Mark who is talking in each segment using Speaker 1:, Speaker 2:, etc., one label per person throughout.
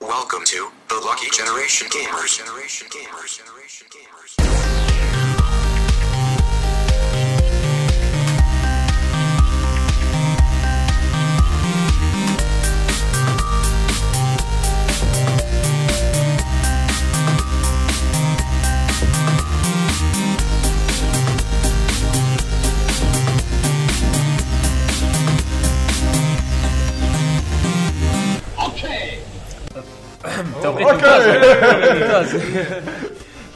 Speaker 1: Welcome to the Lucky Generation Gamers. Generation Gamers. Generation Gamers.
Speaker 2: توقيت ممتاز ممتاز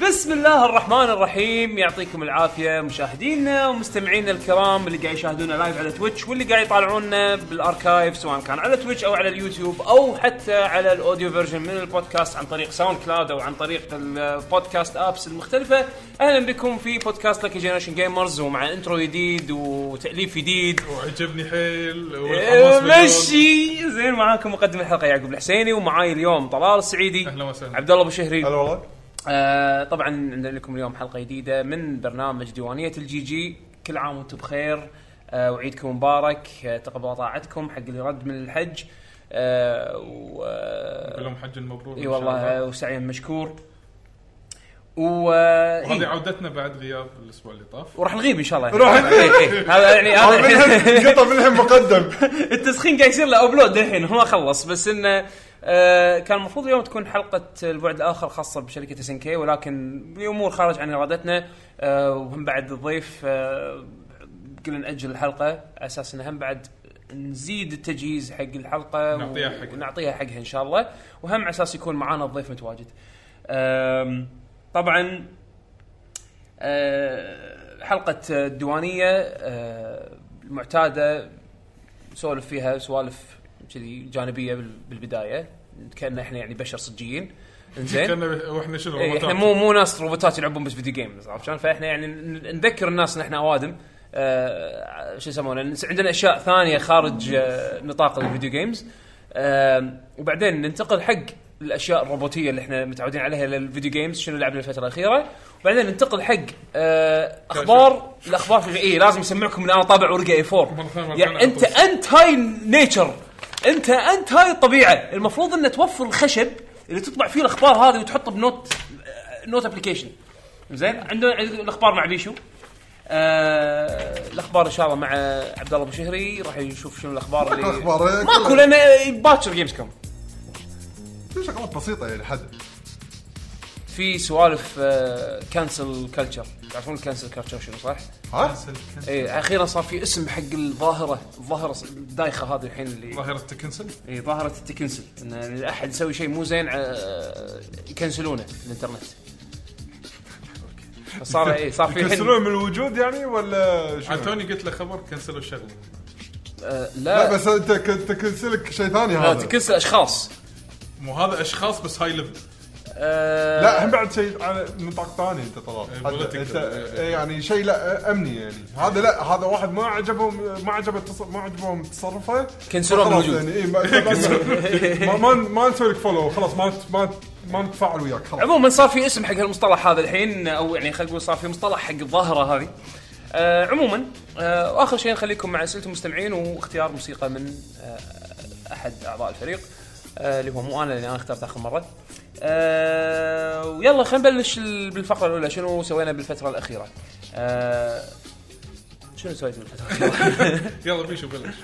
Speaker 2: بسم الله الرحمن الرحيم يعطيكم العافيه مشاهدينا ومستمعينا الكرام اللي قاعد يشاهدونا لايف على تويتش واللي قاعد يطالعونا بالاركايف سواء كان على تويتش او على اليوتيوب او حتى على الاوديو فيرجن من البودكاست عن طريق ساوند كلاود او عن طريق البودكاست ابس المختلفه اهلا بكم في بودكاست لكي جنريشن جيمرز ومع انترو جديد وتاليف جديد
Speaker 3: وعجبني حيل
Speaker 2: إيه،
Speaker 3: والحماس مليون.
Speaker 2: مشي زين معاكم مقدم الحلقه يعقوب الحسيني ومعاي اليوم طلال السعيدي
Speaker 3: أهلا وسهلا.
Speaker 2: عبد الله ابو شهري
Speaker 4: هلا والله
Speaker 2: آه طبعا عندنا لكم اليوم حلقه جديده من برنامج ديوانيه الجي جي كل عام وانتم بخير آه وعيدكم مبارك آه تقبل طاعتكم حق اللي رد من الحج آه و
Speaker 3: أقول لهم حج مبروك
Speaker 2: اي
Speaker 3: إن شاء
Speaker 2: والله
Speaker 3: الله.
Speaker 2: آه، وسعيا مشكور و آه، إيه.
Speaker 3: وهذه عودتنا بعد غياب الاسبوع اللي طاف
Speaker 2: وراح نغيب ان شاء الله
Speaker 4: راح نغيب.
Speaker 2: إيه، إيه. هذا يعني هذا الحين-
Speaker 4: قطع منهم مقدم
Speaker 2: التسخين قاعد يصير له ابلود الحين هو ما خلص بس انه آه كان المفروض اليوم تكون حلقه البعد الاخر خاصه بشركه اس ان كي ولكن بامور خارج عن ارادتنا آه وهم بعد الضيف آه قلنا ناجل الحلقه على اساس انه هم بعد نزيد التجهيز حق الحلقه
Speaker 3: نعطيها
Speaker 2: و-
Speaker 3: حقها.
Speaker 2: ونعطيها حقها ان شاء الله وهم على اساس يكون معانا الضيف متواجد. آم، طبعا آه، حلقه الديوانيه آه، المعتاده نسولف فيها سوالف كذي جانبيه بال- بالبدايه كأن احنا يعني بشر صجيين زين
Speaker 3: كنا واحنا شنو
Speaker 2: إيه، احنا
Speaker 3: روبوتات.
Speaker 2: مو مو ناس روبوتات يلعبون بس فيديو جيمز عرفت شلون؟ فاحنا يعني ن- نذكر الناس ان احنا اوادم آه شو يسمونه نس- عندنا اشياء ثانيه خارج آه نطاق الفيديو جيمز آه وبعدين ننتقل حق الاشياء الروبوتيه اللي احنا متعودين عليها للفيديو جيمز شنو لعبنا الفتره الاخيره وبعدين ننتقل حق آه اخبار الاخبار في اي لازم اسمعكم ان انا طابع ورقه اي 4
Speaker 3: مرة ثانية- مرة
Speaker 2: يعني
Speaker 3: ثانية
Speaker 2: انت انت هاي نيتشر انت انت هاي الطبيعه المفروض ان توفر الخشب اللي تطبع فيه الاخبار هذه وتحطه بنوت نوت ابلكيشن زين عندنا الاخبار مع بيشو آه الاخبار ان شاء الله مع عبد الله ابو شهري راح يشوف شنو الاخبار اللي
Speaker 4: أخبار، إيه؟
Speaker 2: ماكو
Speaker 4: كلها.
Speaker 2: لان باكر جيمز كوم
Speaker 4: في شغلات بسيطه يعني حد
Speaker 2: في سوالف كانسل كلتشر تعرفون الكانسل كلتشر شنو صح؟
Speaker 4: ها
Speaker 2: اي اخيرا صار في اسم حق الظاهره الظاهره الدايخه هذه الحين اللي
Speaker 3: ظاهرة تكنسل
Speaker 2: اي ظاهره إيه، التكنسل ان إذا احد يسوي شيء مو زين آه، يكنسلونه الانترنت صار اي إيه، صار في الحين
Speaker 4: يكسرون من الوجود يعني ولا
Speaker 3: عاد
Speaker 4: شو؟
Speaker 3: توني قلت له خبر كنسلوا الشغله
Speaker 2: آه،
Speaker 4: لا
Speaker 2: لا
Speaker 4: بس انت كنت تكنسلك شيء ثاني
Speaker 2: لا،
Speaker 4: هذا
Speaker 2: تكنسل اشخاص
Speaker 3: مو هذا اشخاص بس هاي ليفل
Speaker 2: آه،
Speaker 4: لا هم بعد شيء على نطاق ثاني انت طلال
Speaker 3: إيه،
Speaker 4: حد-
Speaker 3: political.
Speaker 4: انت إيه، يعني شيء لا امني يعني هذا لا هذا واحد ما عجبهم ما عجبه تص- ما عجبهم تصرفه
Speaker 2: كنسلوه من
Speaker 4: خلاص
Speaker 2: الوجود.
Speaker 4: يعني إيه، ما- ما- ما ما نسوي لك فولو خلاص ما ما ما نتفاعل وياك خلاص
Speaker 2: عموما صار في اسم حق هالمصطلح هذا الحين او يعني خلينا نقول صار في مصطلح حق الظاهره هذه آه عموما آه واخر شيء نخليكم مع اسئله المستمعين واختيار موسيقى من آه احد اعضاء الفريق آه اللي هو مو انا اللي انا اخترت اخر مره آه ويلا خلينا نبلش ال- بالفقره الاولى شنو سوينا بالفتره الاخيره آه شنو سويت بالفتره الاخيره
Speaker 3: يلا بيشو بلش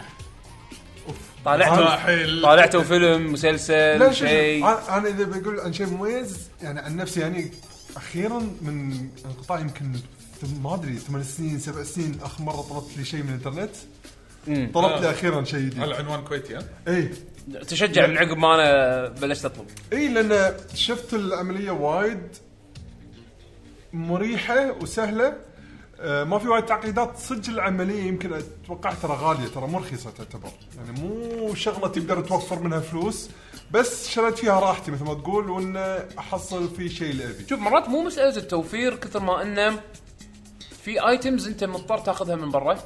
Speaker 2: طالعتوا
Speaker 3: لا حيل
Speaker 2: طالعتوا فيلم مسلسل
Speaker 4: لا شوف آه.
Speaker 2: شيء
Speaker 4: انا أنا اذا بقول عن شيء مميز يعني عن نفسي يعني اخيرا من انقطاع يمكن ثم- ما ادري ثمان سنين سبع سنين اخر مره طلبت لي شيء من الانترنت
Speaker 2: مم. آه.
Speaker 4: طلبت لي اخيرا شيء جديد إيه.
Speaker 3: على عنوان كويتي ها
Speaker 4: اي
Speaker 2: تشجع من عقب ما انا بلشت اطلب
Speaker 4: اي لان إيه، شفت العمليه وايد مريحه وسهله آه، ما في وايد تعقيدات صدق العمليه يمكن اتوقع ترى غاليه ترى مو رخيصه تعتبر يعني مو شغله تقدر توفر منها فلوس بس شريت فيها راحتي مثل ما تقول وان احصل في شيء اللي ابي
Speaker 2: شوف مرات مو مساله التوفير كثر ما انه في ايتمز انت مضطر تاخذها من برا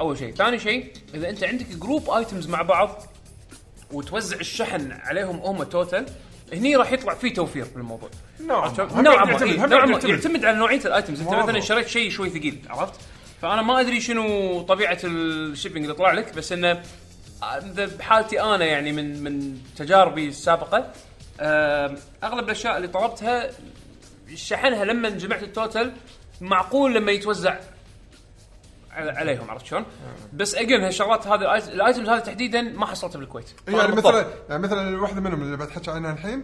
Speaker 2: اول شيء، ثاني شيء اذا انت عندك جروب ايتمز مع بعض وتوزع الشحن عليهم هم توتال هني راح يطلع في توفير بالموضوع.
Speaker 4: نوعاً
Speaker 2: عرفت شلون؟
Speaker 4: ما. هم
Speaker 2: نوعا
Speaker 4: بعد
Speaker 2: ما
Speaker 4: نعم. يعتمد-
Speaker 2: إيه،
Speaker 4: هم
Speaker 2: نوعا
Speaker 4: بعد
Speaker 2: ما
Speaker 4: يعتمد.
Speaker 2: يعتمد على نوعيه الايتمز، انت
Speaker 4: مرة.
Speaker 2: مثلا شريت شيء شوي ثقيل عرفت؟ فانا ما ادري شنو طبيعه الشيبنج اللي طلع آه، لك بس انه إذا بحالتي انا يعني من من تجاربي السابقه آم، اغلب الاشياء اللي طلبتها شحنها لما جمعت التوتل معقول لما يتوزع على- عليهم عرفت شلون؟ بس اجين هالشغلات هذه الآيت- الايتمز هذه تحديدا ما حصلتها بالكويت.
Speaker 4: يعني
Speaker 2: بالضبط.
Speaker 4: مثلا يعني مثلا واحده منهم اللي بتحكي عنها الحين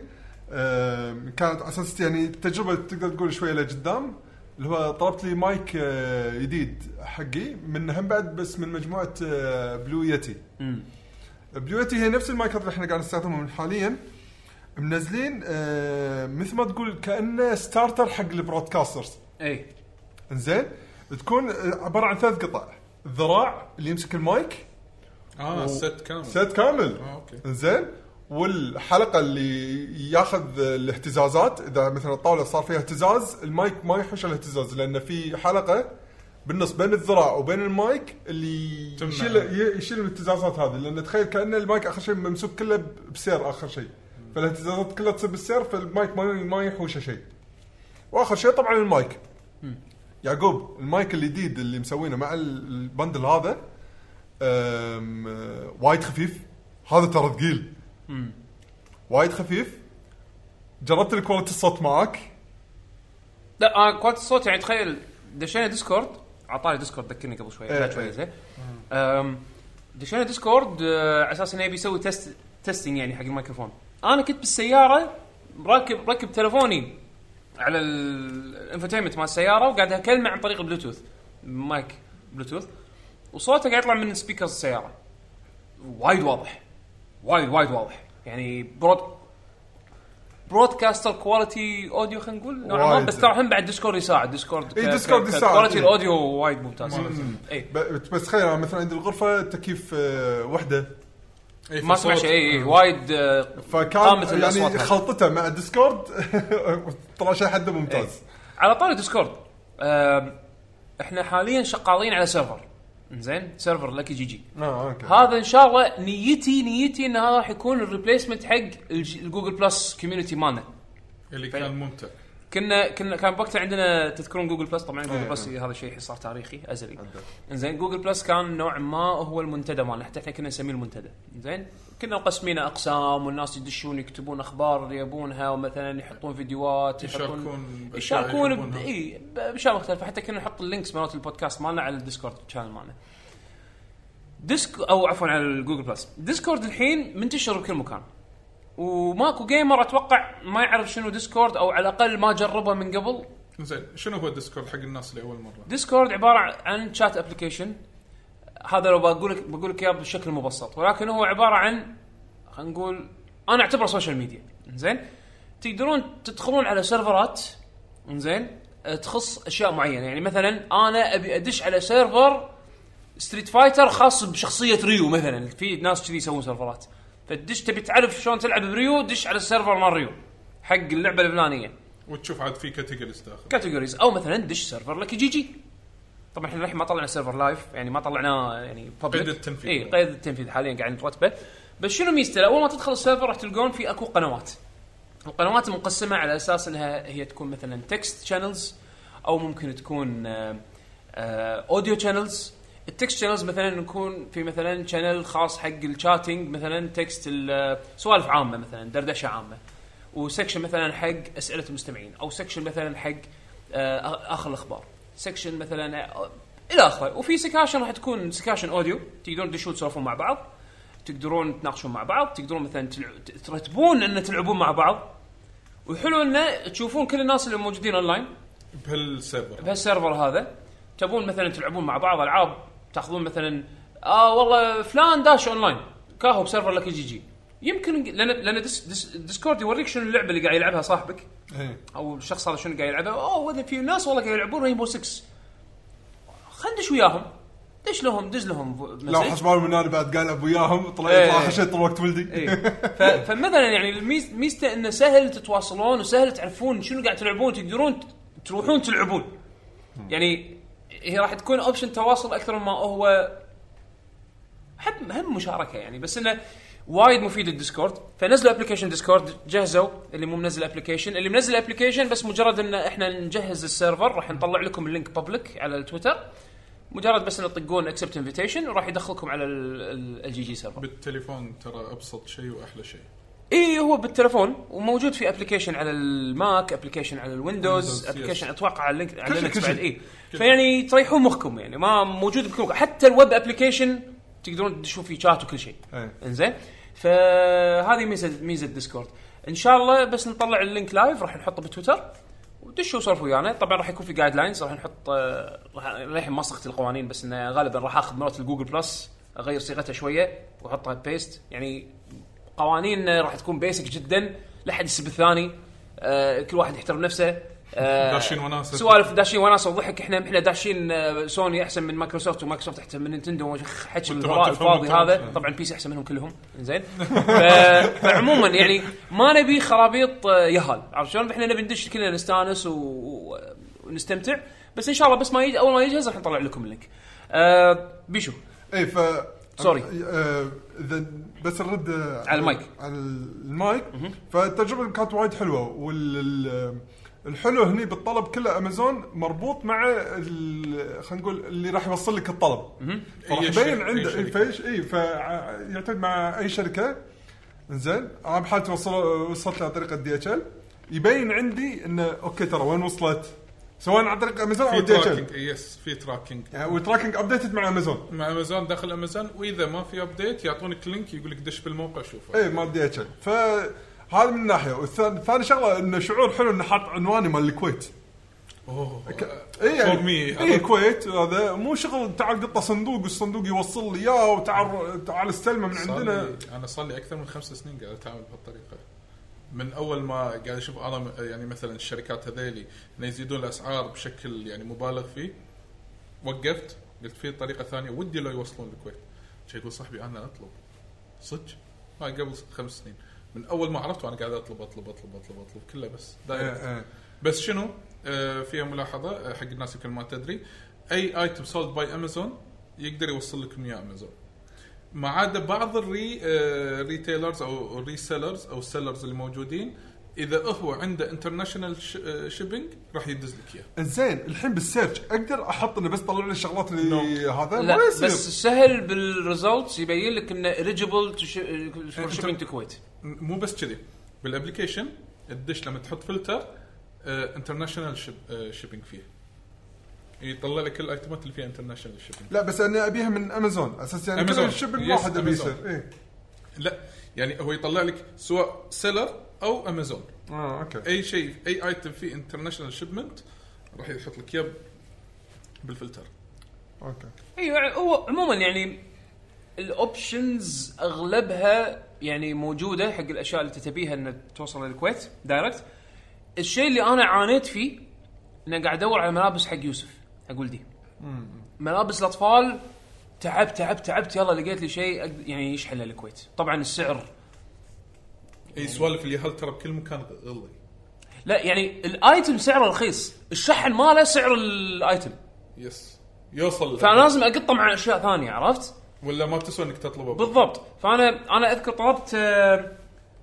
Speaker 4: آم، كانت على اساس يعني تجربه تقدر تقول شويه لقدام اللي هو طلبت لي مايك آه، جديد حقي من هم بعد بس من مجموعه آه، بلو يتي بلو يتي هي نفس المايكات اللي احنا قاعد نستخدمهم حاليا منزلين آه، مثل ما تقول كانه ستارتر حق البرودكاسترز
Speaker 2: اي
Speaker 4: انزين تكون آه، عباره عن ثلاث قطع الذراع اللي يمسك المايك
Speaker 3: اه الست كامل
Speaker 4: سيت كامل
Speaker 3: آه، أوكي.
Speaker 4: زين والحلقه اللي ياخذ الاهتزازات اذا مثلا الطاوله صار فيها اهتزاز المايك ما يحوش الاهتزاز لان في حلقه بالنص بين الذراع وبين المايك اللي
Speaker 3: تمنع.
Speaker 4: يشيل ي- يشيل الاهتزازات هذه لان تخيل كان المايك اخر شيء ممسوك كله ب- بسير اخر شيء فالاهتزازات كلها تصير بالسير فالمايك ما ما يحوشه شيء واخر شيء طبعا المايك يعقوب المايك الجديد اللي مسوينه مع ال- البندل هذا أم، أه، وايد خفيف هذا ترى ثقيل وايد خفيف جربت الكواليتي الصوت معاك
Speaker 2: لا انا كواليتي الصوت يعني تخيل دشينا ديسكورد عطاني ديسكورد ذكرني قبل شوي
Speaker 4: إيه،
Speaker 2: بعد شوي
Speaker 4: إيه.
Speaker 2: زين أم، دشينا ديسكورد آه، على اساس انه يبي يسوي تست تستنج يعني حق الميكروفون انا كنت بالسياره راكب راكب تلفوني على ال- الانفوتينمنت مال السياره وقاعد اكلمه عن طريق البلوتوث مايك بلوتوث وصوته قاعد يطلع من سبيكرز السياره وايد واضح وايد وايد واضح يعني برود برودكاستر كواليتي اوديو خلينا نقول نوعا ما
Speaker 4: وايد.
Speaker 2: بس ترى هم بعد ديسكورد يساعد ديسكورد
Speaker 4: إي، ديسكورد يساعد،
Speaker 2: كواليتي
Speaker 4: إي.
Speaker 2: الاوديو وايد ممتاز اي
Speaker 4: ب- بس تخيل انا مثلا عندي الغرفه التكييف أه، وحده
Speaker 3: إيه،
Speaker 2: ما
Speaker 3: في
Speaker 2: اسمع
Speaker 3: صوت.
Speaker 2: شيء اي إي، وايد آه،
Speaker 4: فكان
Speaker 2: قامت الأصوات
Speaker 4: يعني
Speaker 2: هذه.
Speaker 4: خلطته مع الديسكورد طلع شيء حده ممتاز
Speaker 2: آه، على طاري ديسكورد آم، احنا حاليا شغالين على سيرفر زين سيرفر لكي جي جي
Speaker 4: اه اوكي
Speaker 2: هذا ان شاء الله نيتي نيتي ان هذا راح يكون الريبليسمنت حق الج- الجوجل بلس كوميونتي مالنا
Speaker 3: اللي كان ممتع
Speaker 2: كنا كنا كان بوقتها عندنا تذكرون جوجل بلس طبعا جوجل
Speaker 4: أي،
Speaker 2: بلس هذا شيء صار تاريخي ازلي زين جوجل بلس كان نوعا ما هو المنتدى مالنا حتى احنا كنا نسميه المنتدى زين كنا مقسمينه اقسام والناس يدشون يكتبون اخبار يبونها ومثلا يحطون فيديوهات يحطون-
Speaker 3: يشاركون بأشياء
Speaker 2: يشاركون ب-
Speaker 3: يحبونها.
Speaker 2: اي ب- باشياء مختلفه حتى كنا نحط اللينكس مالت البودكاست مالنا على الديسكورد شانل مالنا ديسك او عفوا على الجوجل بلس ديسكورد الحين منتشر بكل مكان وماكو جيمر اتوقع ما يعرف شنو ديسكورد او على الاقل ما جربه من قبل
Speaker 3: زين شنو هو الديسكورد حق الناس اللي اول مره؟
Speaker 2: ديسكورد عباره عن شات ابلكيشن هذا لو بقول لك بقول لك اياه بشكل مبسط ولكن هو عباره عن خلينا نقول انا اعتبره سوشيال ميديا زين تقدرون تدخلون على سيرفرات زين تخص اشياء معينه يعني مثلا انا ابي ادش على سيرفر ستريت فايتر خاص بشخصيه ريو مثلا في ناس كذي يسوون سيرفرات فتدش تبي تعرف شلون تلعب بريو دش على السيرفر مال ريو حق اللعبه الفلانيه
Speaker 3: وتشوف عاد في كاتيجوريز داخل
Speaker 2: كاتيجوريز او مثلا دش سيرفر لك جي جي طبعا احنا الحين ما طلعنا سيرفر لايف يعني ما طلعناه يعني public.
Speaker 3: قيد التنفيذ.
Speaker 2: اي قيد التنفيذ حاليا قاعد نرتبه بس شنو ميزته اول ما تدخل السيرفر راح تلقون في اكو قنوات القنوات مقسمه على اساس انها هي تكون مثلا تكست شانلز او ممكن تكون آه، اوديو شانلز التكست شانلز مثلا يكون في مثلا شانل خاص حق الشاتنج مثلا تكست آه، سوالف عامه مثلا دردشه عامه وسكشن مثلا حق اسئله المستمعين او سكشن مثلا حق آه، اخر الاخبار سكشن مثلا آه، الى اخره وفي سكاشن راح تكون سكاشن اوديو تقدرون تدشون تسولفون مع بعض تقدرون تناقشون مع بعض تقدرون مثلا تلع- ت- ترتبون ان تلعبون مع بعض وحلو انه تشوفون كل الناس اللي موجودين اونلاين
Speaker 3: بهالسيرفر
Speaker 2: بهالسيرفر هذا تبون مثلا تلعبون مع بعض العاب تاخذون مثلا اه والله فلان داش اونلاين كاهو بسيرفر لك جي جي يمكن لان لان ديس ديس ديسكورد يوريك شنو اللعبه اللي قاعد يلعبها صاحبك
Speaker 4: إيه.
Speaker 2: او الشخص هذا شنو قاعد يلعبه اوه وذا في ناس والله قاعد يلعبون رينبو 6 خلينا ندش وياهم دش لهم دز لهم مسج.
Speaker 4: لا حسب بالهم ان انا بعد قاعد العب وياهم طلع
Speaker 2: إيه.
Speaker 4: يطلع اخر شيء طول وقت ولدي
Speaker 2: إيه. ف- فمثلا يعني الميز- ميزته انه سهل تتواصلون وسهل تعرفون شنو قاعد تلعبون تقدرون ت- تروحون تلعبون يعني هي راح تكون اوبشن تواصل اكثر مما هو هم هم مشاركه يعني بس انه وايد مفيد الديسكورد فنزلوا ابلكيشن ديسكورد جهزوا اللي مو منزل ابلكيشن اللي منزل ابلكيشن بس مجرد ان احنا نجهز السيرفر راح نطلع لكم اللينك بابليك على التويتر مجرد بس ان تطقون اكسبت انفيتيشن وراح يدخلكم على الجي جي سيرفر
Speaker 3: بالتليفون ترى ابسط شيء واحلى شيء
Speaker 2: اي إيه، هو بالتلفون وموجود في ابلكيشن على الماك ابلكيشن على الويندوز
Speaker 3: Windows, yes.
Speaker 2: ابلكيشن اتوقع على اللينك على
Speaker 4: كل شيء،
Speaker 2: لينكس
Speaker 4: كل
Speaker 2: بعد إيه.
Speaker 4: شيء.
Speaker 2: اي فيعني تريحون مخكم يعني ما موجود بكل مكان. حتى الويب ابلكيشن تقدرون تشوف فيه شات وكل شيء
Speaker 4: إيه.
Speaker 2: انزين فهذه ميزه ميزه ديسكورد ان شاء الله بس نطلع اللينك لايف راح نحطه بتويتر ودشوا سولفوا ويانا طبعا راح يكون في جايد لاينز راح نحط آه، راح للحين ما صغت القوانين بس انه غالبا راح اخذ مرات الجوجل بلس اغير صيغتها شويه واحطها بيست يعني قوانين راح تكون بيسك جدا لا حد يسب الثاني آه، كل واحد يحترم نفسه آه،
Speaker 3: داشين وناسة.
Speaker 2: سوالف داشين وناسه وضحك احنا احنا داشين آه، سوني احسن من مايكروسوفت ومايكروسوفت احسن من نينتندو حكي
Speaker 3: وأنت ما
Speaker 2: الغراء
Speaker 3: تفهم
Speaker 2: الفاضي
Speaker 3: أنت.
Speaker 2: هذا طبعا بيس احسن منهم كلهم زين ف- فعموما يعني ما نبي خرابيط آه، يهال عرفت شلون احنا نبي ندش كلنا نستانس و... و- ونستمتع بس ان شاء الله بس ما يجي اول ما يجهز راح نطلع لكم اللينك آه بيشو
Speaker 4: اي إيه، ف
Speaker 2: Sorry.
Speaker 4: آه، اذا بس نرد آه،
Speaker 2: على المايك.
Speaker 4: على المايك فالتجربه كانت وايد حلوه والحلو هني بالطلب كله امازون مربوط مع ال- خلينا نقول اللي راح يوصل لك الطلب فراح
Speaker 3: أي
Speaker 4: يبين
Speaker 3: شركة- أي
Speaker 4: عنده
Speaker 3: شركة.
Speaker 4: فيش اي فيعتمد مع اي شركه زين انا بحالتي وصل وصلت عن طريق الدي اتش ال يبين عندي انه اوكي ترى وين وصلت سواء عن طريق امازون او
Speaker 3: في
Speaker 4: دي اتش ال
Speaker 3: تراكنج يس في تراكنج
Speaker 4: والتراكنج ابديتد يعني، مع امازون
Speaker 3: مع امازون داخل امازون واذا ما في ابديت يعطونك لينك يقول لك دش بالموقع شوفه
Speaker 4: اي ما بدي اتشك فهذا من ناحيه والثاني ثاني شغله انه شعور حلو انه حاط عنواني مال الكويت
Speaker 3: اوه
Speaker 4: اي
Speaker 3: For me.
Speaker 4: اي إيه، كويت هذا مو شغل تعال قطه صندوق والصندوق يوصل لي اياه وتعال تعال استلمه من
Speaker 3: صار
Speaker 4: عندنا
Speaker 3: لي- انا صار لي اكثر من خمس سنين قاعد اتعامل بهالطريقه من اول ما قاعد اشوف انا م- يعني مثلا الشركات هذيلي انه يزيدون الاسعار بشكل يعني مبالغ فيه وقفت قلت في طريقه ثانيه ودي لو يوصلون الكويت شي يقول صاحبي انا اطلب صدق هاي قبل خمس سنين من اول ما عرفت وانا قاعد اطلب اطلب اطلب اطلب اطلب كله بس دايركت
Speaker 4: إيه، إيه.
Speaker 3: بس شنو آه فيها ملاحظه آه، حق الناس يمكن ما تدري اي ايتم سولد باي امازون يقدر يوصل لكم اياه امازون ما عدا بعض الري آه ريتيلرز او ريسيلرز او السيلرز اللي موجودين اذا هو عنده انترناشونال شيبنج راح يدز لك اياه
Speaker 4: زين الحين بالسيرش اقدر احط انه بس طلع لي الشغلات اللي هذا
Speaker 2: لا
Speaker 4: ما يصير
Speaker 2: بس سهل بالريزلتس يبين لك انه اليجبل فور
Speaker 3: أنت-
Speaker 2: شيبينج تو كويت
Speaker 3: م- مو بس كذي بالابلكيشن الدش لما تحط آه، فلتر انترناشونال شيبنج آه، فيه يطلع لك الايتمات اللي فيها انترناشونال شيبنج
Speaker 4: لا بس انا ابيها من امازون اساس يعني
Speaker 3: أمازون.
Speaker 4: كل الشب
Speaker 3: Yes,
Speaker 4: الواحد ابي
Speaker 3: أمازون.
Speaker 4: يصير إيه. اي
Speaker 3: لا يعني هو يطلع لك سواء سيلر او امازون
Speaker 4: اه اوكي
Speaker 3: اي شيء اي ايتم فيه انترناشونال شيبمنت راح يحط لك اياه بالفلتر
Speaker 4: اوكي
Speaker 2: ايوه هو عموما يعني الاوبشنز اغلبها يعني موجوده حق الاشياء اللي تبيها ان توصل للكويت دايركت الشيء اللي انا عانيت فيه ان قاعد ادور على ملابس حق يوسف حق ولدي ملابس الاطفال تعبت تعبت تعبت يلا لقيت لي شيء أقد- يعني يشحن للكويت طبعا السعر
Speaker 3: اي سوالف اللي هل ترى بكل مكان غلي
Speaker 2: لا يعني الايتم سعره رخيص الشحن ماله سعر الايتم
Speaker 3: يس يوصل
Speaker 2: فانا لازم اقطه مع اشياء ثانيه عرفت
Speaker 3: ولا ما بتسوى انك تطلبه
Speaker 2: بالضبط فانا انا اذكر طلبت آه،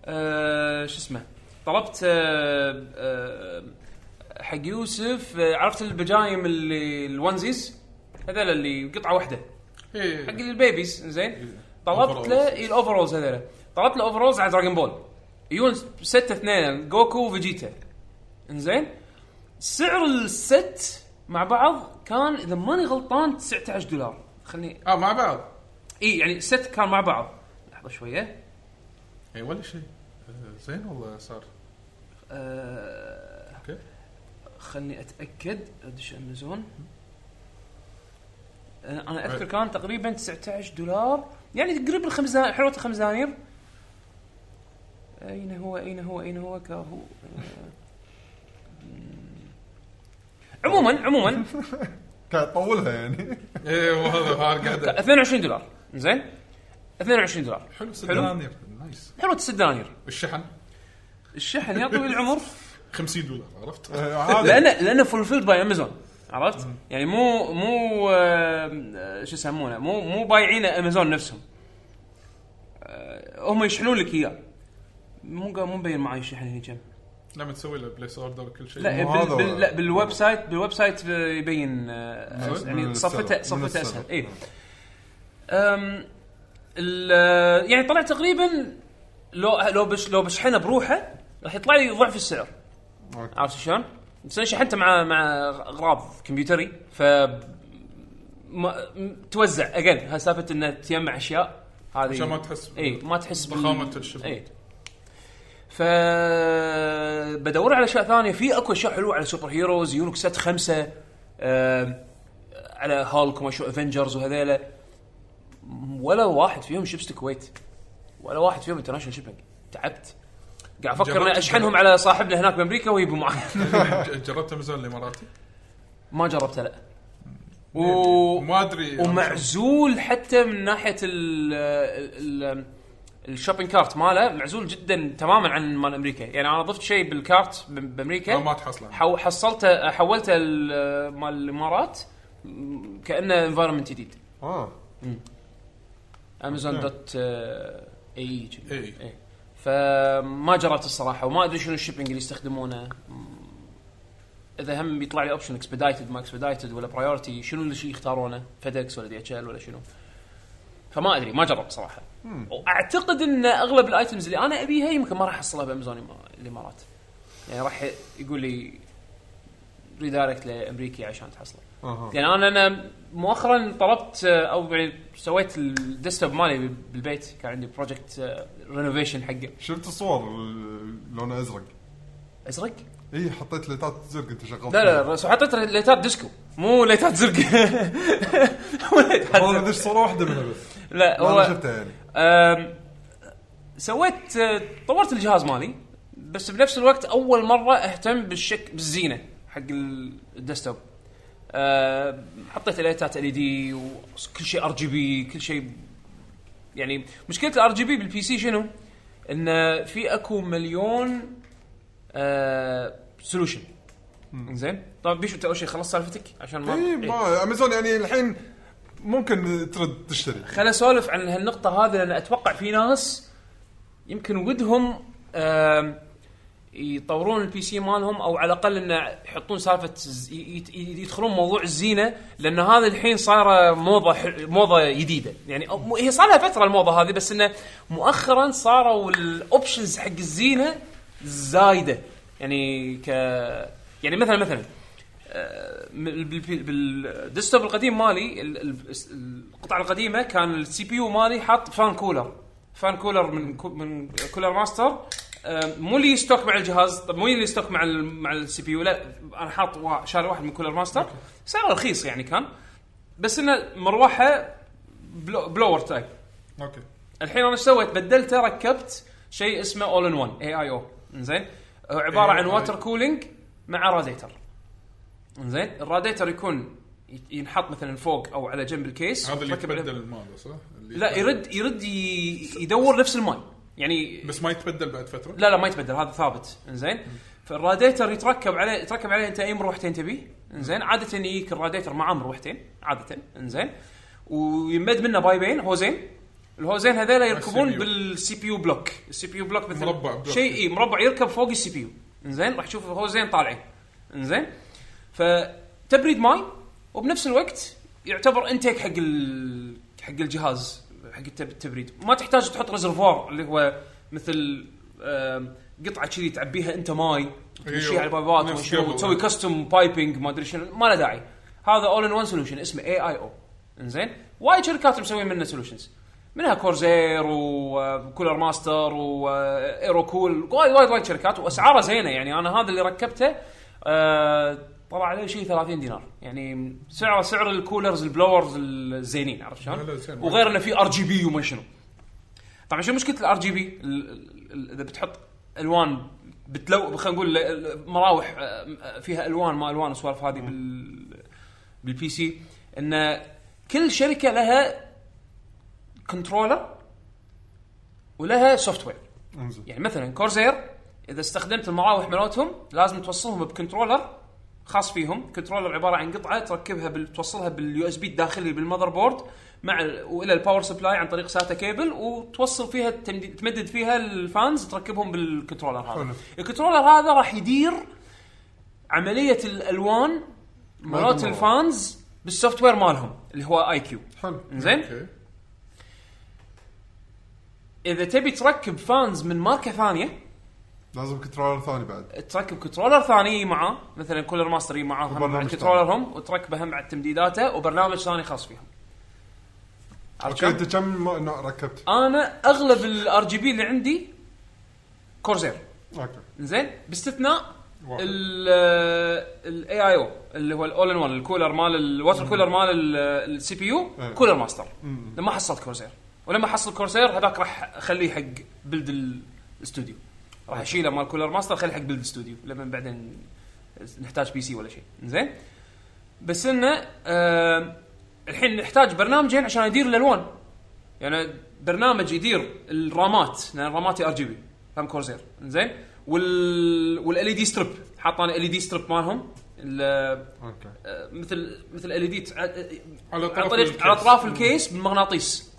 Speaker 2: آه، شو اسمه طلبت آه، آه، حق يوسف آه، عرفت البجايم اللي الونزيز هذول اللي قطعه واحده
Speaker 3: إيه.
Speaker 2: حق البيبيز زين طلبت له
Speaker 3: Overalls.
Speaker 2: إيه، الاوفرولز هذول طلبت له اوفرولز على دراجون بول يجون ست اثنين جوكو وفيجيتا انزين سعر الست مع بعض كان اذا ماني غلطان 19 دولار خلني
Speaker 3: اه مع بعض
Speaker 2: اي يعني الست كان مع بعض لحظه شويه
Speaker 3: اي إيه، ولا شيء آه، زين والله صار
Speaker 2: أه
Speaker 3: اوكي
Speaker 2: خلني اتاكد ادش امازون انا آه، أنا اذكر كان تقريبا 19 دولار يعني تقريبا الخمس دنانير حلوه الخمس دنانير اين هو اين هو اين هو آه، كاهو أه. عموما عموما
Speaker 4: قاعد طولها يعني
Speaker 3: اي وهذا هذا قاعد
Speaker 2: 22 دولار زين 22 دولار
Speaker 3: حلو ست دنانير نايس
Speaker 2: حلوه 6 دنانير
Speaker 3: الشحن
Speaker 2: الشحن يا طويل العمر
Speaker 3: 50 دولار عرفت؟
Speaker 4: آه، هذا
Speaker 2: لان لان فولفيلد باي امازون عرفت؟ يعني مو مو آم، آه، شو يسمونه مو مو بايعين امازون نفسهم آه، هم يشحنون لك اياه مو قا- مو مبين معي الشحن هني كم
Speaker 3: لما نعم، تسوي له بليس اوردر وكل شيء
Speaker 2: لا
Speaker 3: يعني
Speaker 4: مو
Speaker 2: بال
Speaker 4: هذا
Speaker 2: بال
Speaker 4: ولا-
Speaker 2: لا بالويب سايت بالويب سايت آه، يبين آه،
Speaker 3: من
Speaker 2: يعني
Speaker 4: السبب.
Speaker 2: صفته
Speaker 4: من
Speaker 2: صفته إيه.
Speaker 4: السبب.
Speaker 2: اسهل اي أم، ال- يعني طلع تقريبا لو لو بش لو بشحنه بروحه راح يطلع لي ضعف السعر
Speaker 4: أوكي.
Speaker 2: عرفت شلون؟ بس انا شحنته مع مع غراب كمبيوتري ف ما م- توزع اجين هاي سالفه انه تجمع اشياء هذه
Speaker 3: عشان ما تحس
Speaker 2: اي ما تحس بال-
Speaker 3: ضخامة الشغل.
Speaker 2: اي ف بدور على اشياء ثانيه في اكو اشياء حلوه على سوبر هيروز يونك سات خمسه آم، على هالك وما شو افنجرز وهذيلا ولا واحد فيهم شيبس الكويت ولا واحد فيهم انترناشونال شيبنج تعبت قاعد افكر
Speaker 3: جربت
Speaker 2: اني اشحنهم على صاحبنا هناك بامريكا ويجيبوا معي
Speaker 3: ج- جربت امازون الاماراتي
Speaker 2: ما جربته لا و...
Speaker 3: ما ادري
Speaker 2: ومعزول حتى من ناحيه ال ال الشوبينج كارت ماله معزول جدا تماما عن مال امريكا يعني انا ضفت شيء بالكارت ب- بامريكا
Speaker 3: آه، ما تحصله
Speaker 2: حو- حصلته حولته ال- مال الامارات م- كانه انفايرمنت جديد
Speaker 4: اه
Speaker 2: امازون دوت آه، اي
Speaker 3: إي.
Speaker 2: إيه. فما جربت الصراحه وما ادري شنو الشيبنج اللي يستخدمونه م- اذا هم بيطلع لي اوبشن اكسبدايتد ما اكسبدايتد ولا برايورتي شنو اللي شي يختارونه فيدكس ولا دي اتش ال ولا شنو فما ادري ما جربت صراحه واعتقد ان اغلب الايتمز اللي انا ابيها يمكن ما راح احصلها بامازون الإما- الامارات يعني راح يقول لي ريدايركت لامريكي عشان تحصله
Speaker 4: اها
Speaker 2: يعني انا انا مؤخرا طلبت آه، او يعني سويت الديسكتوب مالي بالبيت كان عندي آه، بروجكت رينوفيشن حقه
Speaker 4: شفت الصور ال- لونه ازرق
Speaker 2: ازرق؟
Speaker 4: اي إيه، حطيت ليتات زرق انت شغلت
Speaker 2: لا لا لا بس حطيت ليتات ديسكو مو ليتات زرق مو ليتات
Speaker 4: والله
Speaker 2: زرق.
Speaker 4: ذي صوره واحده منها بس
Speaker 2: لا
Speaker 4: لا، انا
Speaker 2: هو
Speaker 4: شفتها يعني
Speaker 2: آم، سويت آه، طورت الجهاز مالي بس بنفس الوقت اول مره اهتم بالشك بالزينه حق ال- الديسكتوب آه، حطيت ليتات ال اي دي وكل شيء ار جي بي كل شيء يعني مشكله الار جي بي بالبي سي شنو؟ انه في اكو مليون أه، سولوشن زين طبعا بيشو انت اول شيء خلصت سالفتك عشان ما
Speaker 4: اي
Speaker 2: إيه.
Speaker 4: ما امازون يعني الحين ممكن ترد تشتري
Speaker 2: خل اسولف عن هالنقطة هذه لان اتوقع في ناس يمكن ودهم آم، يطورون البي سي مالهم او على الاقل انه يحطون سالفه ز- ي- ي- يدخلون موضوع الزينه لان هذا الحين صايره موضه ح- موضه جديده يعني أو- مو- هي صار لها فتره الموضه هذه بس انه مؤخرا صاروا الاوبشنز حق الزينه زايده يعني ك يعني مثلا مثلا آه، بال- بال- بالديسكتوب القديم مالي ال- ال- القطعه القديمه كان السي بي يو مالي حاط فان كولر فان كولر من كو- من كولر ماستر آه، مو لي ستوك مع الجهاز طب مو لي ستوك مع ال مع السي بي يو لا انا حاط وا- شاري واحد من كولر ماستر سعره رخيص يعني كان بس انه مروحه بلو بلور تايب
Speaker 3: اوكي
Speaker 2: الحين انا ايش سويت؟ بدلته ركبت شيء اسمه اول ان 1 اي اي او زين هو عباره عن
Speaker 3: AI.
Speaker 2: واتر كولينج مع راديتر زين الراديتر يكون ي- ينحط مثلا فوق او على جنب الكيس
Speaker 3: هذا اللي
Speaker 2: وتركب عليه-
Speaker 3: يتبدل المال صح؟ اللي
Speaker 2: لا
Speaker 3: يتبدل.
Speaker 2: يرد يرد ي- يدور نفس الماي يعني
Speaker 3: بس ما يتبدل بعد فتره
Speaker 2: لا لا ما يتبدل هذا ثابت انزين فالراديتر يتركب عليه يتركب عليه انت اي مروحتين تبي انزين عاده يجيك الراديتر معاه مروحتين عاده انزين ويمد منه بايبين هوزين الهوزين هذول يركبون
Speaker 3: CPU.
Speaker 2: بالسي بي يو بلوك السي بي يو بلوك مثل
Speaker 3: مربع بلوك.
Speaker 2: شيء اي مربع يركب فوق السي بي يو انزين راح تشوف هوزين طالعين انزين فتبريد ماي وبنفس الوقت يعتبر انتيك حق ال... حق الجهاز حق التب- التبريد ما تحتاج تحط ريزرفوار اللي هو مثل آم، قطعه كذي تعبيها انت ماي تمشيها على البايبات
Speaker 3: أيوه. نفس
Speaker 2: وشو-
Speaker 3: قبل.
Speaker 2: وتسوي كاستم بايبنج ما ادري شنو ما له داعي هذا اول ان وان سولوشن اسمه اي اي او انزين وايد شركات مسوين منه سولوشنز منها آه، كورزير وكولر ماستر وايروكول آه، وايد وايد وايد شركات واسعاره زينه يعني انا هذا اللي ركبته آه، طلع عليه شيء 30 دينار يعني سعره سعر الكولرز البلورز الزينين عرفت شلون؟
Speaker 3: لا، لا، زين.
Speaker 2: وغير انه في ار جي بي وما شنو طبعا شو مشكله الار جي بي اذا بتحط الوان بتلو خلينا نقول ال- ال- مراوح آه، فيها الوان ما الوان والسوالف هذه بال بالبي سي ان كل شركه لها كنترولر ولها سوفت وير
Speaker 4: انزين
Speaker 2: يعني مثلا كورزير اذا استخدمت المراوح مالتهم لازم توصلهم بكنترولر خاص فيهم كنترولر عباره عن قطعه تركبها بال... توصلها باليو اس بي الداخلي بالمذر بورد مع ال... والى الباور سبلاي عن طريق ساتا كيبل وتوصل فيها التمديد... تمدد فيها الفانز تركبهم بالكنترولر هذا
Speaker 4: حلو.
Speaker 2: الكنترولر هذا راح يدير عمليه الالوان مالت
Speaker 4: المراوح.
Speaker 2: الفانز بالسوفت وير مالهم اللي هو اي كيو
Speaker 4: حلو
Speaker 2: زين
Speaker 3: اوكي
Speaker 2: اذا تبي تركب فانز من ماركه ثانيه
Speaker 4: لازم كنترولر ثاني بعد
Speaker 2: تركب كنترولر ثاني معاه مثلا كولر ماستر يجي معاه هم مع
Speaker 4: وبرنامج
Speaker 2: كنترولرهم وتركبه هم مع تمديداته وبرنامج ثاني خاص فيهم عرفت
Speaker 4: اوكي
Speaker 2: شلون؟
Speaker 4: انت كم م- نوع ركبت؟
Speaker 2: انا اغلب الار جي بي اللي عندي كورزير
Speaker 4: اوكي
Speaker 2: زين باستثناء آه،
Speaker 4: واحد.
Speaker 2: الاي اي او اللي هو الاول ان وان الكولر مال الواتر كولر مال آه، السي بي يو
Speaker 4: إيه.
Speaker 2: كولر ماستر لما حصلت كورسير ولما حصل كورسير هذاك راح اخليه حق بلد ال- الاستوديو راح اشيله مال كولر ماستر اخليه حق بلد الاستوديو لما بعدين نحتاج بي سي ولا شيء زين بس انه آم، الحين نحتاج برنامجين عشان يدير الالوان يعني برنامج يدير الرامات لان راماتي ار جي بي فهم كورسير زين وال E والال اي دي ستريب حاط انا ال اي دي ستريب E مالهم ال-
Speaker 4: اوكي
Speaker 2: آه، مثل مثل ال اي دي
Speaker 3: على
Speaker 2: آه، على
Speaker 3: طرف
Speaker 2: طريق-
Speaker 3: الكيس.
Speaker 2: على اطراف الكيس بالمغناطيس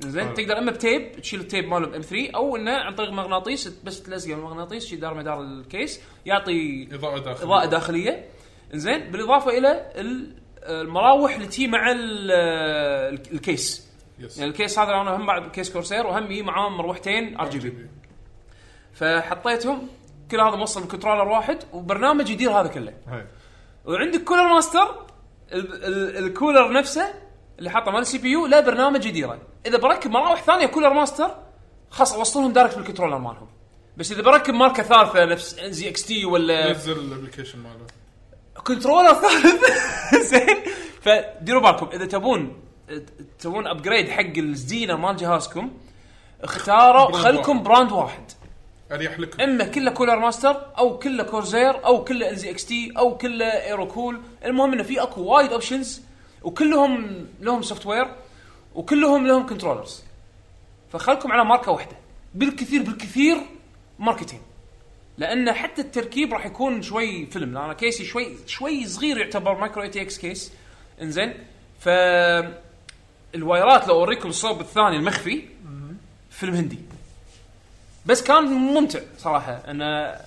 Speaker 2: زين
Speaker 4: حلو.
Speaker 2: تقدر اما بتيب تشيل التيب ماله بام 3 او انه عن طريق مغناطيس بس تلزقه بالمغناطيس شي دار مدار الكيس يعطي
Speaker 3: اضاءه داخليه
Speaker 2: اضاءه داخليه زين بالاضافه الى ال- آه، المراوح اللي تي مع ال- آه، ال- الكيس
Speaker 3: يس.
Speaker 2: يعني الكيس هذا انا هم بعد كيس كورسير وهم يجي معاهم مروحتين ار جي بي فحطيتهم كل هذا موصل بكنترولر واحد وبرنامج يدير هذا كله
Speaker 4: هاي
Speaker 2: وعندك كولر ماستر ال- ال- الكولر نفسه اللي حاطه مال السي بي يو له برنامج يديره اذا بركب مراوح ثانيه كولر ماستر خلاص اوصلهم دايركت بالكنترولر مالهم بس اذا بركب ماركه ثالثه نفس ان زي اكس تي ولا
Speaker 3: نزل الابلكيشن ماله
Speaker 2: كنترولر ثالث زين فديروا بالكم اذا تبون تبون ابجريد حق الزينه مال جهازكم اختاروا
Speaker 3: براند
Speaker 2: خلكم
Speaker 3: واحد.
Speaker 2: براند واحد
Speaker 3: اريح لكم
Speaker 2: اما كله كولر ماستر او كله كورزير او كله ان زي اكس تي او كله ايرو كول المهم انه في اكو وايد اوبشنز وكلهم لهم سوفت وير وكلهم لهم كنترولرز فخلكم على ماركه واحده بالكثير بالكثير ماركتين لان حتى التركيب راح يكون شوي فيلم لان انا كيسي شوي شوي صغير يعتبر مايكرو اي تي اكس كيس انزين ف الوايرات لو اوريكم الصوب الثاني المخفي فيلم هندي بس كان ممتع صراحه انا آه،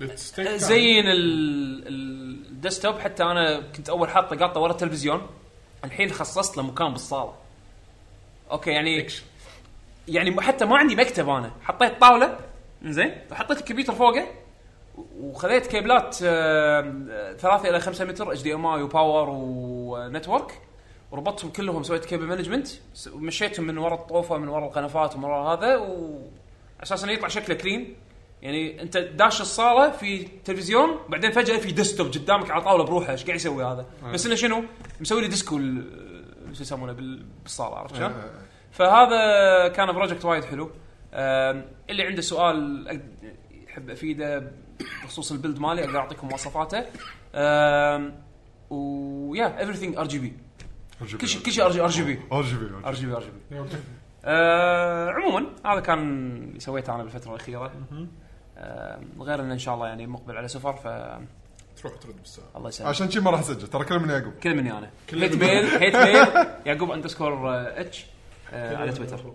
Speaker 3: للستيك
Speaker 2: زين ال- ال- الديسكتوب حتى انا كنت اول حاطه قاطه ورا التلفزيون الحين خصصت له مكان بالصاله اوكي يعني
Speaker 3: Action.
Speaker 2: يعني حتى ما عندي مكتب انا حطيت طاوله زين وحطيت الكمبيوتر فوقه وخذيت كيبلات آه، 3 الى 5 متر اتش دي ام اي وباور ونتورك وربطتهم كلهم سويت كيبل مانجمنت س- ومشيتهم من ورا الطوفه من ورا القنفات ومن ورا هذا وعشان يطلع شكله كلين يعني انت داش الصاله في تلفزيون بعدين فجاه في ديسكتوب قدامك على طاوله بروحه ايش قاعد يسوي هذا؟ بس انه شنو؟ مسوي لي ديسكو ال- شو يسمونه بال- بالصاله عرفت شلون؟
Speaker 4: آه،
Speaker 2: فهذا كان بروجكت وايد حلو أم، اللي عنده سؤال أقد- يحب افيده بخصوص البيلد مالي اقدر اعطيكم مواصفاته أم، ويا everything ار جي بي كل شيء كل شيء ار جي بي
Speaker 4: ار جي بي
Speaker 2: ار جي بي ار جي بي
Speaker 3: يلا.
Speaker 2: عموما هذا كان اللي سويته انا بالفتره الاخيره أم، غير ان ان شاء الله يعني مقبل على سفر فالله
Speaker 3: تروح ترد بالساعه
Speaker 2: يسلمك
Speaker 4: عشان شي ما راح اسجل ترى كلام من يعقوب
Speaker 2: كل مني انا
Speaker 3: كل
Speaker 2: هيت
Speaker 3: مني.
Speaker 2: ميل هيت ميل يعقوب اندرسكور اتش على تويتر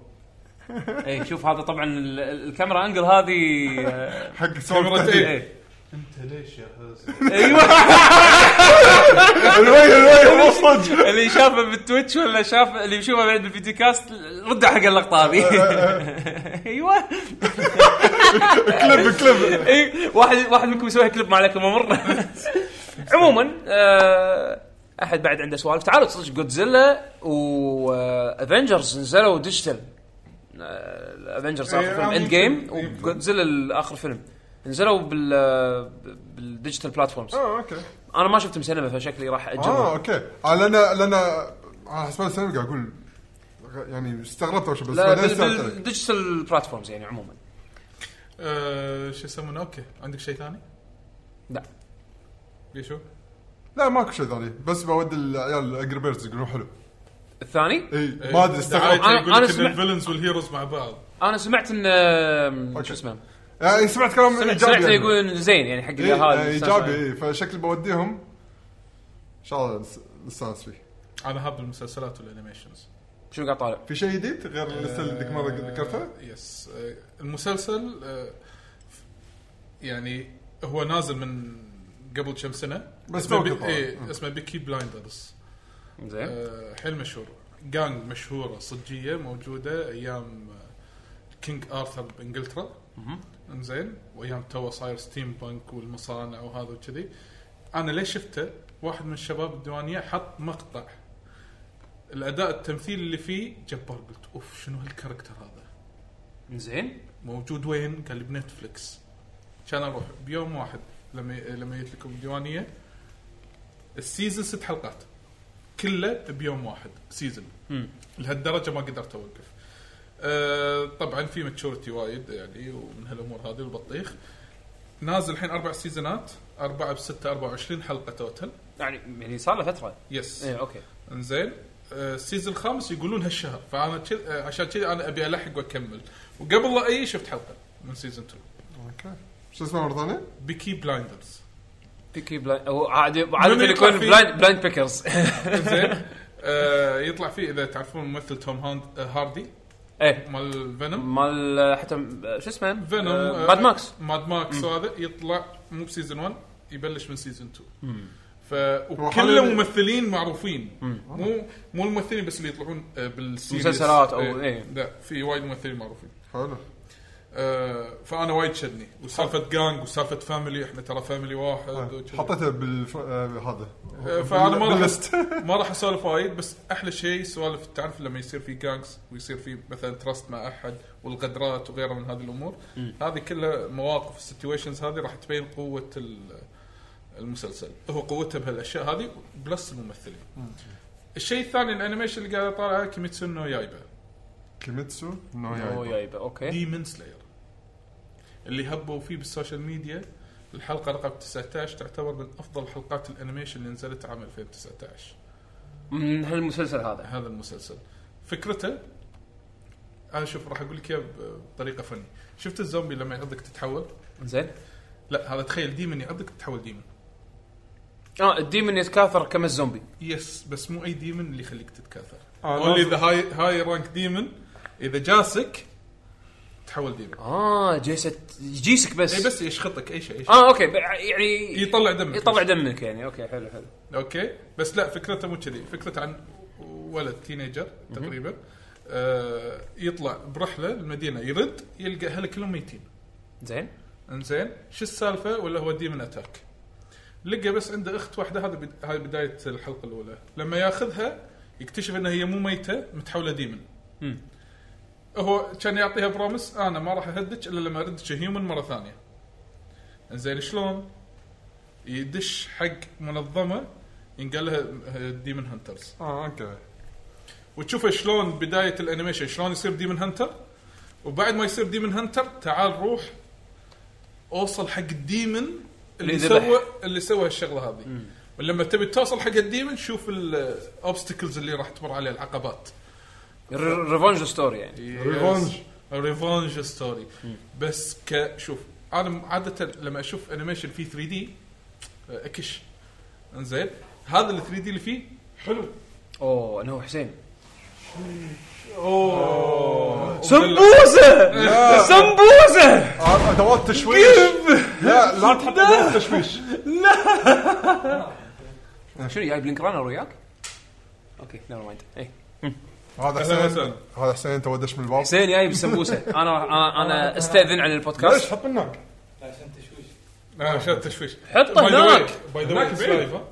Speaker 2: اي إيه، شوف هذا طبعا ال- ال- الكاميرا انجل هذه آه،
Speaker 4: حق
Speaker 3: كاميرا
Speaker 4: سؤال
Speaker 3: إيه.
Speaker 2: إيه.
Speaker 5: انت ليش يا هز
Speaker 2: ايوه
Speaker 4: الوي الوي مو صدق
Speaker 2: اللي شافه بالتويتش ولا شاف اللي يشوفه بعد بالفيديو كاست رد حق اللقطه هذه ايوه
Speaker 4: كليب كليب
Speaker 2: اي إيه، واحد واحد منكم يسوي كليب ما عليكم امر عموما آه، احد بعد عنده سوالف تعالوا صدق جودزيلا وافنجرز نزلوا ديجيتال افنجرز اخر
Speaker 3: إيه،
Speaker 2: فيلم
Speaker 3: آه،
Speaker 2: اند جيم
Speaker 3: ممكن. إيه.
Speaker 2: وجودزيلا اخر فيلم نزلوا بال آه، بالديجيتال بلاتفورمز
Speaker 4: اه اوكي
Speaker 2: انا ما شفتهم سينما فشكلي راح
Speaker 4: اه
Speaker 2: اجلهم
Speaker 4: اوكي آه، لان لان على حسب السنه قاعد اقول يعني استغربت اول شيء بس
Speaker 2: لا
Speaker 4: بعدين استوعبت عليك.
Speaker 2: بالديجيتال بلاتفورمز يعني عموما
Speaker 3: آه، شو يسمونه اوكي عندك شيء ثاني؟
Speaker 2: لا
Speaker 3: بيشو؟
Speaker 4: لا ماكو شيء ثاني بس بود العيال الجريبيرز يقولون حلو
Speaker 2: الثاني
Speaker 4: اي ما ادري استغربت
Speaker 2: أنا-
Speaker 3: انا
Speaker 2: أنا
Speaker 3: انا
Speaker 2: سمعت-
Speaker 3: الفيلنز والهيروز مع بعض
Speaker 2: انا سمعت ان آم،
Speaker 4: أوكي.
Speaker 2: شو اسمه
Speaker 4: يعني سمعت كلام
Speaker 2: سمعت
Speaker 4: ايجابي
Speaker 2: سمعت
Speaker 4: يعني.
Speaker 2: يقول انه زين يعني حق
Speaker 4: إيه،
Speaker 2: الاهالي
Speaker 4: آه، ايجابي اي فشكل بوديهم ان شاء الله نس- نستانس فيه
Speaker 3: انا هاب المسلسلات والانيميشنز
Speaker 2: شنو قاعد طالع؟
Speaker 4: في شيء جديد غير
Speaker 2: آه،
Speaker 4: السنه اللي ذيك مره ذكرتها؟
Speaker 3: آه، يس آه، المسلسل آه، يعني هو نازل من قبل كم سنه
Speaker 4: بس
Speaker 3: اسمه
Speaker 4: تو
Speaker 3: بي-
Speaker 4: قطع.
Speaker 3: إيه، اسمه بيكي بلايندرز
Speaker 2: زين
Speaker 3: آه، حيل مشهور جانج مشهوره صجيه موجوده ايام آه، كينج ارثر بانجلترا انزين وايام تو صاير ستيم بانك والمصانع وهذا وكذي انا ليش شفته واحد من الشباب الديوانيه حط مقطع الاداء التمثيل اللي فيه جبار قلت اوف شنو هالكاركتر هذا
Speaker 2: زين
Speaker 3: موجود وين؟ قال لي بنتفلكس كان اروح بيوم واحد لما لما جيت لكم الديوانيه السيزون ست حلقات كله بيوم واحد سيزون لهالدرجه ما قدرت اوقف أه طبعا في ماتشورتي وايد يعني ومن هالامور هذه والبطيخ نازل الحين اربع سيزونات اربعه بسته 24 حلقه توتل
Speaker 2: يعني يعني صار له إيه، فتره
Speaker 3: يس
Speaker 2: اي اوكي
Speaker 3: انزين آه، السيزون الخامس يقولون هالشهر فانا كذ- آه، عشان كذا انا ابي الحق واكمل وقبل لا اي شفت حلقه من سيزون 2
Speaker 4: اوكي شو اسمه مره ثانيه؟
Speaker 3: بيكي بلايندرز
Speaker 2: بيكي بلايند هو عادي عاده
Speaker 3: يطلع
Speaker 2: يكون
Speaker 3: فيه؟
Speaker 2: بلايند بلايند بيكرز
Speaker 3: زين آه يطلع فيه اذا تعرفون ممثل توم هاند آه، هاردي
Speaker 2: ايه
Speaker 3: مال فينوم
Speaker 2: مال حتى شو اسمه؟
Speaker 3: فينوم
Speaker 2: آه، ماد ماكس
Speaker 3: ماد ماكس وهذا يطلع مو بسيزون 1 يبلش من سيزون 2 ف
Speaker 4: وحلل-
Speaker 3: وكله ممثلين معروفين مو مو الممثلين بس اللي يطلعون آه، بالسيريز
Speaker 2: مسلسلات أو-
Speaker 3: آه،
Speaker 2: إيه.
Speaker 3: لا في وايد ممثلين معروفين
Speaker 4: حلو
Speaker 3: آه، فانا وايد شدني وسالفه جانج وسالفه فاميلي احنا ترى فاميلي واحد
Speaker 4: طيب.
Speaker 3: وكذا.
Speaker 4: آه، حطيته بالف... آه، هذا
Speaker 3: آه، فانا ما راح
Speaker 4: باللست
Speaker 3: ما راح اسولف وايد بس احلى شيء سوالف تعرف لما يصير في جانجز ويصير في مثلا تراست مع احد والغدرات وغيرها من هذه الامور هذه كلها مواقف السيتويشنز هذه راح تبين قوه ال- المسلسل هو قوته بهالاشياء هذه بلس الممثلين الشيء الثاني الانيميشن اللي قاعد اطالعه كيميتسو نو يايبا
Speaker 4: كيميتسو نو
Speaker 3: آه.
Speaker 2: هو
Speaker 4: يايبا.
Speaker 2: جايبه اوكي
Speaker 3: ديمن سلاير اللي هبوا فيه بالسوشيال ميديا الحلقه رقم 19 تعتبر من افضل حلقات الانيميشن اللي نزلت عام 2019
Speaker 2: من هالمسلسل هذا
Speaker 3: هذا المسلسل فكرته انا شوف راح اقول لك اياه ب- بطريقه فنيه شفت الزومبي لما يعضك تتحول
Speaker 2: زين
Speaker 3: لا هذا تخيل ديمن يعضك تتحول ديمن
Speaker 2: اه الديمن يتكاثر كما الزومبي
Speaker 3: يس بس مو اي ديمن اللي يخليك تتكاثر
Speaker 4: آه،
Speaker 3: اونلي
Speaker 4: لازم.
Speaker 3: ذا هاي هاي رانك ديمن اذا جاسك تحول ديمن
Speaker 2: اه جيست جيسك بس
Speaker 3: اي إيه، بس يشخطك اي شيء اي شيء
Speaker 2: اه اوكي ب- يعني
Speaker 3: يطلع دمك
Speaker 2: يطلع دمك يعني اوكي حلو حلو
Speaker 3: اوكي بس لا فكرته مو كذي فكرته عن ولد تينيجر تقريبا آه يطلع برحله المدينه يرد يلقى اهله كلهم ميتين
Speaker 2: زين
Speaker 3: انزين شو السالفه ولا هو ديمن اتاك لقى بس عنده اخت واحده هذا بد... هاي بدايه الحلقه الاولى لما ياخذها يكتشف انها هي مو ميته متحوله ديمن
Speaker 2: مم.
Speaker 3: هو كان يعطيها برومس انا ما راح اهدك الا لما اردك هيومن مره ثانيه انزين شلون يدش حق منظمه ينقال لها ديمن هانترز
Speaker 4: اه اوكي
Speaker 3: وتشوف شلون بدايه الانيميشن شلون يصير ديمن هانتر وبعد ما يصير ديمن هانتر تعال روح اوصل حق الديمن اللي
Speaker 2: اللي ذبح.
Speaker 3: سوى اللي سوى هالشغله هذه ولما تبي توصل حق الديمن شوف الاوبستكلز اللي راح تمر عليه العقبات
Speaker 2: ريفونج ستوري يعني
Speaker 4: ريفونج.
Speaker 3: ريفونج ستوري بس ك شوف انا عاده لما اشوف انيميشن فيه 3 دي اكش انزين أه، هذا ال 3 دي اللي فيه حلو
Speaker 2: اوه انا هو حسين
Speaker 3: اوه
Speaker 2: سمبوسه سمبوسه
Speaker 4: آه، ادوات تشويش لا لا تحط ادوات تشويش
Speaker 2: شنو جايب لينك رانر وياك؟ اوكي نيفر مايند اي
Speaker 4: هذا
Speaker 3: أهلاً
Speaker 4: حسين
Speaker 3: وسهلاً.
Speaker 4: هذا حسين تو دش من الباب
Speaker 2: حسين جايب سمبوسه انا انا انا استاذن عن
Speaker 4: ليش
Speaker 2: البودكاست
Speaker 4: حط لنا
Speaker 5: عشان تشويش
Speaker 3: لا عشان آه، التشويش
Speaker 2: حطه هناك
Speaker 3: باي ذا واي
Speaker 4: هناك
Speaker 3: لايف ها؟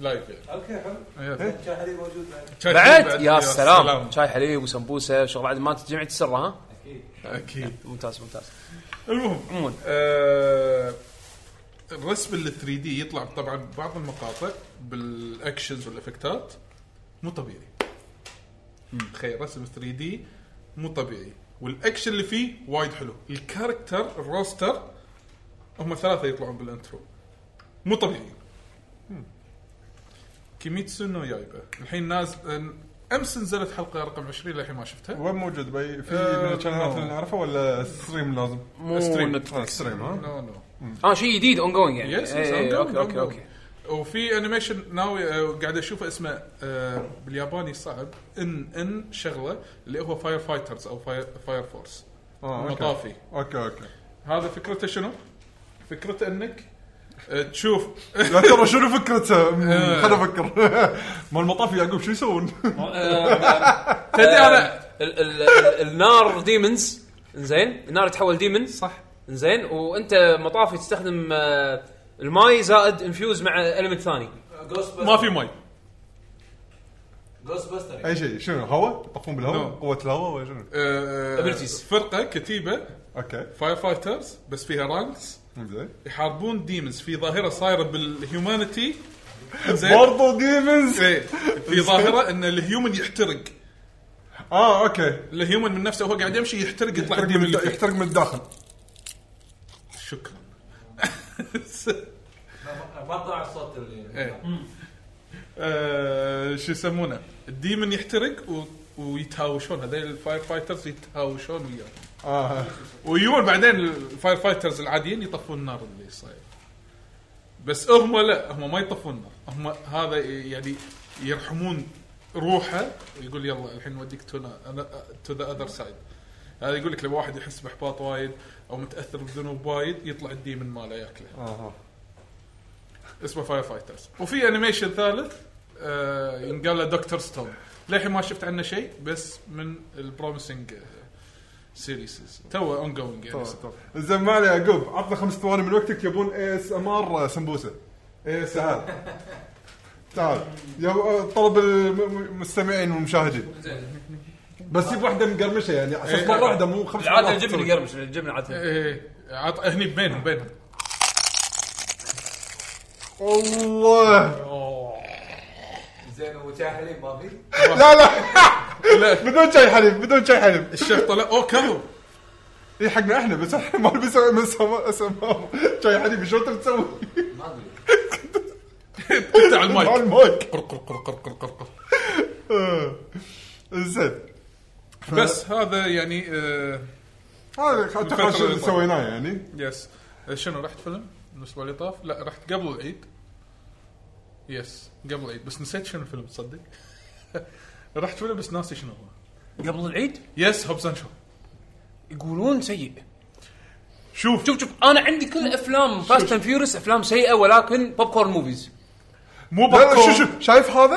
Speaker 3: لايف
Speaker 5: اوكي حلو
Speaker 3: يعني
Speaker 5: كان حليب موجود بعد
Speaker 2: بعد يا سلام شاي حليب وسمبوسه شغل بعد ما تجمعت السره ها
Speaker 3: اكيد
Speaker 2: ممتاز ممتاز
Speaker 3: المهم
Speaker 2: عموماً.
Speaker 3: آه، الرسم اللي 3 دي يطلع طبعا بعض المقاطع بالاكشنز والافكتات مو طبيعي تخيل رسم 3 دي مو طبيعي والاكشن اللي فيه وايد حلو الكاركتر الروستر هم ثلاثه يطلعون بالانترو مو طبيعي كيميتسو نو يايبا الحين ناز امس نزلت حلقه رقم 20 للحين ما شفتها
Speaker 4: وين موجود بي في
Speaker 3: آه،
Speaker 4: من الشانلات
Speaker 3: no.
Speaker 4: اللي نعرفه ولا ستريم لازم؟
Speaker 2: مو
Speaker 3: Stream.
Speaker 2: نت-
Speaker 4: آه، ستريم ها؟
Speaker 3: نو نو
Speaker 2: اه شيء جديد اون جوينج يعني
Speaker 3: يس
Speaker 2: إيه، إيه، اوكي اوكي اوكي
Speaker 3: وفي انيميشن ناوي آه، قاعد اشوفه اسمه آه، بالياباني صعب ان ان شغله اللي هو فاير فايترز او فاير, فاير فورس
Speaker 4: آه، أوكي.
Speaker 3: مطافي
Speaker 4: اوكي اوكي
Speaker 3: هذا فكرته شنو؟ فكرته انك آه، تشوف
Speaker 4: يا ترى شنو فكرته؟
Speaker 3: آه.
Speaker 4: خليني افكر مال المطاف يعقوب شو يسوون؟
Speaker 2: تدري آه،
Speaker 3: تدري انا
Speaker 2: النار ديمونز زين النار تحول ديمن
Speaker 4: صح
Speaker 2: زين وانت مطافي تستخدم آه، الماي زائد انفيوز مع المنت ثاني
Speaker 5: جوست
Speaker 3: ما
Speaker 5: باستر
Speaker 3: في مي
Speaker 5: جوست باستر
Speaker 4: اي شيء شنو هواء يطفون بالهواء
Speaker 3: نعم.
Speaker 4: قوه الهواء ولا شنو
Speaker 3: آه،
Speaker 2: Abilities.
Speaker 3: فرقه كتيبه
Speaker 4: اوكي
Speaker 3: فاير فايترز بس فيها رانكس
Speaker 4: زين
Speaker 3: يحاربون ديمونز في ظاهره صايره بالهيومانيتي زين
Speaker 4: برضو ديمنز
Speaker 3: إيه، في ظاهره ان الهيومن يحترق
Speaker 4: اه اوكي
Speaker 3: الهيومن من نفسه وهو قاعد يمشي يحترق يطلع
Speaker 4: يحترق
Speaker 3: الديمن
Speaker 4: من,
Speaker 3: اللي فيه.
Speaker 4: يحترق من الداخل
Speaker 3: شكرا
Speaker 5: ما ما طلع الصوت اللي
Speaker 3: إيه. آه، شو يسمونه الديمن يحترق و... ويتهاوشون هذول الفاير فايترز يتهاوشون وياه
Speaker 4: اه
Speaker 3: ويجون بعدين الفاير فايترز العاديين يطفون النار اللي صاير بس هم لا هم ما يطفون النار هم هذا يعني يرحمون روحه ويقول يلا الحين وديك تو ذا اذر سايد هذا يقول لك لو واحد يحس باحباط وايد او متاثر بذنوب وايد يطلع الديمن ماله ياكله
Speaker 4: اها
Speaker 3: اسمه فاير فايترز وفي انيميشن ثالث آه ينقال له دكتور ستون للحين ما شفت عنه شيء بس من آه، البروميسنج سيريسز تو اون جوينج يعني
Speaker 4: طيب، طيب. زين ما عليه يعقوب عطنا خمس ثواني من وقتك يبون اي اس ام ار سمبوسه اي اس تعال تعال يا طلب المستمعين والمشاهدين بس يب واحده مقرمشه يعني عشان
Speaker 3: إيه.
Speaker 4: مره واحده مو خمس
Speaker 2: العاده
Speaker 4: مرات
Speaker 2: الجبن
Speaker 4: تسوي.
Speaker 2: يقرمش الجبن العاده
Speaker 3: ايه عط هني بينهم بينهم
Speaker 4: الله
Speaker 5: زين وشاي حليب ما في
Speaker 4: لا لا بدون شاي حليب بدون شاي حليب
Speaker 3: الشيخ طلع اوه كهو
Speaker 4: اي حقنا احنا بس احنا ما نبي نسوي نسوي- نسوي شاي حليب شو تبي تسوي؟
Speaker 5: ما ادري
Speaker 3: قطع
Speaker 4: مع
Speaker 3: المايك
Speaker 4: المايك
Speaker 3: قرقر قرقر قرقر قرقر
Speaker 4: آه. زين
Speaker 3: بس هذا يعني آه
Speaker 4: هذا اتوقع شو اللي سويناه يعني
Speaker 3: يس آه، شنو رحت فيلم الاسبوع اللي طاف؟ لا رحت قبل العيد يس قبل العيد بس نسيت شنو الفيلم تصدق؟ رحت فيلم بس ناسي شنو هو
Speaker 2: قبل العيد
Speaker 3: يس هوبسون شو
Speaker 2: يقولون سيء
Speaker 3: شوف
Speaker 2: شوف شوف انا عندي كل افلام فاست اند فيورس افلام سيئه ولكن بوب كورن موفيز
Speaker 3: مو
Speaker 4: لا لا، شو
Speaker 3: بكون
Speaker 4: شو شايف هذا؟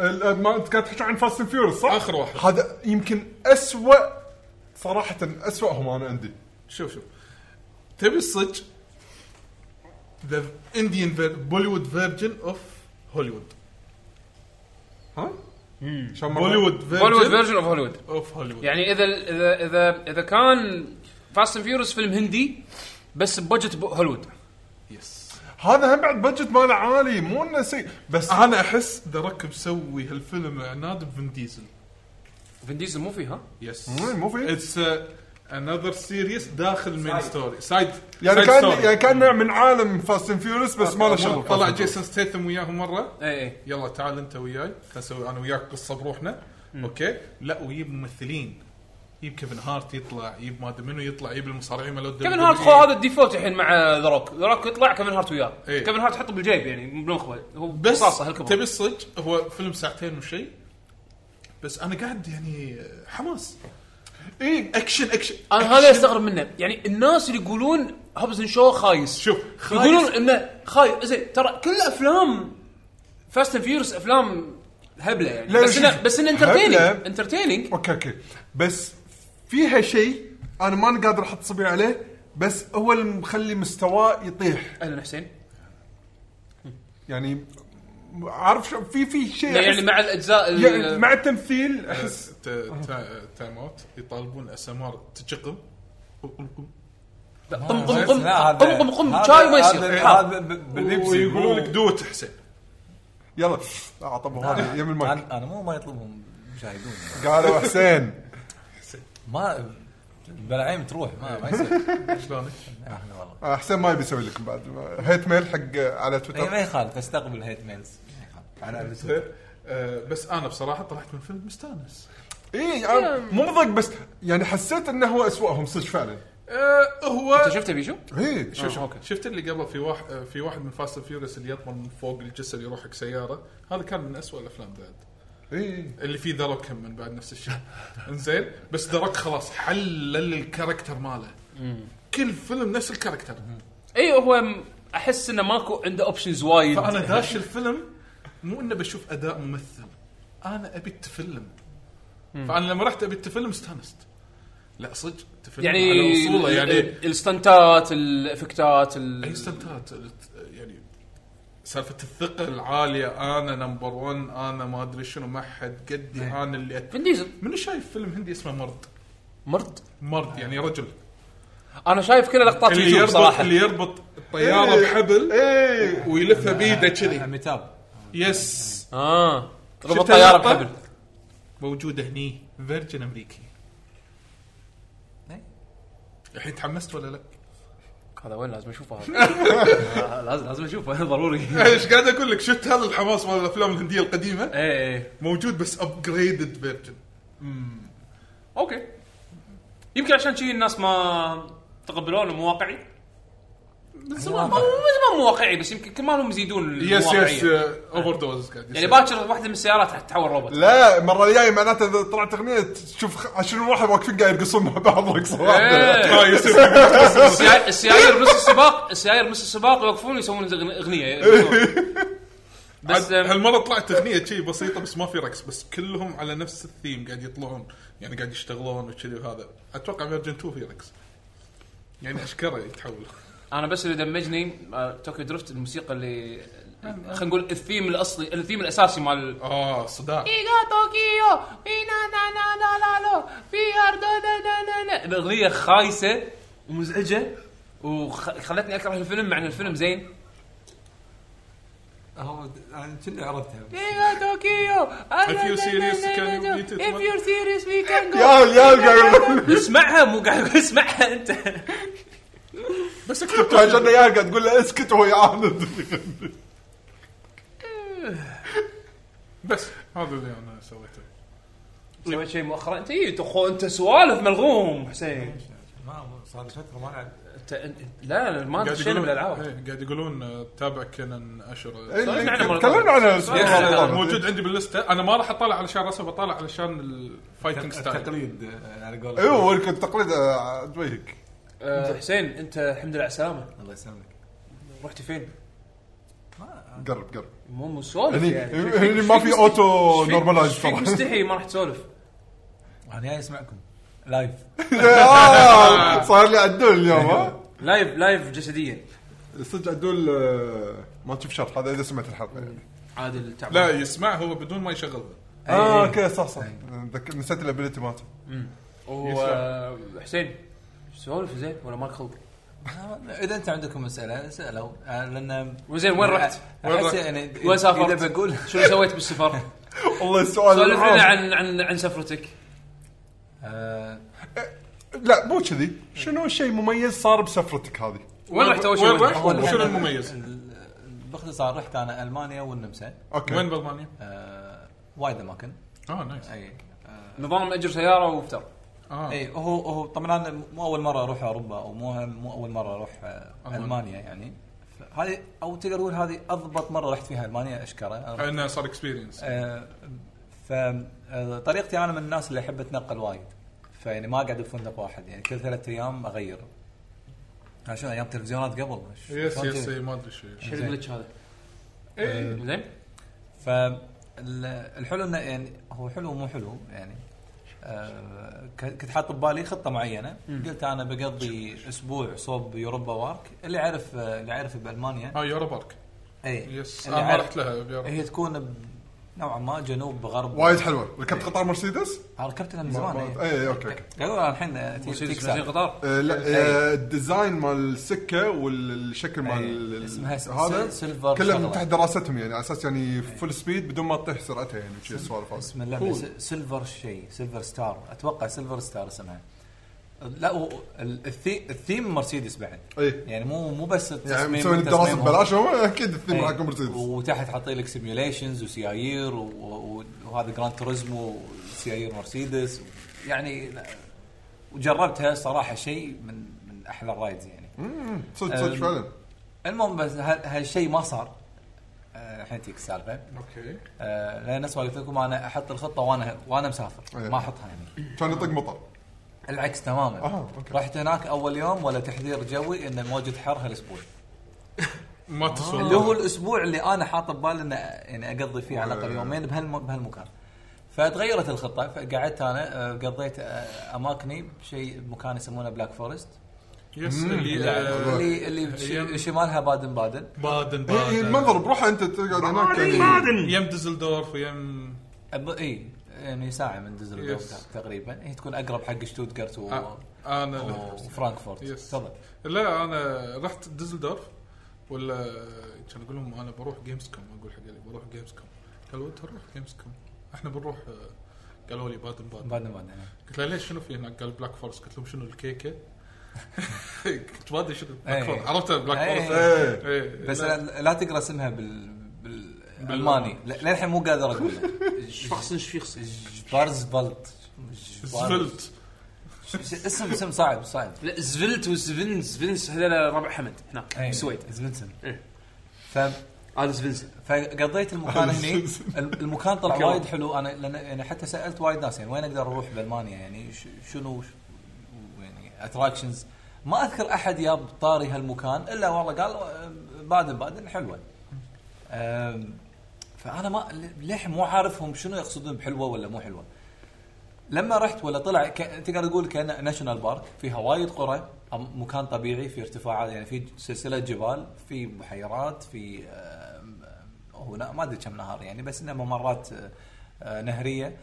Speaker 4: ال- ما انت قاعد تحكي عن فاست اند فيورس صح؟
Speaker 3: إيه. آخر واحد.
Speaker 4: هذا يمكن اسوء صراحة اسوأهم انا عندي
Speaker 3: شوف شوف تبي الصج ذا انديان بوليوود فيرجن اوف هوليوود
Speaker 4: ها؟ شلون مرة؟
Speaker 3: بوليوود
Speaker 2: هوليوود
Speaker 3: فيرجن
Speaker 2: فيرجن اوف هوليوود
Speaker 3: اوف هوليوود
Speaker 2: يعني اذا اذا اذا اذا كان فاست اند فيورس فيلم هندي بس ببجت ب- هوليوود
Speaker 3: يس
Speaker 4: هذا هم بعد بجت ماله عالي مو انه سيء بس
Speaker 3: انا احس ذا روك مسوي هالفيلم عناد بفن ديزل
Speaker 2: فين ديزل مو فيه ها؟
Speaker 3: يس
Speaker 4: مم، مو في.
Speaker 3: اتس انذر سيريس داخل مين ستوري سايد
Speaker 4: يعني كان يعني كان نوع من عالم فاست اند فيورس بس ما له شغل
Speaker 3: أه، طلع جيسون ستيثم وياهم مره
Speaker 2: اي اي
Speaker 3: يلا تعال انت وياي خلينا نسوي انا وياك قصه بروحنا اوكي لا ويجيب ممثلين يجيب كيفن هارت يطلع يجيب ما ادري منو يطلع يجيب المصارعين مالو
Speaker 2: كيفن هارت خو هذا الديفولت الحين مع ذا روك ذا روك يطلع كيفن هارت وياه
Speaker 3: إيه.
Speaker 2: كيفن هارت حطه بالجيب يعني بالمخبل هو
Speaker 3: بس
Speaker 2: رصاصه هالكبر
Speaker 3: تبي الصج هو فيلم ساعتين وشي بس انا قاعد يعني حماس اي اكشن اكشن
Speaker 2: انا هذا استغرب منه يعني الناس اللي يقولون هوبز شو خايس
Speaker 3: شوف، خايس.
Speaker 2: يقولون انه خايس زين ترى كل افلام فاست اند فيورس افلام هبله يعني
Speaker 4: لا،
Speaker 2: بس
Speaker 4: شوف.
Speaker 2: انه بس انه انترتيننج
Speaker 4: هبلة.
Speaker 2: انترتيننج
Speaker 4: اوكي اوكي بس فيها شيء انا ماني قادر احط صبعي عليه بس هو اللي مخلي مستواه يطيح
Speaker 2: اهلا حسين
Speaker 4: يعني عارف شو في في شيء
Speaker 2: لا، يعني
Speaker 4: أحس-
Speaker 2: مع الاجزاء ال-
Speaker 4: يعني مع التمثيل احس
Speaker 3: تايم اوت يطالبون اس ام ار تجقم
Speaker 2: لا، قم قم قم
Speaker 6: لا، هذا-
Speaker 2: قم قم قم
Speaker 6: هذا-
Speaker 2: شاي ما
Speaker 6: هذا-
Speaker 2: يصير حار.
Speaker 6: هذا ب- بالبيبسي
Speaker 3: ويقولون
Speaker 6: مو-
Speaker 3: لك دوت حسين
Speaker 4: يلا آه، طب هذا يم المايك
Speaker 6: انا أنا مو ما يطلبهم يشاهدون
Speaker 4: قالوا حسين
Speaker 6: ما بلعيم تروح ما ما يصير
Speaker 3: شلونك؟
Speaker 6: احنا والله
Speaker 4: آه، حسين ما يبي يسوي لكم بعد هيت ميل حق آه، على
Speaker 6: إي،
Speaker 2: أيوة.
Speaker 6: ما
Speaker 4: تويتر
Speaker 6: يخالف استقبل هيت ميلز ما يخالف. انا أبي-
Speaker 3: آه، بس انا بصراحه طلعت من فيلم مستانس
Speaker 4: اي إيه، مو مضق بس يعني حسيت انه هو اسوأهم صدق إيه، فعلا
Speaker 3: آه، هو
Speaker 2: انت شفته بيشو؟
Speaker 4: اي
Speaker 3: شوف شوف
Speaker 2: أوكي.
Speaker 3: شفت اللي قبل في واحد آه، في واحد من فاست فيوريس اللي يطمن من فوق الجسر يروح حق سياره هذا كان من أسوأ الافلام بعد
Speaker 2: أه.
Speaker 4: اي
Speaker 3: اللي فيه دروك هم من بعد نفس الشيء انزين بس دروك خلاص حلل الكاركتر ماله كل فيلم نفس الكاركتر
Speaker 2: اي إيه، هو م- احس انه ماكو عنده اوبشنز وايد
Speaker 3: فانا داش الفيلم مو انه بشوف اداء ممثل انا ابي التفلم فانا لما رحت ابي التفلم استانست لا صدق تفهم
Speaker 2: يعني
Speaker 3: على وصوله يعني
Speaker 2: ال- الستنتات الافكتات ال-
Speaker 3: اي سنتات يعني سالفه الثقه العاليه انا نمبر 1 انا ما ادري شنو ما حد قدي
Speaker 2: إيه.
Speaker 3: انا اللي أت...
Speaker 2: فين ديزل
Speaker 3: منو شايف فيلم هندي اسمه مرض
Speaker 2: مرض إيه.
Speaker 3: مرض يعني رجل
Speaker 2: انا شايف كل لقطات
Speaker 3: اللي
Speaker 2: يوتيوب
Speaker 3: يربط
Speaker 2: صراحه
Speaker 3: اللي يربط الطياره
Speaker 2: إيه.
Speaker 3: بحبل ويلفها بيده كذي
Speaker 6: ميتاب
Speaker 2: إيه.
Speaker 3: يس
Speaker 2: اه
Speaker 3: شفت
Speaker 2: ربط طياره
Speaker 3: اللقطة؟
Speaker 2: بحبل
Speaker 3: موجوده هني فيرجن امريكي
Speaker 6: إيه.
Speaker 3: الحين تحمست ولا لا؟
Speaker 2: هذا وين لازم اشوفه هذا آه، لازم لازم اشوفه ضروري
Speaker 3: ايش إيه، قاعد اقول لك شفت هذا الحماس مال الافلام الهنديه القديمه
Speaker 2: ايه ايه
Speaker 3: موجود بس ابجريدد فيرجن
Speaker 2: اوكي يمكن عشان شي الناس ما تقبلون مو واقعي من زمان ما- من زمان مو واقعي بس يمكن كل مالهم يزيدون
Speaker 3: يس يس
Speaker 2: الواقعية.
Speaker 3: اوفر دوز uh, قاعد
Speaker 2: يعني
Speaker 3: يصير.
Speaker 2: باكر واحده من السيارات تتحول روبوت
Speaker 4: لا المره الجايه معناته اذا طلعت اغنيه تشوف 20 واحد واقفين قاعد يرقصون مع بعض رقصه واحده
Speaker 2: إيه.
Speaker 3: آه، يصير.
Speaker 2: السيا- السيايير بنص السباق السيايير بنص السباق يوقفون يسوون زغن- اغنيه يرقصون. بس
Speaker 3: عاد هالمره طلعت اغنيه شي بسيطه بس ما في رقص بس كلهم على نفس الثيم قاعد يطلعون يعني قاعد يشتغلون وكذي وهذا اتوقع فيرجن 2 في رقص يعني اشكره يتحول
Speaker 2: انا بس اللي دمجني آه، توكيو درفت الموسيقى اللي خلينا نقول الثيم الاصلي الثيم الاساسي مال
Speaker 3: اه صداع
Speaker 2: إيغا طوكيو إينا نا نا نا لا لو في أرض نا نا نا نا الأغنية خايسة ومزعجة وخلتني أكره الفيلم مع أن الفيلم زين
Speaker 5: هو انا كنا عرفتها
Speaker 2: إيغا طوكيو
Speaker 3: If you're serious, can you beat it?
Speaker 2: If you're serious we can go
Speaker 4: يا يا قاعد
Speaker 2: اسمعها مو قاعد أقول اسمعها أنت
Speaker 3: بس اكتب
Speaker 4: فجأة يا قاعد تقول له اسكت وهو يعاند
Speaker 3: بس هذا اللي انا سويته
Speaker 2: سويت شيء مؤخرا أنت إيه، أنت خو- أنت سوالف ملغوم حسين
Speaker 5: ما صار لي فتره ما العب
Speaker 2: أنت أنت- لا لا، ما أنت
Speaker 3: قاعد
Speaker 2: شيء من
Speaker 3: يقولون
Speaker 2: الألعاب
Speaker 3: إيه، قاعد يقولون آه، تابع كنن اشر
Speaker 4: إيه،
Speaker 2: تكلمنا عنه
Speaker 4: تكلمنا أيوه، عنه الأسبوع
Speaker 2: يس،
Speaker 4: الماضي.
Speaker 2: آه،
Speaker 3: موجود عندي باللسته انا ما راح اطالع علشان رسم بطالع علشان الفايتنج ستايل
Speaker 5: التقليد آه، على قولك
Speaker 4: ايوه
Speaker 6: أيوه.
Speaker 4: ولك التقليد آه، دويك
Speaker 2: آه، حسين أنت الحمد لله على السلامة
Speaker 5: الله يسلمك
Speaker 2: رحت فين؟
Speaker 4: قرب قرب
Speaker 2: مو مو سوالف
Speaker 4: هني
Speaker 2: يعني شو-
Speaker 4: هني ما في اوتو نورمالايز
Speaker 2: فيك
Speaker 4: ترى
Speaker 2: مستحي ما راح تسولف
Speaker 6: انا جاي اسمعكم لايف
Speaker 4: آه، صار لي عدول اليوم ها
Speaker 2: لايف لايف جسديا
Speaker 4: أيوه. صدق عدول آه، ما تشوف شرط هذا اذا سمعت الحلقه يعني
Speaker 2: عادل تعبان
Speaker 3: لا يسمع هو بدون ما يشغلها
Speaker 6: آه،
Speaker 4: اه اوكي صح صح ذك- نسيت الابيلتي مالته
Speaker 2: وحسين سولف زين ولا مالك خلق؟
Speaker 6: اذا انت عندكم مساله اسالوا آه، لان
Speaker 2: وزين وين رحت؟
Speaker 3: وين
Speaker 6: احس
Speaker 3: رحت؟
Speaker 6: يعني
Speaker 2: وين سافرت؟
Speaker 6: اذا بقول
Speaker 2: شنو سويت بالسفر؟
Speaker 4: والله السؤال
Speaker 2: سولف لنا
Speaker 4: العام.
Speaker 2: عن عن عن سفرتك
Speaker 6: آه،
Speaker 4: لا مو كذي
Speaker 6: إيه.
Speaker 4: شنو الشيء مميز صار بسفرتك هذه
Speaker 2: وين رحت اول شيء؟
Speaker 3: وين
Speaker 2: وين
Speaker 3: رحت؟
Speaker 2: رحت؟
Speaker 6: أول
Speaker 3: شنو
Speaker 6: حاجة-
Speaker 3: المميز؟
Speaker 6: ال- باختصار رحت انا المانيا والنمسا
Speaker 4: اوكي
Speaker 3: وين بالمانيا؟
Speaker 6: آه، وايد اماكن
Speaker 3: اه نايس
Speaker 6: اي آه،
Speaker 2: نظام اجر سياره وفتر
Speaker 3: اه
Speaker 6: اي هو هو طبعا انا مو اول مره اروح اوروبا او مو مو اول مره اروح آه،
Speaker 3: ألمانيا.
Speaker 6: المانيا يعني هذه او تقدر تقول هذه اضبط مره رحت فيها المانيا اشكره أنا رحت
Speaker 3: انه صار اكسبيرينس
Speaker 6: إيه. فطريقتي انا من الناس اللي احب اتنقل وايد فيعني ما اقعد بفندق واحد يعني كل ثلاث ايام اغير ها شو ايام تلفزيونات قبل ش-
Speaker 3: يس
Speaker 6: شلون
Speaker 3: يس
Speaker 6: كذي؟
Speaker 3: إيه، ما ادري شو إيه.
Speaker 2: شو الجلتش هذا؟ زين؟
Speaker 6: ف الحلو انه يعني هو حلو مو حلو يعني آه، ك- كنت حاط ببالي خطه معينه قلت انا بقضي اسبوع صوب يوروبا وارك اللي عارف آه، اللي عارف بالمانيا
Speaker 3: اه يورا بارك
Speaker 6: اي
Speaker 3: يس
Speaker 6: اللي
Speaker 3: انا آه، ما
Speaker 6: عارف-
Speaker 3: رحت لها بيورا
Speaker 6: هي تكون ب- نوعا ما جنوب غرب
Speaker 4: وايد حلوه ركبت قطار مرسيدس
Speaker 6: آه، ركبتها من زمان إيه. إيه.
Speaker 4: اي اوكي اوكي
Speaker 6: قالوا لها الحين آه، تي-
Speaker 2: مسير
Speaker 6: تيك
Speaker 2: مسير
Speaker 6: ساعة.
Speaker 2: قطار
Speaker 4: آه، لا آه، الديزاين مال السكه والشكل مال
Speaker 6: إيه،
Speaker 4: ال-
Speaker 6: اسمها س-
Speaker 4: هذا
Speaker 6: س- سيلفر
Speaker 4: كلها
Speaker 6: شغلة.
Speaker 4: من تحت دراستهم يعني على اساس يعني فول سبيد بدون ما تطيح سرعتها يعني وشي السوالف هذه
Speaker 6: اسم اللعبه س- سيلفر شيء سيلفر ستار اتوقع سيلفر ستار اسمها لا و- ال- الثي- الثيم مرسيدس بعد
Speaker 4: اي
Speaker 6: يعني مو مو بس التصميم
Speaker 4: إيه. يعني مسوين الدراسه
Speaker 6: تصميمهم.
Speaker 4: ببلاش هم اكيد الثيم
Speaker 6: إيه.
Speaker 4: حق مرسيدس
Speaker 6: وتحت حاطين لك سيميوليشنز وسيايير و- و- وهذا جراند توريزمو وسيايير مرسيدس E يعني لا- وجربتها صراحه شيء من من احلى الرايدز يعني
Speaker 4: مم، صدق صدق
Speaker 6: أم.
Speaker 4: فعلا
Speaker 6: المهم بس ه- هالشيء ما صار آه، الحين تجيك السالفه
Speaker 3: اوكي
Speaker 6: آه، لان نفس ما قلت لكم انا احط الخطه وانا وانا مسافر
Speaker 4: أيه.
Speaker 3: أيوة.
Speaker 6: ما احطها يعني
Speaker 4: كان يطق مطر
Speaker 6: العكس تماما
Speaker 4: آه، أوكي.
Speaker 6: رحت هناك اول يوم ولا تحذير جوي ان الموجة حر هالاسبوع
Speaker 3: ما تسوى
Speaker 6: اللي هو الاسبوع اللي انا حاط ببالي ان يعني اقضي فيه على الاقل يومين بهالم... بهالمكان ف فتغيرت الخطه فقعدت انا آه، قضيت آه، اماكني بشيء مكان يسمونه بلاك فورست
Speaker 3: يس اللي آه،
Speaker 6: اللي اللي بش- شمالها بادن بادن
Speaker 3: بادن
Speaker 4: هي- هي
Speaker 3: بادن
Speaker 4: المنظر بروحه انت تقعد هناك يعني
Speaker 2: مادن
Speaker 3: يم ديزلدورف ويم
Speaker 6: أب- اي يعني ساعه من ديزلدورف
Speaker 3: Yes.
Speaker 6: تقريبا هي تكون اقرب حق شتوتغارت و...
Speaker 3: آه، انا
Speaker 6: وفرانكفورت
Speaker 3: Yes.
Speaker 6: تفضل
Speaker 3: لا انا رحت ديزلدورف ولا كان اقول لهم انا بروح جيمز كوم اقول حق اللي بروح جيمز كوم قالوا انت روح جيمز كوم احنا بنروح آه، قالوا لي بادن بادن
Speaker 6: بادن بادن
Speaker 3: قلت له ليش شنو في هناك؟ قال بلاك فورس قلت لهم شنو الكيكه؟ كنت ما ادري شنو بلاك
Speaker 6: إيه.
Speaker 3: فورس عرفت بلاك
Speaker 6: إيه.
Speaker 3: فورس
Speaker 4: إيه.
Speaker 3: إيه.
Speaker 6: بس
Speaker 3: لا.
Speaker 6: لا, لا تقرا اسمها بال بالالماني لا- للحين مو قادر اقوله
Speaker 2: شخص شخص
Speaker 6: شبارزبلت
Speaker 3: زفلت
Speaker 6: اسم اسم صعب صعب
Speaker 2: لا زفلت وزفن زفنس هذول ربع حمد هناك بالسويد
Speaker 6: زبنسن
Speaker 2: إيه.
Speaker 6: ف
Speaker 2: هذا زفنس
Speaker 6: فقضيت المكان هني الم- المكان طلع وايد حلو انا لان يعني حتى سالت وايد ناس يعني وين اقدر اروح بالمانيا يعني ش- شنو ش- يعني اتراكشنز ما اذكر احد جاب طاري هالمكان الا والله قال آه، بادن بادن حلوه أم، فانا ما ل- للحين مو عارفهم شنو يقصدون بحلوه ولا مو حلوه لما رحت ولا طلع ك... تقدر تقول كانه ناشونال بارك فيها وايد قرى أم- مكان طبيعي في ارتفاعات يعني في سلسله جبال في بحيرات في آم، هو نا- ما ادري كم نهر يعني بس انه ممرات آه، آه، نهريه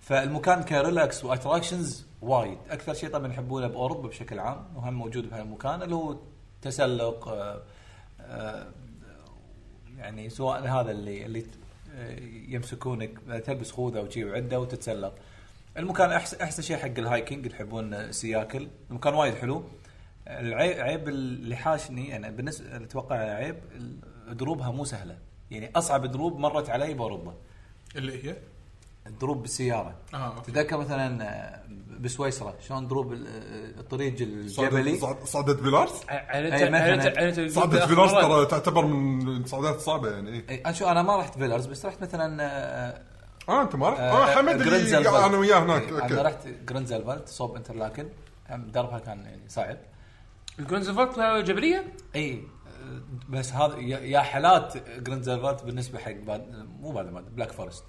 Speaker 6: فالمكان كريلاكس واتراكشنز وايد اكثر شيء طبعا يحبونه باوروبا بشكل عام وهم موجود بهالمكان اللي هو تسلق آه، آه، يعني سواء هذا اللي اللي ت- آه، يمسكونك تلبس خوذه وشي وعده وتتسلق. المكان احسن احسن شيء حق الهايكينج اللي يحبون السياكل، المكان وايد حلو. العيب عيب اللي حاشني انا بالنسبه اتوقع عيب ال- دروبها مو سهله، يعني اصعب دروب مرت علي باوروبا.
Speaker 3: اللي هي
Speaker 6: الدروب بالسياره.
Speaker 3: اه أوكي.
Speaker 6: تتذكر مثلا آه، بسويسرا شلون دروب ال- آه، الطريق الجبلي
Speaker 4: صعدت- صعد- صعدت بلارس
Speaker 2: على
Speaker 6: مثلاً.
Speaker 2: على
Speaker 4: صعدت بلارس ترى تعتبر من الصعدات الصعبه يعني إيه.
Speaker 6: إي، انا شو انا ما رحت فيلرز بس رحت مثلا آه،
Speaker 4: اه انت ما رحت اه حمد اللي
Speaker 6: جرينزلفالد.
Speaker 4: قاعد انا وياه هناك
Speaker 6: آه، إيه، انا
Speaker 4: اوكي
Speaker 6: رحت جرينزلفالد صوب انترلاكن هم دربها كان يعني صعب
Speaker 2: الجرونزفورت جبليه
Speaker 6: اي آه، بس هذا يا يا حالات جرينزلفالد بالنسبه حق باد مو باد باد بلاك فورست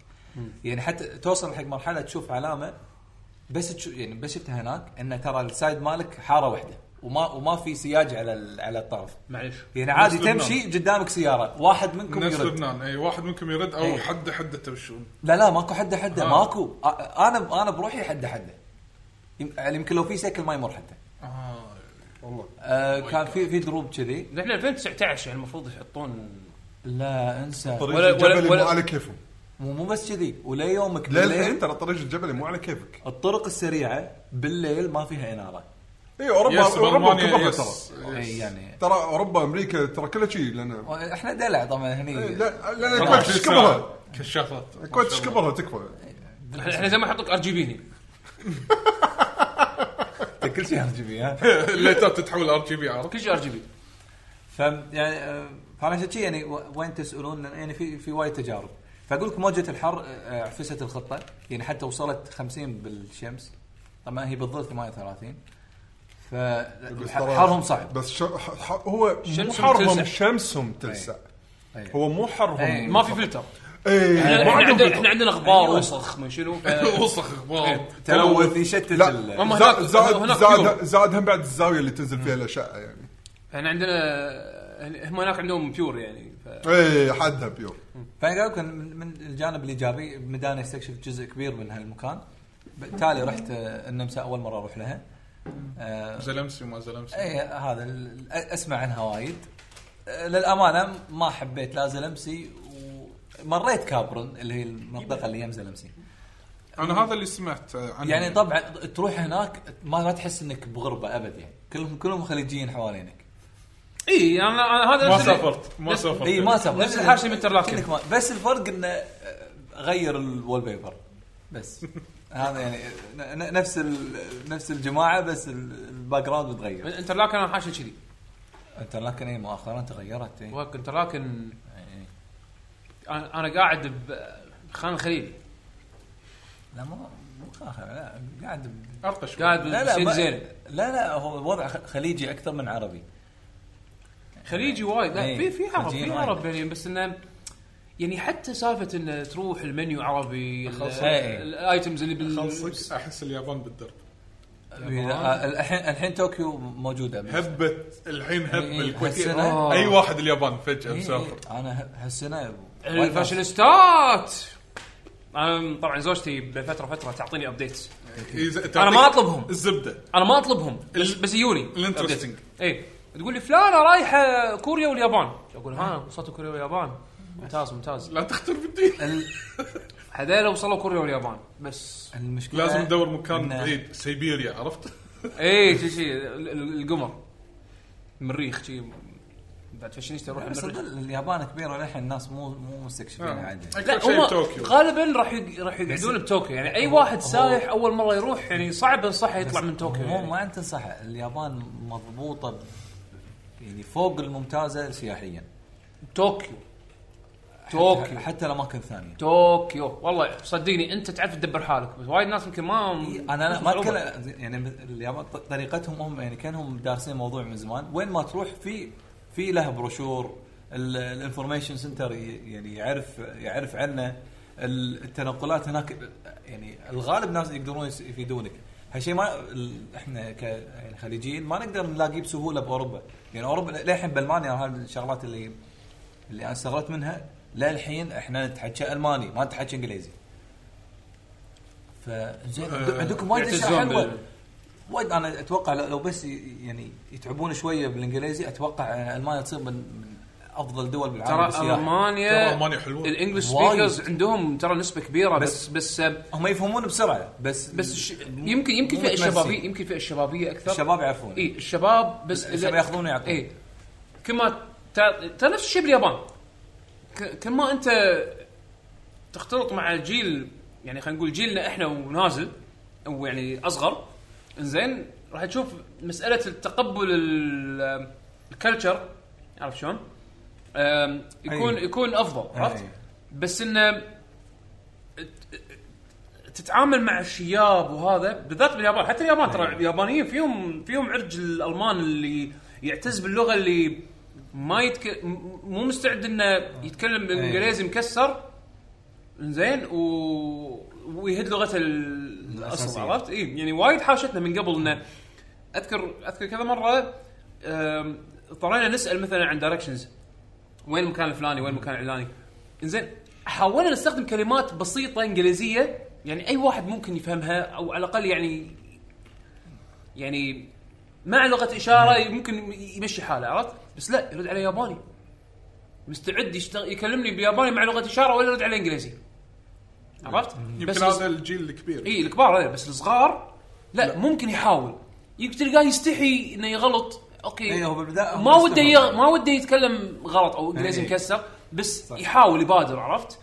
Speaker 6: يعني حتى توصل حق مرحله تشوف علامه بس تشو يعني بس شفتها هناك ان ترى السايد مالك حاره واحده وما وما في سياج على ال- على الطرف
Speaker 2: معلش
Speaker 6: يعني عادي
Speaker 3: نفس لبنان.
Speaker 6: تمشي قدامك سياره واحد منكم
Speaker 3: نفس
Speaker 6: يرد
Speaker 3: لبنان اي واحد منكم يرد او
Speaker 6: إيه.
Speaker 3: حد حد تمشون
Speaker 6: لا لا ماكو حده حده
Speaker 3: آه.
Speaker 6: ماكو أ- انا انا بروحي حده حده يم- يعني يمكن لو في سيكل ما يمر حتى
Speaker 3: اه
Speaker 4: والله
Speaker 6: آه كان في في دروب كذي
Speaker 2: احنا 2019 يعني المفروض يحطون
Speaker 6: لا انسى
Speaker 4: طريق
Speaker 2: ولا- ولا-
Speaker 4: الجبلي
Speaker 2: ولا-
Speaker 4: مو على كيفهم
Speaker 6: مو مو بس كذي وليومك
Speaker 4: للحين
Speaker 6: بالليل
Speaker 4: ترى الطريق الجبلي مو على كيفك
Speaker 6: الطرق السريعه بالليل ما فيها اناره
Speaker 4: اي اوروبا
Speaker 3: يس
Speaker 4: اوروبا
Speaker 3: بالمانيا
Speaker 4: كلها
Speaker 3: يس
Speaker 4: ترى
Speaker 6: اي يعني
Speaker 4: ترى اوروبا امريكا ترى كلها شيء لان
Speaker 6: احنا دلع طبعا هني
Speaker 4: إيه، لا لا
Speaker 6: إيه.
Speaker 4: الكويت
Speaker 3: كويت
Speaker 4: ايش كبرها؟
Speaker 3: كشافات
Speaker 4: الكويت ايش كبرها تكفى
Speaker 2: احنا إحنا زي ما حطوك ار جي بي
Speaker 6: أنت كل شيء ار جي بي ها
Speaker 3: الليتات تتحول ار جي بي عرفت
Speaker 2: كل شيء ار جي بي
Speaker 6: ف يعني آه، فانا عشان شي يعني و- وين تسالون لأن يعني في في وايد تجارب فاقول لك موجه الحر آه، عفست الخطه يعني حتى وصلت 50 بالشمس طبعا هي بالظل 38
Speaker 4: بس ترى-
Speaker 6: فحرهم صعب
Speaker 4: بس شا... ح... ح... هو مو
Speaker 2: شمسهم
Speaker 4: حرهم
Speaker 2: تلسع.
Speaker 4: شمسهم تلسع
Speaker 6: أي.
Speaker 4: هو مو
Speaker 6: أي.
Speaker 4: حرهم
Speaker 2: ما في فلتر
Speaker 4: اي
Speaker 2: احنا
Speaker 4: إيه. ما عندهم
Speaker 2: عندنا
Speaker 4: فلتر.
Speaker 2: احنا عندنا غبار
Speaker 6: أيوة.
Speaker 2: وسخ ما شنو إيه. ف-
Speaker 6: إيه.
Speaker 3: وسخ اخبار
Speaker 6: تلوث يشتت
Speaker 4: لا
Speaker 6: ال-
Speaker 2: هم
Speaker 4: زا-
Speaker 2: هناك-
Speaker 4: زاد
Speaker 2: هناك
Speaker 4: زاد
Speaker 2: بيوم.
Speaker 4: زاد هم بعد الزاويه اللي تنزل فيها الاشعه يعني
Speaker 2: احنا عندنا هم هناك عندهم بيور يعني ف...
Speaker 4: اي إيه، حدها بيور
Speaker 6: فانا اقول لكم من, من الجانب الايجابي بدانا يستكشف جزء كبير من هالمكان بالتالي رحت آه، النمسا اول مره اروح لها آه،
Speaker 3: زلمسي وما زلمسي
Speaker 6: اي هذا ال- ال- اسمع عنها وايد أه، للامانه ما حبيت لا زلمسي ومريت كابرن اللي هي المنطقه اللي يم زلمسي
Speaker 3: انا هذا اللي سمعت عنه
Speaker 6: يعني طبعا تروح هناك ما ما تحس انك بغربه ابد يعني كلهم كلهم خليجيين حوالينك
Speaker 2: اي انا انا إيه، يعني هذا
Speaker 3: ما
Speaker 2: نفس اللي-
Speaker 3: سافرت ما
Speaker 2: نفس-
Speaker 3: سافرت
Speaker 6: اي إيه، ما سبب
Speaker 2: نفس الحاجة اللي بإنترلاكن.
Speaker 6: كأنك ما- بس الفرق انه أه، غير الوول بيبر بس هذا يعني ن- ن- نفس ال- نفس الجماعه بس ال- الباك جراوند متغير
Speaker 2: انترلاكن انا حاشي كذي
Speaker 6: انت لكن اي مؤخرا تغيرت اي
Speaker 2: وهيك انترلاكن انا أنا قاعد بخان الخليلي
Speaker 6: لا ما مو فاخر لا قاعد ب-
Speaker 3: ارقى شوي
Speaker 2: قاعد
Speaker 6: لا لا
Speaker 2: بسيد
Speaker 6: ما-
Speaker 2: زين
Speaker 6: لا لا هو الوضع خ- خليجي اكثر من عربي
Speaker 2: خليجي وايد لا
Speaker 6: إيه.
Speaker 2: في في عرب
Speaker 6: خليجيين
Speaker 2: في
Speaker 6: وايد.
Speaker 2: عرب يعني بس انه يعني حتى سالفه انه تروح المنيو عربي ال-
Speaker 6: أخلصك. إيه.
Speaker 2: ال- الايتمز اللي بال
Speaker 3: خلصك احس اليابان بالدرب
Speaker 6: إذا- الحين الحين طوكيو موجوده
Speaker 3: هبت الحين هب
Speaker 6: إيه،
Speaker 3: الكويت
Speaker 6: هالسنة.
Speaker 3: آه. اي واحد اليابان فجاه
Speaker 6: إيه،
Speaker 3: مسافر
Speaker 6: إيه، انا هالسنه
Speaker 2: إيه، الفاشينيستات أنا طبعا زوجتي بين فتره فتره تعطيني ابديتس
Speaker 3: إيه،
Speaker 2: انا ما اطلبهم
Speaker 3: الزبده
Speaker 2: انا ما اطلبهم بس
Speaker 3: ال-
Speaker 2: بس يجوني
Speaker 3: الانترستنج.
Speaker 2: اي تقول لي فلانه رايحه كوريا واليابان اقول ها وصلت كوريا واليابان ممتاز ممتاز
Speaker 3: لا تختر بالدين
Speaker 6: ال-
Speaker 2: هذول وصلوا كوريا واليابان بس
Speaker 6: المشكله
Speaker 3: لازم ندور مكان
Speaker 6: إن-
Speaker 3: بعيد سيبيريا عرفت؟
Speaker 2: اي إيه، شي شي ال- ال- القمر مريخ شي بعد فاشينيستا يروح
Speaker 6: بس
Speaker 2: المريخ
Speaker 6: ال- اليابان كبيره للحين الناس مو مو
Speaker 3: آه.
Speaker 6: يعني مستكشفينها عندنا
Speaker 3: اكثر
Speaker 2: لا
Speaker 3: شيء
Speaker 2: هم
Speaker 3: طوكيو
Speaker 2: غالبا راح يق- راح يقعدون بطوكيو يعني اي واحد سايح اول مره يروح يعني صعب انصحه يطلع من طوكيو
Speaker 6: مو
Speaker 2: يعني.
Speaker 6: ما انت صح اليابان مضبوطه ب- يعني فوق الممتازه سياحيا
Speaker 2: طوكيو طوكيو
Speaker 6: حتى الاماكن الثانيه
Speaker 2: طوكيو والله صدقني انت تعرف تدبر حالك بس وايد ناس يمكن ما
Speaker 6: انا إيه، أنا ما
Speaker 2: صعوبة.
Speaker 6: اتكلم يعني مثل اليابان ط- طريقتهم هم يعني كانهم دارسين الموضوع من زمان وين ما تروح في في له بروشور الانفورميشن سنتر يعني يعرف يعرف عنه ال- التنقلات هناك يعني الغالب ناس يقدرون يس- يفيدونك هالشيء ما ال- احنا ك يعني خليجيين ما نقدر نلاقيه بسهوله باوروبا يعني اوروبا للحين بالمانيا هذه الشغلات اللي اللي انا استغربت منها للحين احنا نتحكى الماني ما نتحكى انجليزي فزين عندك- عندكم وايد اشياء
Speaker 2: آه، يعتزون
Speaker 6: حلوه
Speaker 2: بال-
Speaker 6: وايد انا اتوقع لو لو بس ي- يعني يتعبون شويه بالانجليزي اتوقع يعني المانيا تصير من من افضل دول بالعالم
Speaker 2: ترى
Speaker 6: بالسياحة.
Speaker 2: المانيا
Speaker 3: ترى ألمانيا حلوة.
Speaker 2: الانجلش
Speaker 6: وايد.
Speaker 2: سبيكرز عندهم ترى نسبه كبيره بس
Speaker 6: بس-
Speaker 2: بس
Speaker 6: هم يفهمون بسرعه بس
Speaker 2: بس الش- يمكن يمكن
Speaker 6: مو
Speaker 2: فئه
Speaker 6: متمسك.
Speaker 2: شبابيه يمكن فئه شبابيه اكثر
Speaker 6: الشباب يعرفون
Speaker 2: اي الشباب بس
Speaker 6: الشباب ياخذون ويعطون.
Speaker 2: اي كل ما تع- ترى نفس الشيء باليابان ك- كل ما انت تختلط مع جيل يعني خلينا نقول جيلنا احنا ونازل او يعني اصغر زين راح تشوف مساله التقبل ال- الكلتشر عارف شلون؟ أم، يكون
Speaker 6: أي.
Speaker 2: يكون افضل عرفت؟
Speaker 6: أي.
Speaker 2: بس انه تتعامل مع الشياب وهذا بالذات باليابان حتى اليابان ترى اليابانيين فيهم فيهم عرج الالمان اللي يعتز باللغه اللي ما يتك... م- مو مستعد انه يتكلم انجليزي مكسر زين و... ويهد لغته ال- الاصل
Speaker 6: الأساسية.
Speaker 2: عرفت؟ اي يعني وايد حاشتنا من قبل انه اذكر اذكر كذا مره أم، اضطرينا نسال مثلا عن دايركشنز وين المكان الفلاني وين المكان العلاني انزين حاولنا نستخدم كلمات بسيطه انجليزيه يعني اي واحد ممكن يفهمها او على الاقل يعني يعني مع لغه اشاره ممكن يمشي حاله عرفت بس لا يرد علي ياباني مستعد يشتغل يكلمني بالياباني مع لغه اشاره ولا يرد علي انجليزي عرفت
Speaker 3: يمكن هذا الجيل الكبير
Speaker 2: اي الكبار هذول بس الصغار لا, لا. ممكن يحاول يمكن تلقاه يستحي انه يغلط اوكي
Speaker 6: إي، هو بالبداية هو
Speaker 2: ما وده
Speaker 6: مستغرب.
Speaker 2: يغ... ما وده يتكلم غلط او انجليزي
Speaker 6: إي.
Speaker 2: مكسر بس
Speaker 6: صح.
Speaker 2: يحاول يبادر عرفت؟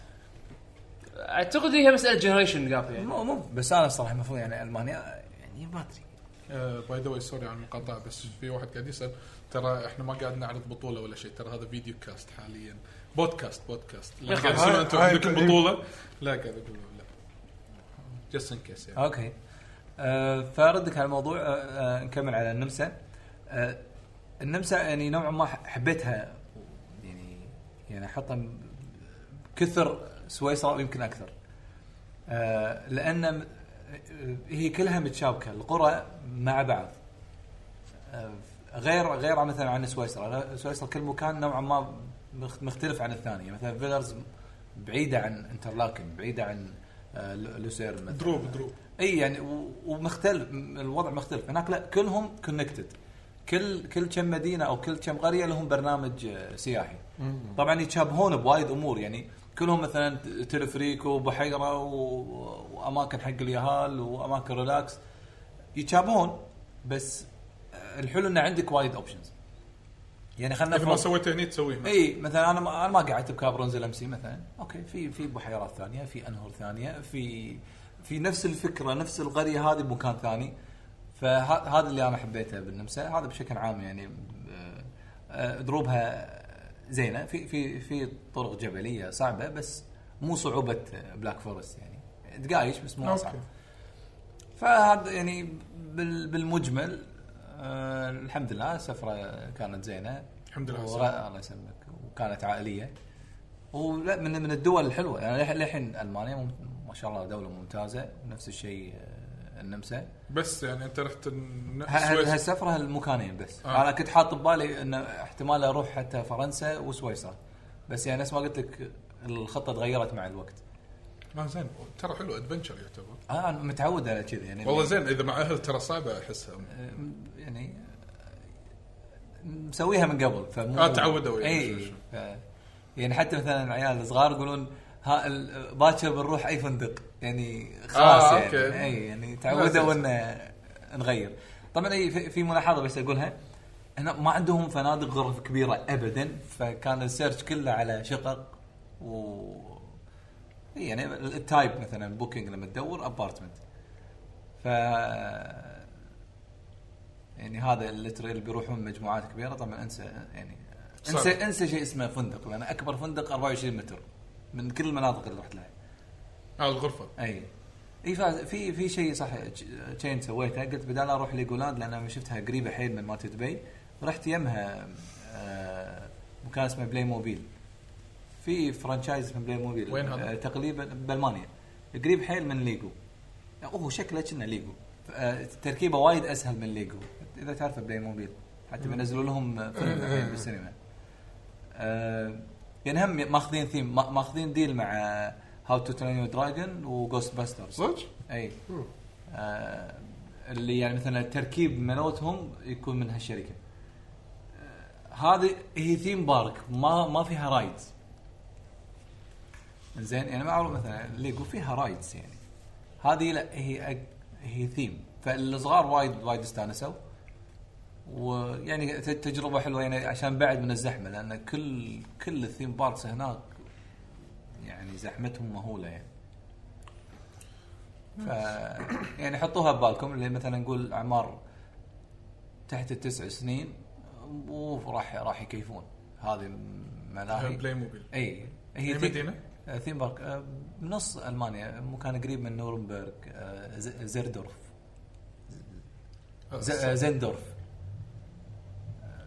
Speaker 2: اعتقد هي مساله جنريشن جاب يعني
Speaker 6: مو مو بس انا الصراحه المفروض يعني المانيا يعني ما ادري
Speaker 3: باي ذا واي سوري على المقاطعه بس في واحد قاعد يسال ترى احنا ما قاعد نعرض بطوله ولا شيء ترى هذا فيديو كاست حاليا بودكاست بودكاست لا
Speaker 2: يا
Speaker 3: قاعد
Speaker 4: أخي،
Speaker 3: يسوون انتم
Speaker 4: هاي-
Speaker 3: عندكم
Speaker 4: هاي-
Speaker 3: بطوله لا قاعد اقول لا جست ان كيس يعني
Speaker 6: اوكي أه فردك على الموضوع أه أه نكمل على النمسا أه النمسا يعني نوعا ما ح- حبيتها يعني يعني حتى م- كثر سويسرا ويمكن اكثر أه لان م- أه، هي كلها متشابكه القرى مع بعض أه غير غير مثلا عن سويسرا لا- سويسرا كل مكان نوعا ما مخ- مختلف عن الثاني مثلا فيلرز بعيده عن انترلاكن بعيده عن أه لو- لوسيرن مثلا
Speaker 3: دروب دروب
Speaker 6: اي يعني و- ومختلف م- الوضع مختلف هناك لا كلهم كونكتد كل كل كم مدينه او كل كم قريه لهم برنامج آه، سياحي طبعا يتشابهون بوايد امور يعني كلهم مثلا ت- تلفريك وبحيره و- واماكن حق اليهال واماكن ريلاكس يتشابهون بس آه، الحلو انه عندك وايد اوبشنز يعني خلينا
Speaker 3: اذا ما
Speaker 6: نفرض
Speaker 3: سويته هني تسويه هناك.
Speaker 6: اي مثلا انا إيه، ما انا ما قعدت بكابرونز الامسي مثلا اوكي في في بحيرات ثانيه في انهر ثانيه في في نفس الفكره نفس القريه هذه بمكان ثاني فهذا اللي انا حبيته بالنمسا هذا بشكل عام يعني آه، آه، دروبها زينه في في في طرق جبليه صعبه بس مو صعوبه بلاك فورست يعني دقايش بس مو اصعب
Speaker 3: أوكي.
Speaker 6: فهذا يعني بال- بالمجمل آه الحمد لله السفره كانت زينه
Speaker 3: الحمد لله
Speaker 6: ورا-
Speaker 3: سلام.
Speaker 6: الله يسلمك وكانت عائليه ولا من من الدول الحلوه يعني للحين- للحين المانيا مم- ما شاء الله دوله ممتازه نفس الشيء آه، النمسا
Speaker 3: بس يعني انت رحت الن-
Speaker 6: ه- هال-
Speaker 3: السويس
Speaker 6: هالسفره هالمكانين بس
Speaker 3: آه.
Speaker 6: آه. انا كنت حاط ببالي انه احتمال اروح حتى فرنسا وسويسرا بس يعني نفس ما قلت لك الخطه تغيرت مع الوقت
Speaker 3: ما زين ترى حلو ادفنشر يعتبر
Speaker 6: آه، انا متعود على كذي يعني
Speaker 3: والله زين اذا مع اهل ترى صعبه احسها
Speaker 6: يعني مسويها من قبل فمو
Speaker 3: آه، تعودوا يعني. شو-
Speaker 6: اي
Speaker 3: شو.
Speaker 6: ف... يعني حتى مثلا العيال الصغار يقولون ها ال- باكر بنروح اي فندق يعني خلاص
Speaker 3: آه،
Speaker 6: يعني
Speaker 3: أوكي.
Speaker 6: اي يعني
Speaker 3: لازم.
Speaker 6: تعودوا ان نغير طبعا اي في- في ملاحظه بس اقولها هنا ما عندهم فنادق غرف كبيره ابدا فكان السيرش كله على شقق و إي يعني التايب مثلا بوكينج لما تدور ابارتمنت ف يعني هذا الليتري اللي بيروحون مجموعات كبيره طبعا انسى يعني
Speaker 3: صح.
Speaker 6: انسى انسى شيء اسمه فندق لان اكبر فندق 24 متر من كل المناطق اللي رحت لها
Speaker 3: على الغرفه
Speaker 6: اي اي فاز- في في شيء صح تشين سويته قلت بدال اروح ليجولاند لان أنا شفتها قريبه حيل من مالت دبي رحت يمها آه، مكان اسمه بلاي موبيل في فرانشايز اسمه بلاي موبيل
Speaker 3: وين هذا؟
Speaker 6: آه، تقريبا بالمانيا قريب حيل من ليجو يعني هو شكله كنا ليجو آه، تركيبه وايد اسهل من ليجو اذا تعرف بلاي موبيل حتى بينزلوا لهم فيلم الحين بالسينما آه، يعني هم ماخذين ثيم ما- ماخذين ديل مع هاو تو ترين يور دراجون وجوست باسترز
Speaker 4: صدق؟
Speaker 6: اي آه اللي يعني مثلا تركيب منوتهم يكون من هالشركه آه، هذه هي ثيم بارك ما ما فيها رايدز زين يعني معروف مثلا ليجو فيها رايدز يعني هذه لا هي أك- هي ثيم فالصغار وايد وايد استانسوا ويعني ت- تجربه حلوه يعني عشان بعد من الزحمه لان كل كل الثيم باركس هناك يعني زحمتهم مهوله يعني ف يعني حطوها ببالكم اللي مثلا نقول اعمار تحت التسع سنين اوف راح راح يكيفون هذه ملاهي
Speaker 3: بلاي موبيل
Speaker 6: اي
Speaker 3: أي
Speaker 6: هي ثي-
Speaker 3: مدينة؟
Speaker 6: آه، ثيم بارك آه، بنص المانيا مكان قريب من نورنبرغ آه، ز- زيردورف ز- آه، زندورف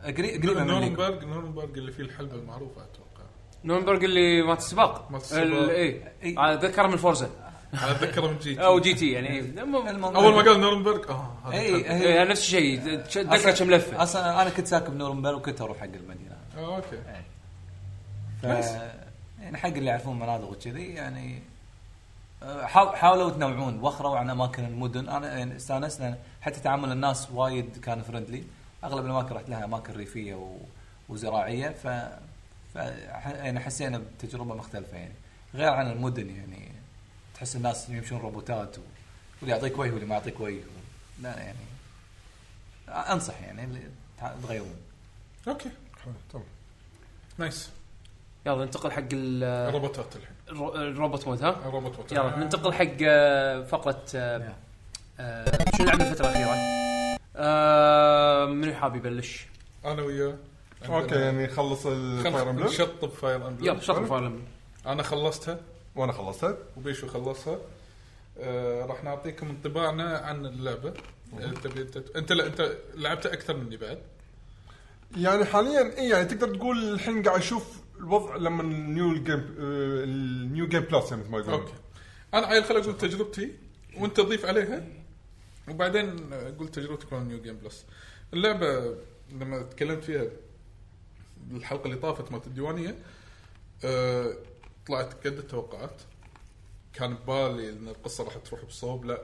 Speaker 6: آه، قريب قريب من ليجو.
Speaker 3: نورنبرغ نورنبرغ اللي فيه الحلبه المعروفه اتوقع
Speaker 2: نورنبرغ اللي مات السباق
Speaker 3: مالت السباق.
Speaker 2: ال- اي
Speaker 6: إي.
Speaker 2: أنا اتذكر من فورزا
Speaker 3: انا اتذكره من جيت
Speaker 2: او جي تي يعني إي. المهم
Speaker 6: المهم-
Speaker 3: اول ما قال نورنبرغ اه هذا الحلبة.
Speaker 6: اي
Speaker 2: إي،
Speaker 4: آه،
Speaker 6: هي
Speaker 2: نفس الشيء تذكر
Speaker 6: أصلاً-
Speaker 2: إيه، كم لفه
Speaker 6: اصلا انا كنت ساكن بنورنبرغ وكنت اروح حق المدينه
Speaker 3: اه اوكي
Speaker 6: إيه. ف يعني حق اللي يعرفون مناطق وكذي يعني آه، حاو- حاولوا يتنوعون وخروا عن اماكن المدن انا يعني استانسنا حتى تعامل الناس وايد كان فرندلي اغلب الاماكن رحت لها اماكن ريفيه و... وزراعيه ف, ف... ح- يعني حسينا بتجربه مختلفه يعني غير عن المدن يعني تحس الناس يمشون روبوتات و... واللي يعطيك وجه واللي ما يعطيك وجه و... لا يعني آه، انصح يعني اللي تع- تغيرون
Speaker 3: اوكي
Speaker 4: حلو، تمام.
Speaker 3: نايس
Speaker 2: يلا ننتقل حق
Speaker 6: آه.
Speaker 2: ال-
Speaker 3: الروبوتات الحين آه،
Speaker 2: الرو- الروبوت مود ها
Speaker 3: الروبوت
Speaker 6: طيب.
Speaker 3: موت.
Speaker 2: يلا ننتقل حق آه، فقره آه، آه، شنو لعبنا الفتره الاخيره آه، من حاب يبلش
Speaker 3: انا وياه عندنا-
Speaker 4: اوكي يعني خلص الفاير
Speaker 3: خلنا
Speaker 4: امبلم
Speaker 3: نشطب فاير امبلم
Speaker 2: يلا شطر فاير
Speaker 3: انا خلصتها
Speaker 4: وانا خلصت
Speaker 3: وبيشو خلصها آه راح نعطيكم انطباعنا عن اللعبه انت بت- انت لا انت لعبتها اكثر مني بعد
Speaker 4: يعني حاليا اي يعني تقدر تقول الحين قاعد اشوف الوضع لما النيو جيم النيو جيم بلس يعني مثل ما يقولون
Speaker 3: اوكي انا عيل خل اقول تجربتي وانت ضيف عليها وبعدين آه، قلت تجربتك عن نيو جيم بلس اللعبه لما تكلمت فيها الحلقه اللي طافت مالت الديوانيه أه طلعت قد التوقعات كان ببالي ان القصه راح تروح بصوب لا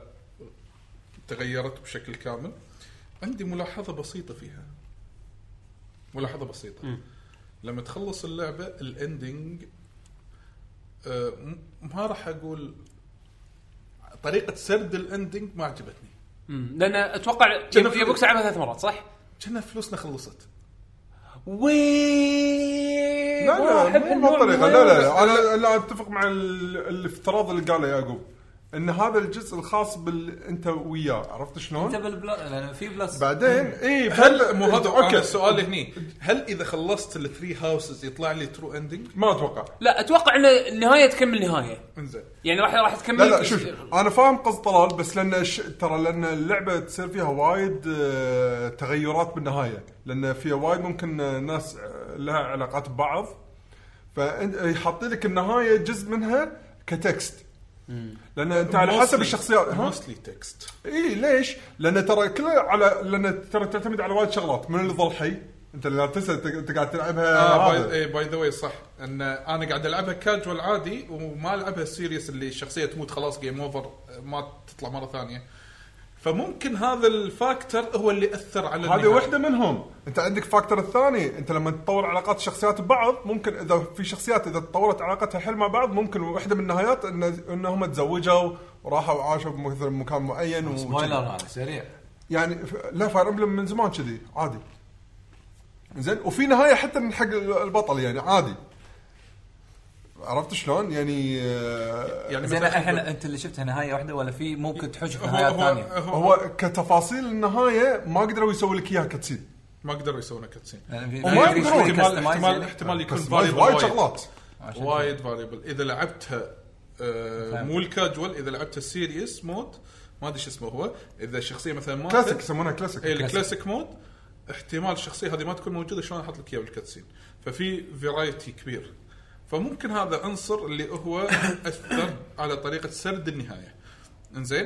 Speaker 3: تغيرت بشكل كامل عندي ملاحظه بسيطه فيها ملاحظه بسيطه لما تخلص اللعبه الاندنج آه، م- ما راح اقول طريقه سرد الاندنج ما عجبتني
Speaker 2: لان اتوقع
Speaker 3: كنا في-
Speaker 2: يبوك لعبها ثلاث مرات صح؟
Speaker 3: كنا فلوسنا خلصت
Speaker 2: وي
Speaker 4: لا
Speaker 2: ما أحب
Speaker 4: لا مو
Speaker 2: النوع
Speaker 4: بهالطريقه
Speaker 2: المغير.
Speaker 4: لا لا انا لا اتفق مع ال- الافتراض اللي قاله يعقوب ان هذا الجزء الخاص بال انت وياه عرفت
Speaker 6: انت
Speaker 4: شلون؟
Speaker 6: بالبلا لان في بلس
Speaker 4: بعدين إيه، اي
Speaker 3: هل مو هذا اوكي السؤال هني هل اذا خلصت الثري هاوسز يطلع لي ترو اندنج؟
Speaker 4: ما اتوقع
Speaker 2: لا اتوقع ان النهايه تكمل نهايه
Speaker 3: انزين
Speaker 2: يعني راح راح تكمل
Speaker 4: لا لا شوف انا فاهم قصد طلال بس لان ش... ترى لان اللعبه تصير فيها وايد آه، تغيرات بالنهايه لان فيها وايد ممكن آه، ناس آه، لها علاقات ببعض فحاطين لك النهايه جزء منها كتكست لان انت على حسب الشخصيات ها؟
Speaker 3: موستلي تكست
Speaker 4: اي ليش؟ لان ترى كله على لان ترى تعتمد على وايد شغلات من اللي ظل حي انت اللي تنسى انت انت قاعد تلعبها آه، هذا.
Speaker 3: اه باي ذا واي صح ان انا قاعد العبها كاجوال عادي وما العبها السيريس اللي الشخصيه تموت خلاص جيم اوفر ما تطلع مره ثانيه فممكن هذا الفاكتور هو اللي اثر على
Speaker 4: هذه
Speaker 3: النهاية.
Speaker 4: واحده منهم انت عندك فاكتور الثاني انت لما تطور علاقات الشخصيات ببعض ممكن اذا في شخصيات اذا تطورت علاقتها حلو مع بعض ممكن واحده من النهايات ان انهم تزوجوا وراحوا وعاشوا مثلا مكان معين و-
Speaker 6: سبويلر هذا سريع
Speaker 4: يعني ف- لا فاير امبلم من زمان كذي عادي زين وفي نهايه حتى من حق ال- البطل يعني عادي عرفت شلون يعني آه،
Speaker 3: يعني
Speaker 6: زين
Speaker 3: مثلاً
Speaker 6: الحين انت اللي شفتها نهايه واحده ولا في ممكن تحوش في
Speaker 3: هو
Speaker 6: نهايات
Speaker 3: هو,
Speaker 6: ثانيه؟
Speaker 3: هو
Speaker 4: هو كتفاصيل النهايه ما قدروا يسووا لك اياها كتسين
Speaker 3: ما قدروا يسوون كاتسين
Speaker 6: يعني في-
Speaker 4: وما
Speaker 6: في- في-
Speaker 4: يقدرون.
Speaker 6: في
Speaker 3: احتمال
Speaker 6: كاستمايز
Speaker 3: احتمال
Speaker 6: يعني.
Speaker 3: احتمال يكون
Speaker 4: بس
Speaker 3: valuable
Speaker 4: وايد وايد شغلات
Speaker 6: عشان
Speaker 3: وايد فاليبل اذا لعبتها آه، مو الكاجوال اذا لعبتها السيريس مود ما ادري شو اسمه هو اذا الشخصيه مثلا ما
Speaker 4: كلاسيك يسمونها كلاسيك
Speaker 3: اي الكلاسيك مود إيه، احتمال الشخصيه هذه ما تكون موجوده شلون احط لك اياها بالكاتسين ففي فرايتي كبير فممكن هذا عنصر اللي هو اثر على طريقه سرد النهايه انزين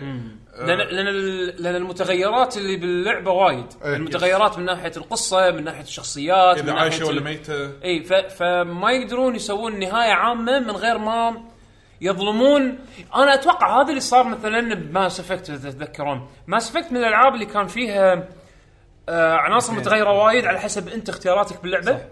Speaker 2: لان لان ال- لان المتغيرات اللي باللعبه وايد
Speaker 4: إيه.
Speaker 2: المتغيرات من ناحيه القصه من ناحيه الشخصيات
Speaker 3: اذا
Speaker 2: من ناحيه
Speaker 3: عايشه ولا
Speaker 2: ال-
Speaker 3: ميته
Speaker 2: اي ف... فما يقدرون يسوون نهايه عامه من غير ما يظلمون انا اتوقع هذا اللي صار مثلا بماس افكت اذا تتذكرون ماس افكت من الالعاب اللي كان فيها آه عناصر متغيره وايد على حسب انت اختياراتك باللعبه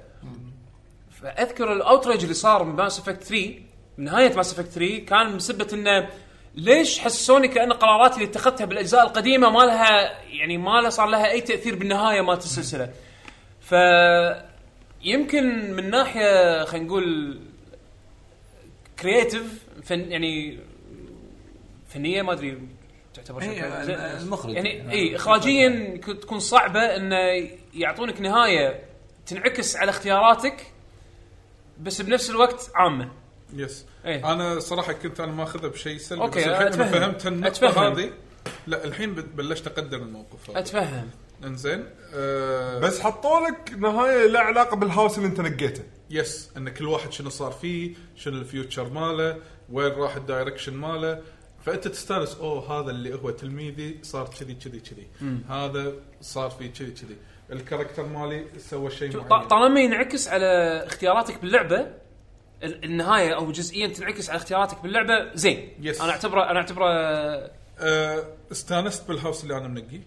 Speaker 2: فاذكر الاوتريج اللي صار من ماس افكت 3 نهايه ماس افكت 3 كان مسبه انه ليش حسوني كان القرارات اللي اتخذتها بالاجزاء القديمه ما لها يعني ما لها صار لها اي تاثير بالنهايه مالت السلسله ف يمكن من ناحيه خلينا نقول كرييتيف فن يعني فنيه ما ادري تعتبر شيء
Speaker 6: إيه،
Speaker 2: زين.
Speaker 6: المخرج. نعم.
Speaker 2: يعني اي اخراجيا ك- تكون صعبه انه يعطونك نهايه تنعكس على اختياراتك بس بنفس الوقت عامه
Speaker 3: يس
Speaker 2: إيه.
Speaker 3: انا صراحه كنت انا ماخذها بشيء سلبي
Speaker 2: أوكي،
Speaker 3: بس الحين لما
Speaker 2: أتفهم.
Speaker 3: فهمت النقطه
Speaker 2: أتفهم.
Speaker 3: هذه لا الحين بلشت اقدر الموقف هذا
Speaker 2: اتفهم
Speaker 3: انزين آه
Speaker 4: بس حطوا لك نهايه لا علاقه بالهاوس اللي انت نقيته
Speaker 3: يس ان كل واحد شنو صار فيه شنو الفيوتشر ماله وين راح الدايركشن ماله فانت تستانس اوه هذا اللي هو تلميذي صار كذي كذي كذي هذا صار فيه كذي كذي الكاركتر مالي سوى شيء
Speaker 2: ط-
Speaker 3: معين
Speaker 2: طالما ينعكس على اختياراتك باللعبه ال- النهايه او جزئيا تنعكس على اختياراتك باللعبه زين
Speaker 3: Yes.
Speaker 2: انا اعتبره انا اعتبره
Speaker 3: آه استانست بالهاوس اللي انا منقيه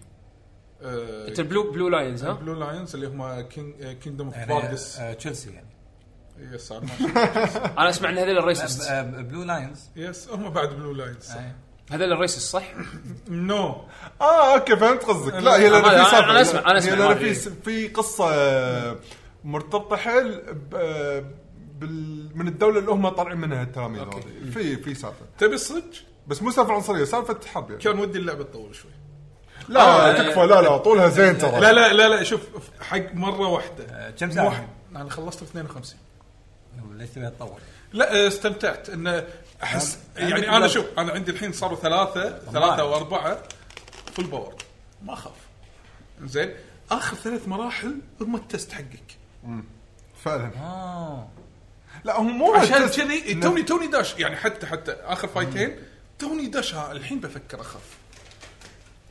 Speaker 3: آه
Speaker 2: انت بلو بلو لاينز ها
Speaker 3: بلو لاينز اللي هم آه، كينج كينجدوم اوف
Speaker 6: يعني،
Speaker 3: فارجس
Speaker 6: آه، تشيلسي يعني
Speaker 3: يس أنا ما شفت.
Speaker 2: انا اسمع ان هذول الريسست
Speaker 6: آه، ب- بلو لاينز
Speaker 3: يس هم بعد بلو لاينز
Speaker 6: آه.
Speaker 2: هذول الريسست صح؟
Speaker 3: نو
Speaker 4: اه اوكي فهمت قصدك لا هي لان
Speaker 2: أنا-
Speaker 4: في
Speaker 2: أنا-
Speaker 4: سالفه
Speaker 2: أنا أسمع- أنا أسمع
Speaker 4: هي لان
Speaker 2: ما
Speaker 4: في س- في قصه آه، مرتبطه حيل ب- آه، بال- من الدوله اللي هم طالعين منها التلاميذ هذول. في في سالفه
Speaker 3: تبي الصدق
Speaker 4: بس مو سالفه عنصريه سالفه حرب يعني
Speaker 3: كان ودي اللعبه تطول شوي
Speaker 4: لا تكفى لا لا طولها زين ترى
Speaker 3: لا لا لا لا شوف حق مره واحده
Speaker 6: آه، كم
Speaker 3: مو واحد.
Speaker 6: ساعه؟
Speaker 3: انا خلصت 52
Speaker 6: ليش تبي تطور؟
Speaker 3: لا استمتعت ان احس يعني انا شوف انا عندي الحين صاروا ثلاثه ثلاثه واربعه فول باور ما اخاف زين اخر ثلاث مراحل هم التست حقك
Speaker 4: فعلا
Speaker 6: اه
Speaker 4: لا هو مو
Speaker 3: عشان
Speaker 4: بس-
Speaker 3: كذي توني توني داش يعني حتى حتى اخر فايتين توني داش ها، الحين بفكر اخاف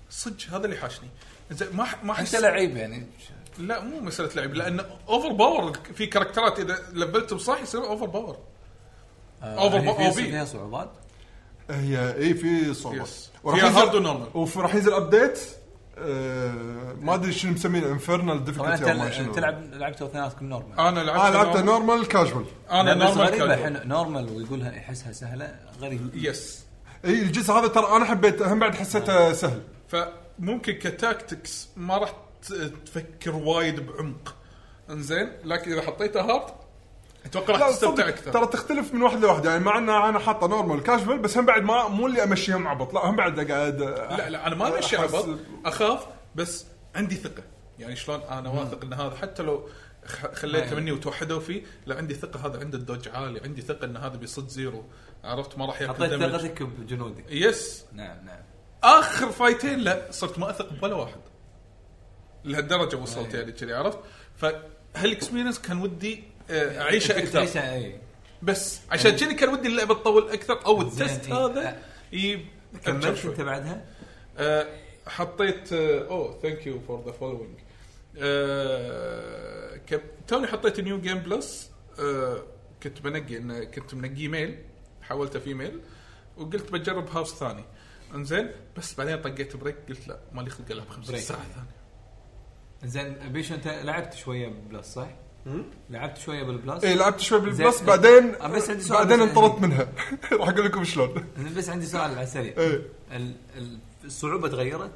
Speaker 3: صدق هذا اللي حاشني زين ما ح- ما
Speaker 6: انت
Speaker 3: احس
Speaker 6: لعيب يعني
Speaker 3: لا مو مساله لعب لان اوفر باور في كاركترات اذا لفلتهم صح يصير اوفر باور
Speaker 6: آه،
Speaker 3: Overbo-
Speaker 6: هي فيها-
Speaker 3: OB.
Speaker 6: فيها صعوبات
Speaker 4: هي اي في صعوبه
Speaker 3: يس.
Speaker 4: وراح
Speaker 3: فيها
Speaker 4: ينزل-
Speaker 3: hard وnormal.
Speaker 4: وف- راح ينزل ابديت آه، ما ادري شنو مسمينه انفرنال
Speaker 6: طبعا
Speaker 4: ديفيكولتي او ما شنو
Speaker 6: انت تلعب لعبتوا اثنيناتكم نورمال
Speaker 3: انا لعبت
Speaker 4: اه لعبته نورمال كاجوال
Speaker 3: انا
Speaker 6: لا، بس
Speaker 3: نورمال
Speaker 6: غريبه
Speaker 3: كاجوال
Speaker 6: الحين نورمال ويقولها يحسها سهله غريب
Speaker 3: يس
Speaker 4: اي الجزء هذا ترى انا حبيته هم بعد حسيته سهل
Speaker 3: فممكن كتاكتكس ما راح ت- تفكر وايد بعمق انزين لكن اذا حطيته هارد اتوقع راح
Speaker 4: لا
Speaker 3: تستمتع
Speaker 4: صدق
Speaker 3: اكثر
Speaker 4: ترى تختلف من واحد لواحد يعني مع ان انا حاطه نورمال كاجوال بس هم بعد ما مو اللي امشيهم عبط لا هم بعد قاعد
Speaker 3: لا لا انا ما ماشي
Speaker 4: أحس-
Speaker 3: عبط اخاف بس عندي ثقه يعني شلون انا واثق ان هذا حتى لو خ- خليته مني وتوحدوا فيه لا عندي ثقه هذا عنده الدوج عالي عندي ثقه ان هذا بيصد زيرو عرفت ما راح ياكل
Speaker 6: حطيت
Speaker 3: دمج
Speaker 6: ثقتك بجنودي
Speaker 3: يس
Speaker 6: نعم نعم
Speaker 3: اخر فايتين لا صرت ما اثق بولا واحد لهالدرجه
Speaker 6: إيه،
Speaker 3: وصلت يعني كذي عرفت فهالاكسبيرينس كان ودي آه، اعيشه
Speaker 6: تعيشها
Speaker 3: اكثر
Speaker 6: اي
Speaker 3: بس عشان كذي كان ودي اللعبه تطول اكثر او التست
Speaker 6: إيه. زين، إيه.
Speaker 3: هذا يب كمل
Speaker 6: كملت
Speaker 3: شوي
Speaker 6: انت بعدها؟
Speaker 3: آه، حطيت آه، او ثانك يو فور ذا فولوينج آه، توني حطيت نيو جيم بلس آه، كنت بنقي انه كنت منقي ميل حولته في ميل وقلت بجرب هاوس ثاني انزين بس بعدين طقيت بريك قلت لا مالي خلق العب خمس
Speaker 6: بريك.
Speaker 3: ساعه ثانيه
Speaker 6: زين بيشو انت لعبت شويه بالبلس صح؟
Speaker 3: Hmm؟
Speaker 6: لعبت شويه بالبلس
Speaker 3: إيه،
Speaker 4: اي لعبت شوي بالبلس
Speaker 6: زين.
Speaker 4: بعدين
Speaker 6: أه، بس عندي سؤال
Speaker 4: بعدين
Speaker 6: بس- يعني.
Speaker 4: انطردت منها راح اقول لكم شلون
Speaker 6: زين، بس عندي سؤال على السريع
Speaker 4: إيه.
Speaker 6: ال- ال- الصعوبه تغيرت؟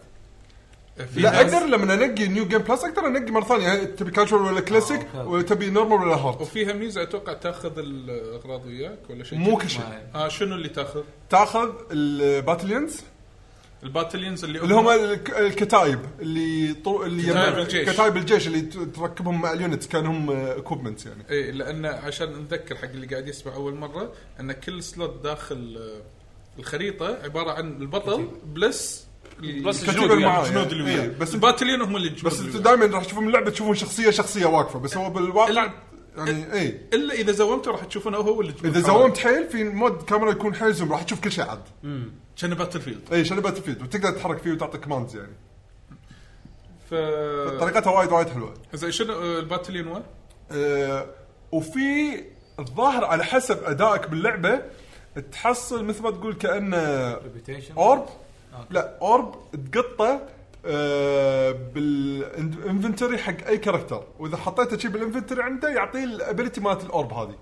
Speaker 3: في
Speaker 4: لا
Speaker 3: ناس-
Speaker 4: اقدر لما انقي نيو جيم بلس اقدر انقي مره ثانيه يعني تبي كاجوال ولا كلاسيك
Speaker 6: آه، أوكي.
Speaker 4: وتبي نورمال ولا هارد
Speaker 3: وفيها ميزه اتوقع تاخذ الاغراض وياك ولا شيء
Speaker 4: مو كل شيء
Speaker 6: ما-
Speaker 3: اه شنو اللي تاخذ؟
Speaker 4: تاخذ الباتليونز
Speaker 3: الباتلينز اللي
Speaker 4: اللي هم الك- الكتايب اللي طو... اللي
Speaker 3: كتايب الجيش.
Speaker 4: كتايب الجيش اللي ت- تركبهم مع اليونتس كان هم اكوبمنتس يعني
Speaker 3: اي لان إيه، عشان نذكر حق اللي قاعد يسمع اول مره ان كل سلوت داخل آه، الخريطه عباره عن البطل بلس
Speaker 2: بلس
Speaker 4: الكتيبة
Speaker 2: الجنود
Speaker 4: اللي
Speaker 2: وياه.
Speaker 4: معاه يعني.
Speaker 3: الجنود اللي وياه
Speaker 4: إيه، بس
Speaker 3: بس الباتلين هم اللي الجنود
Speaker 4: بس
Speaker 3: اللي
Speaker 4: انتم
Speaker 3: وياه.
Speaker 4: دائما راح تشوفون اللعبه تشوفون شخصيه شخصيه واقفه بس هو بالواقع
Speaker 3: إلا- إيه.
Speaker 4: يعني اي
Speaker 3: الا اذا زومته راح تشوفونه هو اللي الجنود
Speaker 4: اذا
Speaker 3: حواليه.
Speaker 4: زومت حيل في مود كاميرا يكون حيل زوم راح تشوف كل شيء عاد
Speaker 3: كان باتل فيلد
Speaker 4: اي شنو باتل فيلد وتقدر تتحرك فيه وتعطي كوماندز يعني
Speaker 3: ف آه.
Speaker 4: طريقتها وايد وايد حلوه
Speaker 3: زين شنو آه، الباتلين وين؟
Speaker 4: آه، وفي الظاهر على حسب ادائك باللعبه تحصل مثل ما تقول كانه
Speaker 6: ريبيتيشن
Speaker 4: اورب لا اورب تقطه آه، بالانفنتوري حق اي كاركتر واذا حطيته شي بالانفنتوري عنده يعطيه الابيلتي مالت الاورب هذه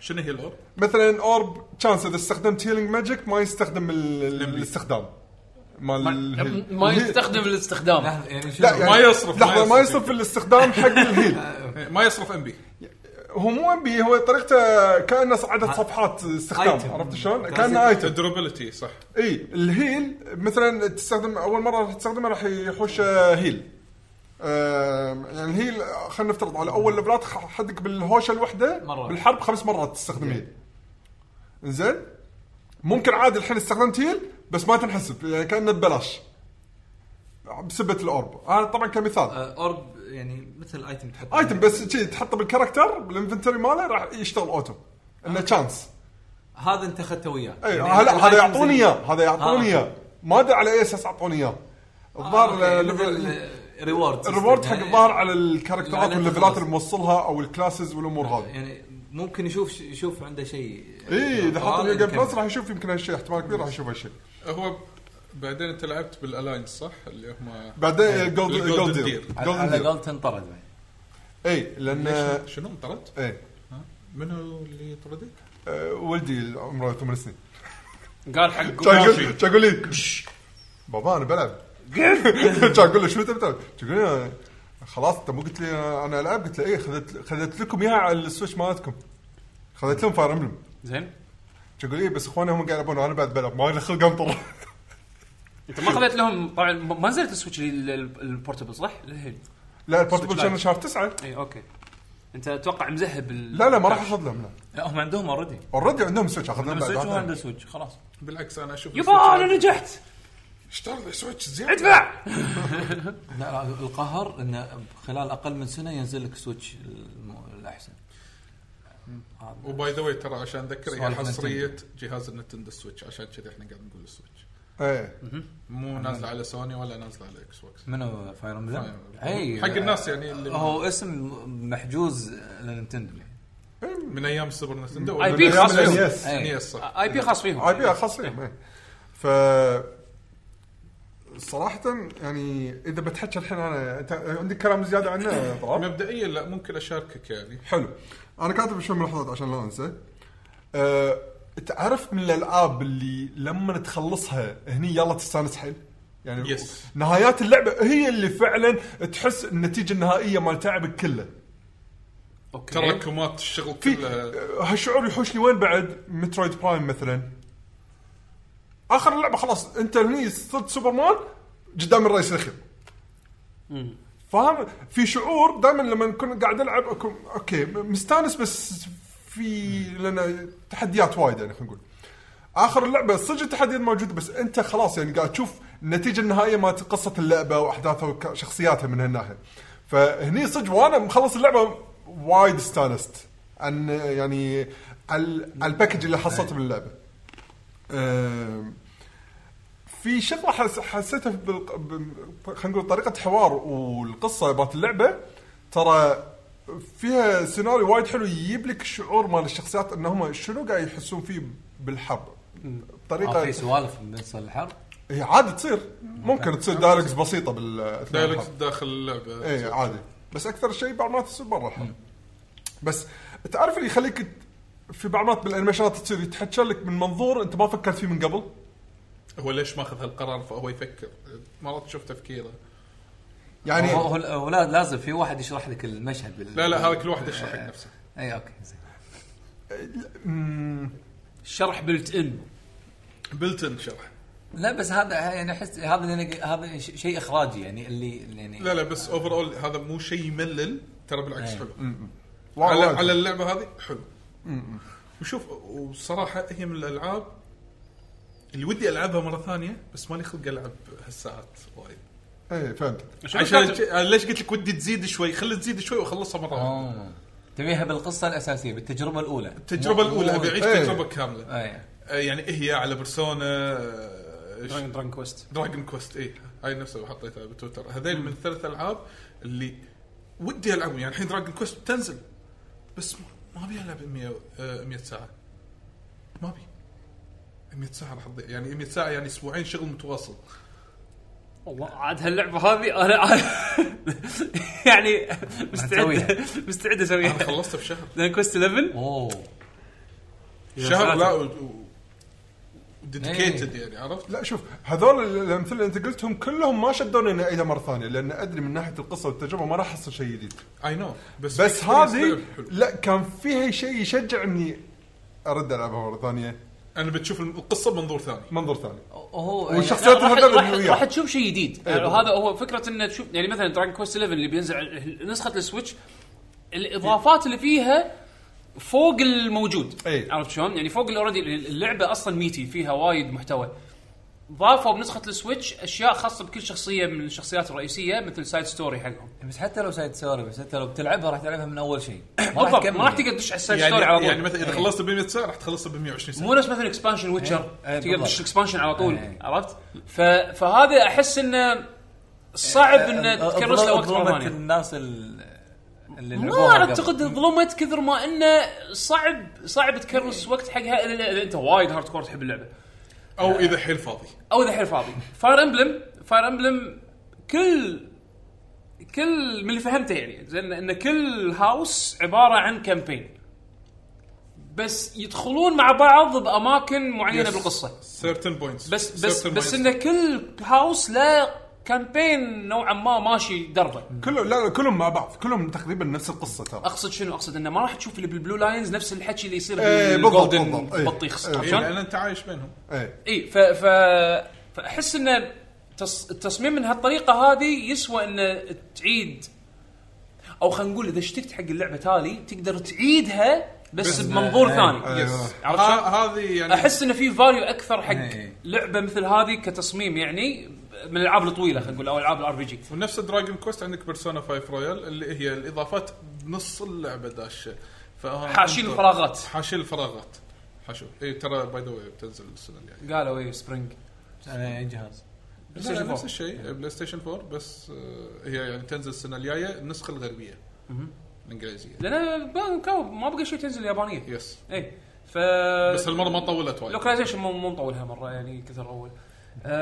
Speaker 3: شنو هي الاورب؟
Speaker 4: مثلا اورب تشانس اذا استخدمت هيلينج ماجيك ما يستخدم ال- ال- الاستخدام مال الهيل.
Speaker 7: ما
Speaker 4: الهيل-
Speaker 7: يستخدم الاستخدام
Speaker 6: يعني شنو؟
Speaker 4: لا يعني
Speaker 3: ما يصرف- ما
Speaker 4: لحظه ما
Speaker 3: يصرف.
Speaker 4: يصرف الاستخدام حق الهيل
Speaker 3: إيه، ما يصرف ام بي
Speaker 4: هو مو ام بي هو طريقته كانه عدد صفحات استخدام
Speaker 6: آيتم.
Speaker 4: عرفت شلون؟
Speaker 6: كان
Speaker 4: كانه
Speaker 6: زي-
Speaker 4: ايتم
Speaker 3: الدروبلتي صح
Speaker 4: اي الهيل مثلا تستخدم اول مره راح تستخدمه راح يحوش آه، هيل آم، يعني الهيل خلينا نفترض على اول ليفلات خ- حدك بالهوشه الوحده
Speaker 6: مرة. إيه.
Speaker 4: بالحرب خمس مرات تستخدم هيل زين ممكن عادي الحين استخدمت هيل بس ما تنحسب يعني كانه ببلاش بسبه الاورب هذا طبعا كمثال
Speaker 6: آه، اورب يعني مثل ايتم تحط
Speaker 4: ايتم بس شي تحطه بالكاركتر بالانفنتوري ماله راح يشتغل اوتو
Speaker 6: آه.
Speaker 4: انه تشانس
Speaker 6: هذا انت اخذته وياه
Speaker 4: اي
Speaker 6: يعني
Speaker 4: إيه، هلا هذا
Speaker 6: الآيتم
Speaker 4: يعطوني
Speaker 6: زي-
Speaker 4: اياه هذا يعطوني
Speaker 6: آه.
Speaker 4: اياه ما ادري على اي اساس اعطوني اياه الظاهر
Speaker 6: آه،
Speaker 4: آه،
Speaker 6: أوكي،
Speaker 4: ليفل-
Speaker 6: مثل ريورد
Speaker 4: الريورد
Speaker 6: سيستم.
Speaker 4: حق
Speaker 6: يعني-
Speaker 4: الظاهر على الكاركترات
Speaker 6: على
Speaker 4: والليفلات
Speaker 6: الخلص.
Speaker 4: اللي موصلها او الكلاسز والامور هذه إيه،
Speaker 6: يعني ممكن يشوف يشوف عنده شيء
Speaker 4: اي اذا حط
Speaker 6: فهذا
Speaker 4: نيو جيم
Speaker 6: آه، يمكن.
Speaker 4: بلس راح يشوف يمكن هالشيء احتمال كبير راح يشوف هالشيء
Speaker 3: هو بعدين انت لعبت بالالاينس صح اللي هم
Speaker 4: بعدين
Speaker 3: الجولدن
Speaker 4: جولد
Speaker 3: دير.
Speaker 4: دير
Speaker 6: على-
Speaker 4: جولدن
Speaker 6: إيه، على
Speaker 4: دير
Speaker 6: قولته انطرد بعد.
Speaker 4: اي لان
Speaker 3: ليش- شنو انطرد؟
Speaker 4: اي
Speaker 3: منو اللي طردك؟
Speaker 4: إيه، آه، ولدي عمره ثمان سنين
Speaker 2: قال حق
Speaker 4: كان يقول كان يقول لي بابا انا بلعب كان اقول له شو تبي تلعب؟ كان يقول لي خلاص انت مو قلت لي انا العب قلت له ايه خذت خذت لكم اياها على السويتش مالتكم خذت لهم فاير امبلم
Speaker 2: زين
Speaker 4: كان يقول ايه بس اخواني هم قاعد يلعبون وانا بعد بلعب ما لي خلق انطر
Speaker 2: انت ما خذيت لهم طبعا ما نزلت السويتش ال- ال- البورتبل صح؟ الهيل إيه،
Speaker 4: لا البورتبل
Speaker 2: Switch
Speaker 4: كان
Speaker 2: Lite.
Speaker 4: شهر تسعة
Speaker 2: اي اوكي انت اتوقع مذهب ال-
Speaker 4: لا لا ما راح اخذ لهم لا
Speaker 6: لا هم عندهم اوريدي
Speaker 4: اوريدي عندهم سويتش اخذ لهم
Speaker 6: عندهم سويتش وعنده
Speaker 4: بعد
Speaker 6: سويتش خلاص
Speaker 3: بالعكس انا اشوف
Speaker 2: يبا انا نجحت
Speaker 3: اشتغل سويتش زين
Speaker 2: ادفع
Speaker 6: لا لا القهر انه خلال اقل من سنه ينزل لك سويتش الم- الاحسن
Speaker 3: وباي ذا واي ترى عشان اذكر هي
Speaker 6: سوالف
Speaker 3: حصريه جهاز النتندو سويتش عشان كذا احنا قاعد نقول السويتش
Speaker 4: ايه
Speaker 3: مو نازله على سوني ولا نازله على اكس بوكس
Speaker 6: منو فاير امبلم؟
Speaker 3: حق الناس يعني اللي
Speaker 6: هو اسم محجوز لنينتندو
Speaker 3: من ايام السوبر نتندو
Speaker 2: اي بي خاص فيهم
Speaker 4: يس
Speaker 6: إيه.
Speaker 3: NES صح
Speaker 2: اي بي آه، خاص فيهم
Speaker 4: اي بي آه، خاص فيهم إيه. ف صراحة يعني اذا بتحكي الحين انا انت عندك كلام زيادة عنه طلال؟
Speaker 3: مبدئيا لا ممكن اشاركك يعني
Speaker 4: حلو انا كاتب شوي ملاحظات عشان لا انسى أه، تعرف من الالعاب اللي لما تخلصها هني يلا تستانس حيل يعني
Speaker 3: Yes.
Speaker 4: نهايات اللعبه هي اللي فعلا تحس النتيجه النهائيه مال تعبك كله
Speaker 2: اوكي
Speaker 3: تراكمات الشغل
Speaker 4: في
Speaker 3: كله
Speaker 4: أه، هالشعور يحوشني وين بعد مترويد برايم مثلا اخر اللعبه خلاص انت هني صرت سوبرمان قدام الرئيس الاخير فاهم في شعور دائما لما نكون قاعد العب اكون اوكي مستانس بس في لنا تحديات وايد يعني خلينا نقول اخر اللعبه صدق التحديات موجوده بس انت خلاص يعني قاعد تشوف النتيجه النهائيه مالت قصه اللعبه واحداثها وشخصياتها من هالناحيه فهني صدق وانا مخلص اللعبه وايد استانست عن يعني على على الباكج اللي حصلته باللعبه أم، في شغله حس حسيتها بالق- ب- ب- خلينا نقول طريقه حوار والقصه مالت اللعبه ترى فيها سيناريو وايد حلو يجيب لك شعور مال الشخصيات انهم شنو قاعد يحسون فيه بالحرب
Speaker 6: آه، في
Speaker 4: بطريقه
Speaker 6: سوالف بالنسبه للحرب
Speaker 4: هي عادي تصير ممكن تصير دايلوجز بسيطه بال أثناء الحرب.
Speaker 3: دايركت داخل اللعبه
Speaker 4: اي عادي بس اكثر شيء بعض المرات تصير برا الحرب بس تعرف اللي يخليك ت- في بعض المرات بالانيميشنات تصير يتحكى لك من منظور انت ما فكرت فيه من قبل
Speaker 3: هو ليش ماخذ هالقرار فهو يفكر مرات تشوف تفكيره
Speaker 4: يعني
Speaker 6: هو- هو هو لا- لازم في واحد يشرح لك المشهد بال...
Speaker 3: لا لا هذا كل واحد يشرح حق نفسه
Speaker 6: اي اوكي زين
Speaker 2: الشرح بلت ان
Speaker 3: بلتن شرح
Speaker 6: لا بس هذا يعني احس هذا اللي أنا- هذا ش- شيء اخراجي يعني اللي اللي يعني
Speaker 3: لا لا بس اوفر اول هذا مو شيء يملل ترى بالعكس
Speaker 6: إيه.
Speaker 3: حلو
Speaker 4: وايد-
Speaker 3: على,
Speaker 4: وايد.
Speaker 3: على اللعبه هذه حلو وشوف وصراحه هي من الالعاب اللي ودي العبها مره ثانيه بس مالي خلق العب هالساعات وايد
Speaker 4: اي إيه، فهمت
Speaker 3: عشان ك- ليش قلت لك ودي تزيد شوي خلي تزيد شوي واخلصها مره واحده
Speaker 6: آه. تبيها بالقصه الاساسيه بالتجربه الاولى
Speaker 3: التجربه
Speaker 6: مو-
Speaker 3: الاولى
Speaker 6: مو-
Speaker 3: ابي اعيش
Speaker 4: إيه.
Speaker 3: تجربه كامله
Speaker 6: اي
Speaker 3: آه، يعني هي على بيرسونا آه، إيش-
Speaker 2: درانك كويست
Speaker 3: دراجون كويست اي إيه، هاي نفسها اللي حطيتها بتويتر هذيل من ثلاث العاب اللي ودي العبهم يعني الحين دراجون كويست بتنزل بس ما- ما ابي العب 100 آه، 100 ساعه ما ابي 100 ساعه راح تضيع يعني 100 ساعه يعني اسبوعين شغل متواصل
Speaker 2: والله عاد هاللعبه هذه انا عاد يعني مستعد
Speaker 6: هتسويها.
Speaker 2: مستعد
Speaker 3: انا
Speaker 2: اسويها
Speaker 3: خلصتها بشهر
Speaker 2: درانك كويست 11
Speaker 6: اوه
Speaker 3: شهر لا
Speaker 2: ثلاثة.
Speaker 3: و- و- ديديكيتد
Speaker 2: إيه.
Speaker 3: يعني عرفت؟
Speaker 4: لا شوف هذول ال- الامثله اللي انت قلتهم كلهم ما شدوني اني اعيدها مره ثانيه لان ادري من ناحيه القصه والتجربه ما راح احصل شيء جديد
Speaker 3: اي نو بس
Speaker 4: بس
Speaker 3: experience
Speaker 4: هذه
Speaker 3: لعب حلو.
Speaker 4: لا كان فيها شيء يشجع اني ارد العبها مره ثانيه
Speaker 3: انا بتشوف القصه بمنظور ثاني
Speaker 4: منظور ثاني
Speaker 6: وهو
Speaker 4: والشخصيات
Speaker 2: يعني راح-
Speaker 4: هذول
Speaker 2: راح-
Speaker 4: اللي
Speaker 2: راح
Speaker 4: وياه.
Speaker 2: تشوف شيء جديد يعني هذا هو فكره انه تشوف يعني مثلا دراجون كويست 11 اللي بينزل نسخه السويتش الاضافات اللي فيها فوق الموجود
Speaker 4: إيه.
Speaker 2: عرفت شلون؟ يعني فوق الاوريدي اللعبه اصلا ميتي فيها وايد محتوى ضافوا بنسخه السويتش اشياء خاصه بكل شخصيه من الشخصيات الرئيسيه مثل سايد ستوري حقهم
Speaker 6: بس حتى لو سايد سوري بس انت لو بتلعبها راح تلعبها من اول شيء
Speaker 2: بالضبط
Speaker 6: تكمل
Speaker 2: ما راح
Speaker 6: يعني.
Speaker 2: تقدر تدش على السايد ستوري على
Speaker 3: يعني
Speaker 2: طول
Speaker 3: يعني مثلا اذا خلصت ب 100 ساعه راح تخلصها ب 120 ساعه
Speaker 2: مو نفس مثلا اكسبانشن ويتشر
Speaker 6: إيه، إيه،
Speaker 2: تقدر
Speaker 6: بالضبط.
Speaker 2: تدش اكسبانشن على طول
Speaker 6: إيه.
Speaker 2: عرفت؟ ف... فهذا احس انه صعب انه
Speaker 6: أه،
Speaker 2: تكرس له وقت
Speaker 6: ظلمت
Speaker 2: مره ثانيه
Speaker 6: الناس ال- اللي لعبوها
Speaker 2: ما
Speaker 6: قبل.
Speaker 2: اعتقد ظلمت كثر ما انه صعب صعب تكرس
Speaker 6: إيه.
Speaker 2: وقت حقها الا إذا انت وايد هارد كور تحب اللعبه
Speaker 3: او اذا حيل فاضي
Speaker 2: او اذا حيل فاضي فاير امبلم فاير امبلم كل كل من اللي فهمته يعني زين ان كل هاوس عباره عن كامبين بس يدخلون مع بعض باماكن معينه
Speaker 3: Yes.
Speaker 2: بالقصه
Speaker 3: سيرتن بوينتس
Speaker 2: بس بس بس ان كل هاوس له كامبين نوعا ما ماشي دربه
Speaker 4: كله لا لا، كلهم مع بعض كلهم تقريبا نفس القصه ترى
Speaker 3: أه.
Speaker 2: اقصد شنو اقصد انه ما راح تشوف اللي بالبلو لاينز نفس الحكي اللي يصير
Speaker 4: إيه، بالضبط،
Speaker 2: بالجولدن
Speaker 4: بالضبط. إيه.
Speaker 2: بطيخ
Speaker 4: إيه.
Speaker 2: عرفت
Speaker 3: إيه
Speaker 2: شلون؟
Speaker 3: لان انت عايش بينهم
Speaker 4: ايه
Speaker 2: اي ف ف فاحس ان تص- التصميم من هالطريقه هذه يسوى ان تعيد او خلينا نقول اذا اشتقت حق اللعبه تالي تقدر تعيدها بس,
Speaker 3: بس-
Speaker 2: بمنظور
Speaker 6: إيه.
Speaker 2: ثاني
Speaker 4: أيوة.
Speaker 3: يس
Speaker 2: عرفت شلون؟
Speaker 3: ها- هذه يعني
Speaker 2: احس انه في فاليو اكثر حق
Speaker 6: إيه.
Speaker 2: لعبه مثل هذه كتصميم يعني من الالعاب الطويله خلينا نقول او العاب الار بي جي
Speaker 3: ونفس دراجون كويست عندك بيرسونا 5 رويال اللي هي الاضافات بنص اللعبه داشه فأنا
Speaker 2: حاشين
Speaker 3: أنطر-
Speaker 2: الفراغات.
Speaker 3: حاشين الفراغات حاشو اي ترى باي ذا واي بتنزل السنه الجايه
Speaker 2: قالوا ايه سبرينج
Speaker 6: أي جهاز
Speaker 3: لا،
Speaker 2: ستيشن
Speaker 3: نفس
Speaker 2: 4.
Speaker 3: الشيء بلاي ستيشن 4 بس آه، هي يعني تنزل السنه الجايه النسخه الغربيه الانجليزيه
Speaker 2: لان ما- كاو- ما بقى شيء تنزل يابانيه
Speaker 3: يس
Speaker 2: اي ف آه،
Speaker 3: بس هالمره ما طولت وايد
Speaker 2: لوكاليزيشن مو مو مطولها مره يعني كثر اول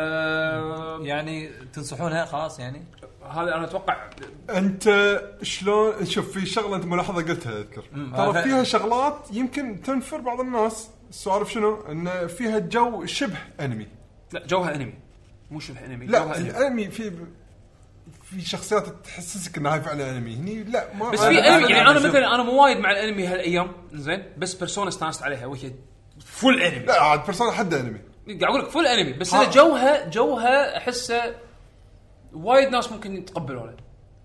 Speaker 2: آه،
Speaker 6: يعني تنصحونها خلاص يعني
Speaker 2: هذا انا اتوقع
Speaker 4: انت شلون شوف في شغله انت ملاحظه قلتها اذكر
Speaker 6: آه،
Speaker 4: ترى
Speaker 6: ف-
Speaker 4: فيها شغلات يمكن تنفر بعض الناس السوالف شنو؟ ان فيها جو شبه انمي
Speaker 2: لا جوها انمي مو شبه انمي جوها
Speaker 4: لا
Speaker 2: انمي
Speaker 4: الانمي في في شخصيات تحسسك انها فعلا انمي هني لا ما
Speaker 2: بس
Speaker 4: أنا-
Speaker 2: في انمي يعني انا
Speaker 6: شوف.
Speaker 2: مثلا انا مو وايد مع الانمي هالايام زين بس بيرسونا استانست عليها وهي فول انمي
Speaker 4: لا عاد بيرسونا حد انمي
Speaker 2: قاعد اقول لك فول انمي بس انا جوها جوها احسه وايد ناس ممكن يتقبلونه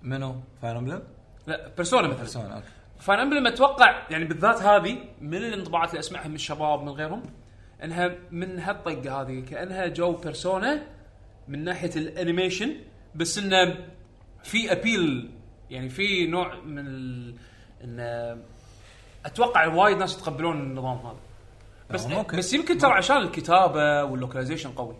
Speaker 6: منو فاير امبلم؟
Speaker 2: لا بيرسونا مثلا
Speaker 6: بيرسونا اوكي
Speaker 2: فان امبلم اتوقع يعني بالذات هذه من الانطباعات اللي اسمعها من الشباب من غيرهم انها من هالطقه هذه كانها جو بيرسونا من ناحيه الانيميشن بس انه في ابيل يعني في نوع من ال... انه اتوقع وايد ناس يتقبلون النظام هذا بس
Speaker 6: آه، ممكن.
Speaker 2: بس يمكن ترى عشان الكتابه واللوكلايزيشن قوي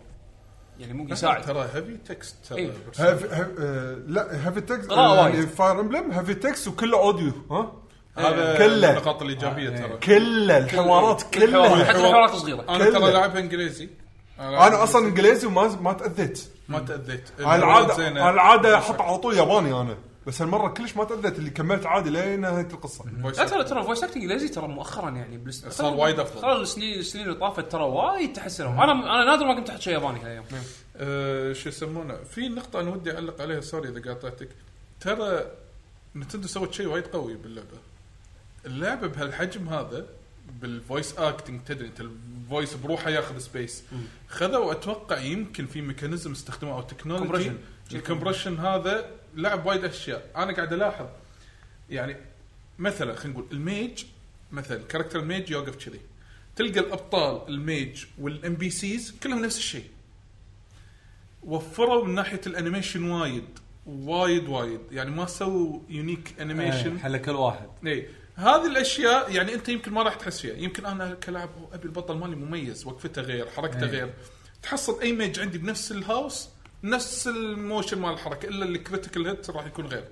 Speaker 2: يعني ممكن يساعد
Speaker 3: ترى هيفي تكست
Speaker 2: إيه.
Speaker 3: ترى برسم.
Speaker 4: هاف هاف آه، لا آه، هافي تكس
Speaker 2: قراءة وايد.
Speaker 4: فاير امبلم هافي تكس وكله اوديو ها
Speaker 3: هذا
Speaker 4: كله.
Speaker 3: إيه، يعني النقاط الايجابيه ترى
Speaker 4: كله الحوارات
Speaker 2: آه، إيه. حتى
Speaker 4: كلها
Speaker 2: الحوارات صغيره
Speaker 3: انا
Speaker 4: كله.
Speaker 3: ترى لاعبها انجليزي
Speaker 4: انا اصلا انجليزي وما ما تاذيت
Speaker 3: ما تاذيت
Speaker 4: على
Speaker 3: الحوارات
Speaker 4: العاده
Speaker 3: زينة.
Speaker 4: على العاده احط على طول ياباني انا بس هالمره كلش ما تاذيت اللي كملت عادي لنهايه القصه
Speaker 3: فويس
Speaker 2: لا ترى ترى فويس اكتنج ليزي ترى مؤخرا يعني بلس...
Speaker 3: صار وايد أفضل.
Speaker 2: ترى السنين السنين اللي طافت ترى وايد تحسنوا انا انا نادر ما كنت احط شيء ياباني هالايام
Speaker 3: أه، شو يسمونه في نقطة أنا ودي أعلق عليها سوري إذا قاطعتك ترى نتندو سوت شيء وايد قوي باللعبة اللعبة بهالحجم هذا بالفويس اكتنج تدري انت الفويس بروحه ياخذ سبيس خذوا اتوقع يمكن في ميكانيزم استخدموه او تكنولوجي
Speaker 2: Compression.
Speaker 3: الكمبرشن هذا لعب وايد اشياء انا قاعد الاحظ يعني مثلا خلينا نقول الميج مثلا كاركتر الميج يوقف كذي تلقى الابطال الميج والام بي سيز كلهم نفس الشيء وفروا من ناحيه الانيميشن وايد وايد وايد يعني ما سووا يونيك انيميشن
Speaker 6: إيه، حل كل واحد
Speaker 3: اي هذه الاشياء يعني انت يمكن ما راح تحس فيها يمكن انا كلاعب ابي البطل مالي مميز وقفته غير حركته
Speaker 6: إيه.
Speaker 3: غير تحصل اي ميج عندي بنفس الهاوس نفس الموشن مال الحركه الا الكريتيكال هيت راح يكون غير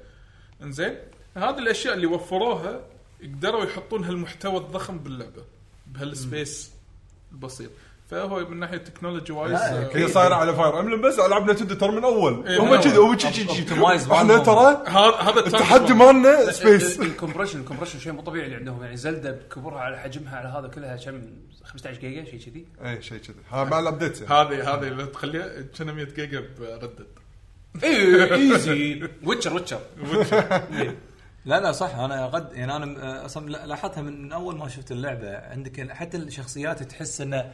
Speaker 3: انزين هذه الاشياء اللي وفروها قدروا يحطون هالمحتوى الضخم باللعبه بهالسبيس البسيط فهو من ناحيه تكنولوجي وايز
Speaker 6: لا،
Speaker 3: آه،
Speaker 4: هي صايره على فاير امبلم بس العاب نتندو ترى من اول
Speaker 3: إيه،
Speaker 4: هم
Speaker 3: من
Speaker 4: كذي
Speaker 3: أول.
Speaker 4: هم كذي
Speaker 6: Optimize
Speaker 4: كذي احنا
Speaker 6: مالهم.
Speaker 4: ترى
Speaker 3: هذا هذا
Speaker 4: التحدي مالنا سبيس
Speaker 2: ال- ال- الكومبريشن الكومبريشن شيء مو طبيعي اللي عندهم يعني زلدة بكبرها على حجمها على هذا كلها كم 15 جيجا شيء كذي
Speaker 4: اي شيء كذي ها مع الابديت يعني.
Speaker 3: هذه هذه اللي تخليها كنا 100 جيجا بردد
Speaker 6: إيه،
Speaker 2: اي ايزي ويتشر ويتشر
Speaker 6: لا لا صح انا غد يعني انا آه، اصلا لا- لاحظتها من من اول ما شفت اللعبه عندك حتى الشخصيات تحس ان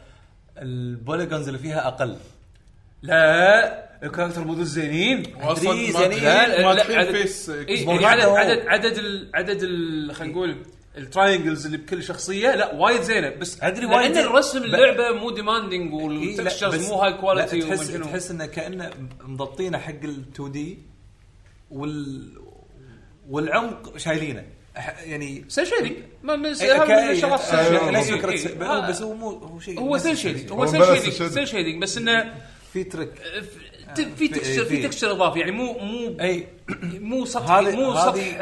Speaker 6: البوليجونز اللي فيها اقل
Speaker 2: لا الكاركتر مو ذو الزينين
Speaker 3: واصلا
Speaker 6: أدري، إيه،
Speaker 3: ما
Speaker 6: زينين.
Speaker 2: لا، لا،
Speaker 3: ما
Speaker 2: لا،
Speaker 3: تحيل
Speaker 2: عدد-
Speaker 3: فيس
Speaker 2: إيه،
Speaker 3: إكس بوكس.
Speaker 2: يعني عدد
Speaker 6: بوكس. هو-
Speaker 2: عدد عدد ال- عدد ال- خلينا نقول التراينجلز اللي بكل شخصيه لا وايد زينه بس
Speaker 6: أدري
Speaker 2: لأن
Speaker 6: وايد زينة.
Speaker 2: الرسم
Speaker 6: ب-
Speaker 2: اللعبه مو ديماندنج
Speaker 6: إيه، لا،
Speaker 2: والتكستشرز
Speaker 6: بس-
Speaker 2: مو هاي كواليتي
Speaker 6: لا، تحس
Speaker 2: وما شنو.
Speaker 6: تحس انه كانه مضبطينه حق ال 2 دي وال والعمق شايلينه أح- يعني
Speaker 2: سيل شيدنج ما من
Speaker 6: إيه،
Speaker 2: هذا من
Speaker 6: كأي-
Speaker 2: الشغلات
Speaker 6: آه،
Speaker 2: سيل شيدنج.
Speaker 6: نفس
Speaker 2: إيه،
Speaker 6: فكرة
Speaker 2: إيه.
Speaker 6: سيل-
Speaker 2: آه،
Speaker 6: بس هو مو هو شيء
Speaker 2: هو
Speaker 6: نفس
Speaker 2: سيل
Speaker 6: الشيء.
Speaker 2: شيدنج هو
Speaker 4: هو
Speaker 2: سيل
Speaker 4: بلا
Speaker 2: شيدنج
Speaker 4: شيدنج.
Speaker 2: سيل شيدنج بس انه
Speaker 6: في تريك
Speaker 2: ف- ت- في
Speaker 6: في-
Speaker 2: تكستشر في
Speaker 6: آه، إيه، في-
Speaker 2: تكستشر اضافي يعني مو مو
Speaker 6: اي
Speaker 2: مو سطح
Speaker 6: هذه-
Speaker 2: مو
Speaker 6: هذه-
Speaker 2: سطح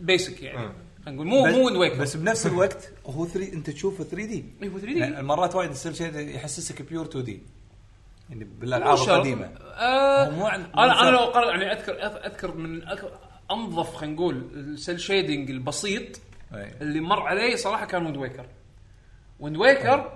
Speaker 2: بيسك يعني خلينا نقول مو مو ويند ويكر
Speaker 6: بس بنفس الوقت هو 3 انت تشوفه 3 دي
Speaker 2: إيه، هو 3D.
Speaker 6: مرات وايد يصير شيء يحسسك بيور 2 دي يعني بالالعاب
Speaker 2: مو شرط.
Speaker 6: القديمه
Speaker 2: آه
Speaker 6: هو مو عن- مو
Speaker 2: انا انا
Speaker 6: شرط.
Speaker 2: لو قرر يعني اذكر أذ- اذكر من أك- انظف خلينا نقول السيل شيدنج البسيط
Speaker 6: أي.
Speaker 2: اللي مر علي صراحه كان ويند ويكر ويند ويكر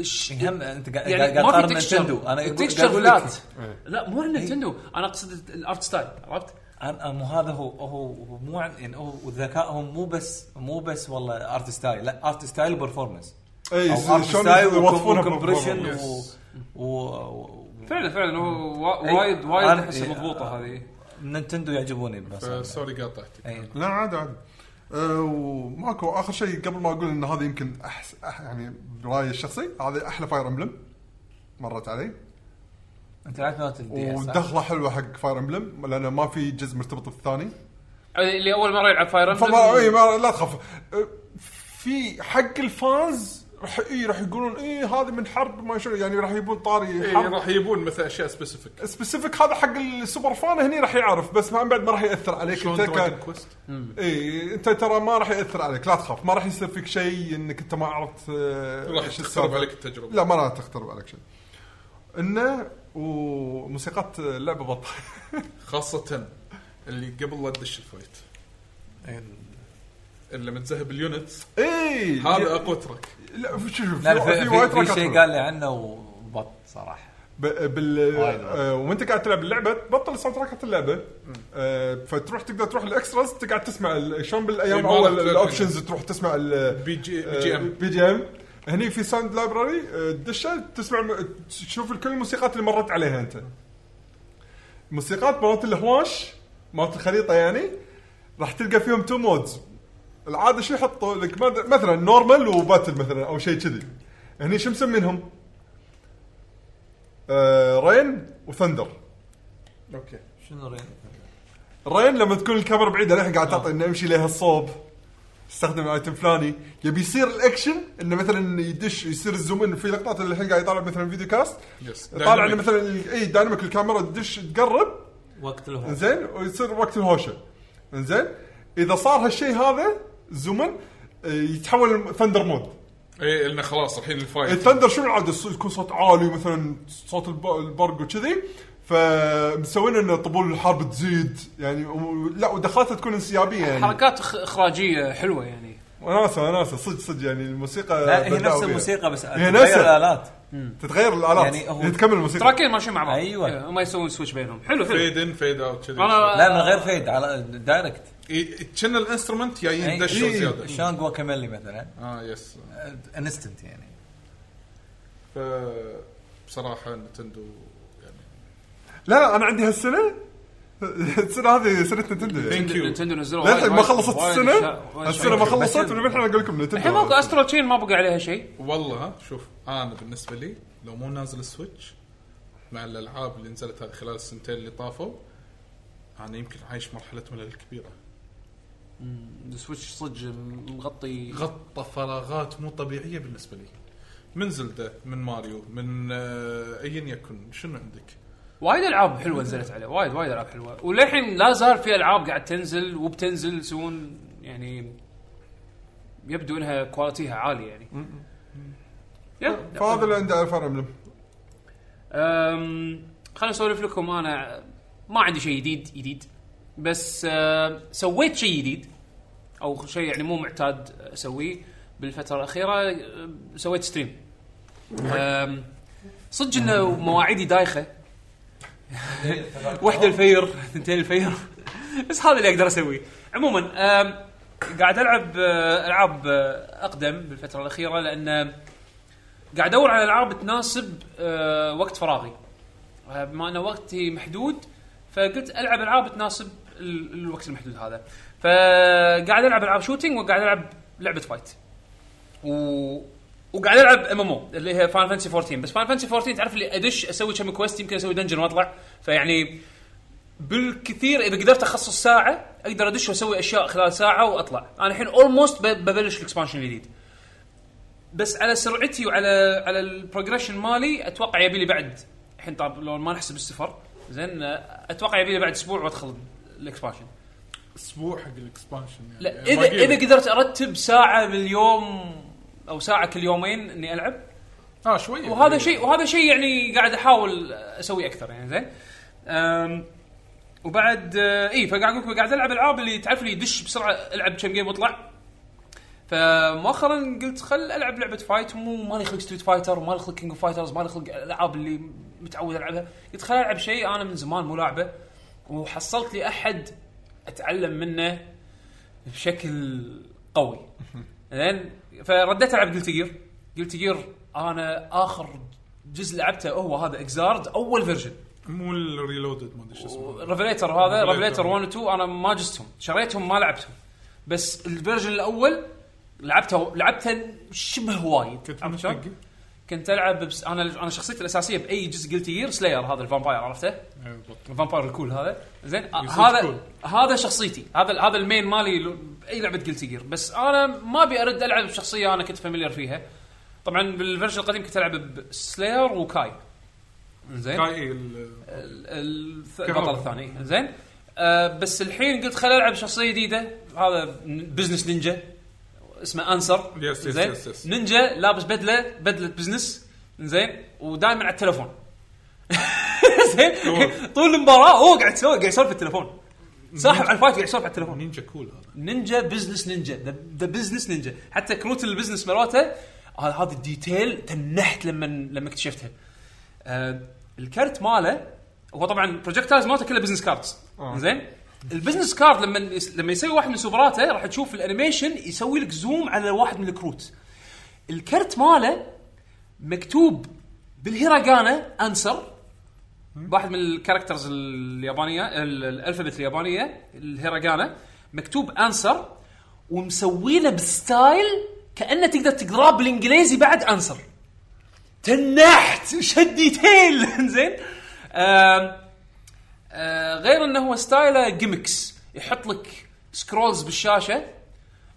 Speaker 2: الش-
Speaker 6: هم انت قاعد
Speaker 2: يعني
Speaker 6: قاعد
Speaker 2: ما في
Speaker 6: تقارن
Speaker 2: تكستشر
Speaker 6: نينتندو انا قاعد
Speaker 2: التكستشر
Speaker 6: أقول لك-
Speaker 2: فلات إيه. لا مو نينتندو انا اقصد الارت ستايل عرفت؟
Speaker 6: انا مو هذا هو هو هو مو عن يعني هو ذكائهم مو بس مو بس والله ارت ستايل لا ارت ستايل وبرفورمنس
Speaker 4: اي
Speaker 6: او ارت
Speaker 4: إيه، شلون
Speaker 6: ستايل
Speaker 4: يوظفونها
Speaker 6: وكمبريشن
Speaker 4: بالبرامج.
Speaker 6: و و
Speaker 2: فعلا فعلا هو وا-
Speaker 6: أي.
Speaker 2: وايد وايد
Speaker 6: إيه. أنا-
Speaker 2: احسها مضبوطه هذه
Speaker 6: نينتندو يعجبوني بس
Speaker 3: سوري آه، قاطعتك
Speaker 6: اي
Speaker 4: لا عادي عادي أه، وماكو اخر شيء قبل ما اقول ان هذا يمكن أحس أح يعني برايي الشخصي هذا احلى فاير امبلم مرت علي
Speaker 6: انت لعبت نوت الدي اس صح؟
Speaker 4: ودخله حلوه حق فاير امبلم لانه ما في جزء مرتبط بالثاني
Speaker 2: اللي اول مره يلعب فاير
Speaker 4: فما اي ما لا تخاف أه، في حق الفانز راح اي راح يقولون اي هذا من حرب ما شنو يعني راح يبون طاري
Speaker 3: إيه،
Speaker 4: حرب
Speaker 3: راح يبون مثلا اشياء سبيسيفيك
Speaker 4: سبيسيفيك هذا حق السوبر فان هني راح يعرف بس ما بعد ما راح ياثر عليك
Speaker 3: شلون
Speaker 4: انت
Speaker 3: دراجون
Speaker 4: ك-
Speaker 3: كويست
Speaker 4: اي انت ترى ما راح ياثر عليك لا تخاف ما راح يصير فيك شيء انك انت ما عرفت آه،
Speaker 3: راح
Speaker 4: إيش
Speaker 3: تخرب
Speaker 4: السالفة.
Speaker 3: عليك التجربه
Speaker 4: لا ما راح تخترب عليك شيء انه وموسيقات اللعبه بطل
Speaker 3: خاصه اللي قبل لا تدش الفايت اللي متذهب اليونتس
Speaker 4: اي
Speaker 3: هذا اقوى ترك
Speaker 4: لا شوف شوف
Speaker 6: لا في,
Speaker 4: وايد
Speaker 6: في, في
Speaker 4: تراكات
Speaker 6: شيء
Speaker 4: حلوة.
Speaker 6: قال لي عنه وبط صراحه
Speaker 4: ب- بال
Speaker 6: وايد.
Speaker 4: آه، وانت قاعد تلعب اللعبه تبطل ساوند تراكات اللعبه آه، فتروح تقدر تروح الاكستراز تقعد تسمع ال- شلون
Speaker 3: إي،
Speaker 4: بالايام
Speaker 3: ما
Speaker 4: اول
Speaker 3: راح تلعب
Speaker 4: الاوبشنز تروح تسمع ال- آه،
Speaker 3: بي جي بي جي ام
Speaker 4: بي جي ام هني في ساوند لايبراري تدشه تسمع الم- تشوف كل الموسيقات اللي مرت عليها انت موسيقات مرات الهواش مرات الخريطه يعني راح تلقى فيهم تو مودز العاده شو يحطوا لك مد- مثلا نورمال وباتل مثلا او شيء كذي هني شو مسمينهم؟ آه رين وثندر
Speaker 3: اوكي
Speaker 6: شنو رين؟
Speaker 4: رين لما تكون الكاميرا بعيده للحين قاعد تعطي انه امشي لها الصوب استخدم ايتم فلاني يبي يصير الاكشن انه مثلا يدش يصير الزوم ان في لقطات اللي الحين قاعد يطالع مثلا فيديو كاست
Speaker 3: Yes.
Speaker 4: طالع
Speaker 3: Dynamic.
Speaker 4: انه مثلا اي دايناميك الكاميرا تدش تقرب
Speaker 6: وقت الهوش
Speaker 4: انزين ويصير وقت الهوشه انزين اذا صار هالشيء هذا زومن يتحول ثندر مود
Speaker 3: اي انه إيه، خلاص الحين الفايت
Speaker 4: الثندر شنو العاده الص- يكون صوت عالي مثلا صوت الب- البرق وكذي فمسوين ان طبول الحرب تزيد يعني و- لا ودخلاتها تكون انسيابيه يعني
Speaker 2: حركات إخ- اخراجيه حلوه يعني
Speaker 4: وناسه وناسه صدق صدق يعني الموسيقى
Speaker 6: لا هي
Speaker 4: بدعوا
Speaker 6: نفس
Speaker 4: فيها.
Speaker 6: الموسيقى بس
Speaker 4: هي
Speaker 6: تغير
Speaker 4: نفس-
Speaker 6: الالات
Speaker 4: تتغير الالات
Speaker 6: يعني هو-
Speaker 4: يعني تكمل الموسيقى
Speaker 2: تراكين ماشيين مع بعض
Speaker 6: أيوة.
Speaker 2: إيه، هم يسوون سويتش بينهم حلو حلو
Speaker 3: فيد ان فيد اوت كذي
Speaker 2: انا
Speaker 6: لا من غير فيد على دايركت
Speaker 3: كنا الانسترومنت جايين
Speaker 6: يعني
Speaker 3: دشوا
Speaker 6: إيه،
Speaker 3: زياده
Speaker 6: شلون جواكاميلي مثلا
Speaker 3: اه يس
Speaker 6: انستنت يعني
Speaker 3: ف بصراحه نتندو يعني
Speaker 4: لا لا انا عندي هالسنه السنه هذه سنه نتندو يعني.
Speaker 3: Thank you.
Speaker 2: نتندو نزلوا
Speaker 4: للحين
Speaker 2: وايد-
Speaker 4: ما خلصت
Speaker 2: وايد
Speaker 4: السنه
Speaker 2: أشياء- وايد
Speaker 4: السنه ما
Speaker 2: أشياء.
Speaker 4: خلصت وللحين انا اقول لكم
Speaker 2: الحين
Speaker 4: نتندو
Speaker 2: ماكو استرو تشين ما بقى عليها شيء
Speaker 3: والله ها، شوف انا بالنسبه لي لو مو نازل سويتش مع الالعاب اللي نزلت هذه خلال السنتين اللي طافوا انا يمكن عايش مرحله ملل كبيره
Speaker 2: السويتش صدق مغطي
Speaker 3: غطى فراغات مو طبيعيه بالنسبه لي من زلدة من ماريو من آه، ايا يكن شنو عندك
Speaker 2: وايد العاب حلوه نزلت عليه وايد وايد العاب حلوه وللحين لا زال في العاب قاعد تنزل وبتنزل يسوون يعني يبدو انها كواليتيها عاليه يعني يلا.
Speaker 4: فهذا اللي عندي الفار املم
Speaker 2: أم، خليني اسولف لكم انا ما عندي شيء جديد جديد بس أم، سويت شيء جديد او شيء يعني مو معتاد اسويه بالفتره الاخيره أم، أه، سويت ستريم أم، صدق انه مواعيدي دايخه واحده الفير ثنتين الفير بس هذا اللي اقدر اسويه عموما أم، قاعد العب أه، العاب أه، اقدم بالفتره الاخيره لان قاعد ادور على العاب تناسب أه وقت فراغي أه، بما ان وقتي محدود فقلت العب العاب تناسب ال- الوقت المحدود هذا فقاعد العب العاب شوتينج وقاعد العب لعبه فايت و... وقاعد العب ام ام او اللي هي فان فانسي 14 بس فان فانسي 14 تعرف اللي ادش اسوي كم كويست يمكن اسوي دنجن واطلع فيعني بالكثير اذا قدرت اخصص ساعه اقدر ادش واسوي اشياء خلال ساعه واطلع انا الحين اولموست ببلش الاكسبانشن الجديد بس على سرعتي وعلى على البروجريشن مالي اتوقع يبي لي بعد الحين طب لو ما نحسب السفر زين آه، اتوقع يبي لي بعد اسبوع وادخل الاكسبانشن
Speaker 3: اسبوع حق الاكسبانشن يعني
Speaker 2: لا
Speaker 3: ما
Speaker 2: اذا
Speaker 3: قيل.
Speaker 2: اذا قدرت ارتب ساعه باليوم او ساعه كل يومين اني العب
Speaker 3: اه شويه
Speaker 2: وهذا شيء وهذا شيء يعني قاعد احاول اسوي اكثر يعني زين أم، وبعد آه، اي فقاعد اقول لكم قاعد العب العاب اللي تعرف لي دش بسرعه العب كم جيم واطلع فمؤخرا قلت خل العب لعبه فايت مو مالي خلق ستريت فايتر ومالي خلق كينج اوف فايترز مالي خلق الالعاب اللي متعود العبها قلت خل العب شيء انا من زمان مو لعبه وحصلت لي احد اتعلم منه بشكل قوي زين فرديت العب قلت جير قلت جير انا اخر جزء لعبته هو هذا اكزارد اول فيرجن
Speaker 3: مو الريلودد ما ادري شو اسمه
Speaker 2: ريفليتر هذا
Speaker 3: Revelator.
Speaker 2: ريفليتر 1 و 2 انا ما جزتهم شريتهم ما لعبتهم بس الفيرجن الاول لعبته لعبته شبه وايد
Speaker 3: كنت
Speaker 2: عرفت
Speaker 3: من
Speaker 2: شلون؟
Speaker 3: حقي.
Speaker 2: كنت العب بس انا انا شخصيتي الاساسيه باي جزء قلت يير سلاير هذا الفامباير عرفته؟
Speaker 3: إيه، بالضبط.
Speaker 2: الفامباير الكول هذا زين آه،
Speaker 3: يصير
Speaker 2: هذا
Speaker 3: كول.
Speaker 2: هذا شخصيتي هذا هذا المين مالي لو- باي لعبه جلتي جير بس انا ما ابي ارد العب بشخصيه انا كنت فاميليار فيها طبعا بالفيرجن القديم كنت العب بسلاير وكاي زين
Speaker 3: كاي ال-
Speaker 2: ال- الث-
Speaker 3: كهرباء.
Speaker 2: البطل الثاني زين آه بس الحين قلت خل العب شخصيه جديده هذا ن- بزنس نينجا اسمه انسر
Speaker 3: يس، يس،
Speaker 2: زين
Speaker 3: يس، يس.
Speaker 2: نينجا لابس بدله بدله بزنس زين ودائما على التلفون زين طول المباراه هو قاعد يسولف قاعد يسولف في التليفون ساحب على الفايت قاعد يسولف على التليفون
Speaker 3: نينجا كول هذا
Speaker 2: نينجا بزنس نينجا ذا بزنس نينجا حتى كروت البزنس مالته آه، هذا الديتيل تنحت لما لما اكتشفتها آه الكرت ماله هو طبعا البروجكتايز مالته كله بزنس كاردز زين البزنس كارد لما يس- لما يسوي واحد من سوبراته راح تشوف الانيميشن يسوي لك زوم على واحد من الكروت الكرت ماله مكتوب بالهيراغانا انسر واحد من الكاركترز اليابانيه ال- الالفابت اليابانيه الهيراغانا مكتوب انسر ومسوينه بستايل كانه تقدر تقراه بالانجليزي بعد انسر تنحت شد ديتيل زين آم، آه، غير انه هو ستايله جيمكس يحط لك سكرولز بالشاشه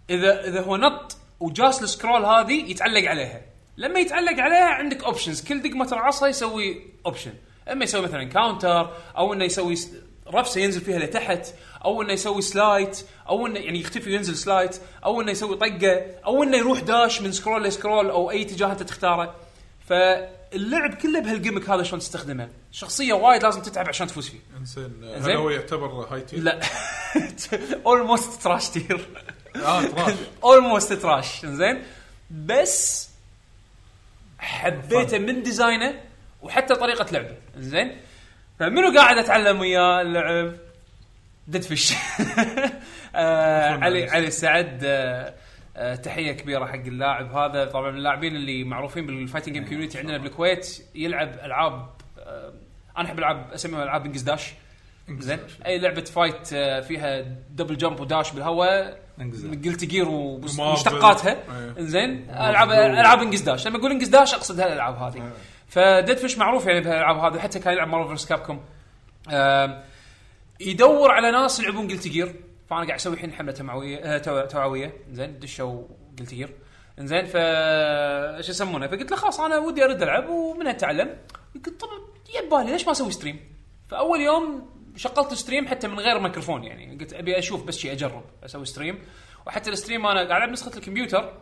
Speaker 2: اذا اذا هو نط وجاس السكرول هذه يتعلق عليها لما يتعلق عليها عندك اوبشنز كل دق متر عصا يسوي اوبشن اما يسوي مثلا كاونتر او انه يسوي س- رفسه ينزل فيها لتحت او انه يسوي سلايت او انه يعني يختفي وينزل سلايت او انه يسوي طقه او انه يروح داش من سكرول لسكرول او اي اتجاه انت تختاره فاللعب كله بهالجيمك هذا شلون تستخدمه شخصيه وايد لازم تتعب عشان تفوز فيه
Speaker 3: انزين هل
Speaker 2: زين.
Speaker 3: هو آه، يعتبر هاي تير؟
Speaker 2: لا اولموست تراش تير
Speaker 3: اه تراش
Speaker 2: اولموست تراش زين بس حبيته من ديزاينه وحتى طريقه لعبه زين فمنو قاعد اتعلم وياه اللعب ددفش آه علي علي سعد آه آه تحيه كبيره حق اللاعب هذا طبعا من اللاعبين اللي معروفين بالفايتنج جيم كوميونتي عندنا بالكويت يلعب العاب آه انا احب العاب اسميها العاب انجز داش زين اي لعبه فايت آه، فيها دبل جمب وداش بالهواء قلت جير وبس-
Speaker 3: ومارفل.
Speaker 2: ومشتقاتها
Speaker 3: أي.
Speaker 2: زين العاب العاب انجز داش لما اقول انجز داش اقصد هالالعاب هذه فديد فيش معروف يعني بهالالعاب هذه حتى كان يلعب مارفل كاب كوم يدور على ناس يلعبون قلت جير فانا قاعد اسوي الحين حمله توعويه آه، تو- توعويه زين دشوا قلت جير زين ف شو يسمونه فقلت له خلاص انا ودي ارد العب ومنها اتعلم قلت طب يا ببالي ليش ما اسوي ستريم؟ فاول يوم شغلت ستريم حتى من غير ميكروفون يعني قلت ابي اشوف بس شيء اجرب اسوي ستريم وحتى الستريم انا قاعد العب نسخه الكمبيوتر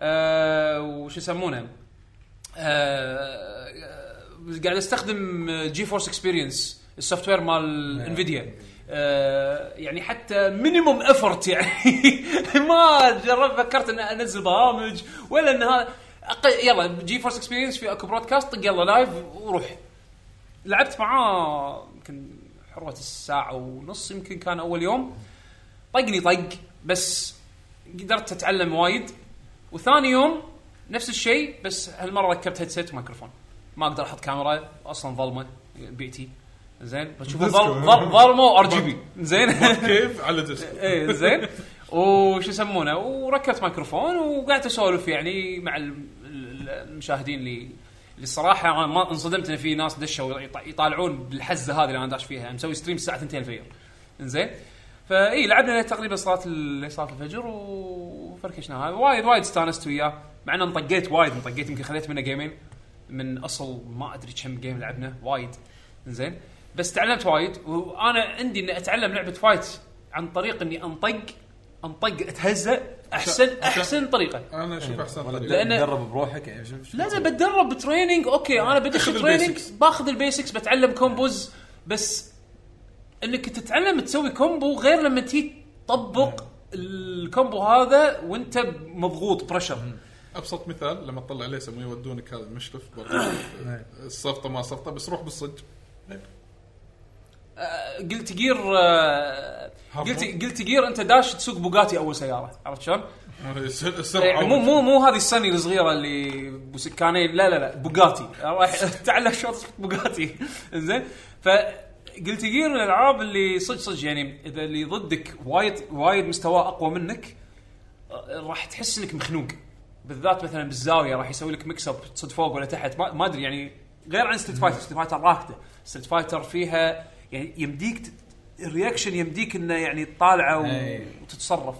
Speaker 2: آه وش يسمونه آه، قاعد استخدم جي فورس اكسبيرينس السوفت وير مال انفيديا يعني حتى مينيموم افورت يعني ما جربت فكرت ان انزل برامج ولا ان هذا أق- يلا جي فورس اكسبيرينس في اكو برودكاست طق يلا لايف وروح لعبت معاه يمكن حروه الساعه ونص يمكن كان اول يوم طقني طق بس قدرت اتعلم وايد وثاني يوم نفس الشيء بس هالمره ركبت هيدسيت ومايكروفون ما اقدر احط كاميرا اصلا ظلمه بيئتي زين بتشوف
Speaker 4: ديسكو.
Speaker 2: ظل- ظل- ظلمه وار جي بي زين
Speaker 3: كيف على ديسك
Speaker 2: ايه زين وش يسمونه وركبت ميكروفون وقعدت اسولف يعني مع ال- ال- المشاهدين اللي اللي الصراحه انا ما انصدمت ان في ناس دشوا يط- يطالعون بالحزه هذه اللي انا داش فيها مسوي ستريم الساعه 2 الفجر زين فاي لعبنا تقريبا صلاه ال- صلاه الفجر وفركشناها وايد وايد استانست وياه مع ان انطقيت وايد انطقيت يمكن خذيت منه جيمين من اصل ما ادري كم جيم لعبنا وايد زين بس تعلمت وايد وانا عندي اني اتعلم لعبه فايت عن طريق اني انطق انطق اتهزأ احسن
Speaker 3: عشان-
Speaker 2: احسن طريقه
Speaker 3: انا اشوف احسن طريقه
Speaker 2: لأن-
Speaker 6: تدرب بروحك يعني شوف- شوف.
Speaker 2: لازم بتدرب بتريننج اوكي انا بدش
Speaker 3: أخذ
Speaker 2: تريننج
Speaker 3: البيسكس.
Speaker 2: باخذ البيسكس بتعلم كومبوز بس انك تتعلم تسوي كومبو غير لما تيجي تطبق الكومبو هذا وانت مضغوط بريشر
Speaker 3: ابسط مثال لما تطلع ليس مو يودونك هذا المشلف برضه
Speaker 2: إيه.
Speaker 3: السلطه آه، ما سلطه بس روح بالصدق
Speaker 2: قلت جير آه، قلت قلت جير انت داش تسوق بوجاتي اول سياره عرفت شلون؟
Speaker 3: الس-
Speaker 2: إيه،
Speaker 3: السرعه
Speaker 2: مو مو مو هذه الصني الصغيره اللي بسكانين لا لا لا بوجاتي رايح تعلم شلون تسوق بوجاتي زين فقلت جير من الالعاب اللي صدق صدق يعني اذا اللي ضدك وايد وايد مستواه اقوى منك آه، راح تحس انك مخنوق بالذات مثلا بالزاويه راح يسوي لك ميكس اب تصد فوق ولا تحت ما, ما ادري يعني غير عن ستريت فايتر ستريت فايتر راكده ستريت فايتر فيها يعني يمديك ت- الرياكشن يمديك انه يعني تطالعه و- وتتصرف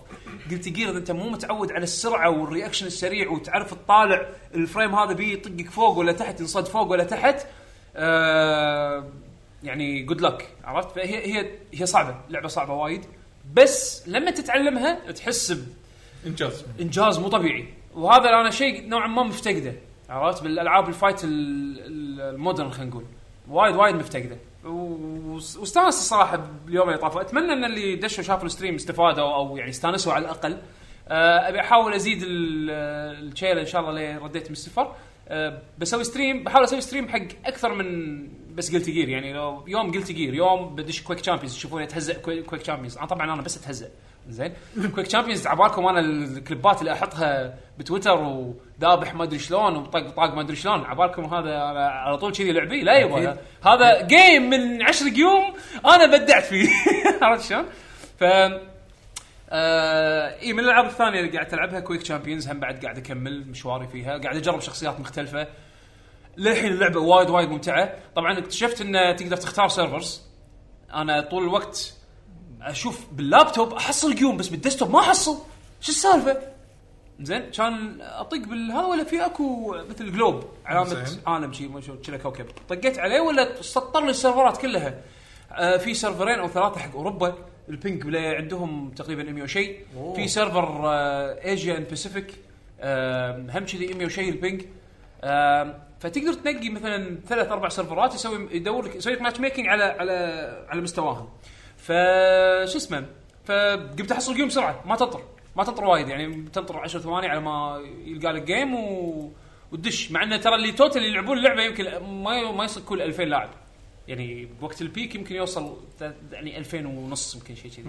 Speaker 2: قلت جير اذا انت مو متعود على السرعه والرياكشن السريع وتعرف تطالع الفريم هذا بيه يطقك فوق ولا تحت ينصد فوق ولا تحت آه يعني جود لك عرفت فهي هي هي صعبه لعبه صعبه وايد بس لما تتعلمها تحس ب-
Speaker 3: انجاز
Speaker 2: انجاز مو طبيعي وهذا انا شيء نوعا ما مفتقده عرفت بالالعاب الفايت ال- ال- المودرن خلينا نقول وايد وايد مفتقده و- واستانست الصراحه باليوم اللي طافوا اتمنى ان اللي دشوا شافوا الستريم استفادوا او يعني استانسوا على الاقل آه، ابي احاول ازيد ال- الشيله ان شاء الله لين رديت من الصفر آه، بسوي ستريم بحاول اسوي ستريم حق اكثر من بس قلت جير يعني لو يوم قلت جير يوم بدش كويك تشامبيونز تشوفوني اتهزأ كوي- كويك تشامبيونز انا طبعا انا بس اتهزأ زين كويك تشامبيونز عبالكم انا الكليبات اللي احطها بتويتر وذابح ما ادري شلون وطق طاق ما ادري شلون عبالكم هذا أنا على طول كذي لعبي لا يبا هذا جيم من 10 يوم انا بدعت فيه عرفت شلون؟ ف آه اي من الالعاب الثانيه اللي قاعد العبها كويك تشامبيونز هم بعد قاعد اكمل مشواري فيها قاعد اجرب شخصيات مختلفه للحين اللعبه وايد وايد ممتعه طبعا اكتشفت ان تقدر تختار سيرفرز انا طول الوقت اشوف باللابتوب احصل قيوم بس بالديسktop ما احصل شو السالفه؟ زين كان اطق بالها ولا في اكو مثل جلوب علامه
Speaker 3: زين.
Speaker 2: عالم شي ما شو كنا كوكب طقيت عليه ولا سطر لي السيرفرات كلها آه في سيرفرين او ثلاثه حق اوروبا البينج بلا عندهم تقريبا 100 وشي في سيرفر آه ايجيا اند باسيفيك آه هم كذي 100 وشي البينج آه فتقدر تنقي مثلا ثلاث اربع سيرفرات يسوي يدور لك يسوي لك ماتش ميكنج على على على مستواهم ف شو اسمه فقمت احصل جيم بسرعه ما تنطر ما تنطر وايد يعني تنطر 10 ثواني على ما يلقى لك جيم و... وتدش مع انه ترى اللي توتال يلعبون اللعبه يمكن ما ما يصير كل 2000 لاعب يعني بوقت البيك يمكن يوصل ت- يعني 2000 ونص يمكن شيء كذي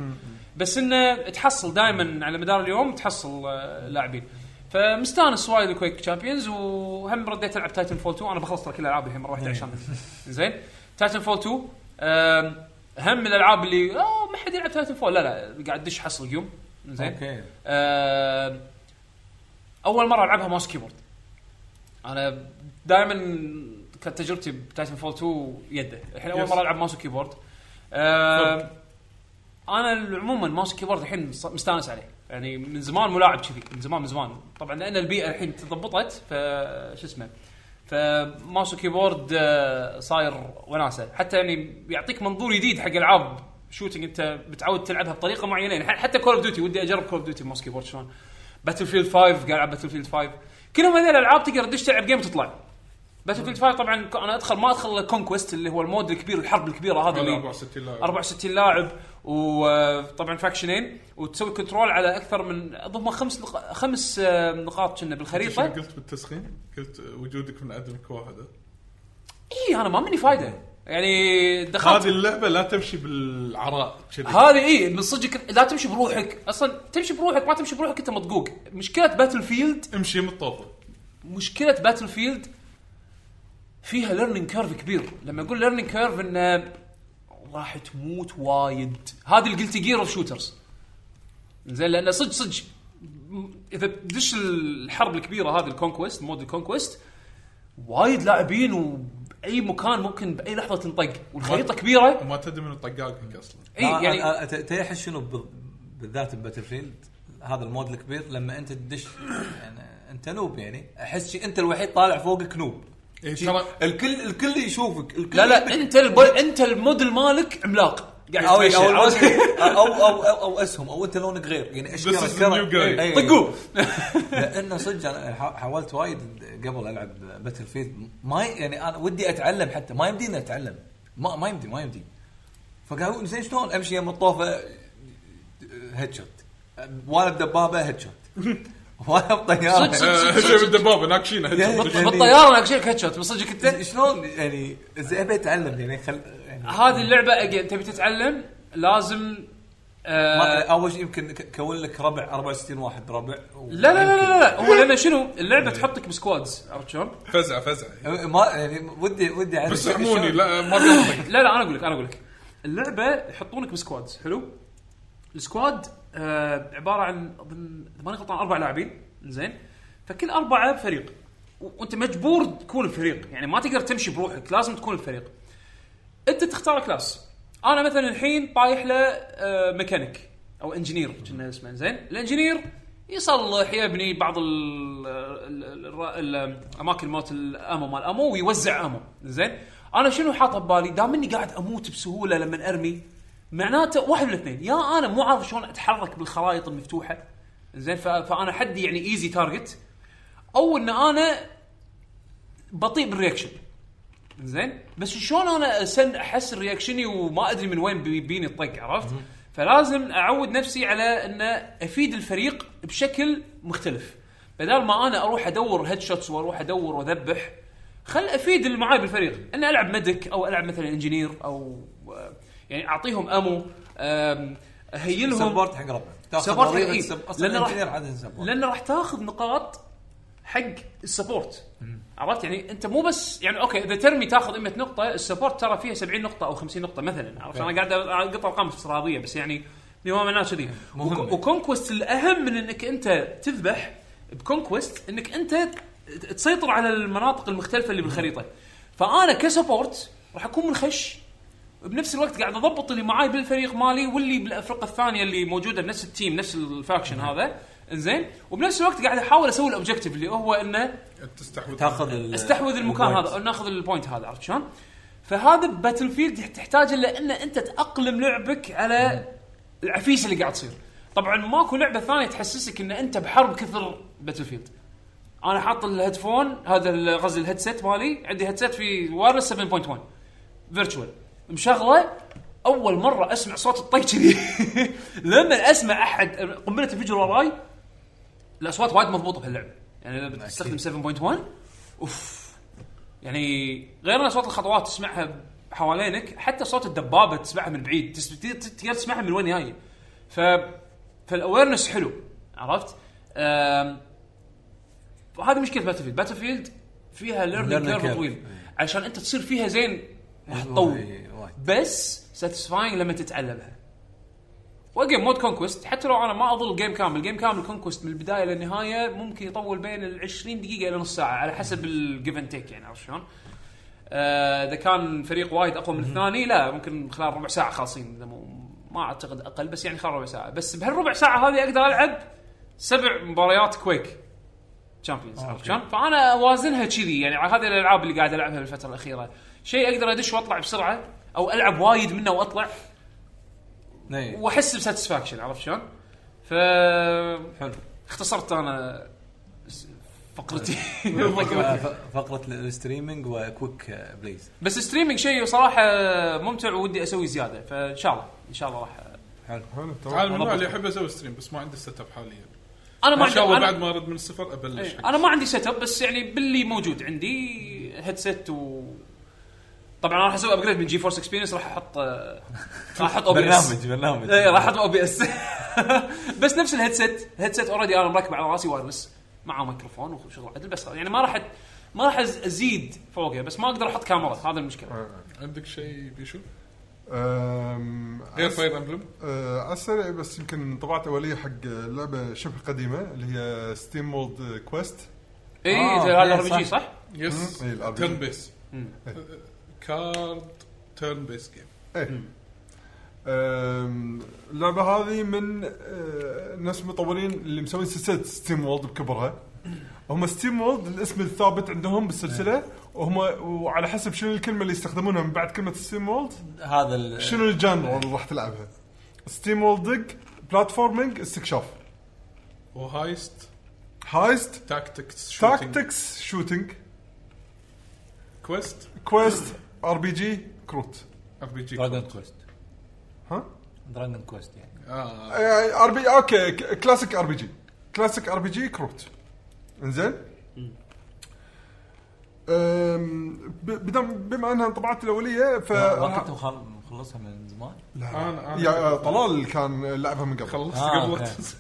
Speaker 2: بس انه تحصل دائما على مدار اليوم تحصل آه، لاعبين فمستانس وايد الكويك تشامبيونز وهم رديت العب تايتن فول 2 انا بخلص ترى كل العابي الحين مره واحده عشان زين تايتن فول 2 آم، هم من الالعاب اللي اه ما حد يلعب تايتن فول لا لا قاعد دش حصل اليوم زين
Speaker 6: اوكي
Speaker 2: آه، اول مره العبها ماوس كيبورد انا دائما كانت تجربتي بتايتن فول 2 يده الحين اول
Speaker 3: Yes.
Speaker 2: مره العب ماوس وكيبورد آه، انا عموما ماوس كيبورد الحين ص- مستانس عليه يعني من زمان ملاعب كذي من زمان من زمان طبعا لان البيئه الحين تضبطت ف شو اسمه فماوس وكيبورد آه، صاير وناسه حتى يعني يعطيك منظور جديد حق العاب شوتنج انت متعود تلعبها بطريقه معينه يعني ح- حتى كول اوف ديوتي ودي اجرب كول اوف ديوتي ماوس كيبورد شلون باتل فيلد 5 قاعد العب باتل فيلد 5 كلهم هذول الالعاب تقدر تدش تلعب جيم وتطلع باتل فيلد 5 طبعا ك- انا ادخل ما ادخل كونكويست اللي هو المود الكبير الحرب الكبيره هذا
Speaker 3: على
Speaker 2: اللي
Speaker 3: 64 لاعب
Speaker 2: 64 لاعب وطبعا آه، فاكشنين وتسوي كنترول على اكثر من اظن خمس نق... خمس آه، نقاط كنا
Speaker 3: شنو
Speaker 2: بالخريطه
Speaker 3: قلت بالتسخين؟ قلت وجودك من عدمك واحد
Speaker 2: اي انا ما مني فايده يعني
Speaker 3: هذه
Speaker 2: دخلت
Speaker 3: اللعبه لا تمشي بالعراء كذي
Speaker 2: هذه اي من صدق لا تمشي بروحك اصلا تمشي بروحك ما تمشي بروحك انت مطقوق مشكله باتل فيلد
Speaker 3: امشي من الطوفه
Speaker 2: مشكله باتل فيلد فيها ليرنينج كيرف كبير لما اقول ليرنينج كيرف انه راح تموت وايد هذه الجلتي جير اوف شوترز زين لان صدق صدق م- اذا تدش الحرب الكبيره هذه الكونكويست مود الكونكويست وايد لاعبين وباي مكان ممكن باي لحظه تنطق والخريطه كبيره
Speaker 3: وما تدري من طقاقك اصلا
Speaker 2: اي يعني
Speaker 6: يعني تحس شنو ب- بالذات بباتل فيلد هذا المود الكبير لما انت تدش يعني انت نوب يعني احس شي انت الوحيد طالع فوقك نوب
Speaker 3: إيه،
Speaker 6: شي-
Speaker 3: ترى-
Speaker 6: الكل الكل يشوفك الكل
Speaker 2: لا يعني لا انت الب... انت الموديل مالك عملاق قاعد
Speaker 6: أو,
Speaker 2: تمشي
Speaker 6: أو, أو,
Speaker 2: عرفت؟
Speaker 6: يعني أو, أو, أو, أو اسهم او انت لونك غير يعني
Speaker 3: This is the
Speaker 6: اشكال
Speaker 3: new guy.
Speaker 2: طقوه
Speaker 6: لانه صدق انا حا- حاولت وايد قبل العب باتل فيلد ما ي- يعني انا ودي اتعلم حتى ما يمديني اتعلم ما ما يمدي ما يمدي فقالوا زين شلون امشي يم الطوفه هيد شوت وانا بدبابه هيد شوت وانا
Speaker 2: صدق،
Speaker 6: بطياره
Speaker 2: صدق.
Speaker 3: آه، شيء بالدبابه ناكشينه
Speaker 6: يعني-
Speaker 2: بالطياره انك شيك هيد شوت من صدقك انت
Speaker 6: شلون يعني زين ابي اتعلم يعني خل يعني
Speaker 2: هذه اللعبه أجين تبي تتعلم لازم
Speaker 6: ما-
Speaker 2: آه
Speaker 6: اول شيء يمكن ك- كون لك ربع 64 واحد بربع و-
Speaker 2: لا لا لا لا, لا. هو لان شنو اللعبه تحطك بسكوادز عرفت شلون؟
Speaker 3: فزعه فزعه
Speaker 6: ما يعني ودي ودي اعرف
Speaker 3: بس
Speaker 6: شلون-
Speaker 3: عموني لا ما بينطق
Speaker 2: لا لا انا اقول لك انا اقول لك اللعبه يحطونك بسكوادز حلو السكواد آه عباره عن اظن إذا ماني غلطان اربع لاعبين زين فكل اربعه بفريق و- وانت مجبور تكون بفريق يعني ما تقدر تمشي بروحك لازم تكون بفريق انت تختار كلاس انا مثلا الحين طايح له آه ميكانيك او انجينير كنا اسمه زين الانجينير يصلح يبني بعض ال- ال- ال- الر- ال- اماكن موت الامو مال امو ويوزع امو زين انا شنو حاطه ببالي دام اني قاعد اموت بسهوله لما ارمي معناته واحد من الاثنين يا انا مو عارف شلون اتحرك بالخرائط المفتوحه زين ف- فانا حدي يعني ايزي تارجت او ان انا بطيء بالرياكشن زين بس شلون انا اسن احس رياكشني وما ادري من وين بي- بيني الطق عرفت؟ فلازم اعود نفسي على ان افيد الفريق بشكل مختلف بدل ما انا اروح ادور هيد شوتس واروح ادور واذبح خل افيد اللي معاي بالفريق اني العب ميديك او العب مثلا انجينير او آه، يعني اعطيهم امو آم، اهيلهم
Speaker 6: سبورت حق ربع
Speaker 2: سبورت حق
Speaker 6: ضريبة
Speaker 2: إيه.
Speaker 6: سب-
Speaker 2: لأن
Speaker 6: اصلا
Speaker 2: راح-
Speaker 6: الانجنير عاده سبورت
Speaker 2: لانه راح تاخذ نقاط حق السبورت عرفت يعني انت مو بس يعني اوكي اذا ترمي تاخذ 100 نقطه السبورت ترى فيها 70 نقطه او 50 نقطه مثلا عرفت انا قاعد اقطع ارقام افتراضيه بس يعني بما معناه كذي
Speaker 6: مهمة.
Speaker 2: وك- وكونكوست الاهم من انك انت تذبح بكونكوست انك انت ت- تسيطر على المناطق المختلفه اللي بالخريطه فانا كسبورت راح اكون منخش بنفس الوقت قاعد اضبط اللي معاي بالفريق مالي واللي بالافرقه الثانيه اللي موجوده بنفس التيم نفس الفاكشن هذا زين وبنفس الوقت قاعد احاول اسوي الاوبجيكتيف اللي هو انه
Speaker 3: تستحوذ
Speaker 6: تاخذ ال-
Speaker 2: استحوذ المكان
Speaker 6: البوينت.
Speaker 2: هذا أو ناخذ البوينت هذا عرفت شلون؟ فهذا باتل فيلد تحتاج الا ان انت تاقلم لعبك على العفيس اللي قاعد تصير. طبعا ماكو لعبه ثانيه تحسسك ان انت بحرب كثر باتل فيلد. انا حاط الهيدفون هذا ال- قصدي الهيدسيت مالي عندي هيدسيت في وايرلس 7.1 فيرتشوال مشغله اول مره اسمع صوت الطي كذي لما اسمع احد قنبله انفجر وراي الاصوات وايد مضبوطه بهاللعبه يعني لما بتستخدم 7.1 اوف يعني غير ان صوت الخطوات تسمعها حوالينك حتى صوت الدبابه تسمعها من بعيد تس- ت- ت- تقدر تسمعها من وين جايه ف فالاويرنس حلو عرفت؟ أم... هذه مشكله باتل فيلد باتل فيلد فيها ليرنينج
Speaker 6: Learning
Speaker 2: كيرف
Speaker 6: curve. إيه.
Speaker 2: طويل عشان انت تصير فيها زين راح
Speaker 6: وايد-
Speaker 2: تطول
Speaker 6: وايد.
Speaker 2: بس ساتيسفاينغ لما تتعلمها واجين مود كونكوست حتى لو انا ما اظل جيم كامل جيم كامل كونكوست من البدايه للنهايه ممكن يطول بين ال 20 دقيقه الى نص ساعه على حسب الجيف اند تيك يعني عرفت شلون؟ آه، اذا كان فريق وايد اقوى من الثاني لا ممكن خلال ربع ساعه خالصين إذا مو- ما اعتقد اقل بس يعني خلال ربع ساعه بس بهالربع ساعه هذه اقدر العب سبع مباريات كويك تشامبيونز عرفت شلون؟ فانا اوازنها كذي يعني على هذه الالعاب اللي قاعد العبها بالفتره الاخيره شيء اقدر ادش واطلع بسرعه او العب وايد منه واطلع
Speaker 6: إيه.
Speaker 2: واحس بساتسفاكشن عرفت شلون؟ ف
Speaker 6: حلو
Speaker 2: اختصرت انا س- فقرتي طيب.
Speaker 6: ف- فقره الستريمنج وكويك بليز
Speaker 2: بس ستريمينج شيء صراحه ممتع ودي اسوي زياده فان شاء الله ان شاء الله راح
Speaker 4: حلو تمام
Speaker 3: انا من النوع اللي احب اسوي ستريم بس ما عندي سيت اب حاليا
Speaker 2: انا ما
Speaker 3: ان
Speaker 2: عندي
Speaker 3: شاء الله
Speaker 2: أنا-
Speaker 3: بعد ما ارد من الصفر ابلش
Speaker 2: إيه،
Speaker 3: حق
Speaker 2: انا ما عندي سيت اب بس يعني باللي موجود عندي هيدسيت و طبعا راح اسوي ابجريد من جي فورس اكسبيرينس راح احط آه، راح احط OBS.
Speaker 6: برنامج برنامج
Speaker 2: اي إيه، راح احط او بي اس بس نفس الهيدسيت هيدسيت اوريدي انا مركب على راسي وايرلس معه ميكروفون وشغل عدل بس يعني ما راح أت- ما راح أز- ازيد فوقه بس ما اقدر احط كاميرا هذا المشكله
Speaker 3: عندك شيء بيشو
Speaker 4: أم،
Speaker 3: غير
Speaker 4: أس-
Speaker 3: فاير امبلم
Speaker 4: أه، على السريع بس يمكن انطباعات اوليه حق لعبه شبه قديمه اللي هي ستيم مولد كويست
Speaker 2: اي
Speaker 6: آه،
Speaker 2: هذا
Speaker 6: إيه،
Speaker 2: الار بي جي
Speaker 6: صح.
Speaker 2: صح؟
Speaker 3: يس
Speaker 4: مم. إيه، ال RPG.
Speaker 3: تيرن بيس
Speaker 2: مم.
Speaker 3: Uh, كارد تيرن بيس جيم
Speaker 4: ايه أم، اللعبه هذه من أه، ناس مطورين اللي مسوين سلسله ستيم وولد بكبرها هم ستيم وولد الاسم الثابت عندهم بالسلسله وهم وعلى حسب شنو الكلمه اللي يستخدمونها من بعد كلمه ستيم وولد
Speaker 6: هذا ال-
Speaker 4: شنو الجانر اللي راح تلعبها ستيم وولدنج بلاتفورمينج استكشاف
Speaker 3: وهايست
Speaker 4: هايست
Speaker 3: تاكتكس شوتينج
Speaker 4: تاكتكس شوتنج
Speaker 3: كويست
Speaker 4: كويست ار بي جي كروت
Speaker 3: ار بي جي
Speaker 6: دراجون كويست
Speaker 4: ها؟
Speaker 6: دراجون كويست يعني
Speaker 3: اه
Speaker 4: ار بي اوكي ك- كلاسيك ار بي جي كلاسيك ار بي جي كروت انزين أم، ب- بدم- بما انها انطباعات الاوليه ف
Speaker 2: آه،
Speaker 6: ما كنت مخل- مخلصها من زمان
Speaker 3: انا
Speaker 4: يا
Speaker 3: انا
Speaker 4: آه، طلال كان لعبها من قبل
Speaker 3: خلصت
Speaker 6: آه،
Speaker 3: قبل لا
Speaker 6: أوكي.
Speaker 3: تنزل.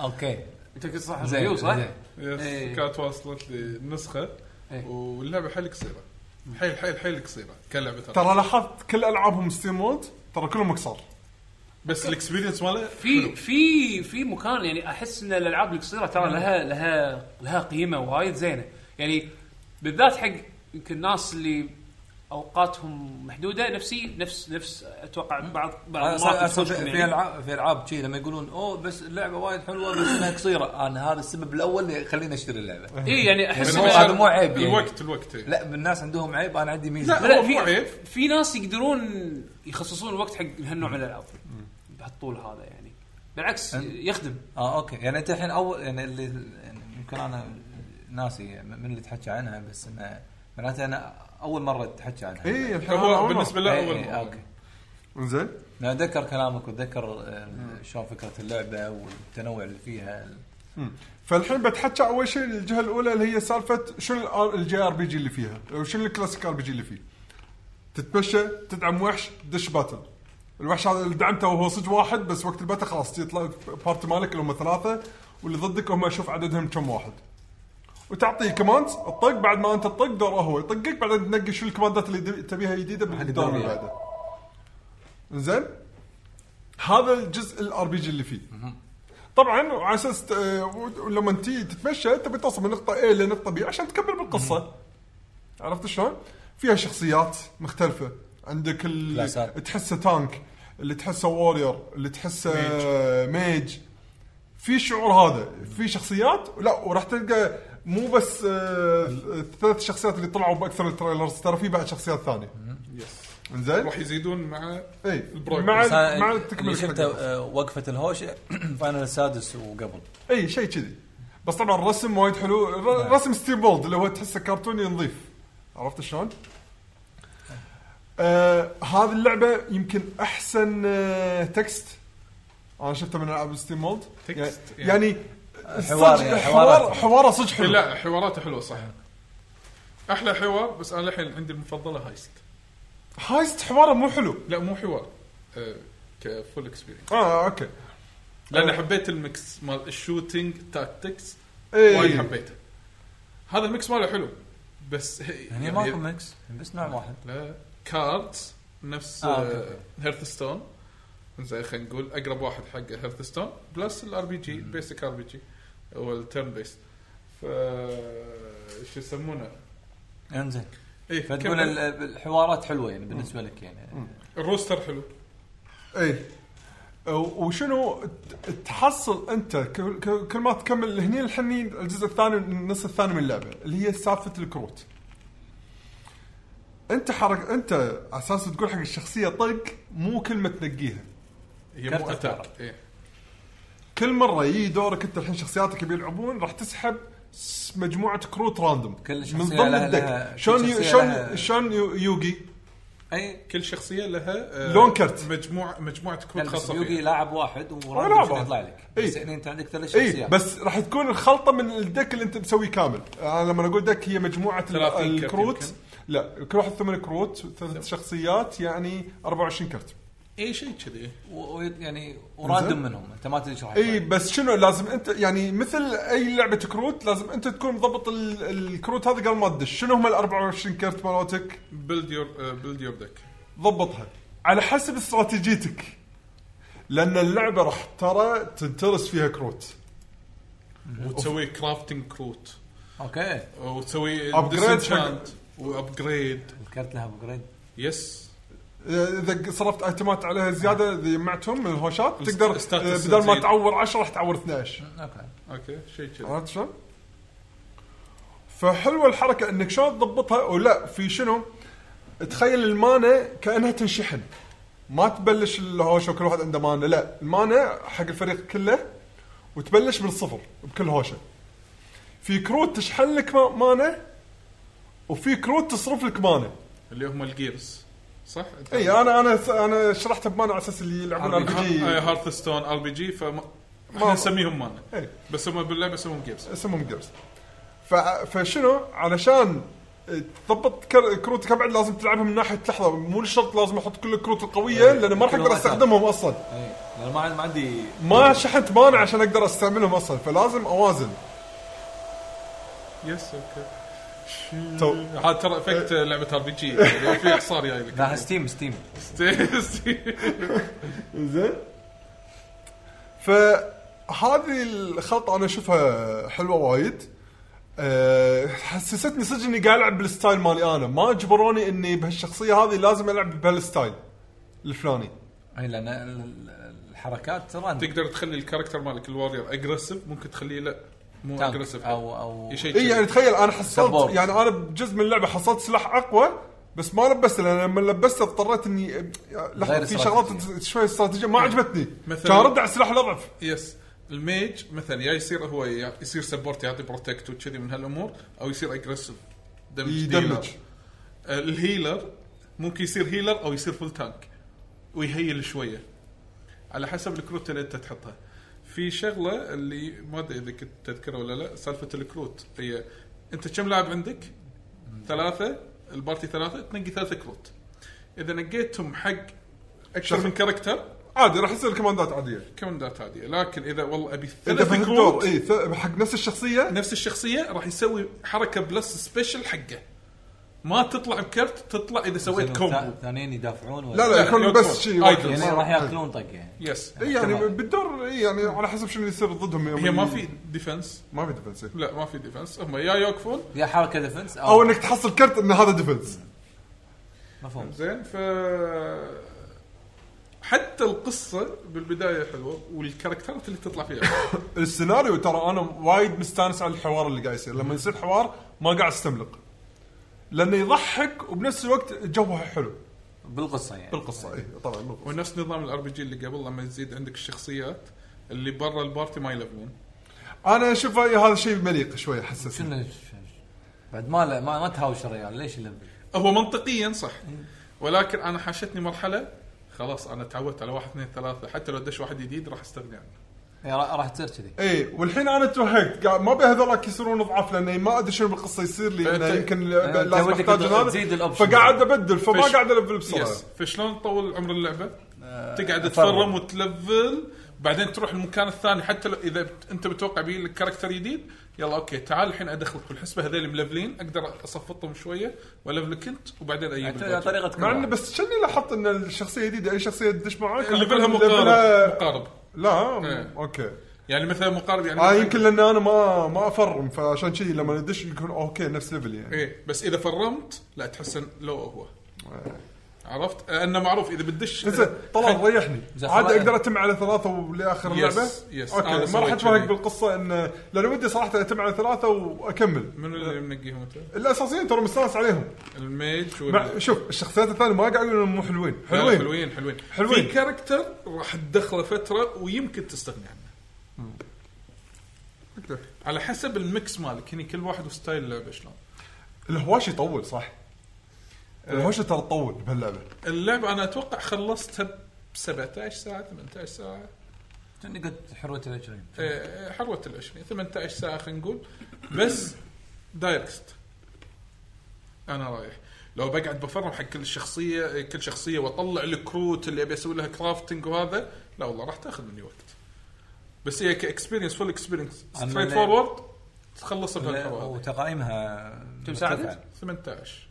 Speaker 6: اوكي
Speaker 2: انت كنت صح
Speaker 6: زين،
Speaker 2: ريفيو صح؟
Speaker 6: زين.
Speaker 3: يس
Speaker 2: إيه.
Speaker 3: كانت واصلت لي نسخه
Speaker 2: إيه.
Speaker 3: واللعبه حيل قصيره حيل حيل حيل قصيره كلعبه ترى
Speaker 4: ترى لاحظت كل العابهم ستيم وولد ترى كلهم قصار
Speaker 3: بس الاكسبيرينس ماله حلو.
Speaker 2: في في في مكان يعني احس ان الالعاب القصيره ترى لها لها لها قيمه وايد زينه يعني بالذات حق يمكن الناس اللي اوقاتهم محدوده نفسي نفس نفس اتوقع بعض بعض
Speaker 6: أنا
Speaker 2: المناطق
Speaker 6: صار- صار
Speaker 2: تفوتكم يعني.
Speaker 6: في في العاب في العاب شي لما يقولون اوه بس اللعبه وايد حلوه بس انها قصيره انا هذا السبب الاول اللي يخليني اشتري اللعبه
Speaker 2: اي يعني احس
Speaker 3: بس
Speaker 6: هو
Speaker 3: هو
Speaker 2: إنه-
Speaker 6: هذا مو عيب يعني.
Speaker 3: الوقت الوقت إيه.
Speaker 6: لا الناس عندهم عيب انا عندي ميزه
Speaker 3: لا
Speaker 2: لا
Speaker 3: هو مو
Speaker 2: في
Speaker 3: عيب
Speaker 2: في ناس يقدرون يخصصون الوقت حق هالنوع من الالعاب بهالطول هذا يعني بالعكس يخدم
Speaker 6: اه اوكي يعني انت الحين اول يعني اللي يعني يمكن انا ناسي من اللي تحكي عنها بس انه معناته انا اول مره تحكي عنها
Speaker 4: اي الحين إيه، أول
Speaker 3: هو
Speaker 4: مرة.
Speaker 3: بالنسبه له
Speaker 6: إيه،
Speaker 3: اول
Speaker 6: إيه،
Speaker 3: مرة.
Speaker 6: اوكي
Speaker 4: انزين
Speaker 6: انا اتذكر كلامك واتذكر آه، شلون فكره اللعبه والتنوع اللي فيها
Speaker 4: فالحين بتحكى اول شيء الجهه الاولى اللي هي سالفه شنو الجي ار بي جي اللي فيها او شنو الكلاسيك ار بي جي اللي فيه تتمشى تدعم وحش دش باتل الوحش هذا اللي دعمته وهو صج واحد بس وقت الباتل خلاص يطلع بارتي مالك اللي هم ثلاثه واللي ضدك هم شوف عددهم كم واحد وتعطيه كوماندز الطق بعد ما انت تطق دوره هو يطقك بعدين تنقي شو الكوماندات اللي دب- تبيها جديده بالدور اللي
Speaker 6: يدورها.
Speaker 4: بعده زين هذا الجزء الار بي جي اللي فيه طبعا وعلى اساس ت- آه، و- لما تي تتمشى تبي توصل من نقطه A لنقطه B عشان تكمل بالقصه عرفت شلون؟ فيها شخصيات مختلفه عندك اللي
Speaker 6: كلاسات.
Speaker 4: تحسه تانك اللي تحسه وورير اللي تحسه ميج آه، في شعور هذا في شخصيات لا وراح تلقى مو بس آه، الثلاث شخصيات اللي طلعوا باكثر التريلرز ترى في بعد شخصيات ثانيه
Speaker 3: يس
Speaker 4: انزين
Speaker 3: راح يزيدون مع
Speaker 4: اي
Speaker 3: البروجرس.
Speaker 4: إيه. مع
Speaker 6: بس أنا
Speaker 4: مع
Speaker 6: اللي شفته
Speaker 4: التكمله
Speaker 6: آه، وقفه الهوش فاينل السادس وقبل
Speaker 4: اي شيء كذي بس طبعا الرسم وايد حلو
Speaker 3: نعم.
Speaker 4: الر- رسم ستيف بولد اللي هو تحسه كرتوني نظيف عرفت شلون؟ آه هذه اللعبه يمكن احسن آه تكست انا شفته من العاب ستيم بولد
Speaker 3: تكست، يعني.
Speaker 4: يعني
Speaker 6: حوار-
Speaker 4: صج-
Speaker 6: يعني
Speaker 4: حوار
Speaker 6: حوارات.
Speaker 4: حواره صدق
Speaker 3: إيه،
Speaker 4: حلو
Speaker 3: لا حواراته حلوه صح احلى حوار بس انا الحين عندي المفضله هايست
Speaker 4: هايست حواره مو حلو
Speaker 3: لا مو حوار آه، كفول اكسبيرينس
Speaker 4: اه اوكي
Speaker 3: لان حبيت الميكس مال الشوتنج تاكتكس وايد
Speaker 4: اي
Speaker 3: حبيته هذا الميكس ماله حلو بس يعني
Speaker 6: هني يعني
Speaker 4: يعني
Speaker 6: ماكو ميكس بس نوع
Speaker 4: آه.
Speaker 6: واحد
Speaker 3: لا كاردز نفس
Speaker 6: آه، أوكي.
Speaker 3: هيرثستون زين خلينا نقول اقرب واحد حق هيرثستون بلس الار بي جي البيسك ار بي جي او التيرن بيس ف شو يسمونه؟ إيه،
Speaker 6: انزين
Speaker 3: اي
Speaker 6: فتقول ال- الحوارات حلوه يعني بالنسبه لك يعني
Speaker 3: الروستر حلو
Speaker 4: اي إيه. أه، وشنو ت- تحصل انت كل- كل كل ما تكمل هني الحني الجزء الثاني النص الثاني من اللعبه اللي هي سالفه الكروت انت حرك انت على اساس تقول حق الشخصيه طق مو كلمه تنقيها
Speaker 3: هي
Speaker 6: كرت
Speaker 3: مو
Speaker 6: اختيار.
Speaker 3: اتاك إيه.
Speaker 4: كل مره يجي دورك انت الحين شخصياتك بيلعبون راح تسحب س- مجموعه كروت راندوم
Speaker 6: كل شخصية
Speaker 4: من ضمن
Speaker 6: لها- لها-
Speaker 4: الدك
Speaker 6: كل
Speaker 4: شلون يو-
Speaker 6: شخصية
Speaker 4: شلون
Speaker 6: لها-
Speaker 4: شلون يو- يوغي
Speaker 6: اي
Speaker 3: كل شخصيه لها آه،
Speaker 4: لون كرت.
Speaker 3: مجموعه مجموعه كروت
Speaker 6: بس
Speaker 3: خاصه
Speaker 6: يوغي
Speaker 3: فيها
Speaker 6: لاعب واحد
Speaker 4: لاعب
Speaker 6: وراندوم شنو
Speaker 4: واحد.
Speaker 6: يطلع لك
Speaker 4: إي.
Speaker 6: بس يعني انت عندك ثلاث
Speaker 4: اي
Speaker 6: شخصيات
Speaker 4: إيه، بس راح تكون الخلطه من الدك اللي انت مسويه كامل انا لما اقول دك هي مجموعه ال-
Speaker 3: 30 كرت
Speaker 4: الكروت
Speaker 3: يمكن.
Speaker 4: لا كل واحد ثمان كروت ثلاث شخصيات يعني 24 كرت
Speaker 3: اي إيه، شيء كذي
Speaker 6: و- ويط- يعني وراندوم منهم انت ما تدري ايش راح
Speaker 4: اي
Speaker 6: يطلع.
Speaker 4: إيه، بس شنو لازم انت يعني مثل اي لعبه كروت لازم انت تكون مضبط ال- الكروت هذه قبل ما تدش شنو هم ال 24 كرت مالتك
Speaker 3: بيلد يور بيلد يور دك
Speaker 4: ضبطها على حسب استراتيجيتك لان اللعبه راح ترى تنترس فيها كروت
Speaker 3: وتسوي كرافتنج كروت
Speaker 6: اوكي
Speaker 3: وتسوي
Speaker 4: Upgrade
Speaker 3: uh, disenchant وابجريد
Speaker 6: الكرت لها ابجريد
Speaker 3: يس
Speaker 4: اذا صرفت ايتمات عليها زياده اذا جمعتهم من الهوشات
Speaker 3: الست-
Speaker 4: تقدر
Speaker 3: الستاتس
Speaker 4: آه، بدل ما
Speaker 3: تزيد.
Speaker 4: تعور 10 راح تعور 12
Speaker 6: اوكي
Speaker 3: اوكي شيء كذي
Speaker 4: عرفت شلون؟ فحلوه الحركه انك شلون تضبطها ولا في شنو؟ تخيل المانا كانها تنشحن ما تبلش الهوشه وكل واحد عنده مانا لا المانا حق الفريق كله وتبلش من الصفر بكل هوشه في كروت تشحن لك ما- مانا وفي كروت تصرف لك مانا
Speaker 3: اللي هم الجيرز صح؟ طيب.
Speaker 4: اي انا انا انا شرحتها بمانا على اساس اللي يلعبون ار بي
Speaker 3: إيه، آه،
Speaker 4: جي
Speaker 3: هارثستون ار بي جي فما
Speaker 4: ما-
Speaker 3: احنا نسميهم مانا
Speaker 4: إيه.
Speaker 3: بس هم باللعبه يسموهم جيرز
Speaker 4: اسمهم جيرز ف... فشنو علشان تضبط كر... كروتك ابعد لازم تلعبها من ناحيه لحظه مو شرط لازم احط كل الكروت القويه لان ما راح
Speaker 6: كل
Speaker 4: اقدر
Speaker 6: واحد.
Speaker 4: استخدمهم اصلا
Speaker 6: اي لان ما عندي- ما عندي
Speaker 4: ما شحنت مانع عشان اقدر استعملهم اصلا فلازم اوازن
Speaker 3: يس اوكي
Speaker 4: تو... إيه.
Speaker 3: هذا ترى افكت لعبه ار بي جي يعني في حصار جاي لك
Speaker 6: لا ستيم ستيم
Speaker 4: زين فهذه الخلطه انا اشوفها حلوه وايد أه حسستني صدق اني قاعد العب بالستايل مالي انا ما اجبروني اني بهالشخصيه هذه لازم العب بهالستايل الفلاني
Speaker 6: اي لان ال- ال- الحركات راندوم
Speaker 3: تقدر تخلي الكاركتر مالك الوارير اجريسيف ممكن تخليه لا مو
Speaker 6: تانك
Speaker 3: اجريسيف
Speaker 6: أو- أو-
Speaker 3: شيء
Speaker 4: اي
Speaker 3: كذي.
Speaker 4: يعني تخيل انا حصلت
Speaker 6: سبورت.
Speaker 4: يعني انا بجزء من اللعبه حصلت سلاح اقوى بس ما لبسته لان لما لبسته اضطريت اني لحظه
Speaker 6: غير
Speaker 4: في
Speaker 6: استراتيجية. نعم.
Speaker 4: شغلات شوي استراتيجيه ما عجبتني
Speaker 3: مثلاً-
Speaker 4: كان ارد على السلاح الاضعف
Speaker 3: يس الميج مثلا يا يصير هو يا- يصير سبورت يعطي بروتكت وكذي من هالامور او يصير اجريسيف
Speaker 4: يدمج
Speaker 3: الهيلر آه، ممكن يصير هيلر او يصير فول تانك ويهيل شويه على حسب الكروت اللي انت تحطها في شغله اللي ما ادري اذا كنت تذكرها ولا لا سالفه الكروت هي انت كم لاعب عندك؟ ثلاثه البارتي ثلاثه تنقي ثلاثه كروت اذا نقيتهم حق اكثر من كاركتر
Speaker 4: عادي راح يصير كوماندات عاديه
Speaker 3: كومندات عاديه لكن اذا والله ابي
Speaker 4: انت
Speaker 3: ثلاث
Speaker 4: بهالدور
Speaker 3: كروت
Speaker 4: اي ث- حق نفس الشخصيه
Speaker 3: نفس الشخصيه راح يسوي حركه بلس سبيشل حقه ما تطلع بكرت تطلع اذا سويت كومبو
Speaker 6: ثانيين يدافعون ولا-
Speaker 4: لا لا يكون
Speaker 3: يكون
Speaker 4: بس شيء
Speaker 3: آيدل.
Speaker 4: واحد.
Speaker 6: يعني راح ياكلون طق يعني
Speaker 3: يس
Speaker 4: إي يعني
Speaker 6: احتمال.
Speaker 4: بالدور إي يعني على حسب شنو يصير ضدهم يوم
Speaker 3: هي ما
Speaker 4: ال-
Speaker 3: في ديفنس
Speaker 4: ما في ديفنس
Speaker 6: آه.
Speaker 4: إي.
Speaker 3: لا ما في ديفنس هم يا يوقفون
Speaker 6: يا حركه ديفنس
Speaker 4: او انك تحصل كرت ان هذا ديفنس
Speaker 6: مفهوم
Speaker 3: زين ف حتى القصه بالبدايه حلوه والكاركترات اللي تطلع فيها
Speaker 4: السيناريو ترى انا وايد مستانس على الحوار اللي قاعد يصير لما يصير حوار ما قاعد استملق لانه يضحك وبنفس الوقت جوه حلو
Speaker 6: بالقصه يعني
Speaker 4: بالقصه اي طبعا بالقصة.
Speaker 3: ونفس نظام الار بي جي اللي قبل لما يزيد عندك الشخصيات اللي برا البارتي ما يلفلون
Speaker 4: انا اشوف هذا شيء مليق شوي احسس
Speaker 6: شنو بعد ما لا ما, ما تهاوش الريال ليش اللي
Speaker 3: هو منطقيا صح ولكن انا حاشتني مرحله خلاص انا تعودت على واحد اثنين ثلاثه حتى لو دش واحد جديد راح استغني عنه
Speaker 6: يعني را- راح تصير كذي
Speaker 4: اي والحين انا توهقت قاعد ما ابي هذولاك يصيرون ضعاف لاني ما ادري شنو بالقصه يصير لي
Speaker 3: فأنت-
Speaker 4: إنه يمكن
Speaker 6: أنت
Speaker 4: لازم
Speaker 6: ودك
Speaker 4: احتاج هذا
Speaker 6: تزيد الoption.
Speaker 4: فقاعد ابدل فما
Speaker 3: فش-
Speaker 4: قاعد آه، الفل بسرعه
Speaker 3: يس فشلون تطول عمر اللعبه؟ تقعد
Speaker 6: أفرم.
Speaker 3: تفرم وتلفل بعدين تروح المكان الثاني حتى لو اذا بت... انت متوقع بيه لك كاركتر جديد يلا اوكي تعال الحين ادخلك بالحسبه هذول ملفلين اقدر اصفطهم شويه والفلك انت وبعدين اجيب
Speaker 6: يعني
Speaker 3: الباقي.
Speaker 6: طريقه
Speaker 4: مع انه بس شني لاحظت ان الشخصيه الجديده اي شخصيه تدش معاك
Speaker 3: ليفلها مقارب
Speaker 4: ليفلها-
Speaker 3: مقارب
Speaker 4: لا
Speaker 3: إيه.
Speaker 4: اوكي
Speaker 3: يعني مثلا مقارب يعني
Speaker 4: اه يمكن لان انا ما ما افرم فعشان كذي لما ادش يكون اوكي نفس ليفل يعني
Speaker 3: ايه بس اذا فرمت لا تحس إن لو هو عرفت؟ آه، انه معروف اذا بتدش
Speaker 4: زين طلال ريحني
Speaker 6: زين،
Speaker 4: عاد
Speaker 6: خلاص.
Speaker 4: اقدر اتم على ثلاثه ولاخر
Speaker 3: يس،
Speaker 4: اللعبه
Speaker 3: يس، أنا
Speaker 4: اوكي ما
Speaker 3: سويت
Speaker 4: راح اتفرق
Speaker 3: كذي.
Speaker 4: بالقصه انه لان ودي صراحه اتم على ثلاثه واكمل
Speaker 3: منو اللي منقيهم انت؟
Speaker 4: الاساسيين ترى مستانس عليهم
Speaker 3: الميج
Speaker 4: مع
Speaker 3: ولا
Speaker 4: شوف الشخصيات الثانيه ما قاعد اقول انهم مو حلوين
Speaker 3: لا، لا،
Speaker 4: حلوين
Speaker 3: حلوين حلوين
Speaker 4: حلوين.
Speaker 3: في كاركتر راح تدخله فتره ويمكن تستغني عنه على حسب الميكس مالك هني كل واحد وستايل اللعبه شلون
Speaker 4: الهواش يطول صح
Speaker 3: إيه.
Speaker 4: الهوشه ترى تطول بهاللعبه
Speaker 3: اللعبه انا اتوقع خلصتها ب 17 ساعه 18 ساعه
Speaker 6: كأني قلت حروه ال 20
Speaker 3: إيه، حروه ال 20 18 ساعه خلينا نقول بس دايركت انا رايح لو بقعد بفرم حق كل شخصيه كل شخصيه واطلع الكروت اللي ابي اسوي لها كرافتنج وهذا لا والله راح تاخذ مني وقت بس هي كاكسبيرينس فول اكسبيرينس
Speaker 6: أما
Speaker 3: ستريت
Speaker 6: لا-
Speaker 3: فورورد تخلص
Speaker 6: لا،
Speaker 3: بهالحوار هذه.
Speaker 6: وتقائيمها
Speaker 2: كم ساعة
Speaker 6: مرتفعة.
Speaker 3: 18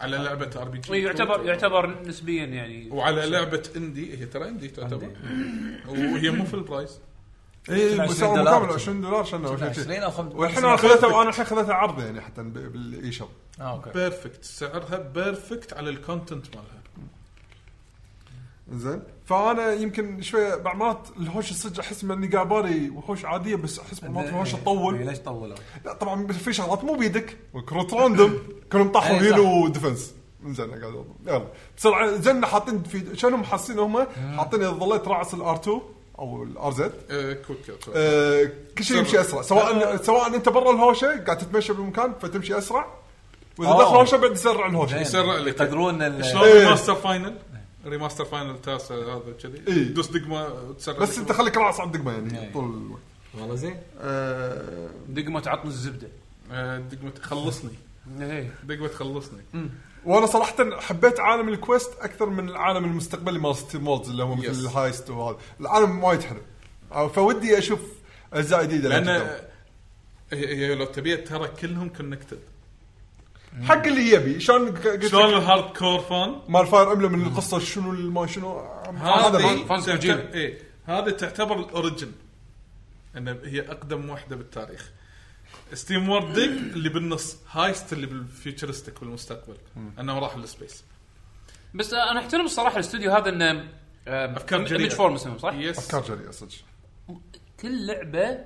Speaker 3: على لعبه ار بي جي
Speaker 2: يعتبر يعتبر نسبيا يعني
Speaker 3: وعلى لعبه اندي هي ترى اندي تعتبر وهي مو في البرايس
Speaker 4: اي
Speaker 6: 20
Speaker 4: إيه، مساوي
Speaker 6: دولار.
Speaker 4: مكامل 20 دولار شنو أو شيء
Speaker 6: 20 أو خم-
Speaker 4: والحين
Speaker 6: خمسة
Speaker 4: انا
Speaker 6: وخمسة.
Speaker 4: خذيتها وانا الحين خذيتها عرض يعني حتى ب- بالاي شوب
Speaker 3: آه،
Speaker 6: اه
Speaker 4: إيه،
Speaker 6: اوكي
Speaker 3: بيرفكت سعرها بيرفكت على الكونتنت مالها
Speaker 4: زين فانا يمكن شويه بعض مرات الهوش الصج احس اني قاعد باري وحوش عاديه بس احس بعض مرات الهوش
Speaker 6: إيه،
Speaker 4: تطول
Speaker 6: ليش طولوا؟
Speaker 4: لا طبعا في شغلات مو بيدك وكروت راندوم كلهم طاحوا
Speaker 6: إيه، صح.
Speaker 4: هيل وديفنس زين قاعد أضرب. يلا بسرعه زين حاطين في شنو حاسين هم حاطين اذا ظليت راعس الار 2 او الار زد
Speaker 3: آه، كويك كويك
Speaker 4: آه، كل شيء يمشي اسرع
Speaker 3: آه.
Speaker 4: سواء سواء انت برا الهوشه قاعد تتمشى بالمكان فتمشي اسرع واذا
Speaker 6: آه.
Speaker 4: داخل الهوشه بعد يسرع الهوشه
Speaker 3: يسرع لك.
Speaker 6: يقدرون ال-
Speaker 3: شلون
Speaker 4: إيه.
Speaker 3: ريماستر فاينل ريماستر فاينل تاسع هذا كذي
Speaker 4: إيه.
Speaker 3: دوس دقمه تسرع
Speaker 4: بس انت خليك راس على الدقمه يعني
Speaker 6: إيه.
Speaker 4: طول الوقت
Speaker 6: والله زين
Speaker 4: آه،
Speaker 2: دقمه عطني الزبده
Speaker 3: آه، دقمه خلصني
Speaker 2: ايه
Speaker 3: دقمه خلصني
Speaker 4: وانا صراحه حبيت عالم الكويست اكثر من العالم المستقبلي مال ستي مولز اللي هو مثل
Speaker 3: Yes.
Speaker 4: الهايست وهذا العالم وايد حلو آه، فودي اشوف اجزاء جديده
Speaker 3: لان
Speaker 4: لها
Speaker 3: آه،
Speaker 4: كتاب.
Speaker 3: هي هي إيه، لو تبيها ترى كلهم كونكتد
Speaker 4: حق اللي يبي شلون ق- قلت
Speaker 3: شلون
Speaker 4: لك
Speaker 3: الهارد كور فان
Speaker 4: مال فاير امبلم من القصه شنو ما شنو آه،
Speaker 3: هذه
Speaker 4: هذا
Speaker 2: فان
Speaker 3: تعتبر-
Speaker 2: كوجيما.
Speaker 3: إيه، هذه تعتبر الاوريجن ان هي اقدم واحده بالتاريخ ستيم وورد ديك اللي بالنص هايست اللي بالفيوتشرستيك بالمستقبل انه راح للسبيس
Speaker 2: بس انا احترم الصراحه الاستوديو هذا انه
Speaker 3: أفكار جريئة.
Speaker 2: ايمج فورم اسمه صح؟
Speaker 3: يس
Speaker 4: افكار جريئه صدق
Speaker 2: كل لعبه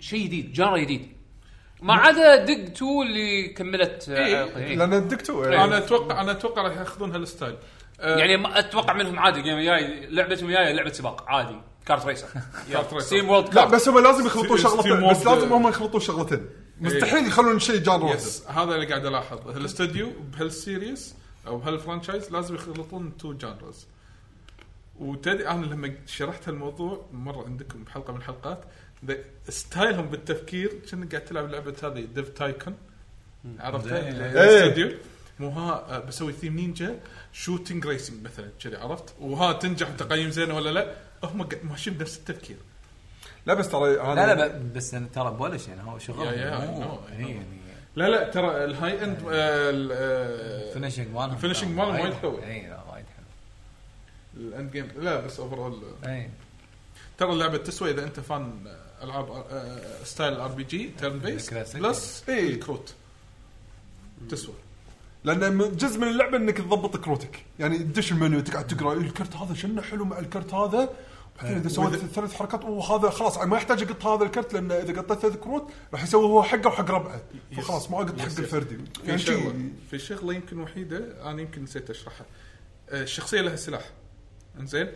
Speaker 2: شيء جديد جانرا جديد ما عدا دق 2 اللي كملت آه،
Speaker 3: إيه.
Speaker 2: علاقة، إيه.
Speaker 4: لان الدكتور
Speaker 3: انا اتوقع انا اتوقع راح ياخذون هالستايل
Speaker 4: إيه.
Speaker 3: آه،
Speaker 2: يعني ما اتوقع منهم عادي جيم جاي لعبتهم جاي لعبه سباق عادي كارت ريسر
Speaker 3: كارت ريسر.
Speaker 2: سيم وورلد
Speaker 4: لا
Speaker 2: كارت
Speaker 4: بس هم لازم يخلطون
Speaker 3: ستي-
Speaker 4: شغلتين
Speaker 3: ستيم
Speaker 4: بس
Speaker 3: وورد-
Speaker 4: لازم هم يخلطون شغلتين مستحيل يخلون شيء جان واحد
Speaker 3: يس هذا اللي قاعد الاحظ هالاستوديو بهالسيريس او بهالفرانشايز لازم يخلطون تو جانرز وتدري انا لما شرحت هالموضوع مره عندكم بحلقه من الحلقات ذا- ستايلهم بالتفكير كأنك قاعد تلعب لعبه هذه ديف تايكون عرفتها؟ اللي- الاستوديو مو ها آه، بسوي ثيم نينجا شوتنج ريسنج مثلا كذي عرفت؟ وها تنجح وتقييم زين ولا لا؟ هم قاعد- ماشيين بنفس التفكير
Speaker 4: لا بس ترى انا
Speaker 6: لا لا ب- بس أنا ترى بولش يعني هو شغل
Speaker 3: يا- يا،
Speaker 6: مو-
Speaker 3: I know, I
Speaker 6: إيه،
Speaker 3: know.
Speaker 6: يعني
Speaker 3: لا لا ترى الهاي اند آه، ال- آه،
Speaker 6: الفينشنج مالهم
Speaker 3: الفينشنج
Speaker 6: ترى
Speaker 3: مالهم وايد قوي.
Speaker 6: اي لا، إيه، وايد حلو
Speaker 3: الاند جيم لا بس اوفر اول
Speaker 6: اي
Speaker 3: ترى اللعبه تسوى اذا انت فان العاب آه، ستايل ار بي جي تيرن بيس
Speaker 6: كلاسيك.
Speaker 3: بلس الكروت إيه، تسوى
Speaker 4: لان من- جزء من اللعبه انك تضبط كروتك يعني تدش المنيو تقعد تقرا إيه الكرت هذا شنو حلو مع الكرت هذا بعدين اذا سويت ثلاث حركات وهذا خلاص ما يحتاج اقط هذا الكرت لان اذا قطيت ثلاث كروت راح يسوي هو حقه وحق ربعه فخلاص ما اقط حق الفردي
Speaker 3: في
Speaker 4: يعني
Speaker 3: شغله
Speaker 4: شي-
Speaker 3: في شغله يمكن وحيده انا يمكن نسيت اشرحها آه، الشخصيه لها سلاح انزين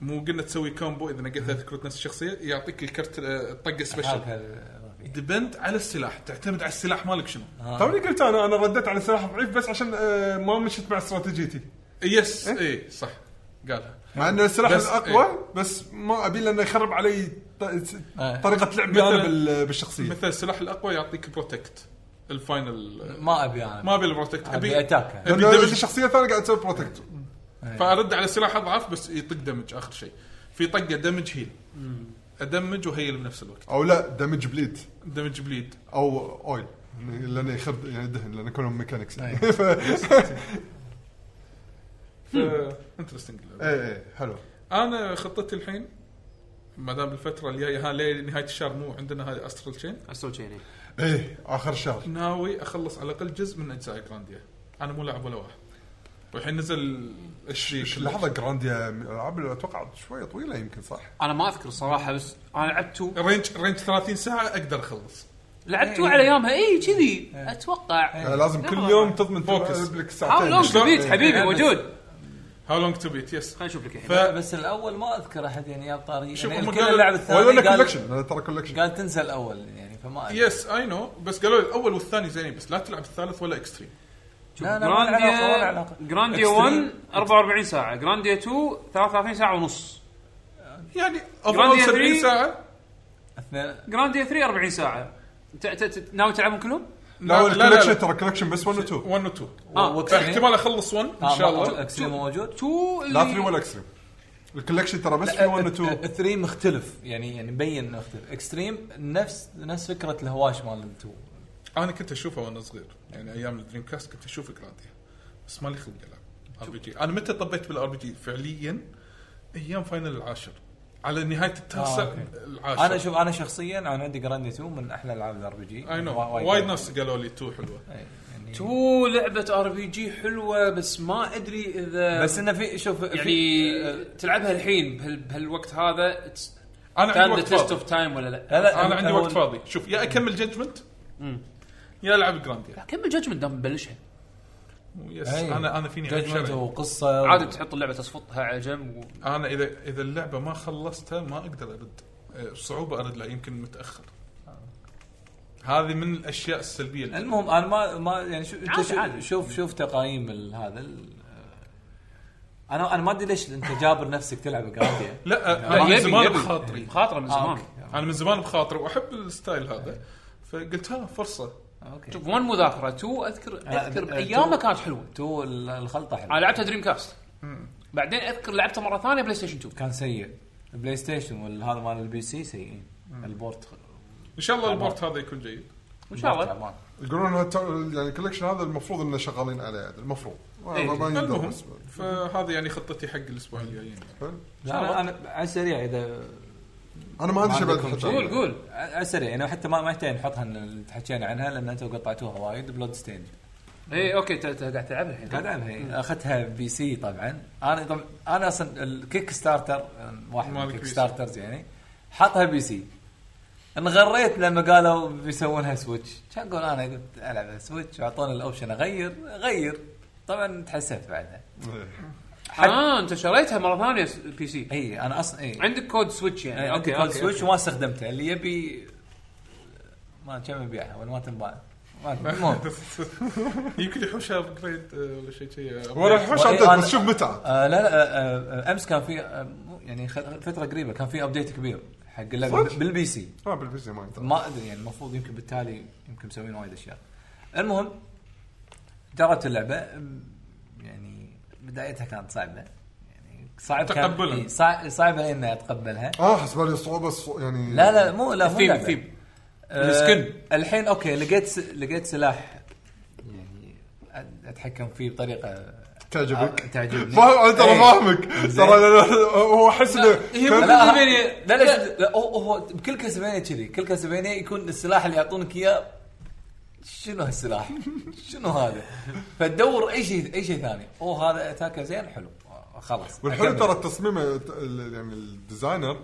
Speaker 3: مو قلنا تسوي كومبو اذا نقيت ثلاث كروت نفس الشخصيه يعطيك الكرت آه، الطقه سبيشل ديبند على السلاح تعتمد على السلاح مالك شنو
Speaker 4: توني قلت انا انا رديت على سلاح ضعيف بس عشان آه، ما مشيت مع استراتيجيتي
Speaker 3: يس اي إيه، صح قالها
Speaker 4: مع ان السلاح
Speaker 3: بس-
Speaker 4: الاقوى
Speaker 3: إيه.
Speaker 4: بس ما ابي لانه يخرب علي ط-
Speaker 6: إيه.
Speaker 4: طريقه لعبي انا
Speaker 3: مثلاً-
Speaker 4: بال- بالشخصيه
Speaker 3: مثل السلاح الاقوى يعطيك بروتكت الفاينل آه،
Speaker 6: ما ابي انا
Speaker 3: ما ابي البروتكت ابي
Speaker 6: ابي اتاك
Speaker 3: أبي إيه.
Speaker 4: لأن
Speaker 3: دمج.
Speaker 4: الشخصيه الثانيه قاعد تسوي بروتكت
Speaker 3: فارد على سلاح اضعف بس يطق دمج اخر شيء في طقه دمج هيل ادمج وهيل بنفس الوقت
Speaker 4: او لا دمج بليد
Speaker 3: دمج بليد
Speaker 4: او اويل لانه يخرب يعني دهن لان كلهم ميكانكس يعني ف... Hmm.
Speaker 3: انترستنج
Speaker 4: ايه ايه حلو
Speaker 3: انا خطتي الحين ما دام الفتره الجايه ها ليه نهايه الشهر مو عندنا هذه استرال تشين
Speaker 2: استوى شيء
Speaker 4: ايه اخر شهر
Speaker 3: ناوي اخلص على الاقل جزء من اجزاء جرانديا انا مو لاعب ولا واحد والحين نزل الشريك
Speaker 4: لحظه جرانديا العاب اتوقع شويه طويله يمكن صح؟
Speaker 2: انا ما اذكر الصراحه بس انا لعبته
Speaker 3: رينج رينج 30 ساعه اقدر اخلص
Speaker 2: لعبته على ايامها اي كذي اتوقع
Speaker 4: يعني لازم كل يوم تضمن
Speaker 3: فوكس.
Speaker 4: تلعب لك
Speaker 2: هاو لونج
Speaker 4: ساعتين
Speaker 3: شلون؟
Speaker 2: بيت حبيبي
Speaker 6: إيه.
Speaker 2: موجود
Speaker 3: هاو لونج تو بيت يس
Speaker 2: خلينا نشوف لك
Speaker 3: ف
Speaker 2: الحين
Speaker 6: بس الاول ما اذكر احد يعني يا طاري
Speaker 3: شوف،
Speaker 6: يعني
Speaker 3: هم
Speaker 6: الكل
Speaker 3: قالوا-
Speaker 6: اللاعب
Speaker 4: ولا
Speaker 6: الثاني
Speaker 4: لك
Speaker 6: قال
Speaker 4: كولكشن ترى كولكشن
Speaker 6: قال تنسى الاول يعني فما أدري.
Speaker 3: يس اي نو بس قالوا لي الاول والثاني زينين بس لا تلعب الثالث ولا اكستريم
Speaker 6: لا لا ما له علاقه ما له
Speaker 2: جرانديا
Speaker 6: علاقه
Speaker 2: جرانديا 1 44 ساعه جرانديا 2 33 ساعه ونص
Speaker 3: يعني
Speaker 2: Grandia
Speaker 3: افضل 70
Speaker 2: three.
Speaker 3: ساعه
Speaker 6: اثنين
Speaker 2: جرانديا 3 40 ساعه ت- ت- ت- ناوي تلعبهم كلهم؟
Speaker 4: لا ولا كولكشن ترى كولكشن بس 1 و 2
Speaker 3: 1 و 2
Speaker 2: آه،
Speaker 3: فاحتمال اخلص 1
Speaker 6: آه،
Speaker 3: ان شاء الله
Speaker 6: اكسليم موجود
Speaker 2: 2
Speaker 4: لا 3 ولا اكستريم الكولكشن ترى بس في 1 و 2
Speaker 6: 3 مختلف يعني يعني مبين انه مختلف اكستريم نفس نفس فكره الهواش مال التو
Speaker 3: انا كنت اشوفه وانا صغير يعني ايام الدريم كاست كنت اشوف جرانديا بس مالي خلق العب ار بي جي انا متى طبيت بالار بي جي فعليا ايام فاينل العاشر على نهايه التاسع
Speaker 6: آه، أوكي.
Speaker 3: العاشر
Speaker 6: انا شوف انا شخصيا انا عندي جراندي 2 من احلى العاب الار بي جي
Speaker 3: اي نو وايد ناس قالوا لي تو حلوه
Speaker 6: يعني
Speaker 2: تو لعبه ار بي جي حلوه بس ما ادري اذا
Speaker 6: بس انه في شوف
Speaker 2: يعني
Speaker 6: في- آه،
Speaker 2: تلعبها الحين بهال- بهالوقت هذا it's-
Speaker 3: انا
Speaker 2: كان
Speaker 3: عندي
Speaker 2: ذا
Speaker 3: وقت
Speaker 2: تيست
Speaker 3: فاضي
Speaker 2: اوف تايم ولا لا؟
Speaker 6: لا لا
Speaker 3: انا عندي
Speaker 6: هو-
Speaker 3: وقت فاضي شوف يا اكمل جادجمنت يا العب جرانديا
Speaker 2: كمل جاجمنت دام نبلشها
Speaker 3: يس
Speaker 2: يعني
Speaker 6: أي.
Speaker 3: انا انا فيني عيب
Speaker 6: جادجمنت
Speaker 3: شرعي.
Speaker 6: وقصه و-
Speaker 2: عادي تحط اللعبه تصفطها على جنب و...
Speaker 3: انا اذا اذا اللعبه ما خلصتها ما اقدر ارد آه، صعوبه ارد لا يمكن متاخر هذه من الاشياء السلبيه اللي
Speaker 6: المهم انا ما ما يعني شو انت
Speaker 2: عادي،
Speaker 6: شو-
Speaker 2: عادي.
Speaker 6: شوف شوف تقايم ال- هذا ال- آه، انا انا ما ادري ليش انت جابر نفسك تلعب جرانديا
Speaker 3: لا انا من
Speaker 2: يبي-
Speaker 3: زمان
Speaker 2: يبي. إيه. آه،
Speaker 3: بخاطري
Speaker 2: خاطره من زمان
Speaker 6: أوكي.
Speaker 3: انا من زمان بخاطري واحب الستايل هذا فقلت ها فرصه
Speaker 6: اوكي
Speaker 2: شوف 1 مذاكره 2 اذكر اذكر
Speaker 6: آه،
Speaker 2: بايامها
Speaker 6: two.
Speaker 2: كانت حلوه
Speaker 6: تو ال- الخلطه
Speaker 2: انا
Speaker 6: حلوه
Speaker 2: لعبتها دريم كاست بعدين اذكر لعبتها مره ثانيه بلاي ستيشن 2
Speaker 6: كان سيء بلاي ستيشن والهذا مال البي سي سيئين البورت
Speaker 3: ان شاء الله البورت هذا يكون جيد
Speaker 2: ان شاء الله
Speaker 4: يقولون هالت- يعني الكولكشن هذا المفروض انه شغالين عليه عاد، المفروض ما- ما يندرى
Speaker 3: المهم
Speaker 4: بس.
Speaker 3: فهذه يعني خطتي حق الاسبوع الجايين
Speaker 4: حلو.
Speaker 6: انا انا على السريع اذا
Speaker 4: انا ما عندي شيء بعد
Speaker 6: عندكم
Speaker 4: حتى.
Speaker 6: شيء؟
Speaker 2: قول قول
Speaker 6: على السريع يعني حتى ما ما يحتاج نحطها إن اللي تحكينا عنها لان انتم قطعتوها وايد بلود ستيند
Speaker 2: اي اوكي إيه، ت- ت- قاعد تلعبها الحين
Speaker 6: قاعد ألعبها هي. اخذتها بي سي طبعا انا طبعا انا اصلا الكيك ستارتر أم، واحد من
Speaker 3: مالك
Speaker 6: الكيك
Speaker 3: بي سي.
Speaker 6: ستارترز يعني حطها بي سي انغريت لما قالوا بيسوونها سويتش كان اقول انا قلت العب سويتش واعطوني الاوبشن اغير غير طبعا تحسفت بعدها
Speaker 4: إيه.
Speaker 2: اه انت شريتها مره ثانيه س- بي سي
Speaker 6: اي انا اصلا اي
Speaker 2: عندك كود سويتش يعني
Speaker 6: يعني عندي كود إيه. سويتش وما استخدمته اللي يبي ما كم يبيعها ولا ما تنباع ما المهم
Speaker 3: يمكن يحوشها ابجريد ولا شيء آه، شيء
Speaker 4: ولا حوش
Speaker 6: وإيه،
Speaker 4: عدد
Speaker 6: إيه، أنا-
Speaker 4: بس شوف متعه
Speaker 6: آه لا لا آه آه، امس كان في آه مو- يعني خ- فتره قريبه كان في ابديت كبير حق اللعبه
Speaker 4: صدق؟
Speaker 6: بالبي سي
Speaker 4: ما آه، بالبي سي ما يندرى
Speaker 6: ما ادري يعني المفروض يمكن بالتالي يمكن مسوين وايد اشياء المهم جربت اللعبه أم، يعني بدايتها كانت صعبه يعني صعب كان
Speaker 3: تقبلها.
Speaker 6: إي، صع- صعبه اني اتقبلها
Speaker 4: اه حسب لي صعوبه الص- يعني
Speaker 6: لا لا مو لا مو
Speaker 2: الثيم-
Speaker 6: لعبة.
Speaker 2: الثيم.
Speaker 6: آه،
Speaker 2: السكن.
Speaker 6: الحين اوكي لقيت س- لقيت سلاح يعني أ- اتحكم فيه بطريقه
Speaker 4: تعجبك.
Speaker 6: آه، تعجبني
Speaker 4: فاهم انا ترى
Speaker 6: إيه.
Speaker 4: فاهمك
Speaker 6: زين.
Speaker 4: ترى لا- لا، هو احس انه
Speaker 2: هي
Speaker 4: كان-
Speaker 6: لا
Speaker 2: مو-
Speaker 6: لا
Speaker 2: كاسلفينيا-
Speaker 6: لا لا, شوف، لا هو هو بكل كاسلفينيا كذي كل كاسلفينيا يكون السلاح اللي يعطونك اياه شنو هالسلاح؟ شنو هذا؟ فتدور اي شيء اي شيء ثاني، اوه هذا اتاكه زين حلو آه، خلاص
Speaker 4: والحلو
Speaker 6: أكمل.
Speaker 4: ترى التصميم الت- ال- يعني الديزاينر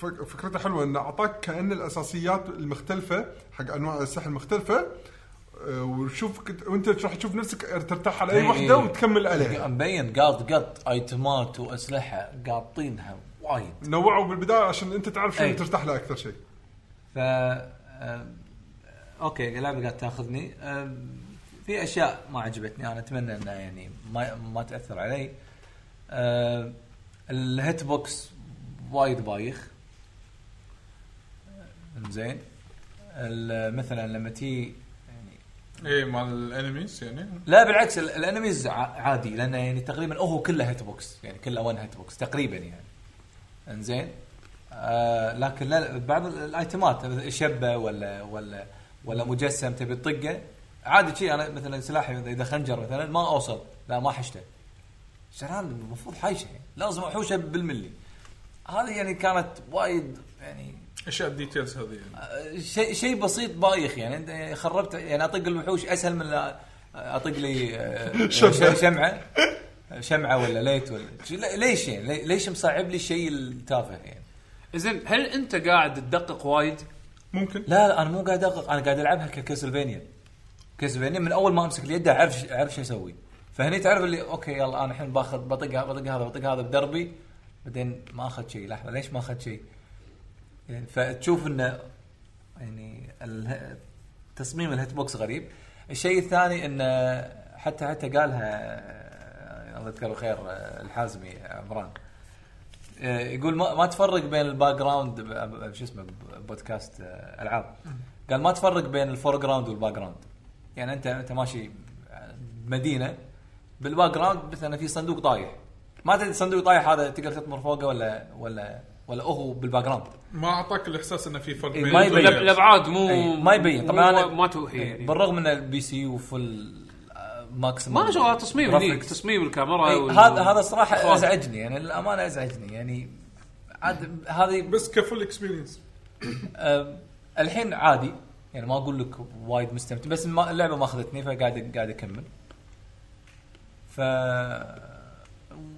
Speaker 4: فك- فكرته حلوه انه اعطاك كان الاساسيات المختلفه حق انواع الاسلحه المختلفه آه، وشوف كت- وانت تروح تشوف نفسك ترتاح على اي
Speaker 6: إي.
Speaker 4: وحده وتكمل
Speaker 6: إيه،
Speaker 4: عليها
Speaker 6: مبين قاط قط ايتمات واسلحه قاطينها وايد
Speaker 4: نوعوا بالبدايه عشان انت تعرف شنو
Speaker 6: إي.
Speaker 4: ترتاح له اكثر شيء
Speaker 6: ف آم، اوكي اللعبه قاعد تاخذني آم، في اشياء ما عجبتني انا اتمنى انها يعني ما ما تاثر علي آم، الهيت بوكس وايد بايخ آه، زين مثلا لما تي يعني
Speaker 3: اي إيه، مال الانميز يعني
Speaker 6: لا بالعكس ال- الانميز ع- عادي لانه يعني تقريبا هو كله هيت بوكس يعني كله وان هيت بوكس تقريبا يعني انزين آه لكن لا بعض ال- الايتمات مثل شبه ولا ولا ولا مجسم تبي تطقه عادي شي انا مثلا سلاحي إذا- اذا خنجر مثلا ما اوصل لا ما حشته شران المفروض حايشه يعني. لازم احوشه بالملي هذه يعني كانت وايد يعني
Speaker 3: اشياء الديتيلز هذه يعني.
Speaker 6: شيء شيء بسيط بايخ يعني انت يعني خربت يعني اطق الوحوش اسهل من لا اطق لي آه، ش- شمعه شمعه ولا ليت ولا شي- لا- ليش يعني لي- ليش مصعب لي الشيء التافه يعني
Speaker 2: زين هل انت قاعد تدقق وايد؟
Speaker 3: ممكن
Speaker 6: لا لا انا مو قاعد ادقق انا قاعد العبها ككاسلفينيا كاسلفينيا من اول ما امسك اليد اعرف ش- اعرف شو اسوي فهني تعرف اللي اوكي يلا انا الحين باخذ بطق بطق هذا بطق هذا بدربي بعدين ما اخذ شيء لحظه ليش ما اخذ شيء؟ يعني فتشوف انه يعني اله- تصميم الهيت بوكس غريب الشيء الثاني انه حتى حتى قالها آه، الله يذكره خير آه، الحازمي عمران آه، يقول ما, ما تفرق بين الباك جراوند ب- ب- شو اسمه ب- بودكاست آه، العاب قال ما تفرق بين الفور جراوند والباك جراوند يعني انت انت ماشي بمدينه بالباك جراوند مثلا في صندوق طايح ما تدري الصندوق طايح هذا تقدر تطمر فوقه ولا ولا ولا هو بالباك جراوند
Speaker 3: ما اعطاك الاحساس انه في فرق
Speaker 6: إي،
Speaker 3: بين
Speaker 6: ما
Speaker 2: الأب-
Speaker 6: يبين.
Speaker 3: البلايرز.
Speaker 2: الابعاد مو
Speaker 6: أي، ما يبين طبعا
Speaker 2: مو-
Speaker 6: أنا- إيه،
Speaker 2: ما توحي يعني
Speaker 6: بالرغم ان البي سي وفل آه، ماكسيمم
Speaker 2: ما شاء الله تصميم هنيك
Speaker 6: جرافيكس.
Speaker 2: تصميم الكاميرا
Speaker 6: إي،
Speaker 2: وال-
Speaker 6: هذا هذا الصراحه
Speaker 2: الإخراج.
Speaker 6: ازعجني يعني الامانه ازعجني يعني عاد هذه
Speaker 3: بس كفول اكسبيرينس
Speaker 6: أم، الحين عادي يعني ما اقول لك وايد مستمتع بس ما اللعبه ما اخذتني فقاعد قاعد اكمل ف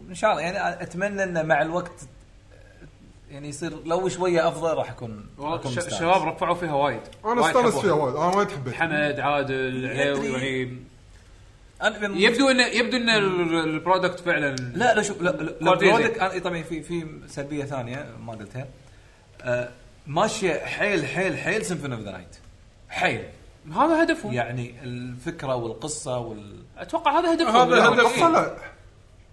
Speaker 6: ان شاء الله يعني اتمنى انه مع الوقت يعني يصير لو شويه افضل راح اكون
Speaker 2: والله
Speaker 6: أكون
Speaker 2: الش-
Speaker 6: مستانس.
Speaker 2: الشباب رفعوا فيها وايد
Speaker 4: انا
Speaker 2: وايد
Speaker 4: استانست
Speaker 2: حبوها.
Speaker 4: فيها وايد انا وايد حبيت
Speaker 2: حمد عادل عيوي يعني
Speaker 6: أنا من-
Speaker 2: يبدو انه يبدو ان ال- البرودكت فعلا
Speaker 6: لا لا شوف لا لا لو
Speaker 2: كواليتي
Speaker 6: برودك انا إي طبعا في في سلبيه ثانيه ما قلتها أه، ماشيه حيل حيل حيل سيمفون اوف ذا نايت حيل
Speaker 2: هذا هدفهم
Speaker 6: يعني الفكره والقصه وال
Speaker 2: اتوقع هذا هدفهم
Speaker 3: هذا هدف-
Speaker 4: القصه لا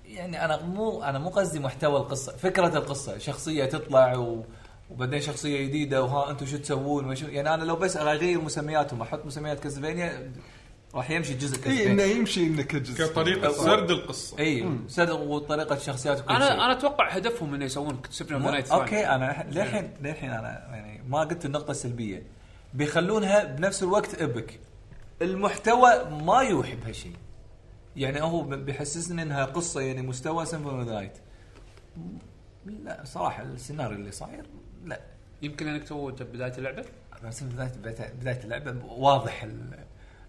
Speaker 6: يعني انا مو انا مو قصدي محتوى القصه فكره القصه شخصيه تطلع و... وبعدين شخصيه جديده وها انتم شو تسوون وشو يعني انا لو بس اغير مسمياتهم احط مسميات كاسلفينيا راح يمشي جزء
Speaker 4: اي انه
Speaker 6: كاسلفينيا
Speaker 4: إيه، يمشي انه كجزء
Speaker 3: كطريقه سرد القصه
Speaker 6: اي إيه، صدق وطريقه شخصيات وكل شيء
Speaker 2: انا انا اتوقع هدفهم انه يسوون سيفن اوف نايت
Speaker 6: اوكي انا ح- للحين للحين انا يعني ما قلت النقطه السلبيه بيخلونها بنفس الوقت ابك المحتوى ما يوحي بهالشيء يعني هو ب- بيحسسني انها قصه يعني مستوى سيمفون اوف نايت لا صراحه السيناريو اللي صاير لا
Speaker 2: يمكن انك تو أنت بدايه اللعبه
Speaker 6: بس بدايه بدايه بداية اللعبه واضح ال-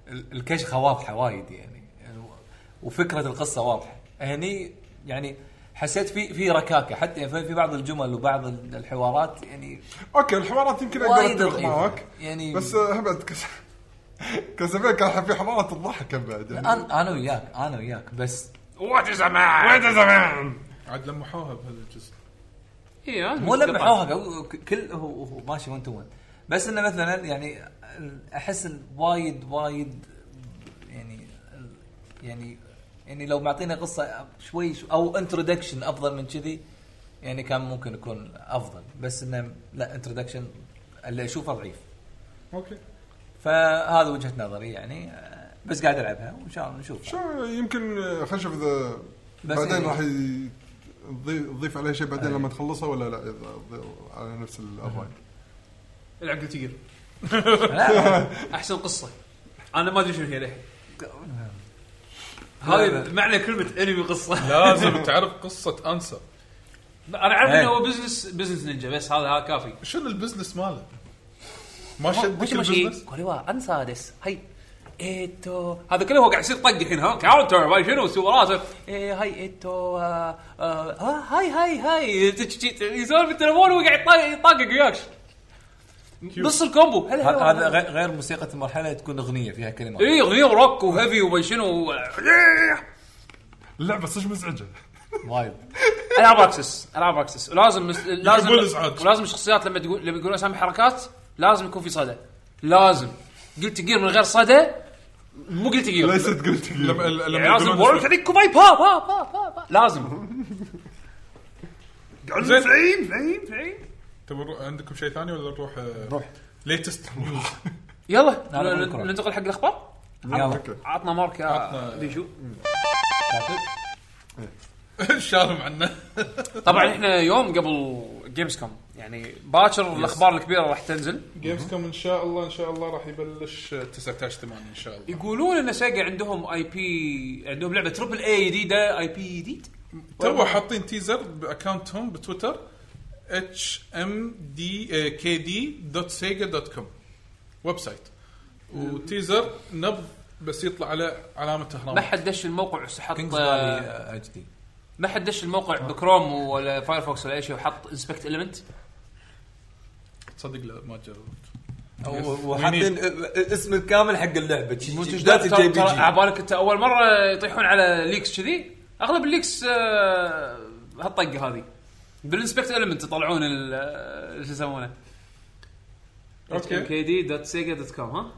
Speaker 6: ال- الكشخه واضحه وايد يعني يعني و- وفكره القصه واضحه هني يعني حسيت في في ركاكه حتى في في بعض الجمل وبعض ال- الحوارات يعني
Speaker 4: اوكي الحوارات يمكن اقدر
Speaker 6: وايد
Speaker 4: اتفق
Speaker 6: رخيصة.
Speaker 4: معاك
Speaker 6: يعني
Speaker 4: بس آه، بعد كس كاسلفينيا كان في حوارات تضحك كان بعد يعني
Speaker 6: انا انا وياك انا وياك بس
Speaker 2: وات از مان
Speaker 3: عاد لمحوها بهالجزء
Speaker 2: اي
Speaker 6: مو لمحوها قو- كل هو, هو ماشي 1 تو 1 بس انه مثلا يعني احس إن وايد وايد يعني يعني يعني لو معطينا قصه شوي شو- او انترودكشن افضل من كذي يعني كان ممكن يكون افضل بس انه لا انترودكشن اللي اشوفه ضعيف
Speaker 3: اوكي
Speaker 6: فهذا وجهه نظري يعني آه، بس قاعد العبها وان شاء الله نشوف
Speaker 4: شو يمكن آه، خلينا نشوف اذا
Speaker 6: بس
Speaker 4: بعدين
Speaker 6: يعني-
Speaker 4: راح ي- تضيف- تضيف عليه شيء بعدين لما تخلصه ولا لا إذا ضي- على نفس الراي
Speaker 2: العب قلت جير
Speaker 6: لا،
Speaker 2: احسن قصه انا ما ادري شنو هي للحين
Speaker 6: لا،
Speaker 2: هذه
Speaker 6: لا.
Speaker 2: معنى كلمه انمي قصه
Speaker 3: لازم تعرف قصه انسر
Speaker 2: انا اعرف
Speaker 6: إيه.
Speaker 2: انه هو بزنس بزنس نينجا بس هذا هذا كافي
Speaker 3: شنو البزنس ماله؟ ما شدك البزنس؟
Speaker 7: これはアンサーです。はい。
Speaker 2: ايتو هذا كله هو قاعد يصير طق الحين ها كاونتر ما شنو سوى راسه إيه، هاي ايتو آه، آه، آه، هاي هاي هاي يسولف بالتليفون وهو قاعد يطا- يطاقق وياك نص الكومبو هلا
Speaker 6: هذا
Speaker 2: هلا.
Speaker 6: هذا غير- غير موسيقى المرحله تكون اغنيه فيها كلمات
Speaker 2: اي اغنيه روك وهيفي وما شنو
Speaker 4: اللعبه صدق مزعجه
Speaker 6: وايد
Speaker 2: العاب اكسس العاب اكسس لازم لازم
Speaker 3: يحبون الإزعاج.
Speaker 2: ولازم الشخصيات لما تقول لما يقولون اسامي حركات لازم يكون في صدى لازم قلت جير من غير صدى مو قلت جير
Speaker 4: ليست قلت
Speaker 3: لما لما
Speaker 2: يعني لازم
Speaker 3: يقولون
Speaker 2: وورد
Speaker 3: اسمه-
Speaker 2: عليك كوباي با با با با با لازم
Speaker 3: زين.
Speaker 2: فعيم فعيم فعيم
Speaker 3: تبون نروح- عندكم شيء ثاني ولا نروح آه، نروح ليتست
Speaker 2: يلا
Speaker 6: أنا
Speaker 2: ن-
Speaker 6: بكرة.
Speaker 2: ننتقل حق الاخبار
Speaker 6: يلا
Speaker 2: عطنا مارك يا
Speaker 3: عطنا.
Speaker 2: بيشو
Speaker 3: شالهم عنا
Speaker 2: طبعا احنا يوم قبل جيمز كوم يعني باكر الاخبار الكبيره راح تنزل
Speaker 3: جيمز كوم ان شاء الله ان شاء الله راح يبلش 19 8 ان شاء الله
Speaker 2: يقولون ان سيجا عندهم اي بي عندهم لعبه تربل اي جديده اي بي جديد
Speaker 3: تو حاطين تيزر باكونتهم بتويتر اتش ام دي إيه كي دي دوت سيجا دوت كوم ويب سايت وتيزر نبض بس يطلع على علامه
Speaker 2: ما
Speaker 3: اهرام
Speaker 2: حد دش الموقع وحط
Speaker 6: كينجز
Speaker 2: آه،
Speaker 6: فالي اتش دي
Speaker 2: ما حد دش الموقع بكروم ولا فايرفوكس ولا اي شيء وحط انسبكت المنت
Speaker 3: تصدق لا ما جربت
Speaker 5: وحاطين اسم الكامل حق اللعبه شي- شي- داتا جي بي
Speaker 2: ترى ترى
Speaker 5: جي
Speaker 2: عبالك انت اول مره يطيحون على ليكس كذي اغلب الليكس آه، هالطقه هذه بالانسبكت المنت يطلعون ال- آه، شو يسمونه
Speaker 3: اوكي
Speaker 2: كي دي دوت سيجا دوت كوم ها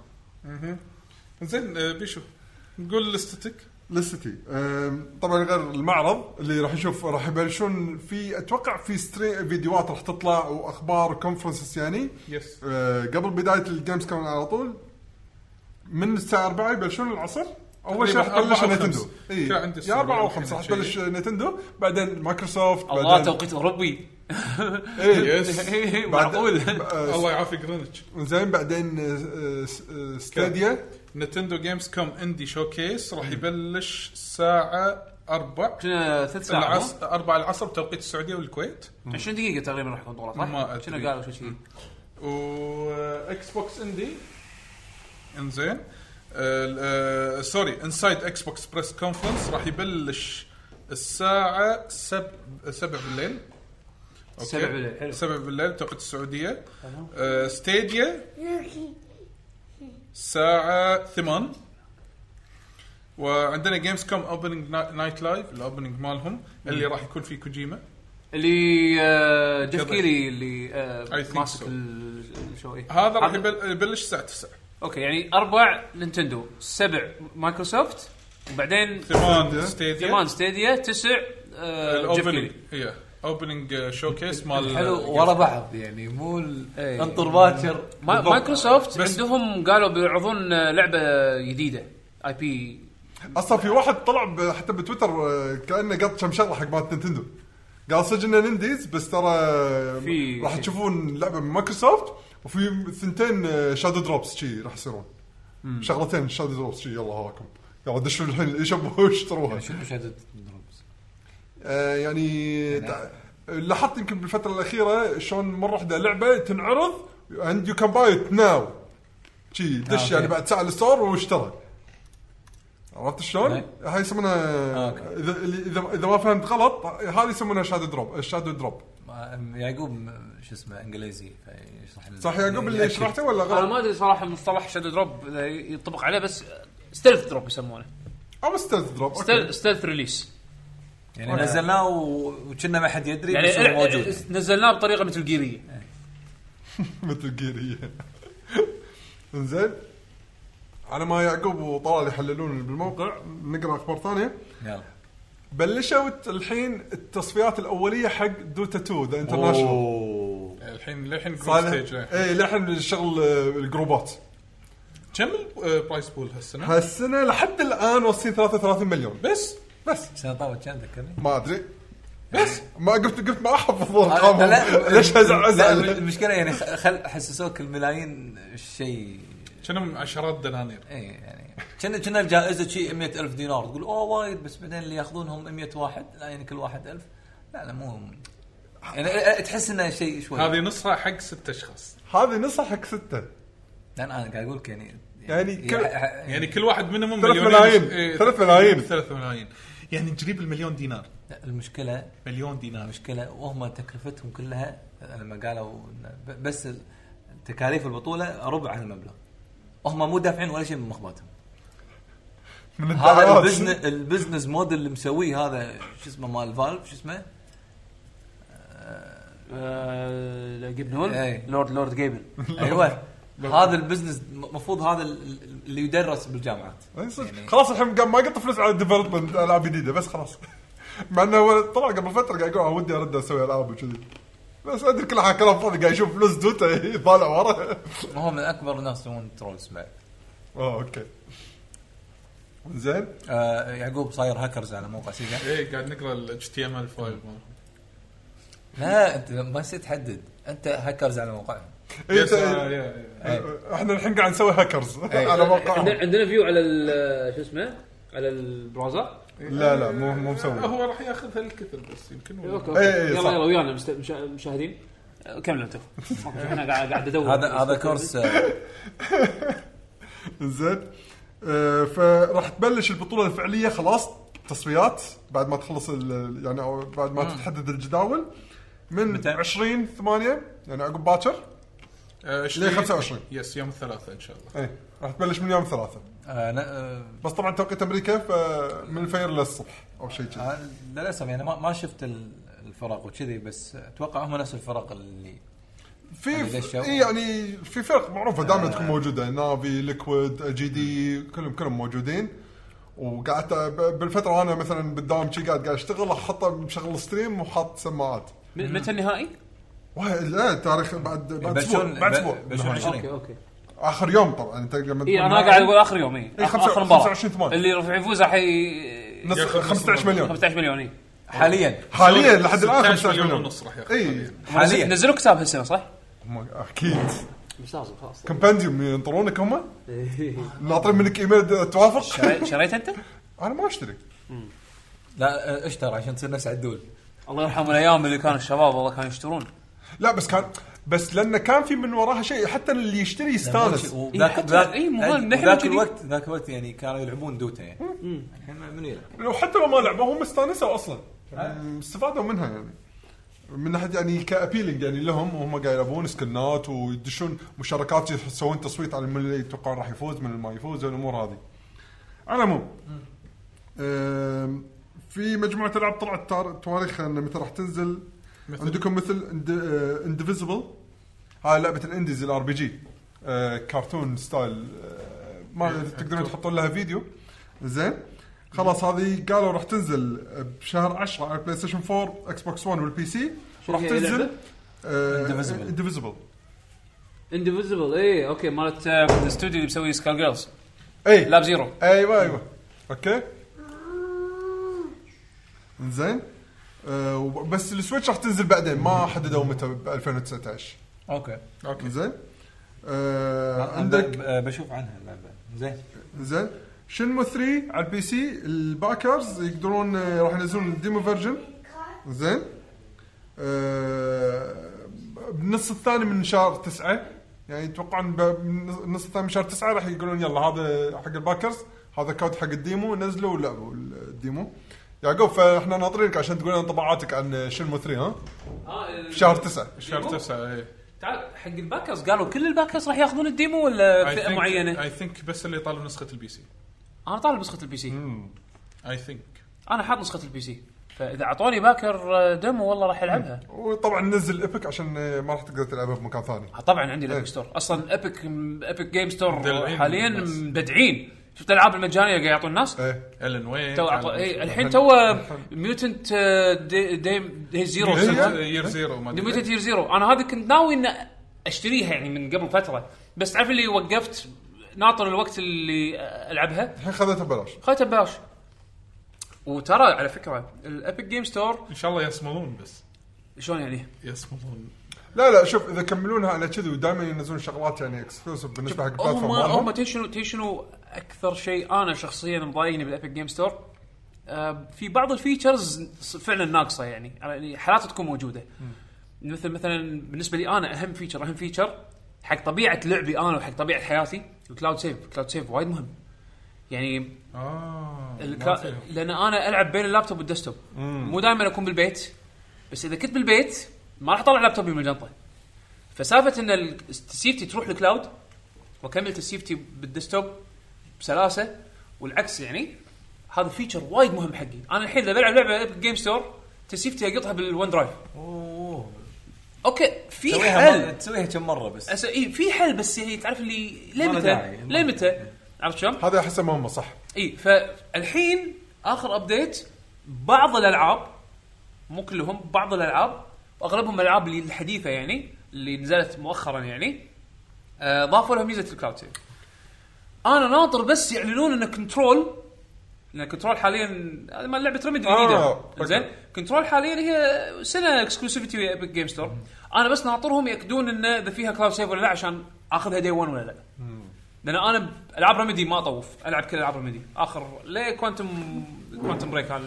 Speaker 3: زين آه، بيشو نقول لستك
Speaker 4: لستي أم، طبعا غير المعرض اللي راح نشوف راح يبلشون في اتوقع في ستري فيديوهات راح تطلع واخبار وكونفرنسز يعني
Speaker 3: يس
Speaker 4: أه، قبل بدايه الجيمز كون على طول من الساعه 4 يبلشون العصر اول شيء
Speaker 3: تقريباً
Speaker 4: راح
Speaker 3: أربعة
Speaker 4: تبلش
Speaker 3: أو
Speaker 4: نتندو
Speaker 3: خمس.
Speaker 4: اي
Speaker 3: كان عندي
Speaker 4: يا
Speaker 3: الساعة
Speaker 4: 4 او
Speaker 3: أربعة
Speaker 4: 5 راح
Speaker 3: شيء.
Speaker 4: تبلش نتندو بعدين مايكروسوفت
Speaker 2: الله
Speaker 4: بعدين
Speaker 2: توقيت اوروبي
Speaker 4: إيه.
Speaker 3: يس
Speaker 2: معقول
Speaker 4: أه،
Speaker 3: الله يعافي جرينتش
Speaker 4: زين بعدين أه، أه، أه، ستاديا
Speaker 3: نتندو جيمز كوم اندي شوكيس راح يبلش الساعه 4
Speaker 2: كنا ثلاث ساعات ها؟
Speaker 3: العصر 4 العصر بتوقيت السعوديه والكويت
Speaker 2: 20 دقيقة تقريبا راح يكون طولها صح؟
Speaker 3: ما أدري.
Speaker 2: شنو قالوا شو شيء؟
Speaker 3: واكس بوكس اندي انزين ال- آه، سوري انسايد اكس بوكس بريس كونفرنس راح يبلش الساعة 7 7 بالليل أوكي.
Speaker 2: سبع بالليل، حلو.
Speaker 3: 7 بالليل توقيت السعودية آه، ستيديا الساعة 8 وعندنا جيمز كوم اوبننج نايت لايف الاوبننج مالهم اللي راح يكون فيه كوجيما
Speaker 2: اللي آه، جيف
Speaker 3: كذا.
Speaker 2: كيلي اللي آه،
Speaker 3: I think
Speaker 2: ماسك
Speaker 3: so.
Speaker 2: ال- الشو إيه.
Speaker 3: هذا راح يبل- يبلش الساعة 9
Speaker 2: اوكي يعني اربع نينتندو سبع مايكروسوفت وبعدين
Speaker 3: 8 ستيديا
Speaker 2: ثمان ستيديا تسع آه، جيف
Speaker 3: الاوبننج
Speaker 2: كيلي
Speaker 3: يا اوبننج شوكيس uh, مال
Speaker 6: حلو ورا بعض يعني مو ال-
Speaker 2: إيه.
Speaker 6: انطر باكر
Speaker 2: ما-
Speaker 6: بالضبط.
Speaker 2: مايكروسوفت
Speaker 3: بس-
Speaker 2: عندهم قالوا بيعرضون آه، لعبة جديدة اي بي
Speaker 4: اصلا في واحد طلع ب- حتى بتويتر أه، كانه قط كم شغله حق مالت نتندو قال صدق انه ننديز بس ترى
Speaker 2: في-
Speaker 4: راح
Speaker 2: في.
Speaker 4: تشوفون لعبه من مايكروسوفت وفي ثنتين شادو دروبس شي راح يصيرون شغلتين شادو دروبس شي يلا هاكم يلا دشوا الحين الاي شوب واشتروها
Speaker 6: شنو شهاده دروبس
Speaker 4: آه، يعني تع- لاحظت يمكن بالفتره الاخيره شلون مره واحده لعبه تنعرض اند يو كان باي ات ناو شي دش
Speaker 6: آه، أوكي.
Speaker 4: يعني بعد ساعه الستور واشترى عرفت شلون؟
Speaker 6: نعم.
Speaker 4: هاي يسمونها
Speaker 6: آه، أوكي.
Speaker 4: اذا اللي- اذا اذا ما فهمت غلط هذه يسمونها آه، شادو دروب الشادو دروب
Speaker 6: ما- يعقوب م- شو اسمه انجليزي فيشرح لنا. يعني
Speaker 4: صح يعقوب اللي
Speaker 6: يأكد.
Speaker 4: شرحته ولا
Speaker 2: انا
Speaker 4: غلط؟
Speaker 2: ما ادري صراحة مصطلح شادو دروب إذا ينطبق عليه بس ستيلث دروب يسمونه
Speaker 4: او ستيلث دروب أوكي.
Speaker 2: ستيلث ريليس
Speaker 6: يعني نزلناه و- وكنا ما حد يدري بس
Speaker 2: يعني
Speaker 6: هو موجود إيه.
Speaker 2: نزلناه بطريقه مثل جيريه
Speaker 4: مثل جيرية انزين على ما يعقوب وطلال يحللون بالموقع نقرا اخبار ثانيه
Speaker 6: يلا
Speaker 2: إيه.
Speaker 4: بلشوا الت- الحين التصفيات الاوليه حق دوتا 2 ذا انترناشونال
Speaker 6: اوه
Speaker 3: الحين للحين نقول
Speaker 4: صالح
Speaker 3: ستيج للحين.
Speaker 4: اي لحن الشغل آه، الجروبات
Speaker 3: كم آه، البرايس بول هالسنه؟
Speaker 4: هالسنه لحد الان واصلين 33 مليون
Speaker 3: بس
Speaker 4: بس
Speaker 6: سنه طافت كم ذكرني
Speaker 4: ما ادري بس ما قلت قلت ما احفظ ارقامهم
Speaker 6: لا،
Speaker 4: ليش ازعل
Speaker 6: لا،
Speaker 4: ازعل
Speaker 6: المشكله يعني خ- خل حسسوك الملايين شيء
Speaker 3: كم عشرات دنانير
Speaker 6: اي يعني كنا كنا الجائزه شيء 100000 دينار تقول اوه وايد بس بعدين اللي ياخذونهم 100 واحد لا يعني كل واحد 1000 لا لا مو
Speaker 4: طيب.
Speaker 6: يعني أ- أ- تحس انه شيء شوي
Speaker 3: هذه نصها حق ست اشخاص
Speaker 4: هذه نصح حق سته
Speaker 6: لان انا قاعد اقول لك يعني
Speaker 4: يعني كل-
Speaker 6: يع-
Speaker 3: يعني كل واحد منهم
Speaker 4: ثلاث
Speaker 3: مليونين.
Speaker 4: ملايين.
Speaker 3: إيه،
Speaker 4: ثلاث ملايين.
Speaker 3: ثلاث ملايين يعني تجيب المليون دينار
Speaker 6: المشكله
Speaker 3: مليون دينار
Speaker 6: المشكله وهم تكلفتهم كلها لما قالوا إن ب- بس ال- تكاليف البطوله ربع عن المبلغ هم مو دافعين ولا شيء من مخباتهم
Speaker 4: من
Speaker 6: هذا
Speaker 4: الدعايات
Speaker 6: البزنس البزنس موديل اللي مسويه هذا شو اسمه مال فالف شو اسمه
Speaker 2: آه، جيبن هول
Speaker 6: إيه.
Speaker 2: لورد لورد جيبن
Speaker 6: ايوه هذا البزنس المفروض هذا ال- اللي يدرس بالجامعات
Speaker 4: أي إيه، صدق.
Speaker 6: يعني.
Speaker 4: خلاص الحين قام ما قط فلوس على الديفلوبمنت العاب جديده بس خلاص مع انه هو طلع قبل فتره قاعد يقول أنا ودي ارد اسوي العاب وكذي بس ادري كل حاجه كلام فاضي قاعد يشوف فلوس دوتا طالع ورا
Speaker 6: وهو من اكبر الناس يسوون ترولز بعد
Speaker 4: اه اوكي زين
Speaker 6: آه، يعقوب صاير هاكرز على موقع سيجا
Speaker 3: ايه قاعد نقرا ال HTML فايل مالهم
Speaker 6: لا انت ما يصير تحدد انت هاكرز على موقعهم
Speaker 4: إيه،
Speaker 3: يس، آه،
Speaker 4: إنت-
Speaker 3: يا- يا.
Speaker 4: احنا الحين قاعد نسوي هاكرز
Speaker 2: إيه.
Speaker 4: على موقعهم
Speaker 2: عندنا فيو على ال- آه، شو اسمه على البراوزر
Speaker 4: لا لا مو مو مسوي
Speaker 3: هو راح ياخذ هالكثر بس يمكن هو-
Speaker 2: اوكي اوكي
Speaker 4: إيه، إيه،
Speaker 2: يلا
Speaker 4: صح.
Speaker 2: يلا ويانا مست- مشا- مشاهدين آه، كملوا انتم أوكي، انا قاعد قاعد ادور
Speaker 6: هذا هذا كورس آه،
Speaker 4: زين آه، فراح تبلش البطوله الفعليه خلاص تصفيات بعد ما تخلص ال- يعني أو بعد ما تتحدد الجداول من
Speaker 6: متى؟
Speaker 4: 20 8 يعني عقب باكر
Speaker 3: آه، 20
Speaker 4: 25.
Speaker 3: يس يوم الثلاثاء ان شاء الله
Speaker 4: ايه راح تبلش من يوم ثلاثة
Speaker 6: آه، ن- آه،
Speaker 4: بس طبعا توقيت امريكا فمن الفجر للصبح او شيء كذي
Speaker 6: آه، للاسف يعني ما ما شفت ال- الفرق وكذي بس اتوقع هم نفس الفرق اللي
Speaker 4: في
Speaker 6: ليش شو؟
Speaker 4: اي يعني في فرق معروفه دائما تكون موجوده نافي ليكويد جي دي كلهم كلهم موجودين وقعدت ب- بالفتره انا مثلا بالدوام شي قاعد قاعد اشتغل احطه مشغل ستريم وحاط سماعات
Speaker 2: م- متى النهائي؟
Speaker 4: واه، لا تاريخ بعد بعد اسبوع
Speaker 6: يبلشون-
Speaker 4: بعد
Speaker 6: ب-
Speaker 4: اسبوع
Speaker 6: يبلشون 20
Speaker 2: اوكي اوكي
Speaker 4: اخر يوم طبعا انت لما
Speaker 2: اي
Speaker 4: تكون
Speaker 2: انا إيه، قاعد اقول اخر يوم اي
Speaker 4: إيه، خمسة-
Speaker 2: اخر مباراه
Speaker 4: 25 ثمانية.
Speaker 2: اللي راح يفوز راح
Speaker 4: نص
Speaker 3: ياخذ نص
Speaker 4: 15 مليون
Speaker 2: 15 مليون إيه. اي
Speaker 6: حاليا
Speaker 4: حاليا لحد الان
Speaker 3: 16
Speaker 4: 15
Speaker 3: مليون
Speaker 4: مليون
Speaker 3: ونص راح ياخذ
Speaker 4: اي
Speaker 6: حاليا
Speaker 2: نزلوا كتاب هالسنه صح؟
Speaker 4: هم اكيد
Speaker 2: مش لازم خلاص
Speaker 4: كومبانديوم ينطرونك هم
Speaker 3: إيه.
Speaker 4: ناطرين منك ايميل توافق
Speaker 2: شري- شريت انت؟
Speaker 4: انا ما اشتري
Speaker 6: لا آه، اشتر عشان تصير نفس عدول
Speaker 2: الله يرحم الايام اللي كانوا الشباب والله كانوا يشترون
Speaker 4: لا بس كان بس لانه كان في من وراها شيء حتى اللي يشتري يستانس
Speaker 2: إيه،
Speaker 6: وذاك
Speaker 2: حتى-
Speaker 6: ذاك
Speaker 2: إيه، مو هذا، نحن
Speaker 6: ذاك
Speaker 2: كذي.
Speaker 6: الوقت ذاك الوقت يعني كانوا يلعبون دوتا يعني الحين من يلعب
Speaker 4: لو حتى لو ما لعبوا هم استانسوا اصلا يعني استفادوا منها يعني من ناحيه يعني كابيلينج يعني لهم وهم قاعد يلعبون سكنات ويدشون مشاركات يسوون تصويت على من اللي يتوقعون راح يفوز من اللي ما يفوز الامور هذه. على العموم أم، في مجموعه العاب طلعت تار- تواريخها انه متى راح تنزل
Speaker 3: مثل؟
Speaker 4: عندكم مثل أه، اندفيزبل هاي لعبه الانديز الار بي جي أه، كرتون ستايل آه، ما تقدرون تحطون لها فيديو زين خلاص هذه قالوا راح تنزل بشهر 10 على البلاي ستيشن 4 اكس بوكس 1 والبي سي
Speaker 2: شو
Speaker 4: راح
Speaker 2: هي
Speaker 4: تنزل أه،
Speaker 2: لعبة؟
Speaker 6: Indivisible.
Speaker 4: اندفيزبل
Speaker 2: انديفيزبل اي اوكي مالت آه، الاستوديو اللي مسوي سكال جيرلز
Speaker 4: اي
Speaker 2: لاب زيرو
Speaker 4: ايوه ايوه اوكي زين آه وب- بس السويتش راح تنزل بعدين ما حددوا متى ب 2019
Speaker 6: اوكي
Speaker 3: اوكي
Speaker 4: زين آه
Speaker 6: عندك
Speaker 4: عندك
Speaker 6: بشوف عنها اللعبه زين
Speaker 4: زين شنمو 3 على البي سي الباكرز يقدرون آه، راح ينزلون الديمو فيرجن زين آه بالنص الثاني من شهر 9 يعني يتوقعون ب- بالنص الثاني من شهر 9 راح يقولون يلا هذا حق الباكرز هذا كود حق الديمو نزلوا ولعبوا الديمو يعقوب فاحنا ناطرينك عشان تقول لنا انطباعاتك عن شنمو 3 ها شهر 9
Speaker 3: شهر 9 ايه
Speaker 2: آه، تعال حق الباكرز قالوا كل الباكرز راح ياخذون الديمو ولا فئه معينه؟
Speaker 3: اي ثينك بس اللي طالب نسخه البي سي
Speaker 2: انا طالب نسخه البي سي
Speaker 3: اي ثينك
Speaker 2: انا حاط نسخه البي سي فاذا اعطوني باكر آه، ديمو والله راح العبها
Speaker 4: وطبعا نزل ايبك عشان آه، ما راح تقدر تلعبها بمكان ثاني
Speaker 2: آه، طبعا عندي الابيك
Speaker 4: إيه.
Speaker 2: ستور اصلا ابيك ابيك جيم ستور
Speaker 3: مدلعين
Speaker 2: حاليا
Speaker 3: الناس.
Speaker 2: مبدعين شفت الالعاب المجانيه اللي قاعد يعطون الناس
Speaker 4: ايه
Speaker 3: الن ويك
Speaker 2: تو أعطوا- إيه، الحين آه، تو ميوتنت ديم دي زيرو
Speaker 4: إيه.
Speaker 2: يسمونها.
Speaker 3: يير زيرو ما ادري
Speaker 2: ديميتد يير زيرو انا هذه كنت ناوي ان اشتريها يعني من قبل فتره بس تعرف اللي وقفت ناطر الوقت اللي آه، العبها
Speaker 4: الحين خذتها ببلاش
Speaker 2: خذتها ببلاش وترى على فكره الابيك جيم ستور
Speaker 3: ان شاء الله يصملون بس
Speaker 2: شلون يعني؟
Speaker 3: يصملون
Speaker 4: لا لا شوف اذا كملونها على كذي ودائما ينزلون شغلات يعني اكسكلوسيف بالنسبه حق
Speaker 2: هم
Speaker 4: البلاتفورم
Speaker 2: هم
Speaker 4: مالهم.
Speaker 2: تيشنو تيشنو اكثر شيء انا شخصيا مضايقني بالابيك جيم ستور آه، في بعض الفيتشرز ص- فعلا ناقصه يعني يعني حالات تكون موجوده مثل مثلا بالنسبه لي انا اهم فيتشر اهم فيتشر حق طبيعه لعبي انا وحق طبيعه حياتي الكلاود سيف الكلاود سيف وايد مهم يعني
Speaker 3: اه ما
Speaker 2: الكلا...
Speaker 3: فيها.
Speaker 2: لان انا العب بين اللابتوب والديسكتوب مو دائما اكون بالبيت بس اذا كنت بالبيت ما راح اطلع لابتوبي من الجنطه فسالفه ان ال- السيفتي تروح للكلاود واكمل السيفتي بالديسكتوب بسلاسه والعكس يعني هذا فيتشر وايد مهم حقي انا الحين اذا بلعب لعبه بالجيم ستور تسيفتي اقطها بالون درايف
Speaker 6: اوه
Speaker 2: اوكي في
Speaker 6: تسويها
Speaker 2: حل
Speaker 6: مر- تسويها كم مره بس
Speaker 2: أس... إيه في حل بس هي تعرف اللي ليه
Speaker 6: ما له
Speaker 2: متى
Speaker 6: داعي.
Speaker 2: ليه متى عرفت شلون؟
Speaker 4: هذا احسه مهمه صح
Speaker 2: اي فالحين اخر ابديت بعض الالعاب مو كلهم بعض الالعاب واغلبهم الالعاب اللي الحديثه يعني اللي نزلت مؤخرا يعني آه، ضافوا لها ميزه الكلاود سيف انا ناطر بس يعلنون ان كنترول لان كنترول حاليا هذا مال لعبه ريميدي
Speaker 4: آه،
Speaker 2: الجديده
Speaker 4: أوكي.
Speaker 2: زين كنترول حاليا هي سنه اكسكلوسيفيتي ويا ايبك جيم ستور انا بس ناطرهم ياكدون ان اذا فيها كلاود سيف ولا لا عشان اخذها دي 1 ولا لا لان انا ب- العاب رمدي ما اطوف العب كل العاب رمدي اخر ليه كوانتم كوانتم بريك هذا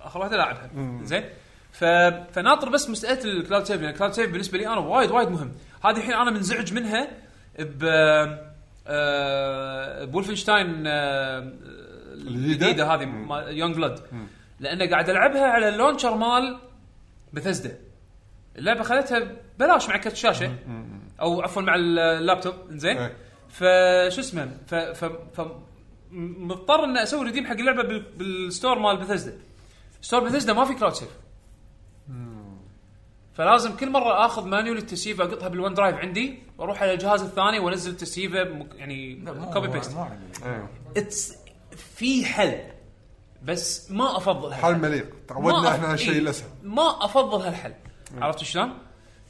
Speaker 2: اخر واحده لاعبها زين ف... فناطر بس مساله الكلاود سيف لان الكلاود سيف بالنسبه لي انا وايد وايد مهم هذه الحين انا منزعج منها ب آه، بولفنشتاين آه، الجديده هذه يونج بلاد لان قاعد العبها على اللونشر مال بثزدا اللعبه خذتها بلاش مع كرت الشاشه او عفوا مع اللابتوب زين
Speaker 4: إيه.
Speaker 2: فشو اسمه ف ف ف م- مضطر ان اسوي ريديم حق اللعبه بال... بالستور مال بثزدا ستور بثزدا ما في كلاود سيف فلازم كل مره اخذ مانيول التسييف اقطها بالون درايف عندي واروح على الجهاز الثاني وانزل التسييفه بمك- يعني كوبي بيست اتس في حل بس ما افضل هالحل.
Speaker 4: حال مليق تعودنا
Speaker 2: ما
Speaker 4: احنا
Speaker 2: أف-
Speaker 4: على الشيء
Speaker 2: إيه،
Speaker 4: الاسهل
Speaker 2: ما افضل هالحل عرفت شلون؟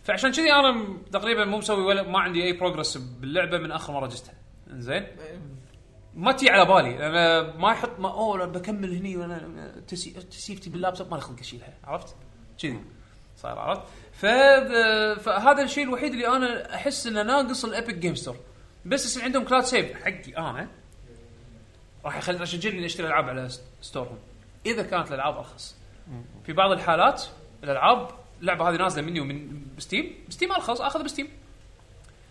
Speaker 2: فعشان كذي انا م- تقريبا مو مسوي ولا ما عندي اي بروجرس باللعبه من اخر مره جستها زين ما تجي على بالي انا ما يحط ما اوه أنا بكمل هني وانا تسي- تسيفتي باللابتوب ما لي خلق اشيلها عرفت؟ كذي صار عرفت؟ ف... فهذا الشيء الوحيد اللي انا احس انه ناقص الابيك جيم ستور بس يصير عندهم كلاود سيف حقي انا راح يخلي اشجعني اني اشتري العاب على س- ستورهم اذا كانت الالعاب ارخص في بعض الحالات الالعاب اللعبه هذه نازله مني ومن ستيم ستيم ارخص اخذها بستيم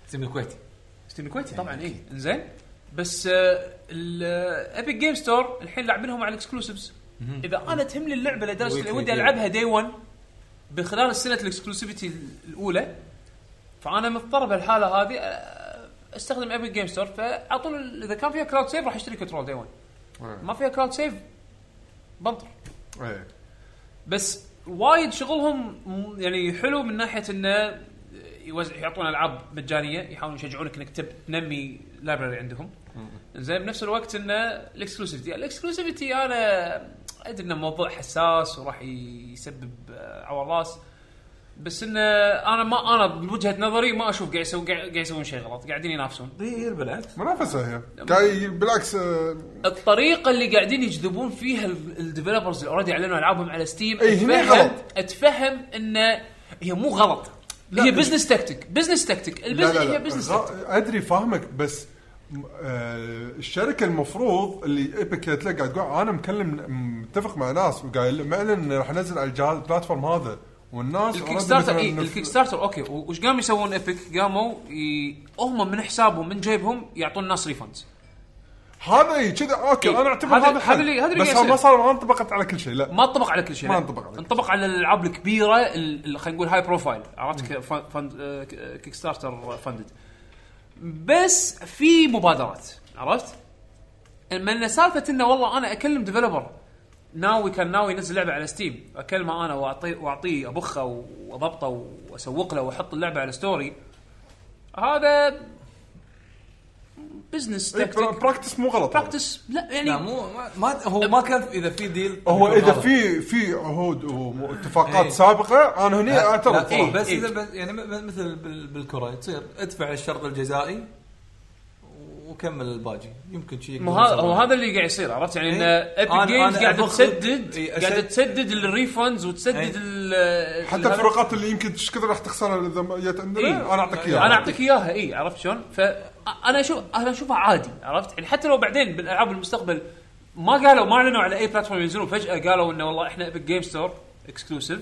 Speaker 6: سيم الكويتي يعني.
Speaker 2: ستيم الكويتي طبعا اي انزين بس آه، الابيك جيم ستور الحين لاعبينهم على الاكسكلوسيفز اذا انا تهمني اللعبه لدرجه
Speaker 6: Weekly
Speaker 2: اللي ودي
Speaker 6: deal.
Speaker 2: العبها دي 1 بخلال السنه الاكسكلوسيفيتي الاولى فانا مضطر بهالحاله هذه آه، استخدم ابيك جيم ستور فاعطوني ال- اذا كان فيها كلاود سيف راح اشتري كنترول دي 1
Speaker 6: نعم.
Speaker 2: ما فيها كلاود سيف بنطر
Speaker 4: إيه.
Speaker 2: بس وايد شغلهم م- يعني حلو من ناحيه انه يوزع يعطون العاب مجانيه يحاولون يشجعونك انك تب- تنمي لايبرري عندهم زين بنفس الوقت انه الاكسكلوسيفيتي الاكسكلوسيفيتي انا ادري انه موضوع حساس وراح يسبب آه، عوراس بس انه انا ما انا من وجهه نظري ما اشوف قاعد يسوي قاعد يسوون شيء غلط قاعدين ينافسون
Speaker 6: اي بالعكس
Speaker 4: منافسه هي قاعد بالعكس آه،
Speaker 2: الطريقه اللي قاعدين يجذبون فيها ال- الديفلوبرز اللي اوريدي اعلنوا العابهم على ستيم
Speaker 4: إي، هنا
Speaker 2: اتفهم
Speaker 4: إيه، غلط.
Speaker 2: اتفهم ان هي مو غلط هي بزنس تكتيك بزنس تكتيك
Speaker 4: لا
Speaker 2: البزنس
Speaker 4: لا لا
Speaker 2: هي بزنس
Speaker 4: غ- ادري فاهمك بس م- آه، الشركه المفروض اللي ايبك قالت لك قاعد تقول انا مكلم متفق مع ناس وقايل معلن إنه راح انزل على الجهاز البلاتفورم هذا والناس
Speaker 2: الكيك
Speaker 4: already
Speaker 2: ستارتر
Speaker 4: مثلاً
Speaker 2: اي
Speaker 4: نف-
Speaker 2: الكيك ستارتر اوكي و- وش قاموا يسوون ايبك قاموا ي... هم من حسابهم من جيبهم يعطون الناس ريفندز
Speaker 4: هذا اي كذا اوكي
Speaker 2: إيه،
Speaker 4: انا اعتبر
Speaker 2: هذا-
Speaker 4: هذا
Speaker 2: هذا
Speaker 4: حل
Speaker 2: اللي- هذا اللي
Speaker 4: بس
Speaker 2: قاعد يصير.
Speaker 4: ما صار ما انطبقت على كل شيء لا
Speaker 2: ما انطبق على كل شيء
Speaker 4: ما
Speaker 2: لا.
Speaker 4: انطبق على كل
Speaker 2: انطبق على الالعاب الكبيره ال- ال- خلينا نقول هاي بروفايل عرفت ك- فن- فند- آه، ك- آه، كيك ستارتر فندد بس في مبادرات عرفت؟ من سالفه انه والله انا اكلم ديفلوبر ناوي كان ناوي ينزل لعبه على ستيم اكلمه انا واعطيه واعطيه ابخه واضبطه واسوق له واحط اللعبه على ستوري هذا بزنس
Speaker 4: إيه،
Speaker 2: تكتيك
Speaker 4: براكتس مو غلط هذا.
Speaker 2: براكتس لا يعني
Speaker 6: لا مو ما- ما هو ما كان اذا في ديل
Speaker 4: هو اذا في في عهود واتفاقات
Speaker 6: إيه.
Speaker 4: سابقه انا هني اعترض
Speaker 6: إيه
Speaker 4: صراحة.
Speaker 6: بس
Speaker 2: إيه.
Speaker 6: اذا بس- يعني م- مثل بال- بالكره تصير ادفع الشرط الجزائي وكمل الباقي يمكن شيء
Speaker 2: ما هذا هو هذا اللي قاعد يصير عرفت يعني ان
Speaker 6: إيه.
Speaker 2: ايبك
Speaker 6: أنا-
Speaker 2: جيمز
Speaker 6: أنا
Speaker 2: قاعده
Speaker 6: أبغى-
Speaker 2: تسدد
Speaker 6: إيه،
Speaker 2: قاعده
Speaker 6: أسد-
Speaker 2: تسدد الريفندز وتسدد
Speaker 6: إيه.
Speaker 2: ال
Speaker 4: حتى
Speaker 2: ال-
Speaker 4: الفروقات اللي يمكن ايش كثر راح تخسرها اذا ما جت عندنا
Speaker 2: إيه.
Speaker 4: انا اعطيك اياها
Speaker 2: انا اعطيك اياها اي إيه، عرفت شلون؟ فانا اشوف انا اشوفها عادي عرفت؟ يعني حتى لو بعدين بالالعاب المستقبل ما قالوا ما اعلنوا على اي بلاتفورم ينزلون فجاه قالوا انه والله احنا ايبك جيم ستور اكسكلوسيف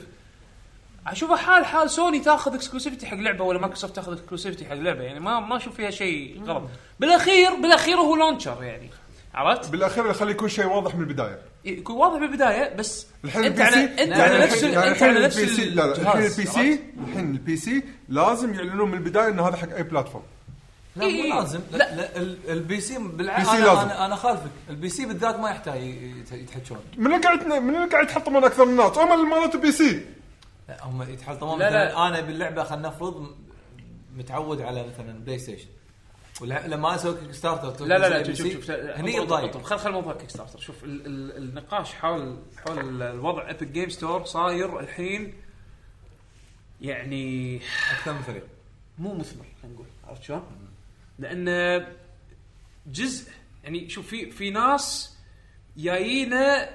Speaker 2: اشوفه حال حال سوني تاخذ اكسكلوسيفيتي حق لعبه ولا مايكروسوفت تاخذ اكسكلوسيفيتي حق لعبه يعني ما ما اشوف فيها شيء غلط بالاخير بالاخير هو لونشر يعني عرفت؟
Speaker 4: بالاخير يخلي كل شيء واضح من البدايه
Speaker 2: يكون واضح بالبدايه بس
Speaker 4: الحين
Speaker 2: انت
Speaker 4: البي
Speaker 2: على
Speaker 4: سي
Speaker 2: انت
Speaker 4: يعني
Speaker 2: على
Speaker 4: الحين-
Speaker 2: نفس ال-
Speaker 4: يعني
Speaker 2: انت
Speaker 4: الحين
Speaker 2: على نفس
Speaker 4: البي سي لا لا الحين
Speaker 2: الجهاز،
Speaker 4: البي
Speaker 2: عرفت؟
Speaker 4: سي الحين البي سي لازم يعلنون من البدايه انه هذا حق اي بلاتفورم
Speaker 6: لا
Speaker 2: إي إي.
Speaker 6: مو لازم لا,
Speaker 2: إيه. لا.
Speaker 6: لا. ال- البي سي بالعكس
Speaker 4: بي سي
Speaker 6: انا,
Speaker 4: لازم.
Speaker 6: أنا, أنا خالفك البي سي بالذات ما يحتاج يت- يتحكون
Speaker 4: من اللي قاعد من اللي قاعد يحطمون اكثر الناس هم اللي مالت البي سي
Speaker 6: لا هم يتحطمون
Speaker 2: لا،
Speaker 6: مثلا
Speaker 2: لا.
Speaker 6: انا باللعبه خلينا نفرض م- متعود على مثلا بلاي ستيشن ولا- لما اسوي كيك ستارتر
Speaker 2: لا لا لا
Speaker 6: تنزل
Speaker 2: شوف
Speaker 6: البي سي،
Speaker 2: شوف شوف
Speaker 6: هني
Speaker 2: طب-
Speaker 6: يضايق
Speaker 2: طب خل خل موضوع كيك ستارتر شوف ال ال النقاش حول حول الوضع ابيك جيم ستور صاير الحين يعني
Speaker 6: اكثر من فريق
Speaker 2: مو مثمر خلينا نقول عرفت شلون؟ لان جزء يعني شوف في في ناس جايينا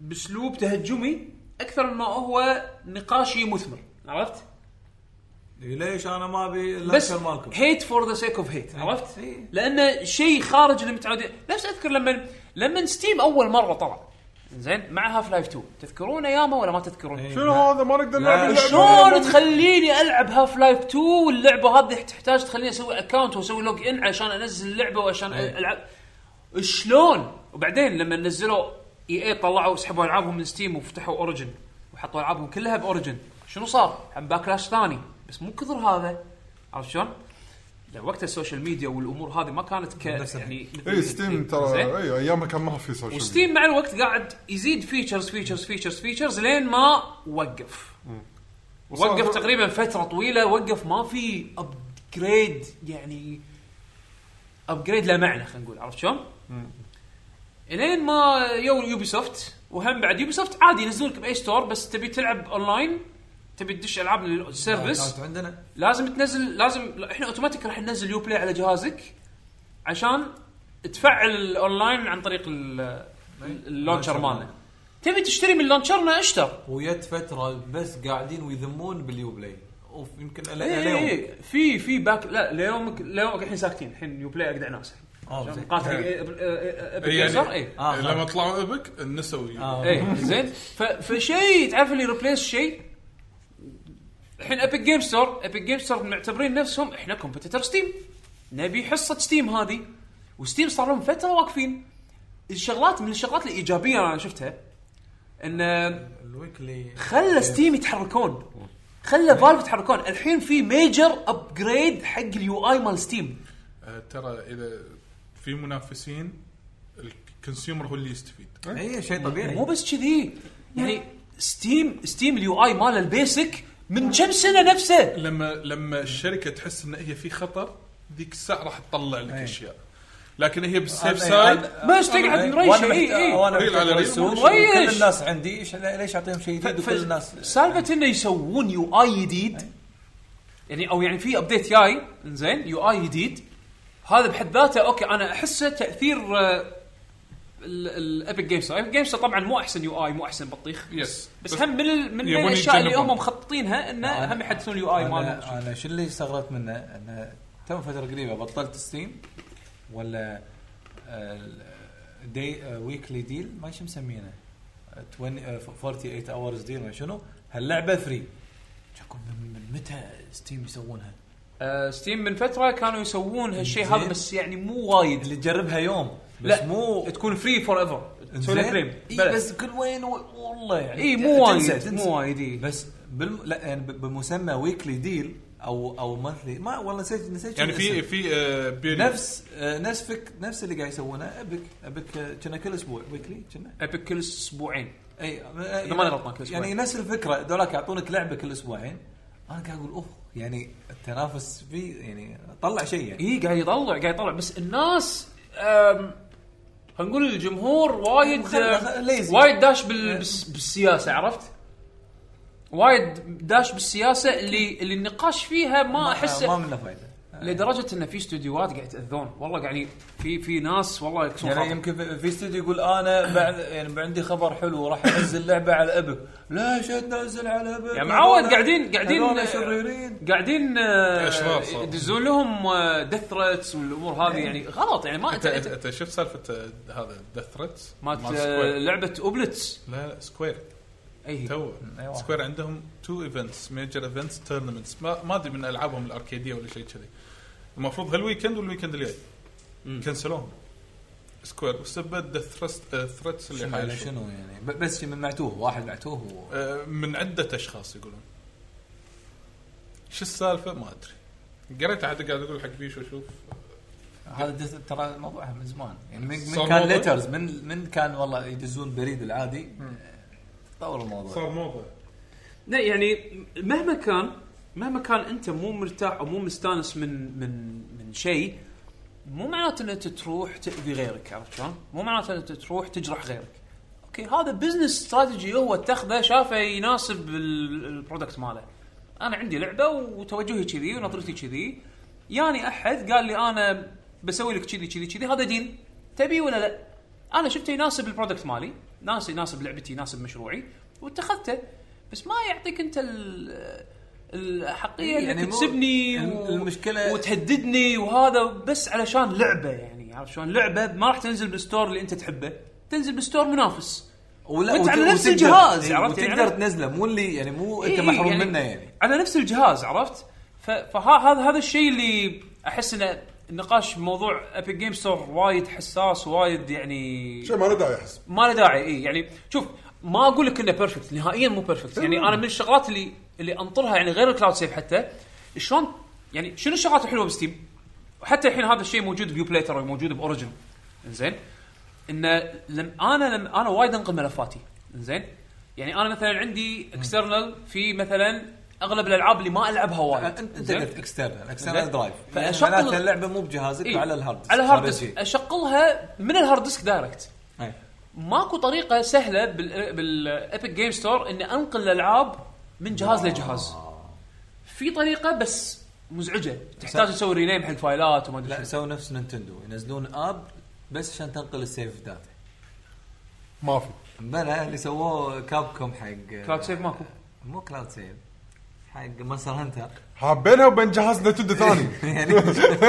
Speaker 2: باسلوب تهجمي اكثر مما هو نقاشي مثمر عرفت؟
Speaker 6: ليش انا ما ابي
Speaker 2: بس
Speaker 6: اللانشر مالكم
Speaker 2: هيت فور ذا سيك اوف هيت عرفت؟
Speaker 6: إيه.
Speaker 2: لانه شيء خارج اللي متعودين نفس اذكر لما لما ستيم اول مره طلع زين مع هاف لايف 2 تذكرون ايامه ولا ما تذكرون؟
Speaker 6: إيه.
Speaker 4: شنو هذا ما نقدر نلعب اللعبة.
Speaker 2: شلون تخليني العب هاف لايف 2 واللعبه هذه تحتاج تخليني اسوي اكونت واسوي لوج ان عشان انزل اللعبه وعشان
Speaker 6: إيه.
Speaker 2: العب شلون؟ وبعدين لما نزلوا اي اي طلعوا وسحبوا العابهم من ستيم وفتحوا اوريجن وحطوا العابهم كلها باوريجن شنو صار؟ عم باكلاش ثاني بس مو كثر هذا عرفت شلون؟ لا، وقت السوشيال ميديا والامور هذه ما كانت ك
Speaker 6: نفسها.
Speaker 2: يعني مثل-
Speaker 4: اي ستيم إيه، ترى
Speaker 2: زين؟
Speaker 4: اي ايامها كان ما في سوشيال ميديا.
Speaker 2: وستيم مع الوقت قاعد يزيد فيتشرز فيتشرز فيتشرز فيتشرز لين ما وقف
Speaker 4: وصار-
Speaker 2: وقف تقريبا فتره طويله وقف ما في ابجريد يعني ابجريد لا معنى خلينا نقول عرفت شلون؟ الين ما يو يوبي سوفت وهم بعد يوبي سوفت عادي ينزلونك باي ستور بس تبي تلعب اونلاين تبي تدش العاب للسيرفس
Speaker 6: كانت عندنا
Speaker 2: لازم تنزل لازم لا، احنا اوتوماتيك راح ننزل يو بلاي على جهازك عشان تفعل الاونلاين عن طريق ال- ال- اللونشر مالنا تبي تشتري من لونشرنا اشتر
Speaker 6: ويت فتره بس قاعدين ويذمون باليو بلاي اوف يمكن الى
Speaker 2: إيه،
Speaker 6: اليوم
Speaker 2: إيه، في في باك لا ليومك ليومك الحين ساكتين الحين يو بلاي اقدع ناس
Speaker 6: آه، زين.
Speaker 2: مقاتل
Speaker 3: إيه.
Speaker 2: اي اي
Speaker 6: آه.
Speaker 3: لما طلعوا ابك نسوا
Speaker 6: آه.
Speaker 2: اي إيه، زين ف- فشيء تعرف اللي ريبليس شيء الحين ابيك جيم ستور ابيك جيم ستور معتبرين نفسهم احنا كومبتيتر ستيم نبي حصه ستيم هذه وستيم صار لهم فتره واقفين الشغلات من الشغلات الايجابيه انا شفتها ان
Speaker 6: الويكلي
Speaker 2: خلى ستيم يتحركون خلى فالف يتحركون الحين في ميجر ابجريد حق اليو اي مال ستيم
Speaker 3: آه، ترى اذا في منافسين الكونسيومر هو اللي يستفيد
Speaker 6: اي شيء
Speaker 2: مو
Speaker 6: طبيعي
Speaker 2: بس كذي يعني ستيم ستيم اليو اي مال البيسك من كم سنه نفسه
Speaker 3: لما لما الشركه تحس ان هي في خطر ذيك الساعه راح تطلع لك اشياء لكن هي بالسيف
Speaker 6: إيه،
Speaker 3: سايد
Speaker 2: بس تقعد مريشه اي اي
Speaker 6: وانا
Speaker 3: ريل
Speaker 6: محتاج
Speaker 3: على ريل.
Speaker 6: السوق،
Speaker 2: مريش.
Speaker 6: كل الناس عندي إيش- ليش اعطيهم شيء جديد
Speaker 2: ف-
Speaker 6: وكل الناس
Speaker 2: سالفه انه يسوون يو اي جديد يعني او يعني في ابديت جاي زين يو اي جديد هذا بحد ذاته اوكي انا احسه تاثير الابيك جيمز ابيك جيمز طبعا مو احسن يو اي مو احسن بطيخ
Speaker 3: يس
Speaker 2: بس هم من ال- من
Speaker 3: يبون
Speaker 2: بين الاشياء اللي هم
Speaker 3: يتجنبون.
Speaker 2: مخططينها انه هم يحدثون اليو اي مالهم
Speaker 6: انا انا شو اللي استغربت منه انه تم فتره قريبه بطلت ستيم ولا آه، دي ويكلي ديل ما شو مسمينه 20 آه، 48 اورز ديل ما شنو هاللعبه فري شكون من من متى ستيم يسوونها؟
Speaker 2: آه، ستيم من فتره كانوا يسوون هالشيء
Speaker 6: زين.
Speaker 2: هذا بس يعني مو وايد
Speaker 6: اللي تجربها يوم بس
Speaker 2: لا.
Speaker 6: مو
Speaker 2: تكون فري فور ايفر تسوي لها
Speaker 6: زين.
Speaker 2: كليم
Speaker 6: إي بس كل وين و- والله يعني
Speaker 2: اي مو
Speaker 6: تنسى-
Speaker 2: وايد
Speaker 6: تنسى.
Speaker 2: مو وايد إي.
Speaker 6: بس بالم... لا يعني ب- بمسمى ويكلي ديل او او منثلي ما والله نسيت نسيت شو
Speaker 3: يعني
Speaker 6: الاسم.
Speaker 3: في في آه، period.
Speaker 6: إيه. نفس آه، نفس فك نفس اللي قاعد يسوونه ابك ابك آه، كنا كل اسبوع ويكلي كنا
Speaker 2: ابيك كل اسبوعين
Speaker 6: اي
Speaker 2: إذا ماني غلطان كل أسبوعين.
Speaker 6: يعني نفس الفكره ذولاك يعطونك لعبه كل اسبوعين انا قاعد اقول اوف يعني التنافس فيه يعني طلع شيء يعني
Speaker 2: اي إيه، قاعد يطلع قاعد يطلع بس الناس أم، خلينا نقول الجمهور وايد
Speaker 6: خل- خل- ليزي.
Speaker 2: وايد داش بال... بالس- بالسياسه عرفت؟ وايد داش بالسياسه اللي اللي النقاش فيها ما احسه
Speaker 6: ما آه، منه فايده
Speaker 2: لدرجه ان في استديوهات قاعد يتاذون والله قاعد ي- في في ناس والله يكسون
Speaker 6: يعني
Speaker 2: خاطر
Speaker 6: يمكن في- في استوديو يقول انا بعد يعني عندي خبر حلو راح انزل لعبه على ابك ليش تنزل على ابك
Speaker 2: يا معود يعني قاعدين
Speaker 6: هذول
Speaker 2: قاعدين
Speaker 6: شريرين
Speaker 2: قاعدين آه،
Speaker 3: أشرار صار.
Speaker 2: يدزون لهم آه، ديث ثريتس والامور هذه يعني غلط يعني ما
Speaker 3: انت
Speaker 2: انت انت
Speaker 3: انت شفت سالفه آه، هذا ديث ثريت
Speaker 2: مالت آه، لعبه اوبلتس
Speaker 3: لا لا سكوير
Speaker 6: اي هي.
Speaker 3: تو
Speaker 6: أي واحد.
Speaker 3: سكوير عندهم تو ايفنتس ميجر ايفنتس تورنمنتس ما ما ادري من العابهم الاركيديه ولا شيء كذي المفروض هالويكند والويكند الجاي كنسلوهم سكوير بسبب الثرست ثريتس uh, اللي
Speaker 6: شنو على
Speaker 3: حايشوا
Speaker 6: شنو يعني ب- بس من معتوه واحد معتوه و...
Speaker 3: آه، من عده اشخاص يقولون شو السالفه ما ادري قريت احد قاعد يقول حق بيشو شوف
Speaker 6: هذا دز- ترى موضوعها من زمان يعني من,
Speaker 3: صار
Speaker 6: من كان
Speaker 3: موضوع؟
Speaker 6: ليترز من من كان والله يدزون بريد العادي تطور الموضوع
Speaker 3: صار موضه
Speaker 2: لا يعني مهما كان مهما كان انت مو مرتاح او مو مستانس من من من شيء مو معناته ان انت تروح تاذي غيرك عرفت شلون؟ مو معناته ان انت تروح تجرح غيرك. اوكي هذا بزنس استراتيجي هو اتخذه شافه يناسب ال- البرودكت ماله. انا عندي لعبه وتوجهي كذي ونظرتي كذي ياني احد قال لي انا بسوي لك كذي كذي كذي هذا دين تبي ولا لا؟ انا شفته يناسب البرودكت مالي، ناس يناسب لعبتي يناسب مشروعي واتخذته بس ما يعطيك انت ال- الحقيه
Speaker 6: يعني
Speaker 2: يعني
Speaker 6: مو-
Speaker 2: انك تسبني
Speaker 6: الم-
Speaker 2: و-
Speaker 6: المشكلة-
Speaker 2: وتهددني وهذا بس علشان لعبه يعني عرفت شلون لعبه ما راح تنزل بالستور اللي انت تحبه تنزل بالستور منافس
Speaker 6: ولا
Speaker 2: وانت
Speaker 6: وت-
Speaker 2: على نفس
Speaker 6: وتقدر-
Speaker 2: الجهاز،
Speaker 6: إي،
Speaker 2: عرفت يعني؟
Speaker 6: وتقدر تنزله مو اللي يعني مو انت
Speaker 2: إيه،
Speaker 6: محروم منه يعني
Speaker 2: على نفس الجهاز عرفت ف- فهذا هذا الشيء اللي احس انه النقاش بموضوع ابيك جيم ستور وايد حساس وايد يعني
Speaker 7: شيء ما له داعي احس
Speaker 2: ما له داعي اي يعني شوف ما اقول لك انه بيرفكت نهائيا مو بيرفكت يعني
Speaker 6: إيه.
Speaker 2: انا من الشغلات اللي اللي انطرها يعني غير الكلاود سيف حتى شلون يعني شنو الشغلات الحلوه بستيم؟ وحتى الحين هذا الشيء موجود بيو بلاي ترى موجود باوريجن زين انه لم انا لم انا وايد انقل ملفاتي زين يعني انا مثلا عندي اكسترنال في مثلا اغلب الالعاب اللي ما العبها
Speaker 6: انت
Speaker 2: وايد
Speaker 6: أنت
Speaker 2: زين؟
Speaker 6: قلت اكسترنال
Speaker 2: زين.
Speaker 6: اكسترنال درايف
Speaker 2: فأشغل-
Speaker 6: يعني معناته اللعبه مو بجهازك
Speaker 2: إيه.
Speaker 6: على الهارد
Speaker 2: على الهارد
Speaker 6: خارجي.
Speaker 2: ديسك اشغلها من الهارد ديسك دايركت
Speaker 6: إيه.
Speaker 2: ماكو طريقه سهله بال بالابيك جيم ستور اني انقل الالعاب من جهاز لجهاز في طريقه بس مزعجه تحتاج تسوي رينيم حق فايلات وما
Speaker 6: لا
Speaker 2: ادري شو.
Speaker 6: سووا نفس نينتندو ينزلون اب بس عشان تنقل السيف داتا
Speaker 7: ما في
Speaker 6: بلا اللي سووه كاب كوم حق
Speaker 2: كلاود سيف ماكو
Speaker 6: مو كلاود سيف حق مونستر هانتر
Speaker 4: حابينها وبين جهاز نتندو ثاني
Speaker 6: يعني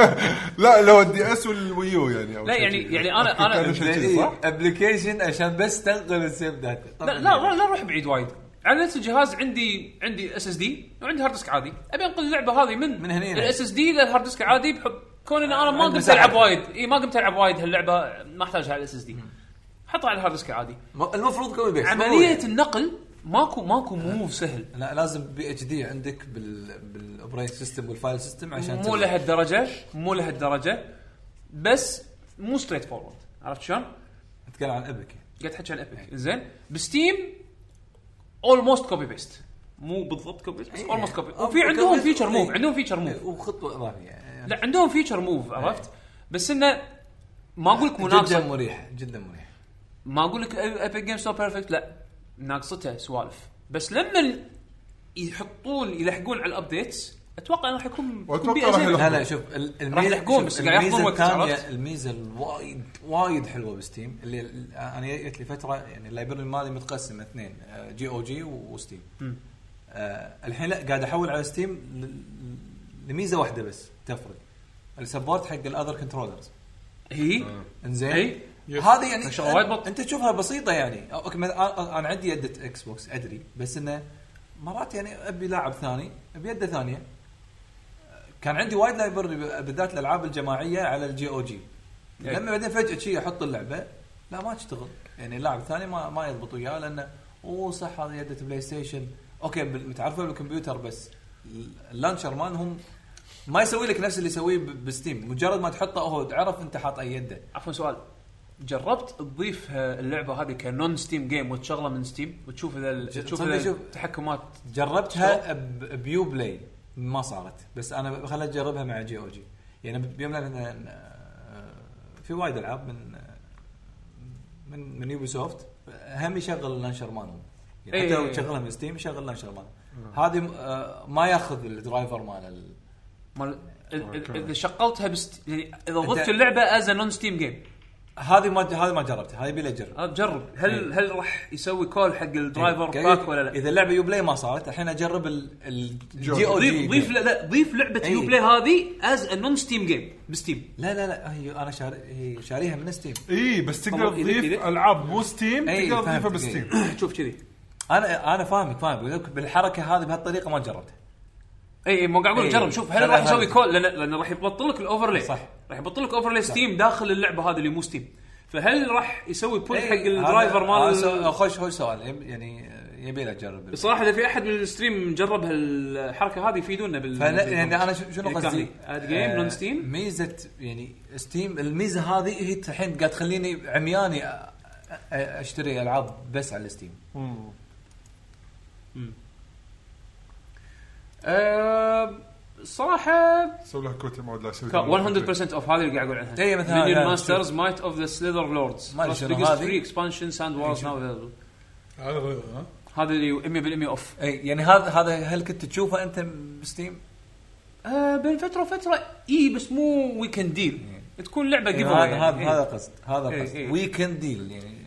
Speaker 4: لا لو الدي اس والويو يعني أو
Speaker 2: لا
Speaker 4: شيء
Speaker 2: يعني
Speaker 4: كذي.
Speaker 2: يعني انا انا
Speaker 4: كان شيء كذي، صح؟
Speaker 6: ابلكيشن عشان بس تنقل السيف داتا
Speaker 2: لا لا لا- لا نروح بعيد وايد على نفس الجهاز عندي عندي اس اس دي وعندي هارد ديسك عادي ابي انقل اللعبه هذه من
Speaker 6: من هني.
Speaker 2: الاس اس دي للهارد ديسك عادي بحب كون ان انا ما
Speaker 6: عند
Speaker 2: قمت
Speaker 6: مساحة.
Speaker 2: العب وايد اي ما قمت العب وايد هاللعبه ما احتاجها على الاس اس دي حطها على الهارد ديسك عادي
Speaker 6: م- المفروض كوي بيس
Speaker 2: عمليه النقل ماكو ماكو موف سهل
Speaker 6: لا لازم بي اتش دي عندك بال بالاوبريتنج سيستم والفايل سيستم عشان
Speaker 2: مو
Speaker 6: تنقل.
Speaker 2: لهالدرجه مو لهالدرجه بس مو ستريت فورورد عرفت شلون؟
Speaker 6: نتكلم عن ابك
Speaker 2: قاعد تحكي عن ابيك زين بستيم اولموست كوبي بيست مو بالضبط إيه. كوبي بيست بس اولموست
Speaker 6: إيه،
Speaker 2: كوبي وفي عندهم فيتشر موف عندهم فيتشر موف
Speaker 6: وخطوه اضافيه يعني
Speaker 2: لا عندهم فيتشر موف عرفت؟ بس انه ما اقول لك
Speaker 6: جدا
Speaker 2: مناقصه
Speaker 6: مريح جدا مريح
Speaker 2: ما اقول لك ابيك جيم ستور بيرفكت لا ناقصته سوالف بس لما يحطون يلحقون على الابديتس اتوقع انه راح يكون
Speaker 4: وأتوقع
Speaker 2: بيئة
Speaker 4: راح
Speaker 2: زينة.
Speaker 4: يلحقون.
Speaker 6: لا لا شوف ال- الميزه
Speaker 2: يلحقون،
Speaker 6: شوف،
Speaker 2: بس قاعد ياخذون
Speaker 6: الميزة
Speaker 2: وقت،
Speaker 6: الثانية-
Speaker 2: عرفت؟
Speaker 6: الميزه الوايد وايد حلوه بستيم اللي ال- انا جت لي فتره يعني اللايبرري مالي متقسم اثنين آه، جي او جي و- وستيم آه، الحين لا قاعد احول على ستيم ل- لميزه واحده بس تفرق السبورت حق الاذر كنترولرز
Speaker 2: هي
Speaker 4: آه.
Speaker 6: انزين
Speaker 2: أي.
Speaker 6: هذه يعني
Speaker 2: شغلة وايد بط.
Speaker 6: أن- انت تشوفها بسيطه يعني أو- اوكي مثلا أ- انا عندي يده اكس بوكس ادري بس انه مرات يعني ابي لاعب ثاني ابي يده ثانيه كان عندي وايد لايبرري ب- بالذات الالعاب الجماعيه على الجي او جي
Speaker 2: إيه.
Speaker 6: لما بعدين فجاه شي احط اللعبه لا ما تشتغل يعني اللاعب الثاني ما ما يضبط وياه لانه اوه صح هذه يده بلاي ستيشن اوكي بال- متعرفه بالكمبيوتر بس اللانشر مالهم ما يسوي لك نفس اللي يسويه ب- بستيم مجرد ما تحطه هو عرف انت حاط اي يده
Speaker 2: عفوا سؤال جربت تضيف اللعبه هذه كنون ستيم جيم وتشغله من ستيم وتشوف اذا ال-
Speaker 6: ج-
Speaker 2: تشوف
Speaker 6: تصدق
Speaker 2: اذا
Speaker 6: شوف.
Speaker 2: التحكمات
Speaker 6: جربتها ب- بيو بلاي ما صارت بس انا خليني اجربها مع جي او جي يعني بيوم ليلة مثلا آه، في وايد العاب من آه، من من يوبي سوفت هم يشغل اللانشر مالهم يعني حتى
Speaker 2: إيه. نعم.
Speaker 6: لو تشغلها من ستيم يشغل اللانشر مالهم هذه آه، ما ياخذ الدرايفر مال ال-
Speaker 2: مال
Speaker 6: Oh
Speaker 2: ال- ال- اذا شغلتها بست يعني اذا ضفت
Speaker 6: أنت-
Speaker 2: اللعبه از نون ستيم جيم
Speaker 6: هذه ما هذه ما جربتها هذه بلا اجرب
Speaker 2: جرب هل هل راح يسوي كول حق الدرايفر
Speaker 6: إيه.
Speaker 2: باك ولا لا؟
Speaker 6: اذا اللعبه يو بلاي ما صارت الحين اجرب الجي او جي
Speaker 2: ضيف ضيف لا- لا ضيف لعبه
Speaker 6: أي.
Speaker 2: يو بلاي هذه از نون ستيم جيم بستيم
Speaker 6: لا لا لا هي انا شار... هي شاريها من ستيم
Speaker 4: اي إيه، بس تقدر
Speaker 2: والله إذا-
Speaker 4: تضيف
Speaker 2: إذا-
Speaker 4: العاب مو ستيم
Speaker 6: إي،
Speaker 2: إيه.
Speaker 4: تقدر تضيفها
Speaker 6: فهمت،
Speaker 4: بستيم
Speaker 2: شوف كذي
Speaker 6: انا انا فاهمك فاهم بقول لك بالحركه هذه بهالطريقه ما جربتها
Speaker 2: اي مو قاعد اقول
Speaker 6: إي.
Speaker 2: جرب شوف هل
Speaker 6: ترى
Speaker 2: راح يسوي
Speaker 6: هذا-
Speaker 2: كول لان لان راح يبطل لك الاوفرلاي
Speaker 6: صح.
Speaker 2: راح يبطل لك اوفرلاي ستيم داخل اللعبه هذه اللي مو ستيم فهل راح يسوي بول حق
Speaker 6: إيه،
Speaker 2: الدرايفر
Speaker 6: هذا- هذا
Speaker 2: مال
Speaker 6: خوش خوش سؤال يعني يبي له اجرب
Speaker 2: بصراحه اذا في احد من الستريم جرب هالحركه هذه يفيدونا بال
Speaker 6: فلا يعني انا ش- شنو
Speaker 2: يعني
Speaker 6: قصدي؟
Speaker 2: كان اد جيم
Speaker 6: آه،
Speaker 2: نون ستيم
Speaker 6: ميزه يعني ستيم الميزه هذه هي الحين قاعد تخليني عمياني أ- أ- اشتري العاب بس على ستيم
Speaker 2: آه، الصراحه
Speaker 4: سوي له كوتي ما لا
Speaker 2: ك- 100% اوف هذه اللي قاعد اقول عنها
Speaker 6: إيه، مثلاً
Speaker 2: مينيون
Speaker 6: أنا
Speaker 2: ماسترز مايت اوف ذا سليذر لوردز
Speaker 6: ما أدري شنو هذه.
Speaker 2: فري اكسبانشن ساند وورز ناو
Speaker 3: هذا غير- ها
Speaker 2: هذا اللي 100% اوف
Speaker 6: اي يعني هذا هذا هل كنت تشوفه انت بستيم؟
Speaker 2: آه بين فتره وفتره اي بس مو ويكند ديل تكون يعني. لعبه
Speaker 6: إيه،
Speaker 2: جيف
Speaker 6: هذا هذا هذا قصد هذا
Speaker 2: إيه،
Speaker 6: قصد
Speaker 2: إيه.
Speaker 6: ويكند ديل يعني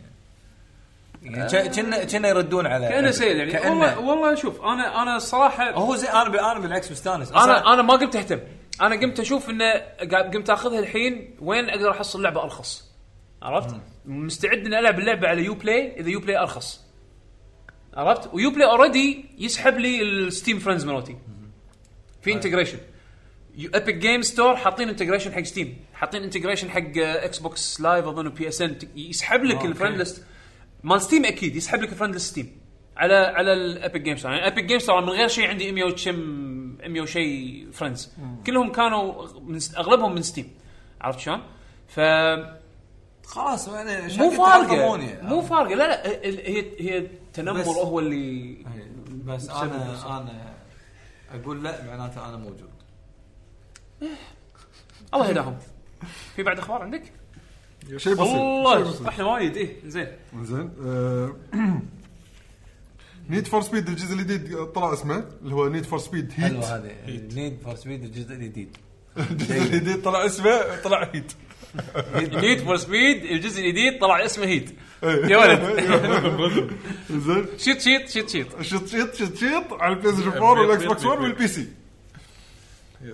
Speaker 6: يعني ك- كنا كنا يردون على
Speaker 2: كانه سيل يعني
Speaker 6: كأنه-
Speaker 2: والله والله شوف انا انا الصراحه
Speaker 6: هو زي انا ب- انا بالعكس مستانس
Speaker 2: انا انا ما قمت اهتم انا قمت اشوف انه قا- قمت اخذها الحين وين اقدر احصل لعبه ارخص عرفت؟ مستعد اني العب اللعبه على يو بلاي اذا يو بلاي ارخص عرفت؟ ويو بلاي اوريدي يسحب لي الستيم فريندز مالتي في انتجريشن ابيك جيم ستور حاطين انتجريشن حق ستيم حاطين انتجريشن حق آه، اكس بوكس لايف اظن وبي اس ان يسحب لك الفريند ليست مال ستيم اكيد يسحب لك الفريند ليست ستيم على على الابيك جيم ستور يعني ابيك جيم ستور من غير شيء عندي 100 وشم 100 وشي فريندز كلهم كانوا من اغلبهم من ستيم عرفت شلون؟ ف
Speaker 6: خلاص يعني عشان
Speaker 2: مو
Speaker 6: كنت
Speaker 2: فارقه
Speaker 6: تعظموني.
Speaker 2: مو فارقه لا لا ال- ال- هي هي تنمر
Speaker 6: بس-
Speaker 2: هو اللي
Speaker 6: بس انا انا اقول لا معناته انا موجود
Speaker 2: الله يهداهم في بعد اخبار عندك؟
Speaker 4: شيء بسيط
Speaker 2: والله احنا وايد ايه زين
Speaker 4: زين آه، نيد فور سبيد الجزء الجديد طلع اسمه اللي هو نيد فور سبيد
Speaker 6: حلو
Speaker 4: هيت
Speaker 6: هذا نيد فور سبيد الجزء الجديد
Speaker 4: الجزء الجديد طلع اسمه طلع هيت
Speaker 2: نيد فور سبيد الجزء الجديد طلع اسمه هيت
Speaker 3: أيوة.
Speaker 2: يا ولد
Speaker 4: زين
Speaker 2: شيت شيت شيت شيت
Speaker 4: شيط شيط شيط شيط على البلاي ستيشن 4 والاكس بوكس 1 والبي سي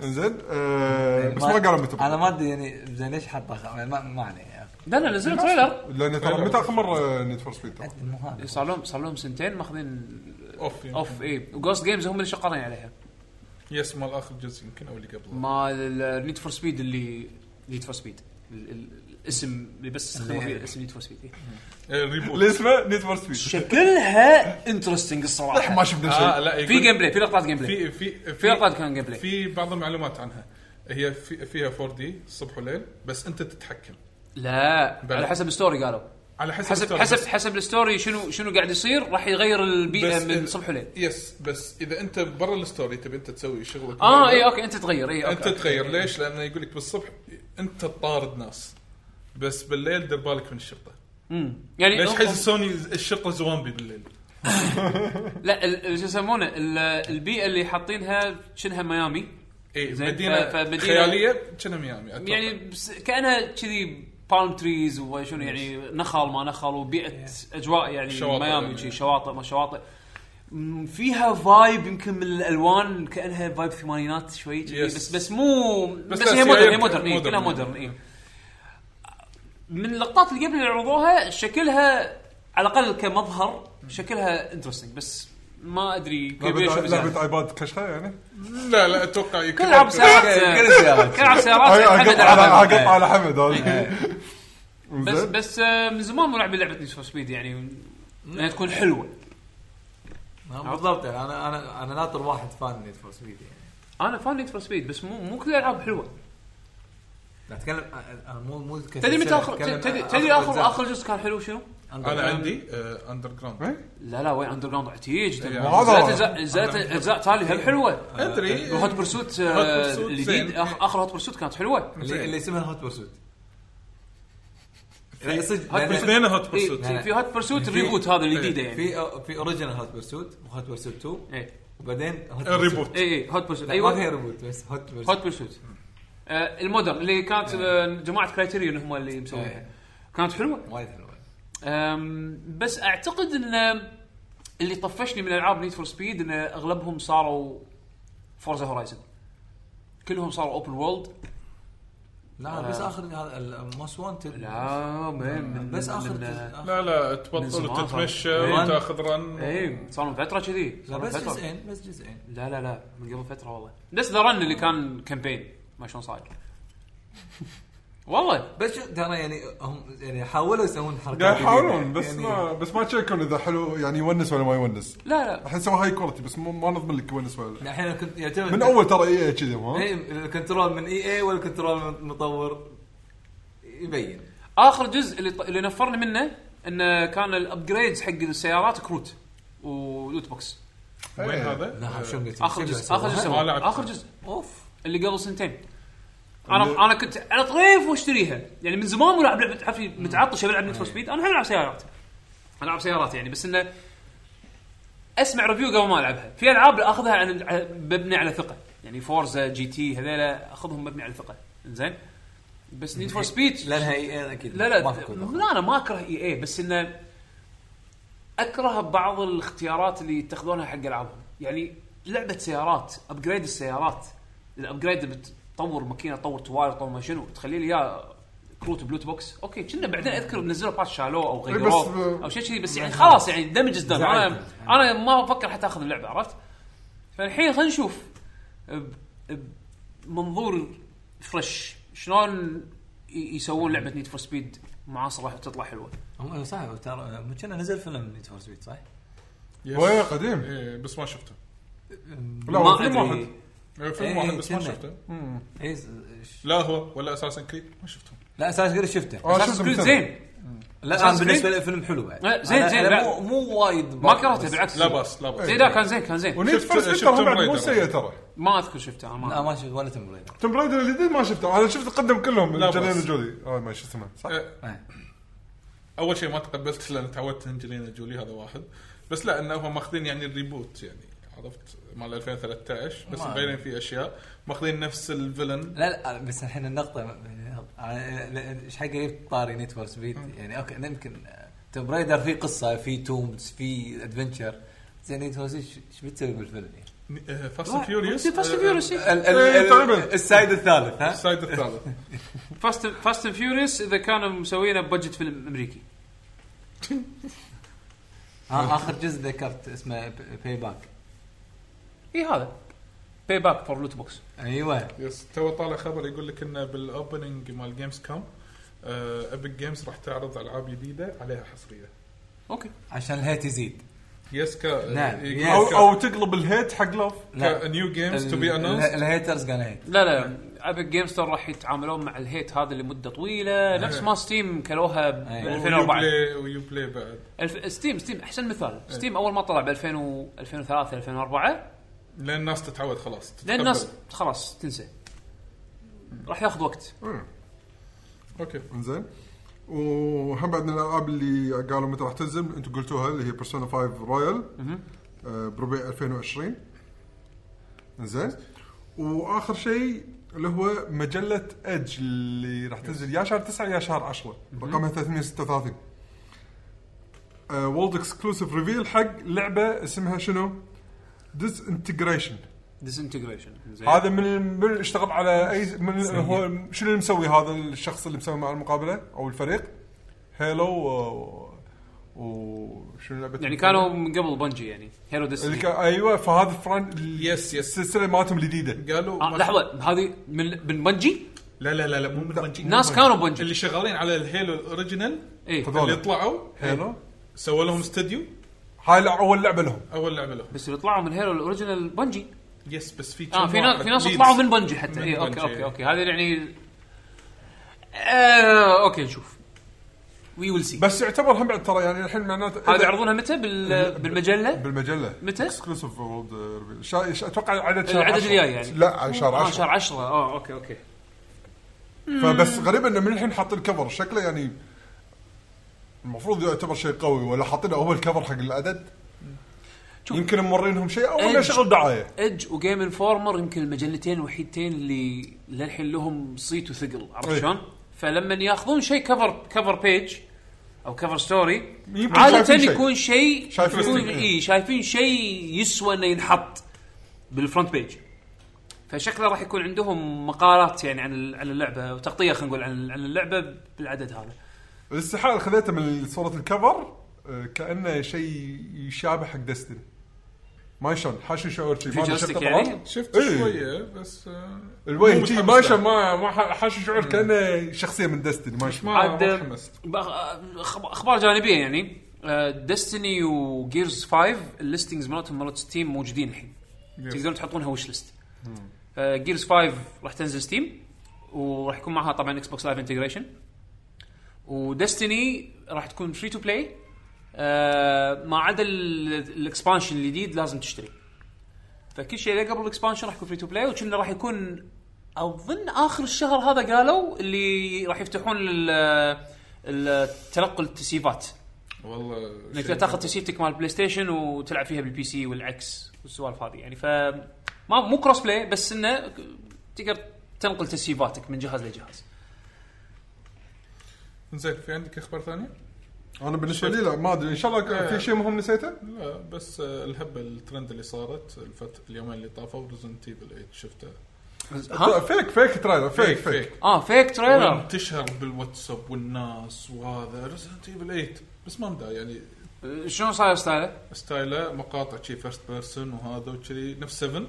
Speaker 4: انزين آه، بس ما قالوا متى
Speaker 6: انا ما ادري يعني زين ليش حاطه خ- يعني ما ما عليه
Speaker 2: لا لا نزلوا تريلر
Speaker 4: لان ترى متى اخر مره نيد فور سبيد ترى
Speaker 6: مو هذا
Speaker 2: صار لهم صار لهم سنتين ماخذين
Speaker 3: اوف يمكن.
Speaker 2: اوف اي وجوست جيمز هم اللي شغالين عليها
Speaker 3: يس مال اخر جزء يمكن او اللي قبله
Speaker 2: مال نيد فور سبيد اللي نيد فور سبيد الاسم اللي يعني. بس استخدموا فيه اسم نيد فور سبيد
Speaker 3: إيه، ريبوت
Speaker 4: اللي اسمه نيد فور سبيد
Speaker 2: شكلها انترستنج الصراحه
Speaker 4: ما
Speaker 3: آه
Speaker 4: شفنا شيء
Speaker 3: لا
Speaker 2: في
Speaker 3: يقول-
Speaker 2: جيم بلاي في لقطات جيم بلاي
Speaker 3: في في
Speaker 2: في لقطات كان جيم بلاي
Speaker 3: في بعض المعلومات عنها هي في فيها 4 دي الصبح وليل بس انت تتحكم
Speaker 2: لا
Speaker 3: بلى.
Speaker 2: على حسب الستوري قالوا
Speaker 3: على حسب
Speaker 2: حسب
Speaker 3: الستوري بس-
Speaker 2: حسب حسب الستوري شنو شنو قاعد يصير راح يغير البيئه
Speaker 3: بس
Speaker 2: من
Speaker 3: إذا-
Speaker 2: صبح وليل
Speaker 3: يس بس اذا انت برا الستوري تبي انت تسوي شغلك
Speaker 2: اه اي اوكي انت تغير اي
Speaker 3: انت
Speaker 2: اوكي
Speaker 3: تغير ليش؟ لانه يقول لك بالصبح انت تطارد ناس بس بالليل دير بالك من الشرطه
Speaker 2: يعني
Speaker 3: ليش
Speaker 2: هم-
Speaker 3: حس سوني الشرطه زوامبي بالليل؟
Speaker 2: لا ال- ال- شو يسمونه ال- البيئه اللي حاطينها شنها ميامي
Speaker 3: اي
Speaker 2: زين،
Speaker 3: مدينه
Speaker 2: ف- فمدينة-
Speaker 3: خياليه كانها ميامي أتوقع.
Speaker 2: يعني بس كانها كذي بالم تريز وشنو يعني نخل ما نخل وبيئه اجواء يعني
Speaker 3: شواطئ
Speaker 2: ميامي
Speaker 3: يعني.
Speaker 2: شي شواطئ ما شواطئ مم، فيها فايب يمكن من الالوان كانها فايب ثمانينات شوي كذي،
Speaker 3: يس.
Speaker 2: بس بس مو بس,
Speaker 3: لا،
Speaker 2: هي مودرن
Speaker 3: سيايير
Speaker 2: هي
Speaker 3: كان
Speaker 2: مودرن إيه،
Speaker 3: مودرن.
Speaker 2: كلها مودرن اي من اللقطات اللي قبل اللي عرضوها شكلها على الاقل كمظهر شكلها انترستنج بس ما ادري كيف
Speaker 4: لعبة-
Speaker 2: أشوف
Speaker 4: لعبة
Speaker 2: زيادة.
Speaker 4: ايباد كشخه يعني
Speaker 3: لا لا اتوقع يمكن
Speaker 2: كل العاب سيارات
Speaker 6: كل السيارات
Speaker 2: كل العاب سيارات
Speaker 4: أيوة،
Speaker 2: محمد
Speaker 4: أقطع
Speaker 2: ألعبها.
Speaker 4: على- اقطع على حمد هذا
Speaker 2: بس
Speaker 4: إنزين.
Speaker 2: بس آه، من زمان مو لعب لعبه نيد فور سبيد يعني انها تكون حلوه
Speaker 6: بالضبط يعني انا انا انا ناطر واحد فان نيد فور سبيد يعني
Speaker 2: انا فان نيد فور سبيد بس مو مو كل الالعاب حلوه
Speaker 6: لا اتكلم أ- أ- مو مو
Speaker 2: تدري متى اخر تدري تدري اخر اخر جزء كان حلو شنو؟
Speaker 3: انا عندي آه، اندر جراوند
Speaker 2: لا لا وين اندر جراوند عتيج
Speaker 3: إيه،
Speaker 4: هذا
Speaker 2: نزلت أجزاء- نزلت اجزاء تالي هم حلوه
Speaker 3: ادري
Speaker 2: وهوت برسوت
Speaker 3: هوت
Speaker 2: آه،
Speaker 3: برسوت
Speaker 2: الجديد
Speaker 3: إيه. زين.
Speaker 2: آخ- اخر هوت برسوت كانت حلوه
Speaker 6: اللي اللي اسمها هوت بورسوت لا، صدق
Speaker 2: هوت
Speaker 6: لأن
Speaker 2: برسوت.
Speaker 3: اثنين هوت
Speaker 2: إيه،
Speaker 3: برسوت
Speaker 2: في هوت برسوت الريبوت هذا الجديد يعني
Speaker 6: في في اوريجنال هوت بورسوت وهوت بورسوت 2
Speaker 2: ايه
Speaker 6: وبعدين هوت بورسوت.
Speaker 3: ريبوت
Speaker 2: اي اي هوت برسوت
Speaker 6: لا، ما
Speaker 2: ايوه
Speaker 6: فيها ريبوت بس هوت بورسوت
Speaker 2: هوت برسوت آه، المودرن اللي كانت آه، جماعه كرايتيريون هم اللي مسوينها
Speaker 6: إيه.
Speaker 2: كانت حلوه
Speaker 6: وايد حلوه
Speaker 2: أم، بس اعتقد ان اللي طفشني من العاب نيد فور سبيد ان اغلبهم صاروا فورزا هورايزن كلهم صاروا اوبن وولد
Speaker 6: لا بس اخر هذا موست وانتد
Speaker 2: لا من من-
Speaker 6: بس
Speaker 2: من-
Speaker 6: اخر
Speaker 2: من-
Speaker 3: لا لا تبطل
Speaker 2: زمان إيه.
Speaker 3: وتتمشى
Speaker 2: صار.
Speaker 3: وتاخذ رن
Speaker 2: اي صار من فتره كذي
Speaker 6: لا
Speaker 2: صار من
Speaker 6: بس
Speaker 2: فتره
Speaker 6: جزئين بس جزئين
Speaker 2: لا لا لا من قبل فتره والله بس ذا رن اللي كان كامبين ما شلون صاير والله
Speaker 6: بس شو- ترى يعني هم يعني حاولوا يسوون حركات
Speaker 4: قاعد يحاولون
Speaker 6: جديدة.
Speaker 4: بس
Speaker 6: يعني
Speaker 4: ما بس ما تشيكون اذا حلو يعني يونس ولا ما يونس
Speaker 2: لا لا
Speaker 4: الحين سوى هاي كواليتي بس مو- ما نضمن لك يونس ولا لا
Speaker 6: الحين كنت يعتمد
Speaker 4: من اول ترى اي اي كذي ها
Speaker 6: إيه، الكنترول من اي اي ولا الكنترول من المطور يبين
Speaker 2: اخر جزء اللي ط... اللي نفرني منه انه كان الابجريدز حق السيارات كروت ولوت بوكس
Speaker 3: وين هذا؟
Speaker 6: لا شلون قلت
Speaker 2: اخر جزء اخر جزء
Speaker 3: ما لعبت.
Speaker 2: سووه. اخر جزء
Speaker 6: اوف
Speaker 2: اللي قبل سنتين انا انا كنت على طريف واشتريها يعني من زمان والعب لعبه عفي متعطش بلعب نيد فور سبيد انا الحين العب سيارات انا العب سيارات يعني بس انه اسمع ريفيو قبل ما العبها في العاب اخذها عن ع- مبني على ثقه يعني فورزا جي تي هذيلا اخذهم مبني على ثقه زين بس نيد فور سبيد
Speaker 6: لانها اي اي اكيد
Speaker 2: لا لا
Speaker 6: ما في كود آخر.
Speaker 2: لا انا ما اكره اي اي بس انه اكره بعض الاختيارات اللي يتخذونها حق العابهم يعني لعبه سيارات ابجريد السيارات الابجريد اللي بتطور ماكينه تطور توالي تطور ما شنو تخلي لي اياه كروت بلوت بوكس اوكي كنا بعدين اذكر بنزلوا باتش شالوه او غيروه
Speaker 4: بس-
Speaker 2: او شيء كذي بس يعني خلاص يعني دمج دم انا انا ما بفكر حتى اخذ اللعبه عرفت فالحين خلينا نشوف ب- بمنظور فريش شلون ي- يسوون لعبه نيد فور سبيد معاصره وتطلع حلوه
Speaker 6: هم صح ترى مو كنا نزل فيلم نيد فور سبيد صح؟
Speaker 3: يس.
Speaker 4: وين قديم
Speaker 3: إيه، بس ما شفته
Speaker 4: لا هو فيلم واحد
Speaker 3: إيه،
Speaker 6: إيه،
Speaker 3: فيلم واحد بس ما
Speaker 6: كنا.
Speaker 3: شفته
Speaker 6: اي إيه، س-
Speaker 3: لا هو ولا اساسا كريد ما شفته
Speaker 6: لا اساس جريد شفته
Speaker 4: آه،
Speaker 2: اساس
Speaker 4: شفته
Speaker 2: كريد
Speaker 4: مثلاً.
Speaker 2: زين
Speaker 6: لا
Speaker 2: Assassin's
Speaker 6: انا
Speaker 2: Creed؟
Speaker 6: بالنسبه لي فيلم حلو بعد
Speaker 2: لا، إيه، زين،
Speaker 6: أنا-
Speaker 2: زين،
Speaker 6: أنا
Speaker 2: لا.
Speaker 6: مو مو وايد
Speaker 2: ما
Speaker 6: بقى،
Speaker 2: كرهته
Speaker 6: بس-
Speaker 2: بالعكس
Speaker 3: لا باس لا
Speaker 2: زين
Speaker 3: باس
Speaker 2: لا كان زين كان زين
Speaker 4: ونيد
Speaker 3: شفت-
Speaker 4: فور
Speaker 3: شفت
Speaker 4: سبيد ترى هو بعد
Speaker 3: Tomb
Speaker 4: مو
Speaker 3: Raider.
Speaker 4: سيء ترى
Speaker 2: ما اذكر شفته انا
Speaker 6: لا
Speaker 3: نعم.
Speaker 2: ما
Speaker 6: آه، ما شفت ولا توم بريدر
Speaker 4: توم برايدر الجديد ما شفته انا شفت قدم كلهم
Speaker 3: لا بس.
Speaker 4: انجلينا جولي
Speaker 3: Oh,
Speaker 4: اه ما شو اسمه صح
Speaker 3: إيه.
Speaker 6: إيه.
Speaker 3: اول شيء ما تقبلت لان تعودت انجلينا جولي هذا واحد بس لا انه هم ماخذين يعني الريبوت يعني عرفت مال 2013 بس
Speaker 6: ما-
Speaker 3: مغيرين فيه اشياء ماخذين نفس الفيلن
Speaker 6: لا لا بس الحين النقطة أنا- لا، ايش حق جبت طاري نيت فور سبيد يعني اوكي يمكن توم برايدر في قصة في تومز في ادفنشر زين نيت فور سبيد ايش بتسوي بالفيلم يعني؟
Speaker 3: فاست اند فيوريوس
Speaker 2: فاست اند فيوريوس
Speaker 6: ال- ال- ال-
Speaker 4: تقريباً.
Speaker 6: السايد الثالث ها؟
Speaker 3: السايد الثالث
Speaker 2: فاست فاست اند فيوريوس اذا كانوا مسوينه ببجت فيلم امريكي
Speaker 6: آه، اخر جزء ذكرت اسمه باي باك
Speaker 2: اي إيه، هذا باي باك فور لوت بوكس
Speaker 6: ايوه
Speaker 3: يس تو طالع خبر يقول لك انه بالاوبننج مال جيمز كوم ابيك جيمز راح تعرض العاب جديده عليها حصريه
Speaker 2: اوكي
Speaker 6: عشان الهيت يزيد
Speaker 3: يس كا
Speaker 6: نعم.
Speaker 4: او او تقلب الهيت حق لوف
Speaker 2: نعم.
Speaker 6: لا
Speaker 3: نيو جيمز تو بي
Speaker 6: ال- ال-
Speaker 3: انونست
Speaker 6: الهيترز قال هيت
Speaker 2: لا لا ابيك جيم ستور راح يتعاملون مع الهيت هذا لمده طويله نفس ما ستيم كلوها ب
Speaker 3: أيوة.
Speaker 6: أي.
Speaker 2: 2004
Speaker 4: أيوة.
Speaker 3: ويو بلاي بعد
Speaker 2: الف... ستيم ستيم احسن مثال ستيم اول ما طلع ب 2000 و... 2003 2004
Speaker 3: لان الناس تتعود خلاص
Speaker 2: لان
Speaker 3: تتقبل.
Speaker 2: الناس خلاص تنسى راح ياخذ وقت
Speaker 3: Mm. اوكي
Speaker 4: انزين وهم بعد من الالعاب اللي قالوا متى راح تنزل انتم قلتوها اللي هي بيرسونا 5 رويال آه، بربيع 2020 انزين واخر شيء اللي هو مجله ايدج اللي راح تنزل يا شهر 9 يا شهر 10 رقمها 336 وولد اكسكلوسيف ريفيل حق لعبه اسمها شنو؟ ديس انتجريشن
Speaker 2: ديس انتجريشن زين
Speaker 4: هذا من من اشتغل على اي من هو شنو اللي مسوي هذا الشخص اللي مسوي مع المقابله او الفريق هيلو و- وشنو لعبه
Speaker 2: يعني كانوا من قبل بنجي يعني هيرو
Speaker 4: اللي
Speaker 2: ديستني
Speaker 4: كان ايوه فهذا فران
Speaker 3: يس يس
Speaker 4: السلسله مالتهم الجديده
Speaker 3: قالوا
Speaker 2: آه
Speaker 3: ما-
Speaker 2: لحظه هذه من من بنجي
Speaker 3: لا لا لا لا مو من بنجي
Speaker 2: ناس كانوا إيه. بنجي
Speaker 3: اللي شغالين على الهيلو الاوريجينال
Speaker 2: اي
Speaker 4: هذول.
Speaker 3: اللي طلعوا إيه،
Speaker 4: هيلو
Speaker 3: سووا لهم استوديو
Speaker 4: هاي لع- اول لعبه لهم
Speaker 3: اول لعبه لهم
Speaker 2: بس اللي طلعوا من هيرو الاوريجنال بنجي
Speaker 3: يس بس في
Speaker 2: اه
Speaker 3: كم
Speaker 2: في ناس
Speaker 3: واحد
Speaker 2: في ناس
Speaker 3: leads.
Speaker 2: طلعوا من بنجي حتى إيه،
Speaker 3: من
Speaker 2: اي اوكي
Speaker 3: بنجي.
Speaker 2: اوكي اوكي هذا يعني آه اوكي نشوف وي ويل سي
Speaker 4: بس يعتبر هم بعد ترى يعني الحين معناته
Speaker 2: هذا يعرضونها متى بال... بالمجله
Speaker 4: بالمجله
Speaker 2: متى؟
Speaker 4: اكسكلوسيف وولد اتوقع عدد شهر
Speaker 2: العدد
Speaker 4: 10.
Speaker 2: الجاي يعني.
Speaker 4: لا على شهر
Speaker 2: اه
Speaker 4: 10
Speaker 2: شهر 10 اه اوكي اوكي
Speaker 4: فبس غريب انه من الحين حاط الكفر شكله يعني المفروض يعتبر شيء قوي ولا حاطين اول كفر حق العدد
Speaker 2: شوف.
Speaker 4: يمكن مورينهم شيء او انه
Speaker 2: إيه.
Speaker 4: شغل دعايه
Speaker 2: ايدج وجيم انفورمر يمكن المجلتين الوحيدتين اللي للحين لهم صيت وثقل عرفت
Speaker 4: إيه.
Speaker 2: شلون؟ فلما ياخذون شيء كفر كفر بيج او كفر ستوري
Speaker 4: يمكن
Speaker 2: عاده
Speaker 4: شايفين شيء.
Speaker 2: يكون شيء
Speaker 4: شايفين
Speaker 2: يكون إيه،
Speaker 4: شيء.
Speaker 2: اي شايفين شيء يسوى انه ينحط بالفرونت بيج فشكله راح يكون عندهم مقالات يعني عن ال- عن اللعبه وتغطيه خلينا نقول عن عن اللعبه بالعدد هذا
Speaker 4: الاستحاله خذيته من صوره الكفر آه، كانه شيء يشابه حق ديستني ما شلون حاشي شعور شيء
Speaker 2: فيوتشرستيك يعني
Speaker 3: شفت
Speaker 4: إيه.
Speaker 3: شويه بس آه، مو
Speaker 4: الوجه شي ما
Speaker 3: متحمس له.
Speaker 4: شلون ما ما ح- حاشي شعور كانه شخصيه من ديستني ما شلون
Speaker 2: عاد
Speaker 3: ما تحمست
Speaker 2: بأخ- أخب- اخبار جانبيه يعني ديستني وجيرز 5 الليستنجز مالتهم مالت ستيم موجودين الحين تقدرون تحطونها وش ليست جيرز 5 راح تنزل ستيم وراح يكون معها طبعا اكس بوكس لايف انتجريشن وديستني راح تكون فري تو بلاي ما عدا آه، ال- الاكسبانشن الجديد لازم تشتري فكل شيء اللي قبل الاكسبانشن راح يكون فري تو بلاي وكنا راح يكون اظن اخر الشهر هذا قالوا اللي راح يفتحون ال- التنقل التسييفات
Speaker 3: والله
Speaker 2: انك
Speaker 3: شيء
Speaker 2: تاخذ
Speaker 3: مرة.
Speaker 2: تسييفتك مال بلاي ستيشن وتلعب فيها بالبي سي والعكس والسوالف هذه يعني ف ما مو كروس بلاي بس انه تقدر تنقل تسييفاتك من جهاز لجهاز
Speaker 3: زين في عندك اخبار ثانيه؟
Speaker 4: انا بالنسبه لي لا ما ادري ان شاء الله في شيء مهم نسيته
Speaker 3: لا بس آه، الهبه الترند اللي صارت الفت... اليومين اللي طافوا ريزنت ايفل 8 شفته
Speaker 4: لا،
Speaker 2: ها
Speaker 4: فيك فيك ترايلر فيك فيك
Speaker 2: اه فيك تريلر
Speaker 3: انتشر بالواتساب والناس وهذا ريزنت ايفل 8 بس ما مدى يعني
Speaker 2: شلون صاير ستايله؟
Speaker 3: ستايله مقاطع شي فيرست بيرسون وهذا وكذي نفس 7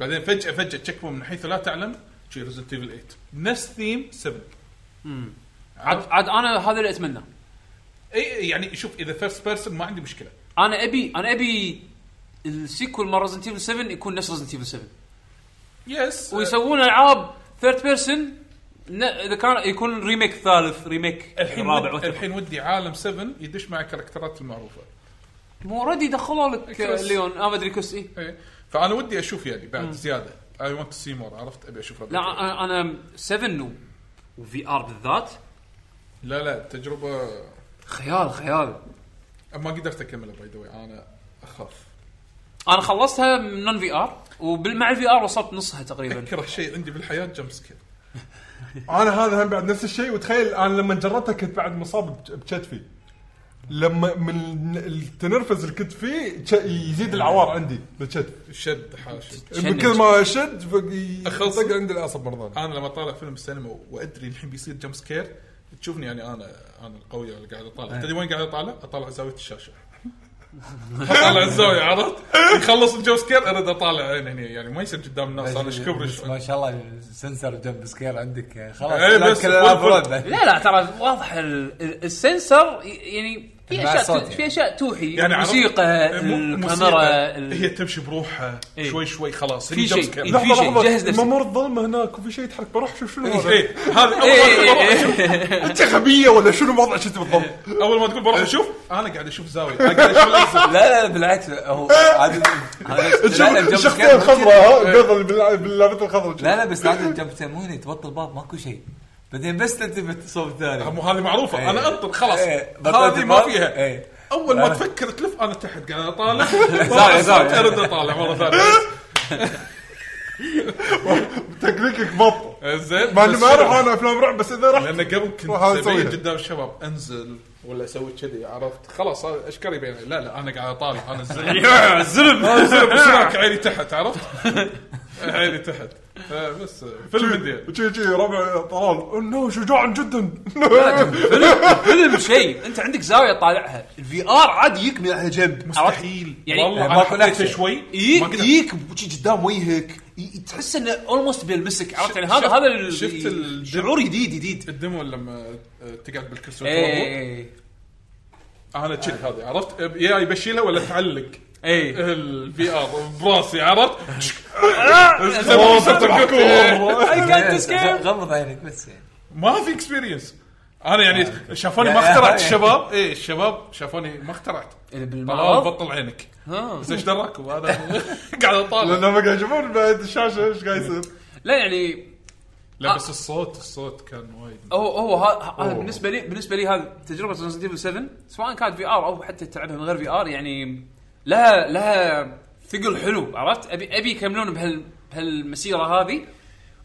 Speaker 3: بعدين فجاه فجاه تشكمه من حيث لا تعلم شي ريزنت ايفل 8 نفس ثيم 7
Speaker 2: عاد عاد انا هذا اللي اتمناه
Speaker 3: اي يعني شوف اذا فيرست بيرسون ما عندي مشكله
Speaker 2: انا ابي انا ابي السيكول مال ريزنت ايفل 7 يكون نفس ريزنت ايفل 7
Speaker 3: يس
Speaker 2: ويسوون العاب ثيرد بيرسون اذا كان يكون ريميك ثالث ريميك
Speaker 3: الحين
Speaker 2: رابع
Speaker 3: ود...
Speaker 2: والثالث.
Speaker 3: الحين ودي عالم 7 يدش مع الكاركترات المعروفه
Speaker 2: مو اوريدي دخلوا لك
Speaker 3: كروس.
Speaker 2: ليون اه ما ادري كوس ايه
Speaker 3: اي فانا إيه؟ ودي اشوف يعني بعد زياده اي ونت سي مور عرفت ابي اشوف ربع
Speaker 2: لا
Speaker 3: كيف.
Speaker 2: أنا- انا 7 و- وفي ار بالذات
Speaker 3: لا لا تجربه
Speaker 2: خيال خيال
Speaker 3: ما قدرت اكملها باي ذا انا اخاف
Speaker 2: انا خلصتها من نون في ار ومع الفي ار وصلت نصها تقريبا
Speaker 3: اكره شيء عندي بالحياه جمب سكير
Speaker 4: انا هذا هم بعد نفس الشيء وتخيل انا لما جربتها كنت بعد مصاب بج- بكتفي لما من التنرفز اللي كنت فيه ج- يزيد العوار عندي بالكتف
Speaker 3: شد حاشي
Speaker 2: شنج.
Speaker 4: من كل ما اشد ف- ي-
Speaker 3: أخلص. آه،
Speaker 4: طق عندي العصب مره ثانيه
Speaker 3: انا لما طالع فيلم السينما وادري الحين بيصير جمب سكير تشوفني يعني انا انا القوي اللي قاعد اطالع تدري وين قاعد اطالع؟ اطالع زاويه الشاشه اطالع الزاويه عرفت؟ يخلص الجمب سكير ارد اطالع هنا هنا يعني ما يصير قدام الناس انا ايش كبري
Speaker 5: بس ما شاء الله سنسر جنب سكير عندك خلاص
Speaker 3: إيه،
Speaker 5: لا
Speaker 3: بس
Speaker 5: كل الألعاب
Speaker 3: بالفل.
Speaker 5: رعب.
Speaker 2: لا لا ترى واضح ال- ال- السنسر ي- يعني في
Speaker 5: مع
Speaker 2: اشياء
Speaker 5: صوت
Speaker 2: تو-
Speaker 5: يعني.
Speaker 2: في اشياء توحي
Speaker 3: يعني
Speaker 2: يعني
Speaker 3: عرفت؟
Speaker 2: الموسيقى
Speaker 3: مو-
Speaker 2: الكاميرا
Speaker 3: موسيقى.
Speaker 2: ال-
Speaker 3: هي تمشي بروحها
Speaker 2: إيه.
Speaker 3: شوي شوي خلاص
Speaker 2: في
Speaker 3: هني
Speaker 2: شيء.
Speaker 3: jump scare.
Speaker 2: إيه. في شيء، جهز نفسك.
Speaker 4: ممر الظلمه هناك وفي شيء يتحرك بروح شوف شنو هذا
Speaker 3: إيه، هذا اول
Speaker 2: إيه،
Speaker 3: ما تقول
Speaker 2: إيه،
Speaker 3: بروح
Speaker 2: إيه.
Speaker 3: أشوف.
Speaker 4: انت غبيه ولا شنو وضعك انت بالضبط؟
Speaker 3: اول ما تقول بروح اشوف
Speaker 2: إيه.
Speaker 3: انا قاعد اشوف زاويه انا قاعد اشوف الأجزاء.
Speaker 5: لا لا بالعكس هو عادي
Speaker 4: تشوف الشخصيه الخضراء ها، قبل بالع- باللعبه الخضراء
Speaker 5: لا لا بس عادي الجنب مو هني تبطل باب ماكو شيء بعدين بس تلتفت صوب ثاني
Speaker 3: مو هذه معروفه
Speaker 5: إيه.
Speaker 3: انا انطر خلاص
Speaker 5: إيه، بطلت
Speaker 3: هذه ما
Speaker 5: الباب.
Speaker 3: فيها
Speaker 5: إيه.
Speaker 3: اول
Speaker 2: آه.
Speaker 3: ما تفكر تلف انا تحت قاعد اطالع
Speaker 5: زاوية، زاوية.
Speaker 3: ارد اطالع مره ثانيه
Speaker 4: تكنيكك بط
Speaker 3: زين
Speaker 4: مع اني
Speaker 3: بس
Speaker 4: ما اروح
Speaker 3: شنو؟
Speaker 4: انا افلام رعب بس اذا رحت
Speaker 3: لان قبل كنت
Speaker 4: روح هذا
Speaker 3: سبيل
Speaker 4: سويها.
Speaker 3: قدام الشباب انزل ولا اسوي كذي عرفت خلاص هذا اشكري بين لا لا انا قاعد اطالع انا الزلمه
Speaker 2: يا زلم
Speaker 3: أنا الزلمة بس هناك عيني تحت عرفت عيني تحت آه، بس آه، فيلم الدين
Speaker 4: شي شي ربع طلال انه شجاع جدا
Speaker 2: فيلم شيء انت عندك زاويه طالعها الفي ار عادي يجيك من على جنب مستحيل يعني
Speaker 3: والله
Speaker 5: ما
Speaker 3: انا
Speaker 5: كنت
Speaker 3: حطيته
Speaker 5: أحسن.
Speaker 3: شوي إيه،
Speaker 2: يجيك
Speaker 3: ما قدرت.
Speaker 2: يجيك وجهي قدام وجهك ي- تحس انه اولموست بيلمسك عرفت يعني هذا
Speaker 3: شفت-
Speaker 2: هذا ال-
Speaker 3: شفت ال-
Speaker 2: شعور جديد جديد
Speaker 3: الدمو لما آه، تقعد بالكرسي وتروح.
Speaker 2: اي
Speaker 3: انا كذي هذه عرفت أب- يا يبشيلها ولا تعلق
Speaker 2: اي
Speaker 3: إيه. الفي ار براسي عرفت
Speaker 2: كانت
Speaker 5: إيه، غ-
Speaker 2: سكيب
Speaker 5: غمض عينك بس يعني
Speaker 3: ما في اكسبيرينس انا يعني شافوني ما اخترعت الشباب اي الشباب شافوني ما اخترعت
Speaker 2: إيه،
Speaker 3: طلال
Speaker 2: بالمرض
Speaker 3: بطل عينك
Speaker 2: ها.
Speaker 3: بس ايش دراكم انا قاعد اطالع
Speaker 4: لما قاعد يشوفون بعد الشاشه ايش قاعد يصير
Speaker 2: لا يعني
Speaker 3: لا بس الصوت الصوت كان وايد
Speaker 2: هو هو ه- هذا بالنسبه لي بالنسبه لي هذا تجربه ريزنت ايفل 7 سواء كانت في ار او حتى تلعبها من غير في ار يعني لها لها ثقل حلو عرفت ابي ابي يكملون بهال بهالمسيره هذه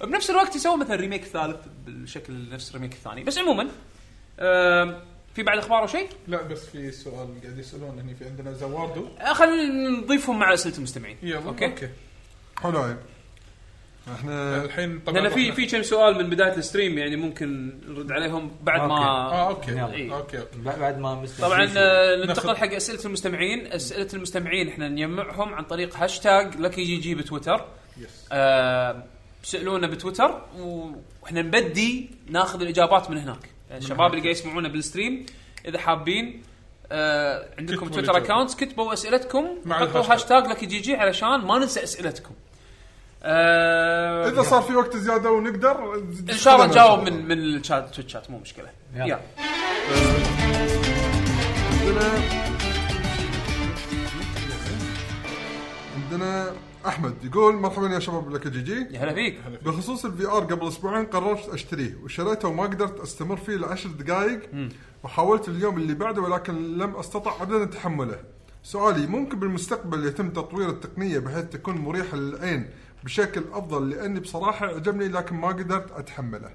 Speaker 2: بنفس الوقت يسوون مثلا ريميك ثالث بالشكل نفس الريميك الثاني بس عموما آم، في بعد اخبار او شيء؟
Speaker 3: لا بس في سؤال قاعد يسالون هني في عندنا زواردو
Speaker 2: آه، خلينا نضيفهم مع اسئله المستمعين
Speaker 3: يلا
Speaker 2: أوكي.
Speaker 3: اوكي
Speaker 4: حلو احنا
Speaker 3: الحين طبعا
Speaker 2: لان في
Speaker 3: رحنا-
Speaker 2: في كم سؤال من بدايه الستريم يعني ممكن نرد عليهم بعد ما
Speaker 3: اه اوكي
Speaker 2: إي.
Speaker 3: اوكي اوكي
Speaker 6: بعد ما مستر
Speaker 2: طبعا
Speaker 6: شيشو.
Speaker 2: آه،
Speaker 3: ناخذ-
Speaker 2: ننتقل حق اسئله المستمعين اسئله المستمعين احنا نجمعهم عن طريق هاشتاج لكي جي جي بتويتر
Speaker 3: يس
Speaker 2: آه، سالونا بتويتر واحنا نبدي ناخذ الاجابات من هناك الشباب اللي قاعد يسمعونا بالستريم اذا حابين آه عندكم
Speaker 3: كتبوا
Speaker 2: تويتر
Speaker 3: الإجابة.
Speaker 2: اكونت كتبوا اسئلتكم
Speaker 3: مع
Speaker 2: حطوا
Speaker 3: الهاشتاج.
Speaker 2: هاشتاج لكي جي جي علشان ما ننسى اسئلتكم آه
Speaker 4: اذا صار في وقت زياده ونقدر
Speaker 2: ان شاء الله نجاوب من من الشات تويتشات مو مشكله
Speaker 6: يلا.
Speaker 2: يلا
Speaker 4: عندنا احمد يقول مرحبا يا شباب لك جي جي
Speaker 2: يا هلا فيك
Speaker 4: بخصوص الفي ار قبل اسبوعين قررت اشتريه وشريته وما قدرت استمر فيه لعشر دقائق وحاولت اليوم اللي بعده ولكن لم استطع ابدا تحمله. سؤالي ممكن بالمستقبل يتم تطوير التقنيه بحيث تكون مريحه للعين بشكل افضل لاني بصراحه عجبني لكن ما قدرت اتحمله.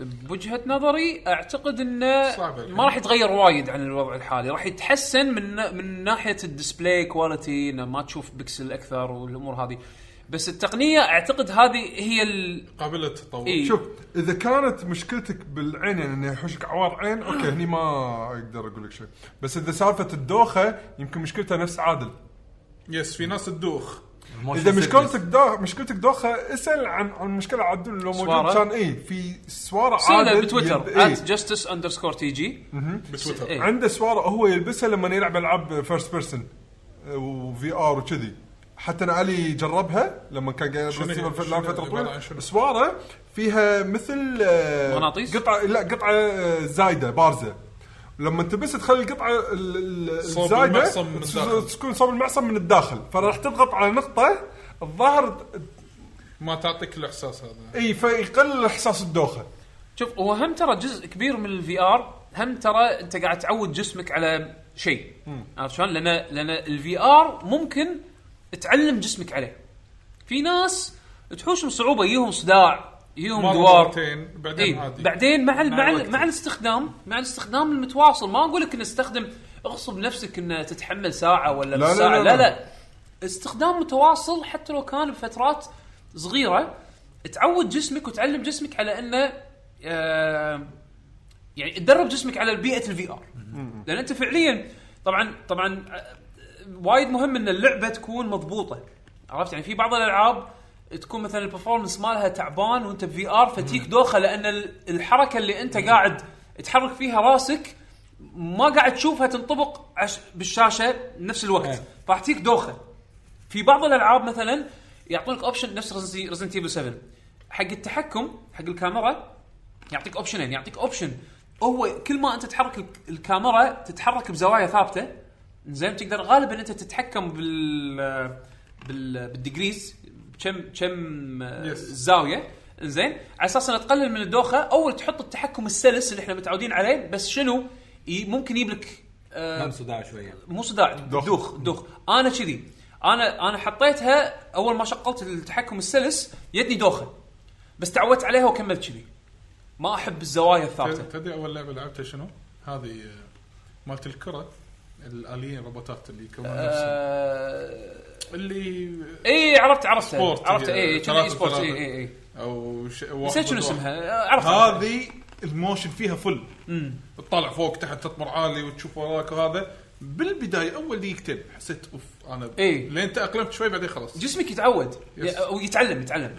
Speaker 2: بوجهه نظري اعتقد انه
Speaker 3: صعب الحين.
Speaker 2: ما راح يتغير وايد عن الوضع الحالي راح يتحسن من من ناحيه الديسبلاي كواليتي انه ما تشوف بكسل اكثر والامور هذه بس التقنيه اعتقد هذه هي ال...
Speaker 3: قابله للتطور
Speaker 2: إي.
Speaker 4: شوف اذا كانت مشكلتك بالعين يعني انه يحوشك عوار عين اوكي هني ما اقدر اقول لك شيء، بس اذا سالفه الدوخه يمكن مشكلتها نفس عادل.
Speaker 3: يس في ناس تدوخ
Speaker 4: اذا مشكلتك دوخ مشكلتك دوخه اسال عن عن مشكله عدل لو موجود
Speaker 2: سوارة.
Speaker 4: كان اي في سواره
Speaker 2: سيله
Speaker 4: عادل
Speaker 2: بتويتر
Speaker 4: يلب- إيه.
Speaker 2: at justice underscore تي جي
Speaker 3: بتويتر
Speaker 2: إي.
Speaker 4: عنده سواره هو يلبسها لما يلعب العاب فيرست بيرسون آه، وفي ار وكذي حتى انا علي جربها لما كان قاعد
Speaker 3: شنو هي؟
Speaker 4: يلعب
Speaker 3: شنو
Speaker 4: فتره
Speaker 3: عبارة
Speaker 4: طويله
Speaker 3: عن شنو؟
Speaker 4: سواره فيها مثل آه،
Speaker 2: مغناطيس؟
Speaker 4: قطعه لا قطعه آه، زايده بارزه لما تلبس تخلي القطعه ال- ال-
Speaker 3: صوب
Speaker 4: الزايده
Speaker 3: المعصم من
Speaker 4: تس-
Speaker 3: الداخل.
Speaker 4: تكون صوب المعصم من الداخل فراح تضغط على نقطه الظاهر
Speaker 3: ما تعطيك الاحساس هذا
Speaker 4: اي فيقلل احساس الدوخه
Speaker 2: شوف هو هم ترى جزء كبير من الفي ار هم ترى انت قاعد تعود جسمك على شيء عرفت شلون؟ لان لان الفي ار ممكن تعلم جسمك عليه. في ناس تحوشهم صعوبه يجيهم صداع يجيهم
Speaker 3: مرة
Speaker 2: دوار
Speaker 3: مرتين بعدين
Speaker 2: إيه.
Speaker 3: عادي
Speaker 2: بعدين مع ال- مع
Speaker 3: الوقت.
Speaker 2: ال- مع الاستخدام مع الاستخدام المتواصل ما اقول لك ان استخدم اغصب نفسك ان تتحمل ساعه ولا
Speaker 4: لا، لا،
Speaker 2: لا ساعه
Speaker 4: لا،
Speaker 2: لا
Speaker 4: لا.
Speaker 2: لا, استخدام متواصل حتى لو كان بفترات صغيره تعود جسمك وتعلم جسمك على انه آه يعني تدرب جسمك على بيئه الفي ار لان انت فعليا طبعا طبعا آه، وايد مهم ان اللعبه تكون مضبوطه عرفت يعني في بعض الالعاب تكون مثلا البرفورمنس مالها تعبان وانت بفي ار فتيك دوخه لان ال- الحركه اللي انت قاعد تحرك فيها راسك ما قاعد تشوفها تنطبق عش بالشاشه نفس الوقت فراح تيك دوخه في بعض الالعاب مثلا يعطونك اوبشن نفس ريزنت ايفل 7 حق التحكم حق الكاميرا يعطيك اوبشنين يعطيك اوبشن هو كل ما انت تحرك الك- الكاميرا تتحرك بزوايا ثابته زين تقدر غالبا انت تتحكم بال بال بالديجريز كم كم آه،
Speaker 3: Yes.
Speaker 2: زاويه زين على اساس انها تقلل من الدوخه اول تحط التحكم السلس اللي احنا متعودين عليه بس شنو ي- ممكن يجيب لك آه،
Speaker 6: امس وداع شويه
Speaker 2: مو صداع دوخ دوخ, دوخ. انا كذي انا انا حطيتها اول ما شغلت التحكم السلس يدني دوخه بس تعودت عليها وكملت كذي ما احب الزوايا الثابته
Speaker 3: ت- تدري اول لعبه لعبتها شنو؟ هذه آه، مالت الكره الاليين روبوتات اللي يكونون نفسهم
Speaker 2: آه...
Speaker 3: اللي
Speaker 2: اي عرفت عرفت
Speaker 3: سبورت.
Speaker 2: عرفت اي كذي اي
Speaker 3: ثلاثة
Speaker 2: سبورت اي
Speaker 3: ثلاثة.
Speaker 2: اي اي
Speaker 3: او آه، ش...
Speaker 2: نسيت شنو اسمها آه، عرفت عرفت.
Speaker 3: هذه الموشن فيها فل تطلع فوق تحت تطمر عالي وتشوف وراك وهذا بالبدايه اول دقيقتين حسيت اوف انا
Speaker 2: إيه.
Speaker 3: لين تاقلمت شوي بعدين خلاص
Speaker 2: جسمك يتعود
Speaker 3: يس.
Speaker 2: او يتعلم يتعلم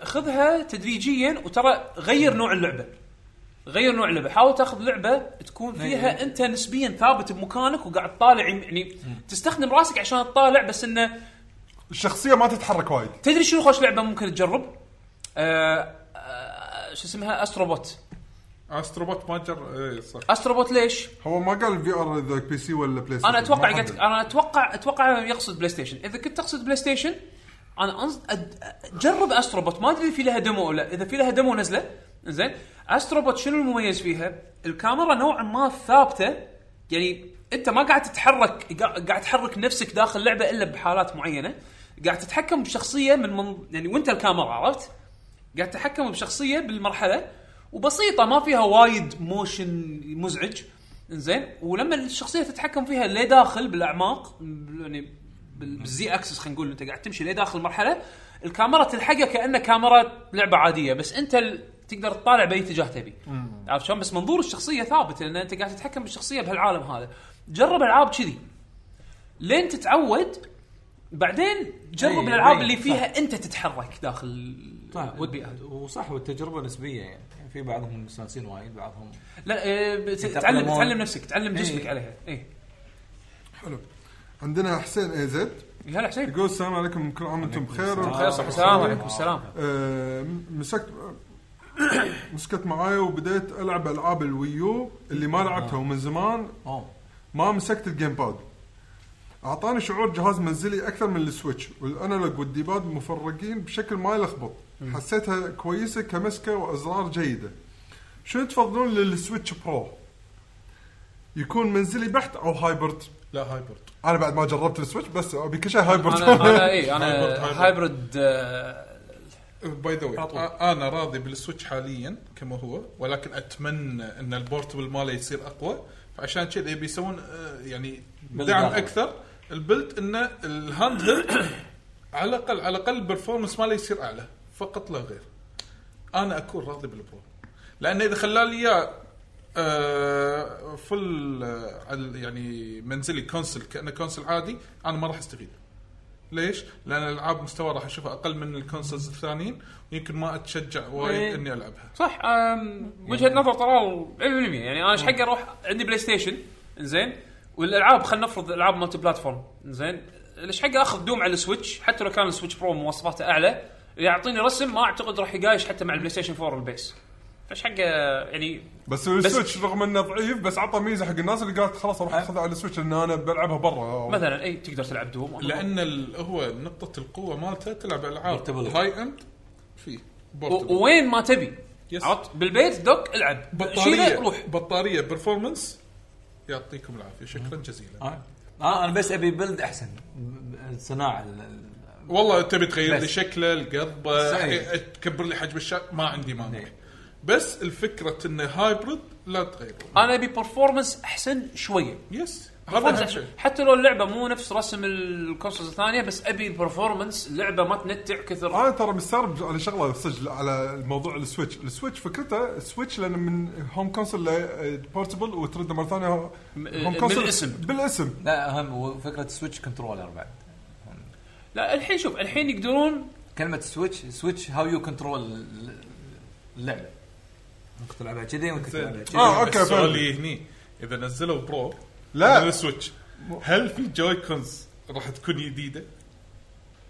Speaker 2: فخذها تدريجيا وترى غير نوع اللعبه غير نوع اللعبه حاول تاخذ لعبه تكون فيها انت نسبيا ثابت بمكانك وقاعد طالع يعني تستخدم راسك عشان تطالع بس انه
Speaker 4: الشخصيه ما تتحرك وايد
Speaker 2: تدري شنو خوش لعبه ممكن تجرب؟ آه آه شو اسمها استروبوت
Speaker 3: استروبوت ما جر اي إيه، صح
Speaker 2: استروبوت ليش؟
Speaker 4: هو ما قال الفي ار اذا بي سي ولا بلاي ستيشن
Speaker 2: انا اتوقع
Speaker 4: ما
Speaker 2: قلت
Speaker 4: حدد.
Speaker 2: انا اتوقع اتوقع يقصد بلاي ستيشن اذا كنت تقصد بلاي ستيشن انا أنص... أد... جرب استروبوت ما ادري في لها ديمو ولا لا. اذا في لها ديمو نزله زين استروبوت شنو المميز فيها الكاميرا نوعا ما ثابته يعني انت ما قاعد تتحرك قا- قاعد تحرك نفسك داخل اللعبه الا بحالات معينه قاعد تتحكم بشخصيه من من يعني وانت الكاميرا عرفت قاعد تتحكم بشخصيه بالمرحله وبسيطه ما فيها وايد موشن مزعج زين ولما الشخصيه تتحكم فيها لداخل بالاعماق بال- يعني بال- بالزي اكسس خلينا نقول انت قاعد تمشي لداخل المرحله الكاميرا تلحقه كانه كاميرا لعبه عاديه بس انت ال... تقدر تطالع باي اتجاه تبي عرفت شلون بس منظور الشخصيه ثابت لان انت قاعد تتحكم بالشخصيه بهالعالم هذا جرب العاب كذي لين تتعود بعدين جرب
Speaker 6: أي،
Speaker 2: الالعاب
Speaker 6: أي،
Speaker 2: اللي
Speaker 6: صح.
Speaker 2: فيها انت تتحرك داخل البيئه
Speaker 6: طيب، وصح والتجربه نسبيه يعني يعني في بعضهم مستانسين وايد بعضهم
Speaker 2: لا إيه، بت- تعلم
Speaker 6: يتأقلمون.
Speaker 2: تعلم نفسك تعلم
Speaker 6: إيه.
Speaker 2: جسمك عليها اي
Speaker 7: حلو عندنا حسين اي زد
Speaker 2: هلا حسين
Speaker 4: يقول السلام عليكم كل عام وانتم بخير
Speaker 2: خير صحة وسلامة عليكم السلام
Speaker 7: آه، مسكت مسكت معاي وبديت العب العاب الويو اللي ما لعبتها ومن زمان
Speaker 6: اوه
Speaker 7: ما مسكت الجيم باد اعطاني شعور جهاز منزلي اكثر من السويتش والانالوج والديباد مفرقين بشكل ما يلخبط حسيتها كويسه كمسكه وازرار جيده شنو تفضلون للسويتش برو يكون منزلي بحت او هايبرد
Speaker 3: لا هايبرد
Speaker 7: انا بعد ما جربت السويتش بس ابي كل شيء هايبرد
Speaker 2: انا انا اي انا
Speaker 3: هايبرد-
Speaker 2: إيه، هايبرد آه،
Speaker 3: باي ذا واي انا راضي بالسويتش حاليا كما هو ولكن اتمنى ان البورتبل ماله يصير اقوى فعشان كذا يبي يسوون آه، يعني دعم
Speaker 6: آخر.
Speaker 3: اكثر البلت ان الهاند هيلد على الاقل على الاقل البرفورمنس ماله يصير اعلى فقط لا غير انا اكون راضي بالبرو لان اذا خلى لي اياه آه، فل آه، على- يعني منزلي كونسل كانه كونسل عادي انا ما راح استفيد ليش؟ لان الالعاب مستوى راح اشوفها اقل من الكونسولز الثانيين ويمكن ما اتشجع وايد
Speaker 2: إيه.
Speaker 3: اني العبها.
Speaker 2: صح آم، وجهه نظر طلال 100% يعني انا ايش حق اروح عندي بلاي ستيشن زين والالعاب خلينا نفرض العاب مالتي بلاتفورم زين ايش حق اخذ دوم على السويتش حتى لو كان السويتش برو مواصفاته اعلى يعطيني رسم ما اعتقد راح يقايش حتى مع البلاي ستيشن 4 البيس فايش حق آه، يعني
Speaker 4: بس السويتش رغم انه ضعيف بس عطى ميزه حق الناس اللي قالت خلاص اروح اخذها على السويتش لان انا بلعبها برا
Speaker 2: مثلا اي إيه، تقدر تلعب دوم
Speaker 3: لان ال- هو نقطه القوه مالته تلعب العاب
Speaker 6: Portable.
Speaker 3: هاي اند في
Speaker 2: و-
Speaker 3: بورتبل
Speaker 2: وين ما تبي
Speaker 3: يس.
Speaker 2: عرفت بالبيت دوك العب
Speaker 3: بطاريه
Speaker 2: شيله روح
Speaker 3: روح بطاريه برفورمنس يعطيكم العافيه شكرا جزيلا.
Speaker 6: آه. آه انا بس ابي بلد احسن ب- ب- الصناعه ال- ال-
Speaker 3: والله تبي تغير لي
Speaker 6: بس.
Speaker 3: شكله القضبه
Speaker 6: صحيح.
Speaker 3: إيه، تكبر لي حجم الشاشه ما عندي مانع بس الفكره انه هايبرد لا تغير
Speaker 2: انا ابي برفورمانس احسن شويه
Speaker 3: يس هذا اهم
Speaker 2: performance
Speaker 3: شيء
Speaker 2: حتى لو اللعبه مو نفس رسم الكونسولز الثانيه بس ابي برفورمانس اللعبه ما تنتع
Speaker 6: آه.
Speaker 2: كثر
Speaker 4: انا ترى مستغرب على شغله صج على موضوع السويتش، السويتش فكرته السويتش لان من هوم كونسل لبورتبل وترد مره ثانيه هوم كونسل
Speaker 2: بالاسم.
Speaker 4: بالاسم
Speaker 6: لا اهم فكره السويتش كنترولر بعد
Speaker 2: لا الحين شوف الحين يقدرون
Speaker 6: كلمه سويتش سويتش هاو يو كنترول اللعبه ممكن تلعبها كذي ممكن تلعبها كذي
Speaker 3: آه.
Speaker 4: اه اوكي فهمت.
Speaker 3: سؤالي هني اذا نزلوا برو على
Speaker 4: لا
Speaker 3: السويتش هل في جوي كونز راح تكون جديده؟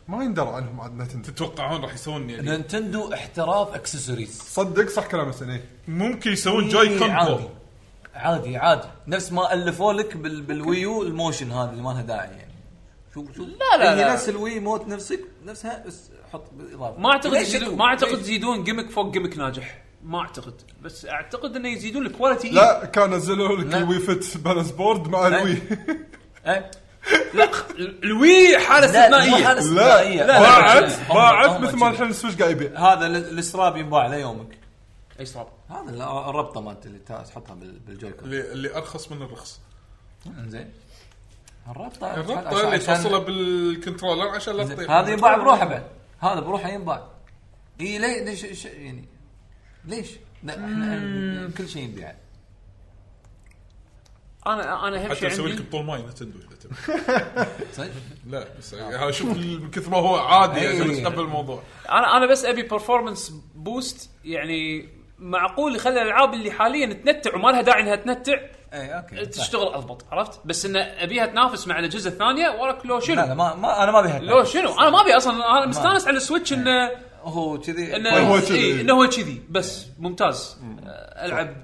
Speaker 4: ما يندر عنهم عاد نتندو
Speaker 3: تتوقعون راح يسوون يعني
Speaker 6: نينتندو احتراف اكسسوارز
Speaker 4: صدق صح كلام حسين إيه.
Speaker 3: ممكن يسوون جوي كون
Speaker 6: إيه، عادي
Speaker 3: برو
Speaker 6: عادي عادي نفس ما الفوا لك بال بالويو الموشن هذا اللي ما لها داعي يعني شو شو لا
Speaker 2: لا،
Speaker 6: هي
Speaker 2: لا.
Speaker 6: نفس الوي موت نفسك نفسها بس حط بالاضافه
Speaker 2: ما اعتقد
Speaker 6: ليش
Speaker 2: يزيدون
Speaker 6: شكو؟
Speaker 2: ما اعتقد
Speaker 6: ليش؟
Speaker 2: يزيدون جيمك فوق جيمك ناجح ما اعتقد بس اعتقد انه يزيدون الكواليتي إيه.
Speaker 4: لا كان نزلوا لك
Speaker 6: لا.
Speaker 4: الوي فت بالانس بورد مع الوي
Speaker 6: إيه؟
Speaker 2: لا الوي حاله
Speaker 6: لا مو
Speaker 2: استثنائيه
Speaker 6: حالة استثنائية.
Speaker 2: لا، لا.
Speaker 4: باعت
Speaker 6: هم-
Speaker 4: باعت
Speaker 6: هم
Speaker 4: مثل ما
Speaker 6: كذي.
Speaker 4: الحين السويتش قاعد يبيع
Speaker 6: هذا ال- الاستراب ينباع ليومك
Speaker 2: اي صعب
Speaker 6: هذا ال- الربطه مالت اللي تا- تحطها بال- بالجويكون
Speaker 3: اللي, اللي ارخص من الرخص
Speaker 6: انزين الربطه
Speaker 3: الربطه اللي
Speaker 6: عشان-
Speaker 3: توصلها بالكنترولر عشان لا تطيح
Speaker 6: هذا ينباع بروحه بعد هذا بروحه ينباع اي لي- ليش ش- يعني ليش؟ لا احنا كل شيء ينباع
Speaker 2: انا انا اهم
Speaker 3: حتى
Speaker 2: شيء
Speaker 3: يسوي
Speaker 2: عندي
Speaker 3: لك بطول ماي نتندو اذا تبي
Speaker 6: صدق؟
Speaker 3: لا بس
Speaker 4: آه.
Speaker 3: يعني شوف من كثر ما هو عادي
Speaker 6: أي.
Speaker 4: إيه.
Speaker 3: يعني تقبل الموضوع
Speaker 2: انا انا بس ابي برفورمانس بوست يعني معقول يخلي الالعاب اللي حاليا تنتع وما لها داعي انها تنتع
Speaker 6: اي
Speaker 2: إيه،
Speaker 6: اوكي صح.
Speaker 2: تشتغل اضبط عرفت بس انه ابيها تنافس مع الاجهزه الثانيه ولك لو
Speaker 6: لا لا
Speaker 2: شنو
Speaker 6: ما, ما انا ما بيها
Speaker 2: لو شنو انا ما ابي اصلا انا مستانس على السويتش انه
Speaker 6: هو كذي
Speaker 2: انه
Speaker 6: كويس.
Speaker 4: إيه. هو
Speaker 2: إيه،
Speaker 4: كذي.
Speaker 2: انه هو كذي بس ممتاز آه، العب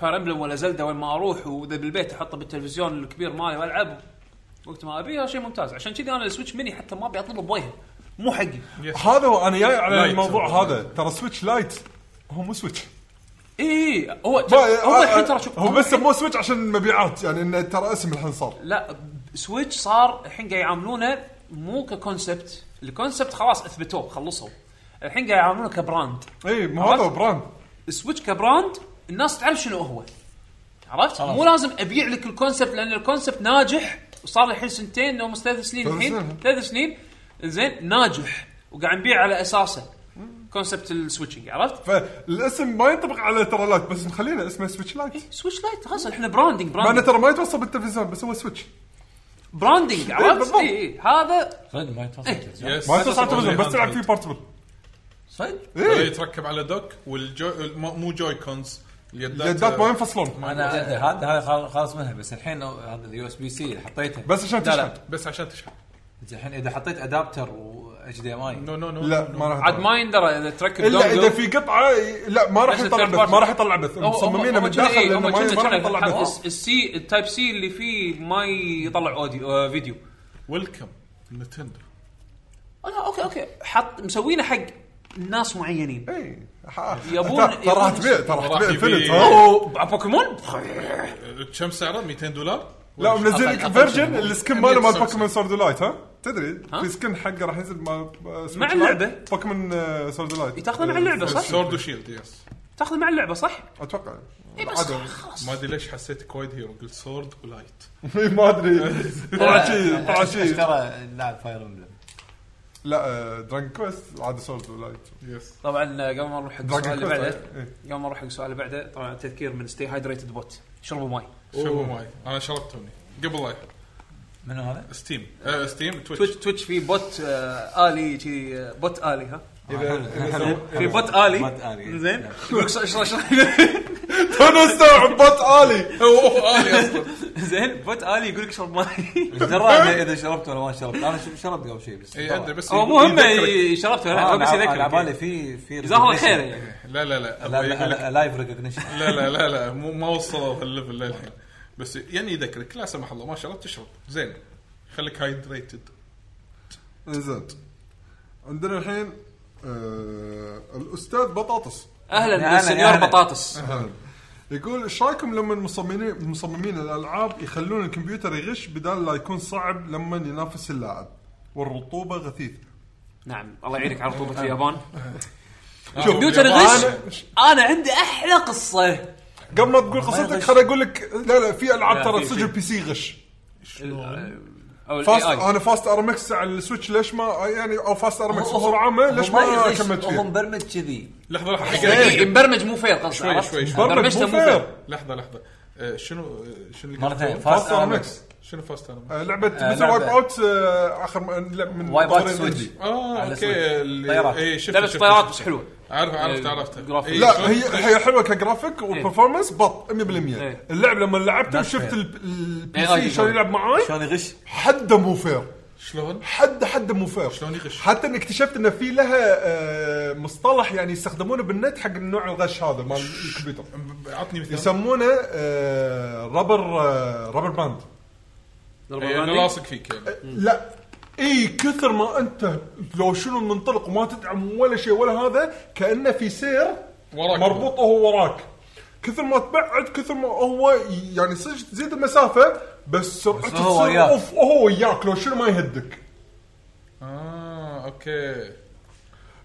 Speaker 2: فاير امبلم ولا زلده وين ما اروح واذا بالبيت احطه بالتلفزيون الكبير مالي والعب وقت ما ابي هذا شيء ممتاز عشان كذي انا السويتش مني حتى ما ابي اطلبه بوجهه مو حقي
Speaker 4: هذا هو انا جاي على
Speaker 3: لايت.
Speaker 4: الموضوع هذا ترى سويتش لايت هو مو سويتش
Speaker 2: اي إيه، هو
Speaker 4: ما-
Speaker 2: هو الحين ترى شوف
Speaker 4: هو بس سموه سويتش عشان المبيعات يعني انه ترى اسم الحين صار
Speaker 2: لا سويتش صار الحين قاعد يعاملونه مو ككونسبت الكونسبت خلاص اثبتوه خلصوا الحين قاعد يعاملونه كبراند
Speaker 4: اي ما إيه، هذا هو براند
Speaker 2: سويتش كبراند الناس تعرف شنو هو عرفت مو لازم ابيع لك الكونسبت لان الكونسبت ناجح وصار له الحين سنتين او ثلاث سنين
Speaker 4: ثلاث
Speaker 2: الحين
Speaker 4: سنين.
Speaker 2: ثلاث سنين زين ناجح وقاعد نبيع على اساسه كونسبت السويتشنج عرفت؟
Speaker 4: فالاسم ما ينطبق على ترى لايت بس مخلينا اسمه سويتش لايت
Speaker 2: سويتش لايت خلاص احنا براندنج
Speaker 4: مع انه
Speaker 2: براندنج
Speaker 4: ترى ما يتوصل بالتلفزيون بس هو سويتش
Speaker 2: براندنج عرفت؟
Speaker 4: إيه، بالضبط.
Speaker 2: اي اي هذا
Speaker 6: صدق ما يتوصل التلفزيون.
Speaker 3: يس.
Speaker 4: ما يتوصل على التلفزيون بس
Speaker 3: Handheld.
Speaker 4: تلعب فيه بورتبل
Speaker 6: إيه، صدق
Speaker 3: ولا
Speaker 4: ايه
Speaker 3: يعني يتركب على دوك والجو الم- مو جوي كونز آه، اليدات
Speaker 4: اليدات ما ينفصلون
Speaker 6: انا هذا إيه، هذا خال- خالص منها بس الحين لو- هذا اليو اس بي سي اللي حطيته
Speaker 4: بس عشان
Speaker 6: لا، لا.
Speaker 4: تشحن.
Speaker 3: بس عشان تشحن
Speaker 6: زين الحين اذا حطيت ادابتر و اتش دي ام اي
Speaker 3: نو نو نو
Speaker 4: لا ما راح
Speaker 2: عاد
Speaker 4: يطلع.
Speaker 2: ما يندرى اذا تركب
Speaker 4: الا
Speaker 2: دونجل.
Speaker 4: اذا في قطعه لا ما راح
Speaker 2: بس
Speaker 4: يطلع
Speaker 2: الثيرد
Speaker 4: بث
Speaker 2: بارتي.
Speaker 4: ما راح يطلع بث
Speaker 2: هو- هو-
Speaker 4: مصممينه
Speaker 2: هو
Speaker 4: من
Speaker 2: كنا-
Speaker 4: الداخل
Speaker 2: إيه،
Speaker 4: لانه
Speaker 2: هم
Speaker 4: ما
Speaker 2: كنا-
Speaker 4: ما راح
Speaker 2: كنا
Speaker 4: يطلع
Speaker 2: حط
Speaker 4: بث
Speaker 2: الس- السي التايب سي اللي فيه ما يطلع اوديو آه، فيديو
Speaker 3: ويلكم نتندو
Speaker 2: آه، لا اوكي اوكي حط مسوينه حق ناس معينين
Speaker 4: إيه، ح-
Speaker 2: يبون-
Speaker 4: ترى- ترى راح
Speaker 2: يبون-
Speaker 4: تبيع ترى راح
Speaker 3: راح
Speaker 4: تبيع
Speaker 3: يبيع.
Speaker 4: انفنت ها؟
Speaker 2: اوه بوكيمون
Speaker 3: آه، كم سعره 200 دولار؟
Speaker 4: لا منزل لك فيرجن السكن ماله مال
Speaker 3: سامسونج.
Speaker 4: بوكيمون سورد لايت ها تدري
Speaker 2: ها؟
Speaker 4: في سكن حقه راح ينزل مال آه، Switch
Speaker 2: مع اللعبة.
Speaker 4: Lite. بوكيمون آه، سورد لايت
Speaker 2: تاخذه مع اللعبه صح؟
Speaker 3: سورد وشيلد يس
Speaker 2: تاخذه مع اللعبه صح؟
Speaker 4: اتوقع
Speaker 2: اي بس
Speaker 4: عدل.
Speaker 2: خلاص
Speaker 3: ما ادري ليش حسيت كويد هيرو قلت سورد ولايت
Speaker 4: إيه، ما ادري طلع شيء طلع شيء
Speaker 6: اشترى لاعب فاير امبلم
Speaker 4: لا دراجون كويست عاد سورد لايت
Speaker 3: يس
Speaker 2: طبعا آه، قبل ما نروح حق
Speaker 4: Dragon
Speaker 2: السؤال اللي
Speaker 4: Quest،
Speaker 2: بعده
Speaker 4: إيه.
Speaker 2: قبل ما نروح حق السؤال اللي بعده طبعا تذكير من ستي هايدريتد بوت شربوا ماي
Speaker 3: شربوا ماي انا شربت توني قبل لا
Speaker 6: منو هذا؟
Speaker 3: ستيم آه، ستيم
Speaker 2: تويتش
Speaker 3: تويتش
Speaker 2: تويتش في بوت آه الي شي آه، بوت الي ها
Speaker 4: إيه.
Speaker 2: في بوت
Speaker 6: بوت
Speaker 2: الي
Speaker 6: آلي.
Speaker 2: زين يقول لك ش- ش- ش-
Speaker 4: انا استوعب بط الي
Speaker 3: اوه آلي اصلا
Speaker 2: زين بوت الي يقول لك اشرب ماي
Speaker 6: ايش دراني اذا شربت ولا ما شربت انا شرب- شربت قبل شيء بس
Speaker 4: إيه،
Speaker 3: اي ادري بس
Speaker 2: هو مو هم
Speaker 3: يذكرك.
Speaker 2: شربت ولا
Speaker 6: آه،
Speaker 2: لا
Speaker 6: أنا
Speaker 2: بس
Speaker 6: على بالي
Speaker 2: يذكر
Speaker 6: في في
Speaker 2: جزاه الله
Speaker 6: recognition.
Speaker 2: خير يعني
Speaker 3: لا لا لا
Speaker 6: لا
Speaker 3: أبغى
Speaker 6: لا
Speaker 3: يقول لك
Speaker 6: لا لايف ريكوجنيشن
Speaker 4: إيه،
Speaker 3: لا لا لا لا مو ما وصلوا هالليفل للحين بس يعني يذكرك لا سمح الله ما شربت تشرب زين خليك هايدريتد
Speaker 4: زين عندنا الحين آه، الاستاذ بطاطس
Speaker 6: أهلاً،
Speaker 2: اهلا
Speaker 6: يا
Speaker 2: بالسنيور
Speaker 6: أهلاً.
Speaker 2: بطاطس
Speaker 4: يقول ايش رايكم لما مصممين مصممين الالعاب يخلون الكمبيوتر يغش بدال لا يكون صعب لما ينافس اللاعب والرطوبه غثيث
Speaker 2: نعم الله يعينك على رطوبه اليابان
Speaker 3: شوف
Speaker 2: آه. كمبيوتر غش انا عندي احلى قصه
Speaker 4: قبل ما تقول قصتك
Speaker 6: يغش.
Speaker 4: خليني اقول لك لا لا في العاب
Speaker 2: لا،
Speaker 4: ترى
Speaker 2: في-
Speaker 4: تصير بي سي غش
Speaker 2: او
Speaker 4: فاست
Speaker 2: الاي
Speaker 4: انا فاست ارمكس على السويتش ليش ما يعني او فاست ارمكس
Speaker 6: هو- هو-
Speaker 4: بسرعه ما ليش ما
Speaker 6: يغش،
Speaker 4: كملت
Speaker 6: هو
Speaker 4: فيه؟
Speaker 6: مبرمج كذي
Speaker 3: لحظه لحظه حق-
Speaker 2: اي مبرمج مو فير قصدي
Speaker 3: شوي-
Speaker 2: عرفت؟
Speaker 3: شوي- شوي.
Speaker 4: برمج
Speaker 2: برمجته
Speaker 4: مو
Speaker 2: مو فير
Speaker 4: فير
Speaker 3: لحظه لحظه آه، شنو آه، شنو اللي
Speaker 6: مرة ثانية،
Speaker 3: قلت؟
Speaker 6: فاست
Speaker 4: فاست
Speaker 6: ارمكس
Speaker 4: ارمكس
Speaker 3: شنو فاست انا
Speaker 4: آه، لعبه
Speaker 6: آه،
Speaker 4: مثل
Speaker 6: لعبة.
Speaker 4: وايب اوت آه، اخر م- لا، من
Speaker 6: وايب اوت
Speaker 4: طورين
Speaker 6: سويتش.
Speaker 4: عندي.
Speaker 3: اه
Speaker 6: على
Speaker 3: اوكي اللي-
Speaker 6: طيارات.
Speaker 3: إيه، شفت-
Speaker 2: لعبه
Speaker 3: شفت-
Speaker 2: طيارات
Speaker 3: شفت.
Speaker 2: بس حلوه
Speaker 3: عارف عرفت
Speaker 2: آه،
Speaker 3: عرفت
Speaker 2: جرافيك.
Speaker 3: إيه،
Speaker 4: لا
Speaker 3: شلون-
Speaker 4: هي هي حلوه كجرافيك وبرفورمانس بط 100%
Speaker 2: إيه.
Speaker 4: اللعب لما لعبته
Speaker 6: Not
Speaker 4: وشفت
Speaker 6: fair.
Speaker 4: البي
Speaker 2: AI
Speaker 4: سي شلون يلعب معاي
Speaker 6: شلون يغش؟
Speaker 4: حده مو فير
Speaker 3: شلون
Speaker 4: حد حد مو فير
Speaker 3: شلون يغش؟
Speaker 4: حتى ان اكتشفت ان في لها آه، مصطلح يعني يستخدمونه بالنت حق النوع الغش هذا مال الكمبيوتر
Speaker 3: ب- عطني مثال
Speaker 4: يسمونه آه، ربر آه، ربر باند
Speaker 3: إيه، انا لاصق فيك يعني
Speaker 4: لا اي كثر ما انت لو شنو منطلق وما تدعم ولا شيء ولا هذا كانه في سير
Speaker 3: وراك.
Speaker 4: مربوط هو وراك كثر ما تبعد كثر ما هو يعني صدق تزيد المسافه بس سرعته
Speaker 6: بس هو
Speaker 4: تصير
Speaker 6: وياك.
Speaker 4: اوف هو وياك لو شنو ما يهدك
Speaker 3: اه اوكي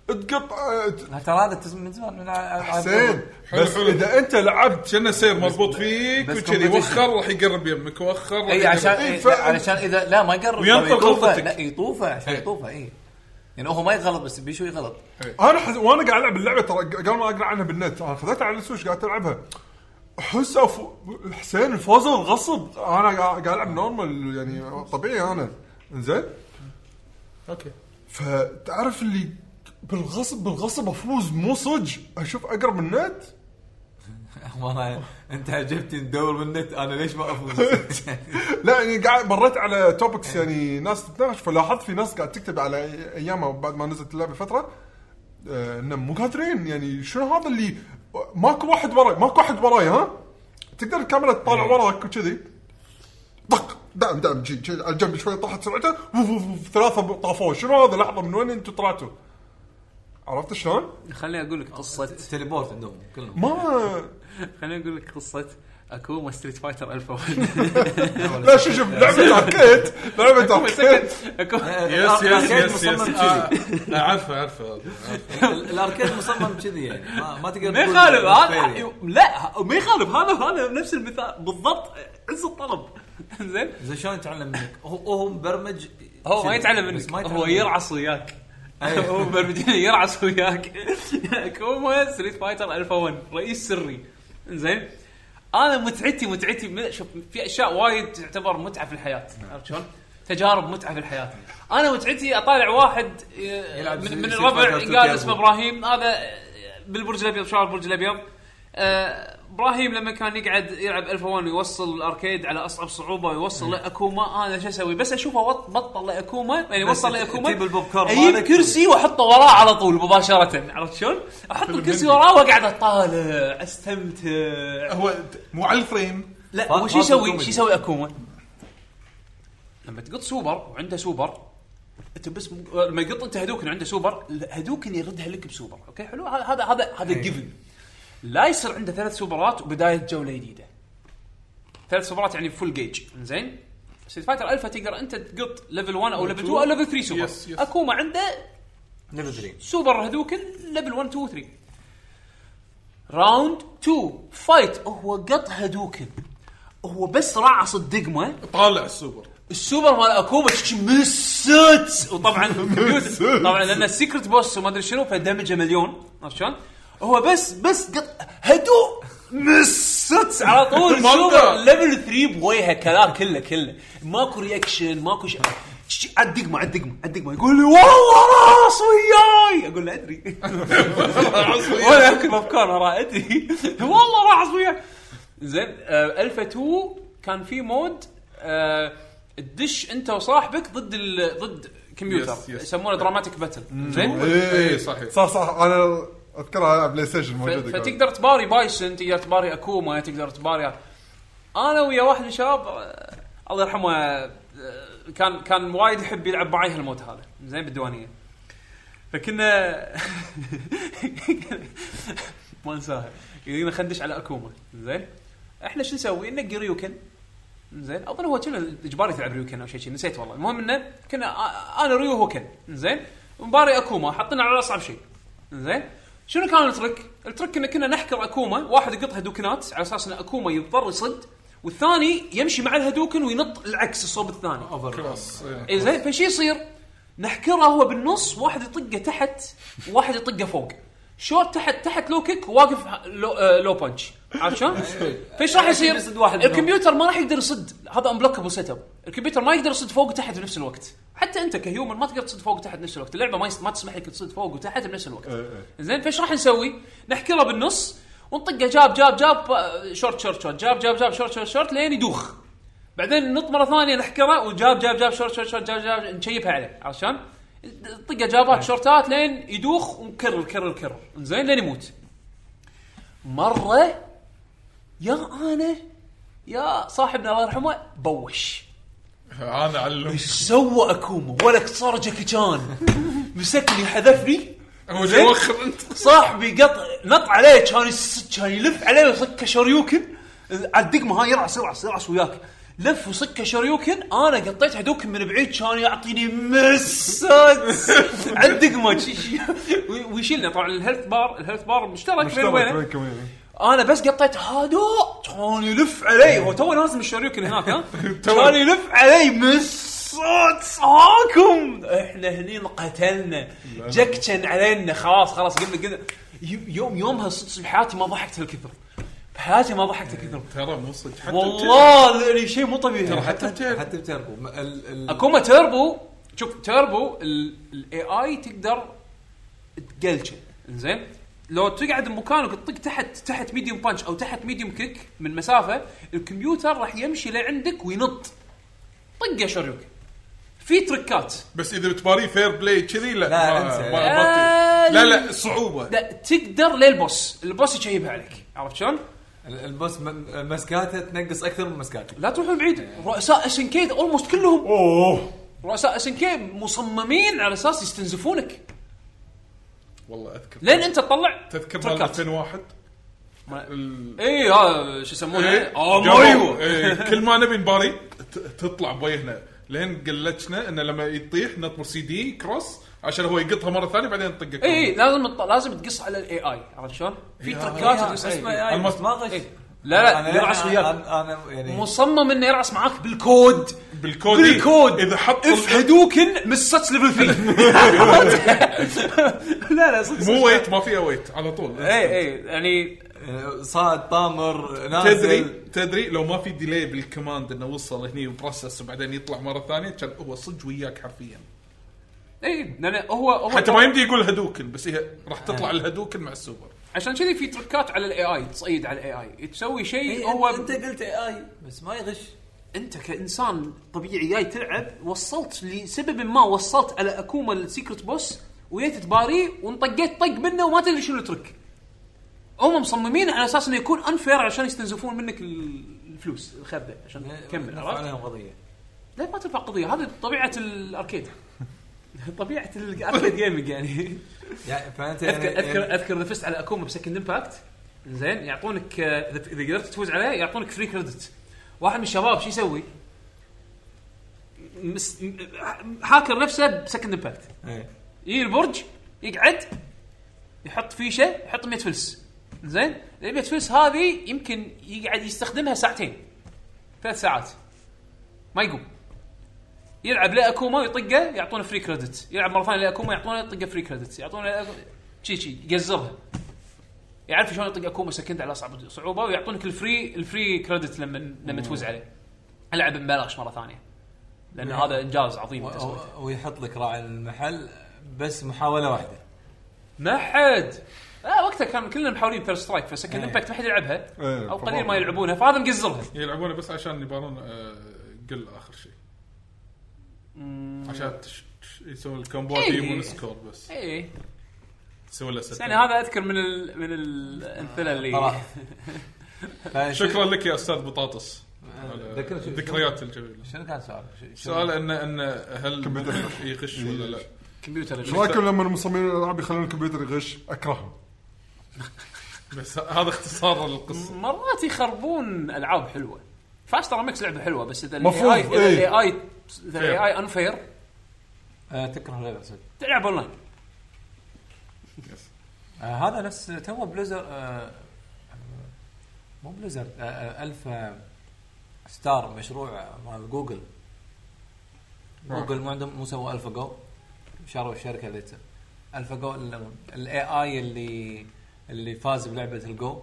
Speaker 4: تقطع ت-
Speaker 6: لا، ترى هذا تز- من زمان من ع-
Speaker 4: حسين
Speaker 3: حلو،
Speaker 4: بس
Speaker 3: حلو.
Speaker 4: اذا انت لعبت
Speaker 3: كنا سير مضبوط فيك
Speaker 6: بس
Speaker 3: وكذي
Speaker 6: competition.
Speaker 3: وخر راح يقرب يمك وخر راح
Speaker 6: اي
Speaker 3: يقرب.
Speaker 6: عشان
Speaker 4: إيه،
Speaker 6: إيه
Speaker 4: فعلا.
Speaker 6: لا، علشان اذا لا ما يقرب طيب،
Speaker 3: وينطر
Speaker 6: يطوفه.
Speaker 3: غلطتك.
Speaker 6: لا يطوفه عشان
Speaker 4: إيه.
Speaker 6: يطوفه اي يعني هو ما يغلط بس بيشو يغلط
Speaker 4: انا حز... وانا قاعد العب اللعبه ترى قبل ما اقرا عنها بالنت انا خذيتها على السويتش قاعد العبها احس أف... حسين الفوزر غصب انا قاعد قاعد العب نورمال يعني طبيعي انا زين
Speaker 3: اوكي
Speaker 4: فتعرف اللي بالغصب بالغصب افوز مو صج اشوف اقرب من النت
Speaker 6: والله انت عجبتني ندور بالنت انا ليش ما افوز
Speaker 4: لا يعني قاعد مريت على توبكس يعني ناس تتناقش فلاحظت في ناس قاعد تكتب على ايامها بعد ما نزلت اللعبه فتره آه، انه مو قادرين يعني شنو هذا اللي ماكو واحد وراي ماكو واحد وراي ها تقدر الكاميرا تطالع
Speaker 3: إيه.
Speaker 4: وراك وكذي طق دعم دعم جي, جي على الجنب شوي طاحت سرعته وف وف وف ثلاثه طافوه شنو هذا لحظه من وين انتم طلعتوا؟ عرفت شلون؟
Speaker 2: خليني اقول لك قصه
Speaker 6: تليبورت عندهم كلهم
Speaker 4: ما
Speaker 2: خليني اقول لك قصه اكوما ستريت فايتر الفا 1
Speaker 4: لا شوف شوف لعبه اركيد لعبه
Speaker 2: أكوما
Speaker 4: اركيد
Speaker 2: سكت. أكوما-
Speaker 3: يس يس
Speaker 6: الأركيد
Speaker 3: يس
Speaker 6: مصمم
Speaker 3: يس
Speaker 6: كذي.
Speaker 3: آه، اعرفه اعرفه
Speaker 6: الاركيد مصمم كذي يعني ما, ما تقدر
Speaker 2: ما
Speaker 6: تقول
Speaker 2: يخالف
Speaker 6: fair
Speaker 2: هذا أيوه.
Speaker 6: يعني.
Speaker 2: لا ما يخالف هذا هذا نفس المثال بالضبط عز الطلب زين
Speaker 6: زين شلون يتعلم منك؟ هو هو مبرمج
Speaker 2: هو ما
Speaker 6: كذي.
Speaker 2: يتعلم
Speaker 6: بس
Speaker 2: منك
Speaker 6: ما
Speaker 2: هو
Speaker 6: منك.
Speaker 2: يرعص وياك هو برمجينا يرعس وياك كوما ستريت فايتر الفا 1 رئيس سري زين انا متعتي متعتي من- شوف في اشياء وايد تعتبر متعه في الحياه عرفت شلون؟ تجارب متعه في الحياه انا متعتي اطالع واحد آه،
Speaker 6: يلعب
Speaker 2: من,
Speaker 6: زي-
Speaker 2: من
Speaker 6: زي
Speaker 2: الربع
Speaker 6: فايتر تركي
Speaker 2: قال اسمه
Speaker 6: أبو.
Speaker 2: ابراهيم هذا آه، بالبرج الابيض شعر البرج الابيض آه، ابراهيم لما كان يقعد يلعب الفا 1 ويوصل الاركيد على اصعب صعوبه ويوصل
Speaker 6: إيه.
Speaker 2: لاكوما انا آه، شو اسوي بس اشوفه وط- بطل لاكوما يعني
Speaker 6: بس
Speaker 2: وصل لاكوما
Speaker 6: تجيب البوب كورن
Speaker 2: اجيب
Speaker 6: مالك.
Speaker 2: كرسي واحطه وراه على طول مباشره عرفت شلون؟ احط الكرسي وراه واقعد اطالع استمتع
Speaker 3: هو ت- مو على الفريم
Speaker 2: لا
Speaker 6: فاضل-
Speaker 2: وش
Speaker 6: فاضل
Speaker 2: يسوي
Speaker 6: كوميدي.
Speaker 2: شو يسوي اكوما؟ لما تقط سوبر وعنده سوبر انت بس م- لما يقط انت هدوكن عنده سوبر هدوكن يردها لك بسوبر اوكي حلو هذا هذا هذا هذا جيفن لا يصير عنده ثلاث سوبرات وبدايه جوله جديده ثلاث سوبرات يعني فول جيج زين ستريت فايتر الفا تقدر انت تقط ليفل 1 او ليفل 2 او ليفل 3 سوبر
Speaker 3: يس، يس.
Speaker 2: اكوما عنده
Speaker 6: ليفل 3
Speaker 2: سوبر هذوكن ليفل 1 2 3 راوند 2 فايت هو قط هذوكن هو بس رعص الدقمه
Speaker 3: طالع السوبر
Speaker 2: السوبر مال اكوما تش- مست وطبعا الكمبيوتر طبعا لان السيكرت بوس وما ادري شنو فدمجه مليون عرفت شلون؟ هو بس بس قط هدوء مست على طول
Speaker 3: ما
Speaker 2: سوبر
Speaker 3: أقدر.
Speaker 2: ليفل 3 بوجهه كلام كله كله ماكو رياكشن ماكو شيء تش- على الدقمه على الدقمه على الدقمه يقول لي والله راس وياي اقول له ادري ولا اكل بوب كورن وراه ادري والله راح اصويك زين آه الفا 2 كان في مود آه تدش انت وصاحبك ضد ال... ضد كمبيوتر
Speaker 3: يس، يس.
Speaker 2: يسمونه دراماتيك باتل زين
Speaker 3: اي صحيح
Speaker 4: إيه، صح صح انا اذكرها على بلاي ستيشن
Speaker 2: ف-
Speaker 4: موجوده كانت.
Speaker 2: فتقدر تباري بايسن تقدر تباري اكوما تقدر تباري انا ويا واحد من الشباب آه، الله يرحمه آه، كان كان وايد يحب يلعب معي هالموت هذا زين بالديوانيه فكنا ما انساها يجينا خندش على اكوما زين احنا شو نسوي؟ ننقي ريوكن زين اظن هو كنا اجباري تلعب ريوكن او شيء شي. نسيت والله المهم انه كنا آ- انا ريو هوكن زين مباري اكوما حطينا على اصعب شيء زين شنو كان الترك؟ الترك ان كنا نحكر اكوما واحد يقط هدوكنات على اساس ان اكوما يضطر يصد والثاني يمشي مع الهدوكن وينط العكس صوب الثاني
Speaker 3: خلاص إيه.
Speaker 2: إيه زين فشي يصير؟ نحكره هو بالنص واحد يطقه تحت واحد يطقه فوق شوت تحت تحت لو كيك واقف ه- لو, آه لو بانش عرفت شلون؟ فايش راح يصير؟
Speaker 6: إيه. يصد واحد منهم.
Speaker 2: الكمبيوتر ما راح يقدر يصد هذا انبلوكبل سيت اب الكمبيوتر ما يقدر يصد فوق وتحت بنفس الوقت حتى انت كهيومن ما تقدر تصد فوق وتحت بنفس الوقت اللعبه ما, يس... ما تسمح لك تصد فوق وتحت بنفس
Speaker 6: إيه،
Speaker 2: الوقت زين فايش راح نسوي؟ نحكره بالنص ونطقه جاب جاب جاب آه، شورت شورت شورت جاب جاب جاب شورت شورت شورت لين يدوخ بعدين نط مره ثانيه نحكره وجاب جاب جاب شورت شورت شورت جاب جاب نشيبها عليه عرفت شلون؟ طقه جابات شورتات لين يدوخ ونكرر كرر كرر زين لين يموت مره يا انا يا صاحبنا الله يرحمه بوش
Speaker 3: انا اعلم
Speaker 2: ايش سوى اكوما ولا صار جاكي شان مسكني حذفني
Speaker 3: هو جاي يوخر انت
Speaker 2: صاحبي قط نط عليه كان يس- كان يلف عليه ويصك شوريوكن على الدقمه هاي يرعس يرعس يرعس وياك لف وصك شوريوكن انا قطيت هدوكن من بعيد كان يعطيني مسات على الدقمه شي- شي- وي- ويشيلنا طبعا الهيلث بار الهيلث بار مشترك بين
Speaker 4: اشترك
Speaker 2: وبينه
Speaker 4: بينكم يعني.
Speaker 2: انا بس قطيت هادو كان يلف علي هو تو لازم الشوريوكن هناك ها كان يلف علي مسات هاكم احنا هني قتلنا جكشن علينا خلاص خلاص قلنا كذا ي- يوم يومها صدق بحياتي ما ضحكت هالكثر بحياتي ما ضحكت هالكثر
Speaker 3: ترى مو صدق حتى
Speaker 2: والله يعني شيء مو طبيعي
Speaker 3: بتيربو- حتى بتيربو.
Speaker 6: حتى بتعرفوا ما- ال- ال-
Speaker 2: اكوما تيربو شوف تيربو الاي اي تقدر تقلشه زين لو تقعد بمكانك تطق تحت تحت ميديوم بانش او تحت ميديوم كيك من مسافه الكمبيوتر راح يمشي لعندك وينط طقه شريوك في تركات
Speaker 3: بس اذا بتباريه فير بلاي كذي لا
Speaker 6: لا،
Speaker 3: ما-
Speaker 6: انسى.
Speaker 3: ما- ما في. لا لا صعوبه
Speaker 2: لا تقدر للبوس البوس يشيبها عليك عرفت شلون؟
Speaker 6: ال- البوس م- مسكاته تنقص اكثر من مسكاتي
Speaker 2: لا تروحون بعيد رؤساء اس ان كي اولموست كلهم
Speaker 4: اوه
Speaker 2: رؤساء اس ان كي مصممين على اساس يستنزفونك
Speaker 3: والله اذكر
Speaker 2: لين انت تطلع
Speaker 3: تذكر مال
Speaker 2: تركات.
Speaker 3: 2001
Speaker 2: ما-
Speaker 3: ال-
Speaker 2: اي هذا شو يسمونه؟ اه
Speaker 3: إيه؟ جابوا-
Speaker 2: ايوه
Speaker 3: إيه، كل ما نبي نباري ت- تطلع بوجهنا لين قلتنا انه لما يطيح نطمر سي دي كروس عشان هو يقطها مره ثانيه بعدين نطقه
Speaker 2: إيه. اي لازم تط- لازم تقص على الاي اي عرفت شلون؟ في تركات تقص على
Speaker 6: اسمه
Speaker 2: ال AI.
Speaker 6: اي
Speaker 3: المس-
Speaker 6: ما غش
Speaker 2: إيه. لا لا يرعس وياك
Speaker 6: انا انا يعني
Speaker 2: مصمم انه يرعس معاك بالكود
Speaker 3: بالكود
Speaker 2: بالكود
Speaker 3: اذا حط
Speaker 2: اف
Speaker 3: ال-
Speaker 2: هدوكن مسات ليفل 3 لا لا صدق
Speaker 3: مو ويت ما فيها ويت على طول
Speaker 2: اي اي يعني
Speaker 6: صاد طامر
Speaker 3: تدري
Speaker 6: نازل
Speaker 3: تدري لو ما في ديلي بالكوماند انه وصل هني وبروسس وبعدين يطلع مره ثانيه كان هو صج وياك حرفيا
Speaker 2: اي لان إيه، هو هو
Speaker 3: حتى ما يمدي يقول هدوكن بس هي راح تطلع الهدوكن مع السوبر
Speaker 2: عشان كذي في تركات على الاي اي تصيد على الاي اي تسوي
Speaker 6: إي،
Speaker 2: شيء
Speaker 6: إيه، أنت-
Speaker 2: إيه، هو
Speaker 6: انت قلت اي اي بس ما يغش
Speaker 2: انت كانسان طبيعي جاي تلعب وصلت لسبب ما وصلت على اكوما السيكرت بوس وجيت تباريه وانطقيت طق منه وما تدري شنو الترك. هم مصممين على اساس انه يكون انفير عشان يستنزفون منك ال- الفلوس الخرده عشان تكمل
Speaker 6: نرفع
Speaker 2: عرفت؟
Speaker 6: عليهم قضيه
Speaker 2: لا ما ترفع قضيه هذه طبيعه الاركيد. طبيعه الاركيد جيمنج يعني
Speaker 6: يعني فانت يعني
Speaker 2: اذكر اذكر
Speaker 6: يعني-
Speaker 2: اذكر اذا فزت على اكوما بسكند امباكت زين يعطونك آه، اذا إذا قدرت تفوز عليه يعطونك فري كريدت واحد من الشباب شو يسوي؟ مس... م- حاكر نفسه بسكند امباكت
Speaker 6: إيه.
Speaker 2: يجي البرج يقعد يحط فيشه يحط 100 فلس زين ال 100 فلس هذه يمكن يقعد يستخدمها ساعتين ثلاث ساعات ما يقوم يلعب لا اكوما يطقه يعطونه فري كريدت يلعب مره ثانيه لا اكوما يعطونه يطقه فري كريدت يعطونه لا أكوما- شي شي يقزرها يعرف شلون يطق اكوما سكند على اصعب صعوبه ويعطونك الفري الفري كريدت لما لما تفوز عليه العب ببلاش مره ثانيه لان هذا انجاز عظيم
Speaker 6: و-
Speaker 2: أنت سويته.
Speaker 6: و- ويحط لك راعي المحل بس محاوله واحده
Speaker 2: ما حد آه وقتها كان كلنا محاولين بير سترايك فسكند
Speaker 6: إيه.
Speaker 2: امباكت ما حد يلعبها
Speaker 4: إيه،
Speaker 2: او قليل
Speaker 4: طبعاً.
Speaker 2: ما يلعبونها فهذا مقزرها
Speaker 3: يلعبونه بس عشان يبارون آه، قل اخر شيء عشان تش- تش- يسوون الكومبوات
Speaker 2: إيه.
Speaker 3: يجيبون سكور بس
Speaker 2: اي
Speaker 3: يسوون له
Speaker 2: إيه، بس يعني
Speaker 3: ست.
Speaker 2: هذا اذكر من ال... من الامثله اللي
Speaker 6: خلاص فش-
Speaker 3: شكرا لك يا استاذ بطاطس على
Speaker 6: ذكرت آه، شو-
Speaker 3: الذكريات الجميله
Speaker 6: شنو كان سؤالك؟
Speaker 3: سؤال ان ان هل يغش ولا لا؟
Speaker 2: كمبيوتر
Speaker 4: ايش رايكم لما مصممين الالعاب يخلون الكمبيوتر يغش اكرههم
Speaker 3: بس هذا اختصار القصه
Speaker 2: مرات يخربون العاب حلوه فاست ترى ميكس لعبه حلوه بس اذا
Speaker 4: مفروض،
Speaker 2: الاي اذا
Speaker 4: إيه.
Speaker 2: الاي اي اذا الاي اي انفير
Speaker 6: آه، تكره لعبه صدق
Speaker 2: تلعب اونلاين
Speaker 6: آه هذا نفس تو بليزر آه مو بليزر آه آه الفا ستار مشروع آه، مال جوجل جوجل مو عندهم مو سووا الفا جو شاروا الشركه اللي تسوي. الفا جو الاي اي اللي اللي فاز بلعبه الجو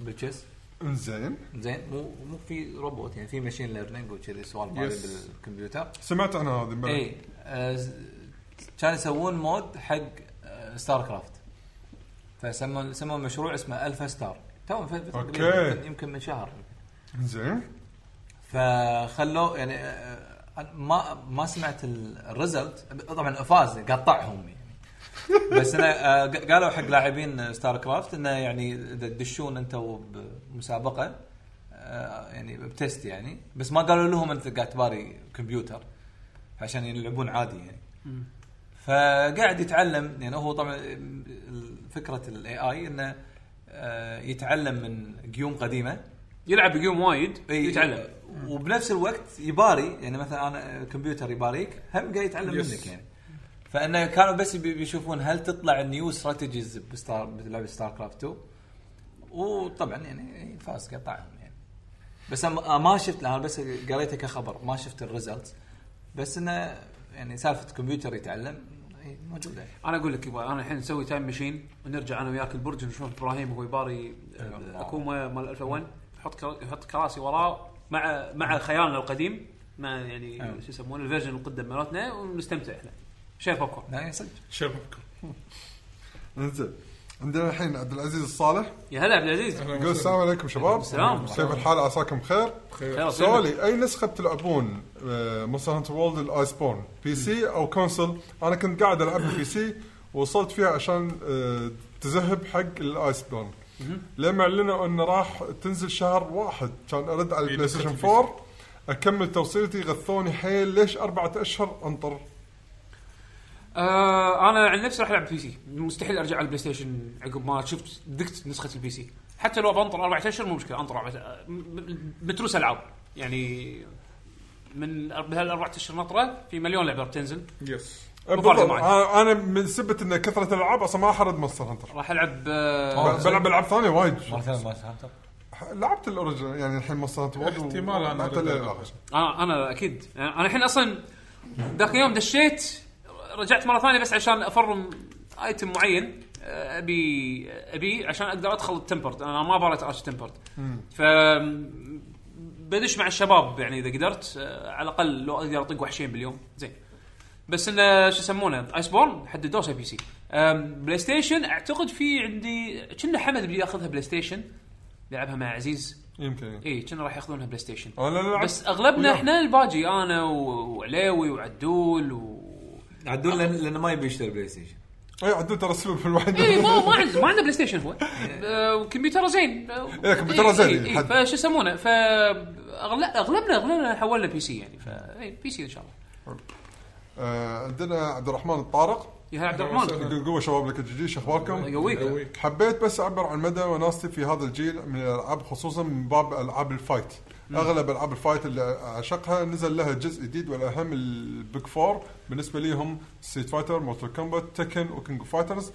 Speaker 6: بالتشيس
Speaker 4: انزين
Speaker 6: زين مو مو في روبوت يعني في ماشين ليرنينج وكذي سوالف هذه
Speaker 3: Yes.
Speaker 6: بالكمبيوتر
Speaker 4: سمعت عن هذه امبارح
Speaker 2: إيه.
Speaker 6: اي آه، ز- كانوا يسوون مود حق آه، ستار كرافت فسموا سموا مشروع اسمه الفا ستار تو ف- ف-
Speaker 4: أوكي.
Speaker 6: يمكن- يمكن من شهر
Speaker 4: انزين
Speaker 6: فخلوه يعني آه، أنا ما ما سمعت ال- الريزلت طبعا افاز قطعهم يعني بس انا آه، ق- قالوا حق لاعبين ستار كرافت انه يعني اذا تدشون انتوا بمسابقه آه، يعني بتست يعني بس ما قالوا لهم انت قاعد تباري كمبيوتر عشان يلعبون عادي يعني فقاعد يتعلم يعني هو طبعا ال- فكره الاي اي انه آه، يتعلم من قيوم قديمه
Speaker 2: يلعب جيم وايد
Speaker 4: إيه.
Speaker 6: إي،
Speaker 2: يتعلم
Speaker 6: إيه، وبنفس الوقت يباري يعني مثلا انا كمبيوتر يباريك هم قاعد يتعلم
Speaker 3: يس.
Speaker 6: منك يعني فانه كانوا بس يبي- بيشوفون هل تطلع النيو استراتيجيز بستار بلعبه ستار كرافت 2 وطبعا يعني فاز قطعهم يعني بس أنا ما شفت لها بس قريته كخبر ما شفت الريزلت بس انه يعني سالفه كمبيوتر يتعلم إيه، هي موجوده
Speaker 2: انا اقول لك يبا انا الحين نسوي تايم ماشين ونرجع انا وياك البرج ونشوف ابراهيم وهو يباري
Speaker 4: إيه.
Speaker 6: الله.
Speaker 2: اكوما مال 2001 يحط كرا- يحط كراسي وراه مع مع خيالنا القديم مع يعني
Speaker 4: إيه.
Speaker 6: أيوة.
Speaker 2: شو يسمونه الفيرجن القدم مالتنا ونستمتع احنا شايف بوب كورن
Speaker 6: لا يعني صدق
Speaker 3: شبابكم
Speaker 4: انزين عندنا الحين عبد العزيز الصالح
Speaker 2: يا هلا عبد العزيز
Speaker 4: يقول السلام عليكم شباب
Speaker 2: السلام.
Speaker 4: كيف الحال عساكم بخير؟
Speaker 2: خير وسلامة.
Speaker 4: سؤالي اي نسخه بتلعبون مونستر هانتر وولد الايس بورن بي سي او كونسل انا كنت قاعد العب بي سي ووصلت فيها عشان آه، تذهب حق الايس بورن لما اعلنوا انه راح تنزل شهر واحد كان ارد على
Speaker 3: إي،
Speaker 4: البلاي ستيشن
Speaker 3: نسخة
Speaker 4: 4 اكمل توصيلتي غثوني حيل ليش اربعة اشهر انطر
Speaker 2: آه انا عن نفسي راح العب بي سي مستحيل ارجع على البلاي ستيشن عقب ما شفت ذقت نسخه البي سي حتى لو بنطر اربع اشهر مو مشكله انطر أربعة- آه، م- م- متروس العاب يعني من بهالاربع اشهر نطره في مليون لعبه بتنزل
Speaker 3: يس
Speaker 2: مفارقة معي.
Speaker 4: انا أنا من سبه ان كثره الالعاب اصلا ما احرد مونستر هانتر
Speaker 2: راح العب آه،
Speaker 4: بلعب العاب ثانيه وايد
Speaker 6: مثلا ما سهمت
Speaker 4: ح- لعبت الاوريجنال يعني الحين مصارت وورد و-
Speaker 3: احتمال أنا
Speaker 4: لعبت
Speaker 3: أرد
Speaker 4: ال-
Speaker 3: ألعب.
Speaker 2: انا انا اكيد انا يعني الحين اصلا ذاك اليوم دشيت رجعت مره ثانيه بس عشان افرم ايتم معين آه، ابي ابي عشان اقدر ادخل التمبرد انا ما باريت ارش تمبرد ف بدش مع الشباب يعني اذا قدرت آه، على الاقل لو اقدر اطق وحشين باليوم زين بس انه شو يسمونه ايس بورن حددوه بي سي أم، بلاي ستيشن اعتقد في عندي كنا حمد بياخذها بلاي ستيشن لعبها مع عزيز
Speaker 4: يمكن
Speaker 2: اي كنا راح ياخذونها بلاي ستيشن
Speaker 4: انا لعبت
Speaker 2: بس اغلبنا احنا الباجي انا و- وعليوي وعدول و
Speaker 8: عدول لأن- لانه ما يبي يشتري بلاي ستيشن
Speaker 4: اي عدول إيه، ترى السبب الوحيد
Speaker 2: اي إيه، ما ما عنده ما عنده بلاي ستيشن هو آه، وكمبيوتره زين آه،
Speaker 4: إيه، كمبيوتره
Speaker 2: إيه،
Speaker 4: زين،
Speaker 2: إيه، إيه،
Speaker 4: حد.
Speaker 2: فشو يسمونه ف أغل- اغلبنا اغلبنا حولنا بي سي يعني ف إيه، بي سي ان شاء الله
Speaker 4: آه، عندنا عبد الرحمن الطارق
Speaker 2: يا هلا عبد الرحمن
Speaker 4: يقول قوه شباب لك الجي ايش اخباركم؟
Speaker 2: الله يقويك
Speaker 4: حبيت بس اعبر عن مدى وناستي في هذا الجيل من الالعاب خصوصا من باب العاب الفايت اغلب العاب الفايت اللي اعشقها نزل لها جزء جديد والاهم البيج فور بالنسبه لي هم ستريت فايتر مورتال كومبات تكن وكينج فايترز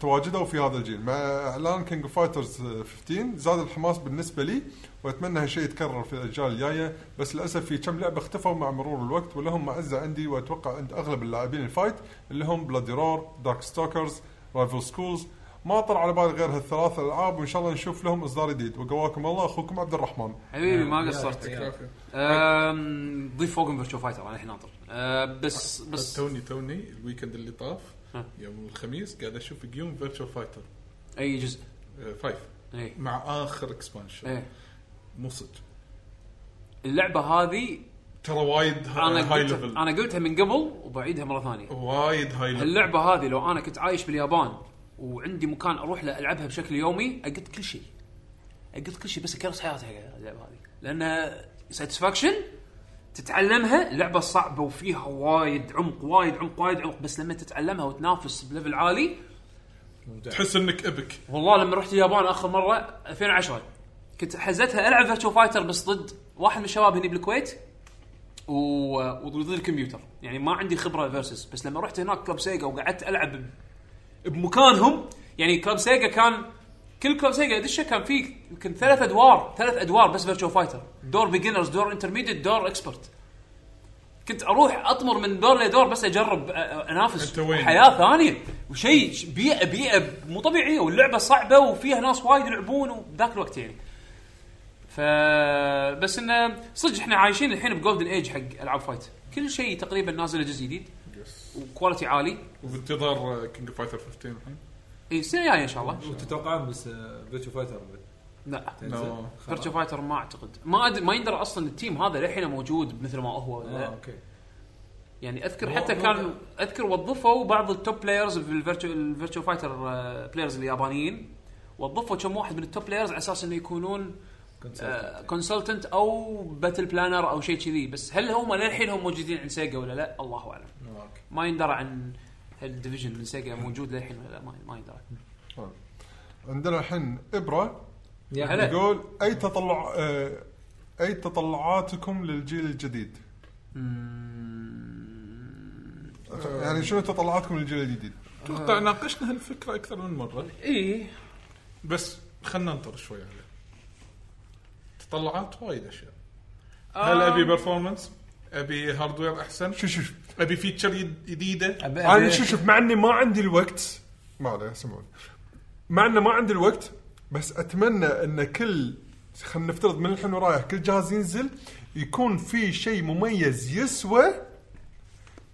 Speaker 4: تواجدوا في هذا الجيل مع اعلان كينج فايترز 15 زاد الحماس بالنسبه لي واتمنى هالشيء يتكرر في الاجيال الجايه بس للاسف في كم لعبه اختفوا مع مرور الوقت ولهم معزه عندي واتوقع عند اغلب اللاعبين الفايت اللي هم بلادي رور دارك ستوكرز رايفل سكولز ما طلع على بالي غير هالثلاث العاب وان شاء الله نشوف لهم اصدار جديد وقواكم الله اخوكم عبد الرحمن
Speaker 2: نعم. حبيبي ما قصرت
Speaker 3: العافية.
Speaker 2: أم، ضيف فوقهم فيرتشو فايتر انا الحين ناطر أه، بس بس
Speaker 3: توني توني الويكند اللي طاف
Speaker 2: ها.
Speaker 3: يوم الخميس قاعد اشوف جيوم فيرتشوال فايتر
Speaker 2: اي جزء إيه.
Speaker 3: آه، فايف
Speaker 2: اي
Speaker 3: مع اخر اكسبانشن
Speaker 2: اي
Speaker 3: مو صدق
Speaker 2: اللعبه هذه
Speaker 3: ترى وايد
Speaker 2: انا
Speaker 3: ها- هاي
Speaker 2: قلت
Speaker 3: ليفل
Speaker 2: انا قلتها من قبل وبعيدها مره ثانيه
Speaker 3: وايد هاي ليفل
Speaker 2: اللعبه هذه لو انا كنت عايش باليابان وعندي مكان اروح له العبها بشكل يومي اقط كل شيء اقط كل شيء بس اكرس حياتي حق اللعبه هذه لانها ساتسفاكشن تتعلمها لعبه صعبه وفيها وايد عمق وايد عمق وايد عمق بس لما تتعلمها وتنافس بليفل عالي
Speaker 3: تحس انك ابك
Speaker 2: والله لما رحت اليابان اخر مره 2010 كنت حزتها العب فيرتشو فايتر بس ضد واحد من الشباب هني بالكويت و... وضد الكمبيوتر يعني ما عندي خبره فيرسس بس لما رحت هناك كلوب سيجا وقعدت العب ب- بمكانهم يعني كلوب سيجا كان كل كلوب سيجا ادشه كان فيه يمكن ثلاث ادوار ثلاث ادوار بس فيرتشو فايتر دور بيجنرز دور انترميديت دور اكسبرت كنت اروح اطمر من دور لدور بس اجرب أ- أ- انافس
Speaker 3: أنت وين؟
Speaker 2: حياه ثانيه وشيء ش- بيئه بيئه مو طبيعيه واللعبه صعبه وفيها ناس وايد يلعبون وبذاك الوقت يعني ف بس انه صدق احنا عايشين الحين بجولدن ايج حق العاب فايت كل شيء تقريبا نازل جزء جديد وكواليتي عالي إيه،
Speaker 3: وبانتظار كينج فايتر 15 الحين
Speaker 2: اي السنه الجايه ان شاء الله
Speaker 8: وتتوقعون بس فيرتشو فايتر
Speaker 2: لا
Speaker 3: نو.
Speaker 2: فيرتشو فايتر ما اعتقد ما أد... ما يندرى اصلا التيم هذا للحين موجود مثل ما هو ولا لا.
Speaker 8: اوكي
Speaker 2: يعني اذكر حتى كان اذكر وظفوا بعض التوب بلايرز في الفيرتشو الفيرتشو فايتر آه، بلايرز اليابانيين وظفوا كم واحد من التوب بلايرز على اساس انه يكونون آه، كونسلتنت او باتل بلانر او شيء كذي بس هل هم للحين هم موجودين عند سيجا ولا لا الله اعلم ما يندرى عن هل الديفيجن من سيجا موجود للحين ولا لا ما ما يندرى
Speaker 4: عندنا الحين ابره
Speaker 2: يا هلا
Speaker 4: يقول اي تطلع آه، اي تطلعاتكم للجيل الجديد؟ يعني شنو تطلعاتكم للجيل الجديد؟
Speaker 3: اتوقع ناقشنا هالفكره اكثر من مره
Speaker 2: اي
Speaker 3: بس خلنا ننطر شوي عليه تطلعات وايد اشياء هل
Speaker 2: آه.
Speaker 3: ابي برفورمانس ابي هاردوير احسن
Speaker 4: شوف شوف
Speaker 3: ابي فيتشر يد- جديده
Speaker 6: يعني
Speaker 4: انا شوف شوف مع اني ما عندي الوقت ما عليه سمعوني مع انه ما عندي الوقت بس اتمنى ان كل خلينا نفترض من الحين ورايح كل جهاز ينزل يكون في شيء مميز يسوى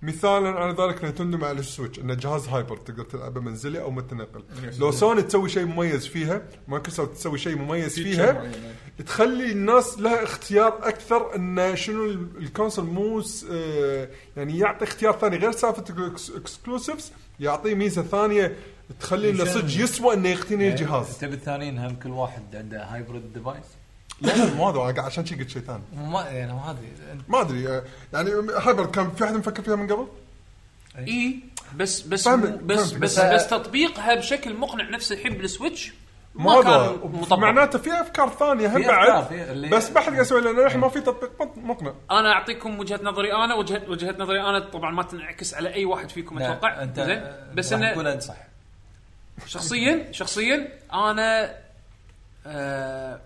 Speaker 4: مثالا على ذلك نتندو مع السويتش انه جهاز هايبر تقدر تلعبه منزلي او متنقل لو سوني تسوي شيء مميز فيها مايكروسوفت تسوي شيء مميز فيها
Speaker 3: معينة.
Speaker 4: تخلي الناس لها اختيار اكثر انه شنو ال- الكونسل مو س- آه، يعني يعطي اختيار ثاني غير سالفه اكسكلوسيفز يعطيه ميزه ثانيه تخلي انه صدق يسوى انه يقتني الجهاز
Speaker 6: تبي الثانيين هم كل واحد عنده هايبرد ديفايس
Speaker 4: لا لا مو هذا انا قاعد عشان شي قلت شيء ثاني
Speaker 6: ما يعني ما ادري
Speaker 4: ما ادري آه، يعني هايبر كان في احد مفكر فيها من قبل؟
Speaker 2: اي إيه. بس بس
Speaker 4: إيه. فهمت،
Speaker 2: بس بس,
Speaker 4: فهمت.
Speaker 2: بس, بس تطبيقها بشكل مقنع نفس الحين بالسويتش ما
Speaker 4: ما هذا
Speaker 2: كان مطبق
Speaker 4: معناته في افكار ثانيه هم
Speaker 6: في أفكار،
Speaker 4: بعد
Speaker 6: في اللي-
Speaker 4: بس ما حد قاعد يسوي لان الحين ما في تطبيق مط- مقنع
Speaker 2: انا اعطيكم وجهه نظري انا وجهه وجهه نظري انا طبعا ما تنعكس على اي واحد فيكم اتوقع
Speaker 6: انت
Speaker 2: زين بس
Speaker 6: راح
Speaker 2: انه
Speaker 6: تقول انت صح
Speaker 2: شخصيا شخصيا انا آه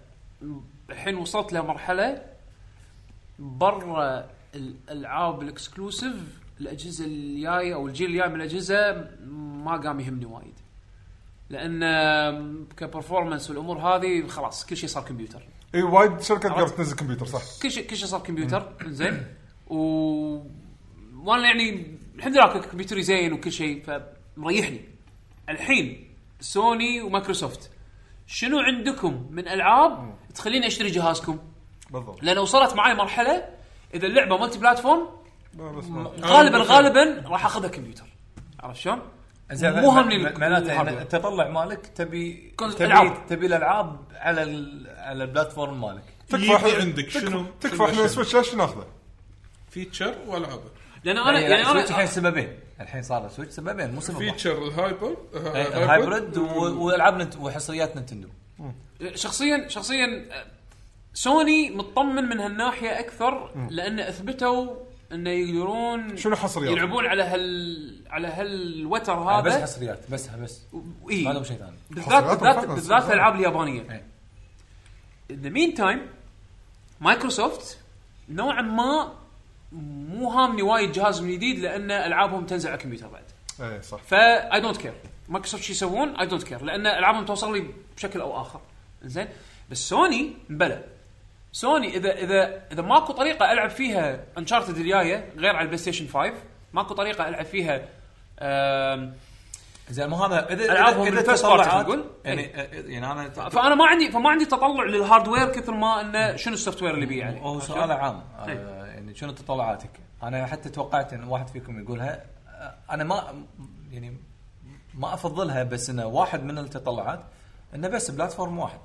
Speaker 2: الحين وصلت لمرحله برا الالعاب الاكسكلوسيف الاجهزه الجايه او الجيل الجاي من الاجهزه ما قام يهمني وايد لان آم، كبرفورمانس والامور هذه خلاص كل شيء صار كمبيوتر
Speaker 4: اي وايد شركات قاعده تنزل كمبيوتر صح
Speaker 2: كل شيء كل شيء صار كمبيوتر زين و وانا يعني الحمد لله كان كمبيوتري زين وكل شيء فمريحني الحين سوني ومايكروسوفت شنو عندكم من العاب تخليني اشتري جهازكم
Speaker 4: بالضبط
Speaker 2: لان وصلت معي مرحله اذا اللعبه مالتي بلاتفورم
Speaker 4: لا بس ما-
Speaker 2: غالبا غالبا راح اخذها كمبيوتر عرفت شلون؟ مو هم لي
Speaker 6: معناته إن
Speaker 2: الهاردوير.
Speaker 6: التطلع مالك تبي
Speaker 2: كل
Speaker 6: تبي
Speaker 2: ألعاب.
Speaker 6: تبي الالعاب على ال- على البلاتفورم مالك
Speaker 4: تكفى
Speaker 3: يجي
Speaker 4: إحنا-
Speaker 3: عندك
Speaker 4: تكفى-
Speaker 3: شنو؟
Speaker 4: تكفى
Speaker 3: شنو
Speaker 4: احنا
Speaker 3: شنو؟
Speaker 4: سويتش ليش ناخذه؟
Speaker 3: فيتشر والعابه
Speaker 2: لان انا يعني
Speaker 6: سويتش إيه، الحين
Speaker 2: انا
Speaker 6: سببين الحين صار سويتش سببين مو سبب واحد.
Speaker 3: فيتشر الهايبر
Speaker 6: إيه، هايبرد و- والعاب نت- وحصريات نتندو
Speaker 2: شخصيا شخصيا آه، سوني مطمن من هالناحيه اكثر لان اثبتوا انه يقدرون
Speaker 4: شنو حصريات؟
Speaker 2: يلعبون على هال على هالوتر
Speaker 6: بس
Speaker 2: هذا
Speaker 6: حصريات بس بس
Speaker 2: اي
Speaker 6: ما لهم شيء ثاني
Speaker 2: بالذات
Speaker 4: حصريات
Speaker 2: بالذات
Speaker 4: وفعلاً
Speaker 2: بالذات
Speaker 4: صدق.
Speaker 2: الالعاب اليابانيه
Speaker 6: إيه.
Speaker 2: ان مين تايم مايكروسوفت نوعا ما مو هامني وايد جهاز من جديد لان العابهم تنزل على الكمبيوتر بعد
Speaker 4: اي صح
Speaker 2: فا اي دونت كير مايكروسوفت شو يسوون اي دونت كير لان العابهم توصل لي بشكل او اخر زين بس سوني بلى سوني اذا اذا اذا ماكو طريقه العب فيها انشارتد الجايه غير على البلاي ستيشن 5 ماكو طريقه العب فيها آم،
Speaker 6: زين مو هذا إذا- اذا
Speaker 2: ألعابهم
Speaker 6: إذا
Speaker 2: من first party
Speaker 6: تطلعات-
Speaker 2: نقول.
Speaker 6: يعني يعني انا ت-
Speaker 2: فانا ما عندي فما عندي تطلع للهاردوير كثر ما انه شنو السوفت وير اللي بيه عليه
Speaker 6: هو سؤال عام آه، يعني شنو تطلعاتك؟ انا حتى توقعت ان واحد فيكم يقولها آه، انا ما يعني ما افضلها بس انه واحد من التطلعات انه بس بلاتفورم واحد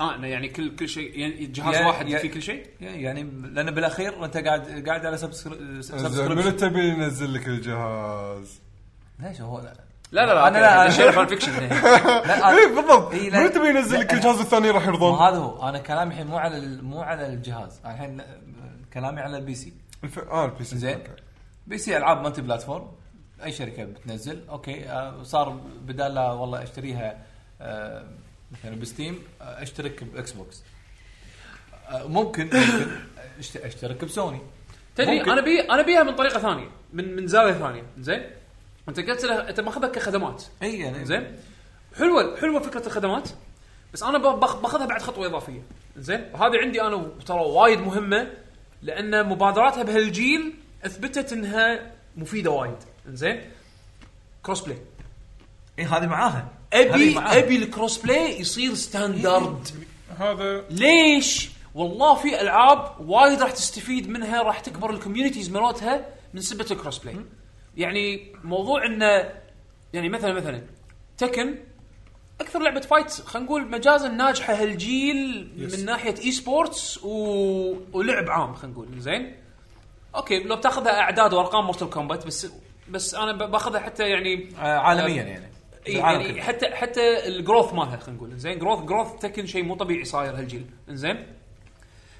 Speaker 2: اه انه يعني كل كل شيء يعني جهاز
Speaker 6: يا-
Speaker 2: واحد
Speaker 6: يا-
Speaker 2: فيه كل شيء
Speaker 6: يعني لان بالاخير انت قاعد قاعد على سبسكر-
Speaker 4: زين من
Speaker 6: سبسكريبشن
Speaker 4: تبي ينزل لك الجهاز؟
Speaker 6: ليش هو لا
Speaker 2: لا لا لا
Speaker 6: انا لا
Speaker 2: انا
Speaker 6: أنا-
Speaker 2: شيء فان فيكشن
Speaker 6: لا
Speaker 4: اي
Speaker 6: أنا-
Speaker 4: بالضبط
Speaker 6: إي، لا.
Speaker 4: من تبي ينزل
Speaker 6: لا،
Speaker 4: لك الجهاز الثاني راح
Speaker 6: ما
Speaker 4: يرضون؟
Speaker 6: هذا هو انا كلامي الحين مو على ال- مو على الجهاز أنا الحين آه، كلامي على البي سي
Speaker 4: الف- اه البي سي
Speaker 6: زين
Speaker 4: أوكي.
Speaker 6: بي سي العاب مالتي بلاتفورم اي شركه بتنزل اوكي آه صار بدال لا والله اشتريها آه مثلا بستيم آه اشترك باكس بوكس آه ممكن ممكن أشت- اشترك بسوني
Speaker 2: تدري
Speaker 6: ممكن.
Speaker 2: انا بي انا بيها من طريقه ثانيه من من زاويه ثانيه زين انت قلت له انت ماخذها كخدمات
Speaker 6: اي يعني
Speaker 2: زين حلوه حلوه فكره الخدمات بس انا ب- بأخ- باخذها بعد خطوه اضافيه زين وهذه عندي انا ترى وايد مهمه لان مبادراتها بهالجيل اثبتت انها مفيده وايد زين كروس بلاي
Speaker 6: اي إيه، هذه معاها هذه
Speaker 2: ابي
Speaker 6: معاها. إيه.
Speaker 2: ابي الكروس بلاي يصير ستاندرد
Speaker 3: هذا
Speaker 2: ليش؟ والله في العاب وايد راح تستفيد منها راح تكبر الكوميونيتيز مالتها من سبه الكروس بلاي. يعني موضوع انه يعني مثلا مثلا تكن اكثر لعبه فايت خلينا نقول مجازا ناجحه هالجيل من ناحيه اي سبورتس و... ولعب عام خلينا نقول زين اوكي لو بتاخذها اعداد وارقام مورتال كومبات بس بس انا ب- باخذها حتى يعني
Speaker 6: آه عالميا يعني
Speaker 2: إيه،
Speaker 6: بالعالم
Speaker 2: يعني
Speaker 6: كله.
Speaker 2: حتى حتى الجروث مالها خلينا نقول زين جروث جروث تكن شيء مو طبيعي صاير هالجيل زين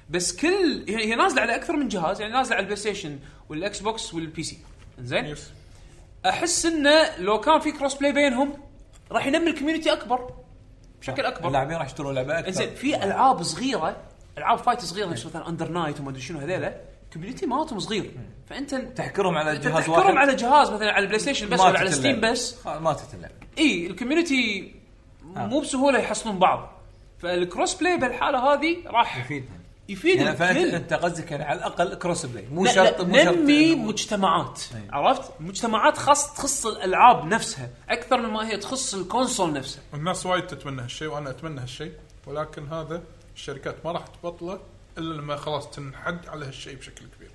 Speaker 2: بس كل هي هي نازله على اكثر من جهاز يعني نازله على البلاي ستيشن والاكس بوكس والبي سي زين
Speaker 3: يس
Speaker 2: احس انه لو كان في كروس بلاي بينهم راح ينمي الكوميونتي اكبر بشكل
Speaker 6: آه،
Speaker 2: اكبر
Speaker 6: اللاعبين راح يشترون لعبه
Speaker 2: انزين
Speaker 6: اكثر
Speaker 2: في العاب صغيره العاب فايت
Speaker 6: إيه.
Speaker 2: صغيره مثلا اندر نايت وما ادري شنو هذيلا الكوميونتي مالتهم صغير فانت
Speaker 6: تحكرهم على
Speaker 2: أنت
Speaker 6: إيه. جهاز واحد
Speaker 2: تحكرهم على جهاز مثلا على البلاي ستيشن بس
Speaker 6: ما
Speaker 2: ولا على
Speaker 6: تتلعب.
Speaker 2: ستيم بس
Speaker 6: خلاص، ما تتلعب
Speaker 2: اي الكوميونتي إيه،
Speaker 6: آه.
Speaker 2: مو بسهوله يحصلون بعض فالكروس بلاي بالحاله هذه راح
Speaker 6: يفيدهم
Speaker 2: يفيد
Speaker 6: يعني فانت
Speaker 2: الكل
Speaker 6: انت قصدك يعني على الاقل كروس بلاي مو
Speaker 2: لا،
Speaker 6: شرط
Speaker 2: لا،
Speaker 6: مو إيه. شرط
Speaker 2: نمي
Speaker 6: إنه-
Speaker 2: مجتمعات عرفت؟ مجتمعات خاص تخص الالعاب نفسها اكثر مما هي تخص الكونسول نفسها
Speaker 3: الناس وايد تتمنى هالشيء وانا اتمنى هالشيء ولكن هذا الشركات ما راح تبطله الا لما خلاص تنحد على هالشيء بشكل كبير.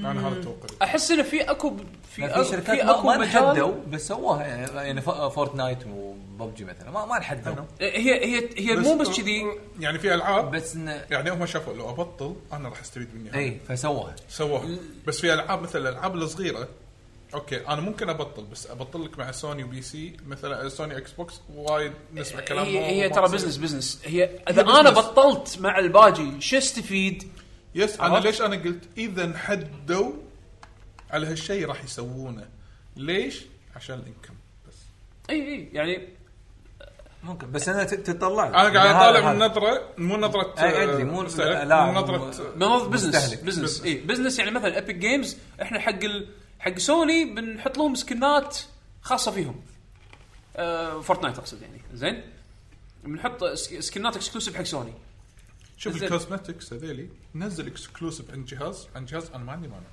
Speaker 3: انا هذا توقعي.
Speaker 2: احس انه في اكو في
Speaker 6: في
Speaker 2: أكو
Speaker 6: شركات ما- ما انحدوا بس سووها يعني ف- فورتنايت وببجي مثلا ما ما انحدوا
Speaker 2: إيه، هي هي هي مو بس كذي
Speaker 3: يعني في العاب
Speaker 6: بس انه
Speaker 3: يعني هم شافوا لو ابطل انا راح استفيد منها.
Speaker 6: اي فسووها
Speaker 3: سووها بس في العاب مثل الالعاب الصغيره اوكي انا ممكن ابطل بس ابطل لك مع سوني وبي سي مثلا سوني اكس بوكس وايد
Speaker 6: إيه،
Speaker 3: نسمع كلام
Speaker 2: هي,
Speaker 3: ما-
Speaker 2: هي
Speaker 3: ما
Speaker 2: ترى
Speaker 3: تصير.
Speaker 2: بزنس بزنس هي اذا انا
Speaker 3: بزنس.
Speaker 2: بطلت مع الباجي شو استفيد؟
Speaker 3: يس انا
Speaker 2: عرفت؟
Speaker 3: ليش انا قلت اذا انحدوا على هالشيء راح
Speaker 2: إيه،
Speaker 3: يسوونه ليش؟ عشان الانكم بس
Speaker 2: اي اي يعني
Speaker 6: ممكن بس انا ت- تطلع لي.
Speaker 3: انا قاعد
Speaker 6: هذا-
Speaker 3: اطالع من
Speaker 6: هذا.
Speaker 3: نظره مو نظره
Speaker 6: أي أدري، مو
Speaker 3: مستهلك،
Speaker 6: لاعب،
Speaker 3: مو
Speaker 6: مو-
Speaker 3: نظره
Speaker 2: ما هو بزنس
Speaker 6: مستهلك.
Speaker 2: بزنس اي بزنس يعني مثلا ايبك جيمز احنا حق ال... حق سوني بنحط لهم سكنات خاصه فيهم آه فورتنايت اقصد يعني زين بنحط س- سكنات اكسكلوسيف حق سوني
Speaker 3: شوف
Speaker 2: زين.
Speaker 3: الكوزمتكس هذيلي نزل اكسكلوسيف عن جهاز عن جهاز انا ما عندي مانع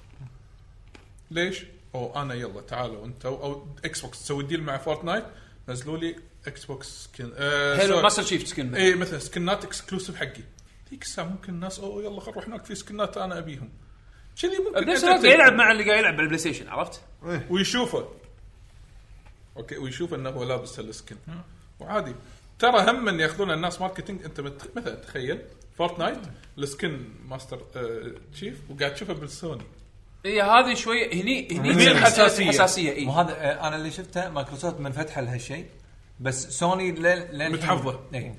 Speaker 3: ليش؟ او انا يلا تعالوا انتوا او اكس بوكس تسوي ديل مع فورتنايت نزلوا لي اكس بوكس سكن آه
Speaker 2: هيلو
Speaker 3: سوري.
Speaker 2: ماستر شيف سكن
Speaker 6: إيه.
Speaker 3: اي مثلا سكنات اكسكلوسيف حقي ذيك الساعه ممكن الناس اوه يلا خل نروح هناك في سكنات انا ابيهم كذي ممكن
Speaker 6: إيه،
Speaker 2: بنفس الوقت
Speaker 3: أنت تبي.
Speaker 2: قاعد يلعب مع اللي قاعد يلعب بالبلاي ستيشن عرفت؟
Speaker 3: ويشوفه اوكي ويشوف انه هو لابس السكن وعادي ترى هم من ياخذون الناس ماركتينج انت مت- مثلا تخيل فورتنايت السكن ماستر آه، تشيف وقاعد تشوفه بالسوني
Speaker 2: هي إيه، هذه شوي هني هني
Speaker 3: هني
Speaker 2: بس-
Speaker 3: الحساسية.
Speaker 2: حساسيه اي
Speaker 6: وهذا آه، انا اللي شفته مايكروسوفت منفتحه لهالشيء بس سوني لين لين-
Speaker 3: متحفظة.
Speaker 6: إيه.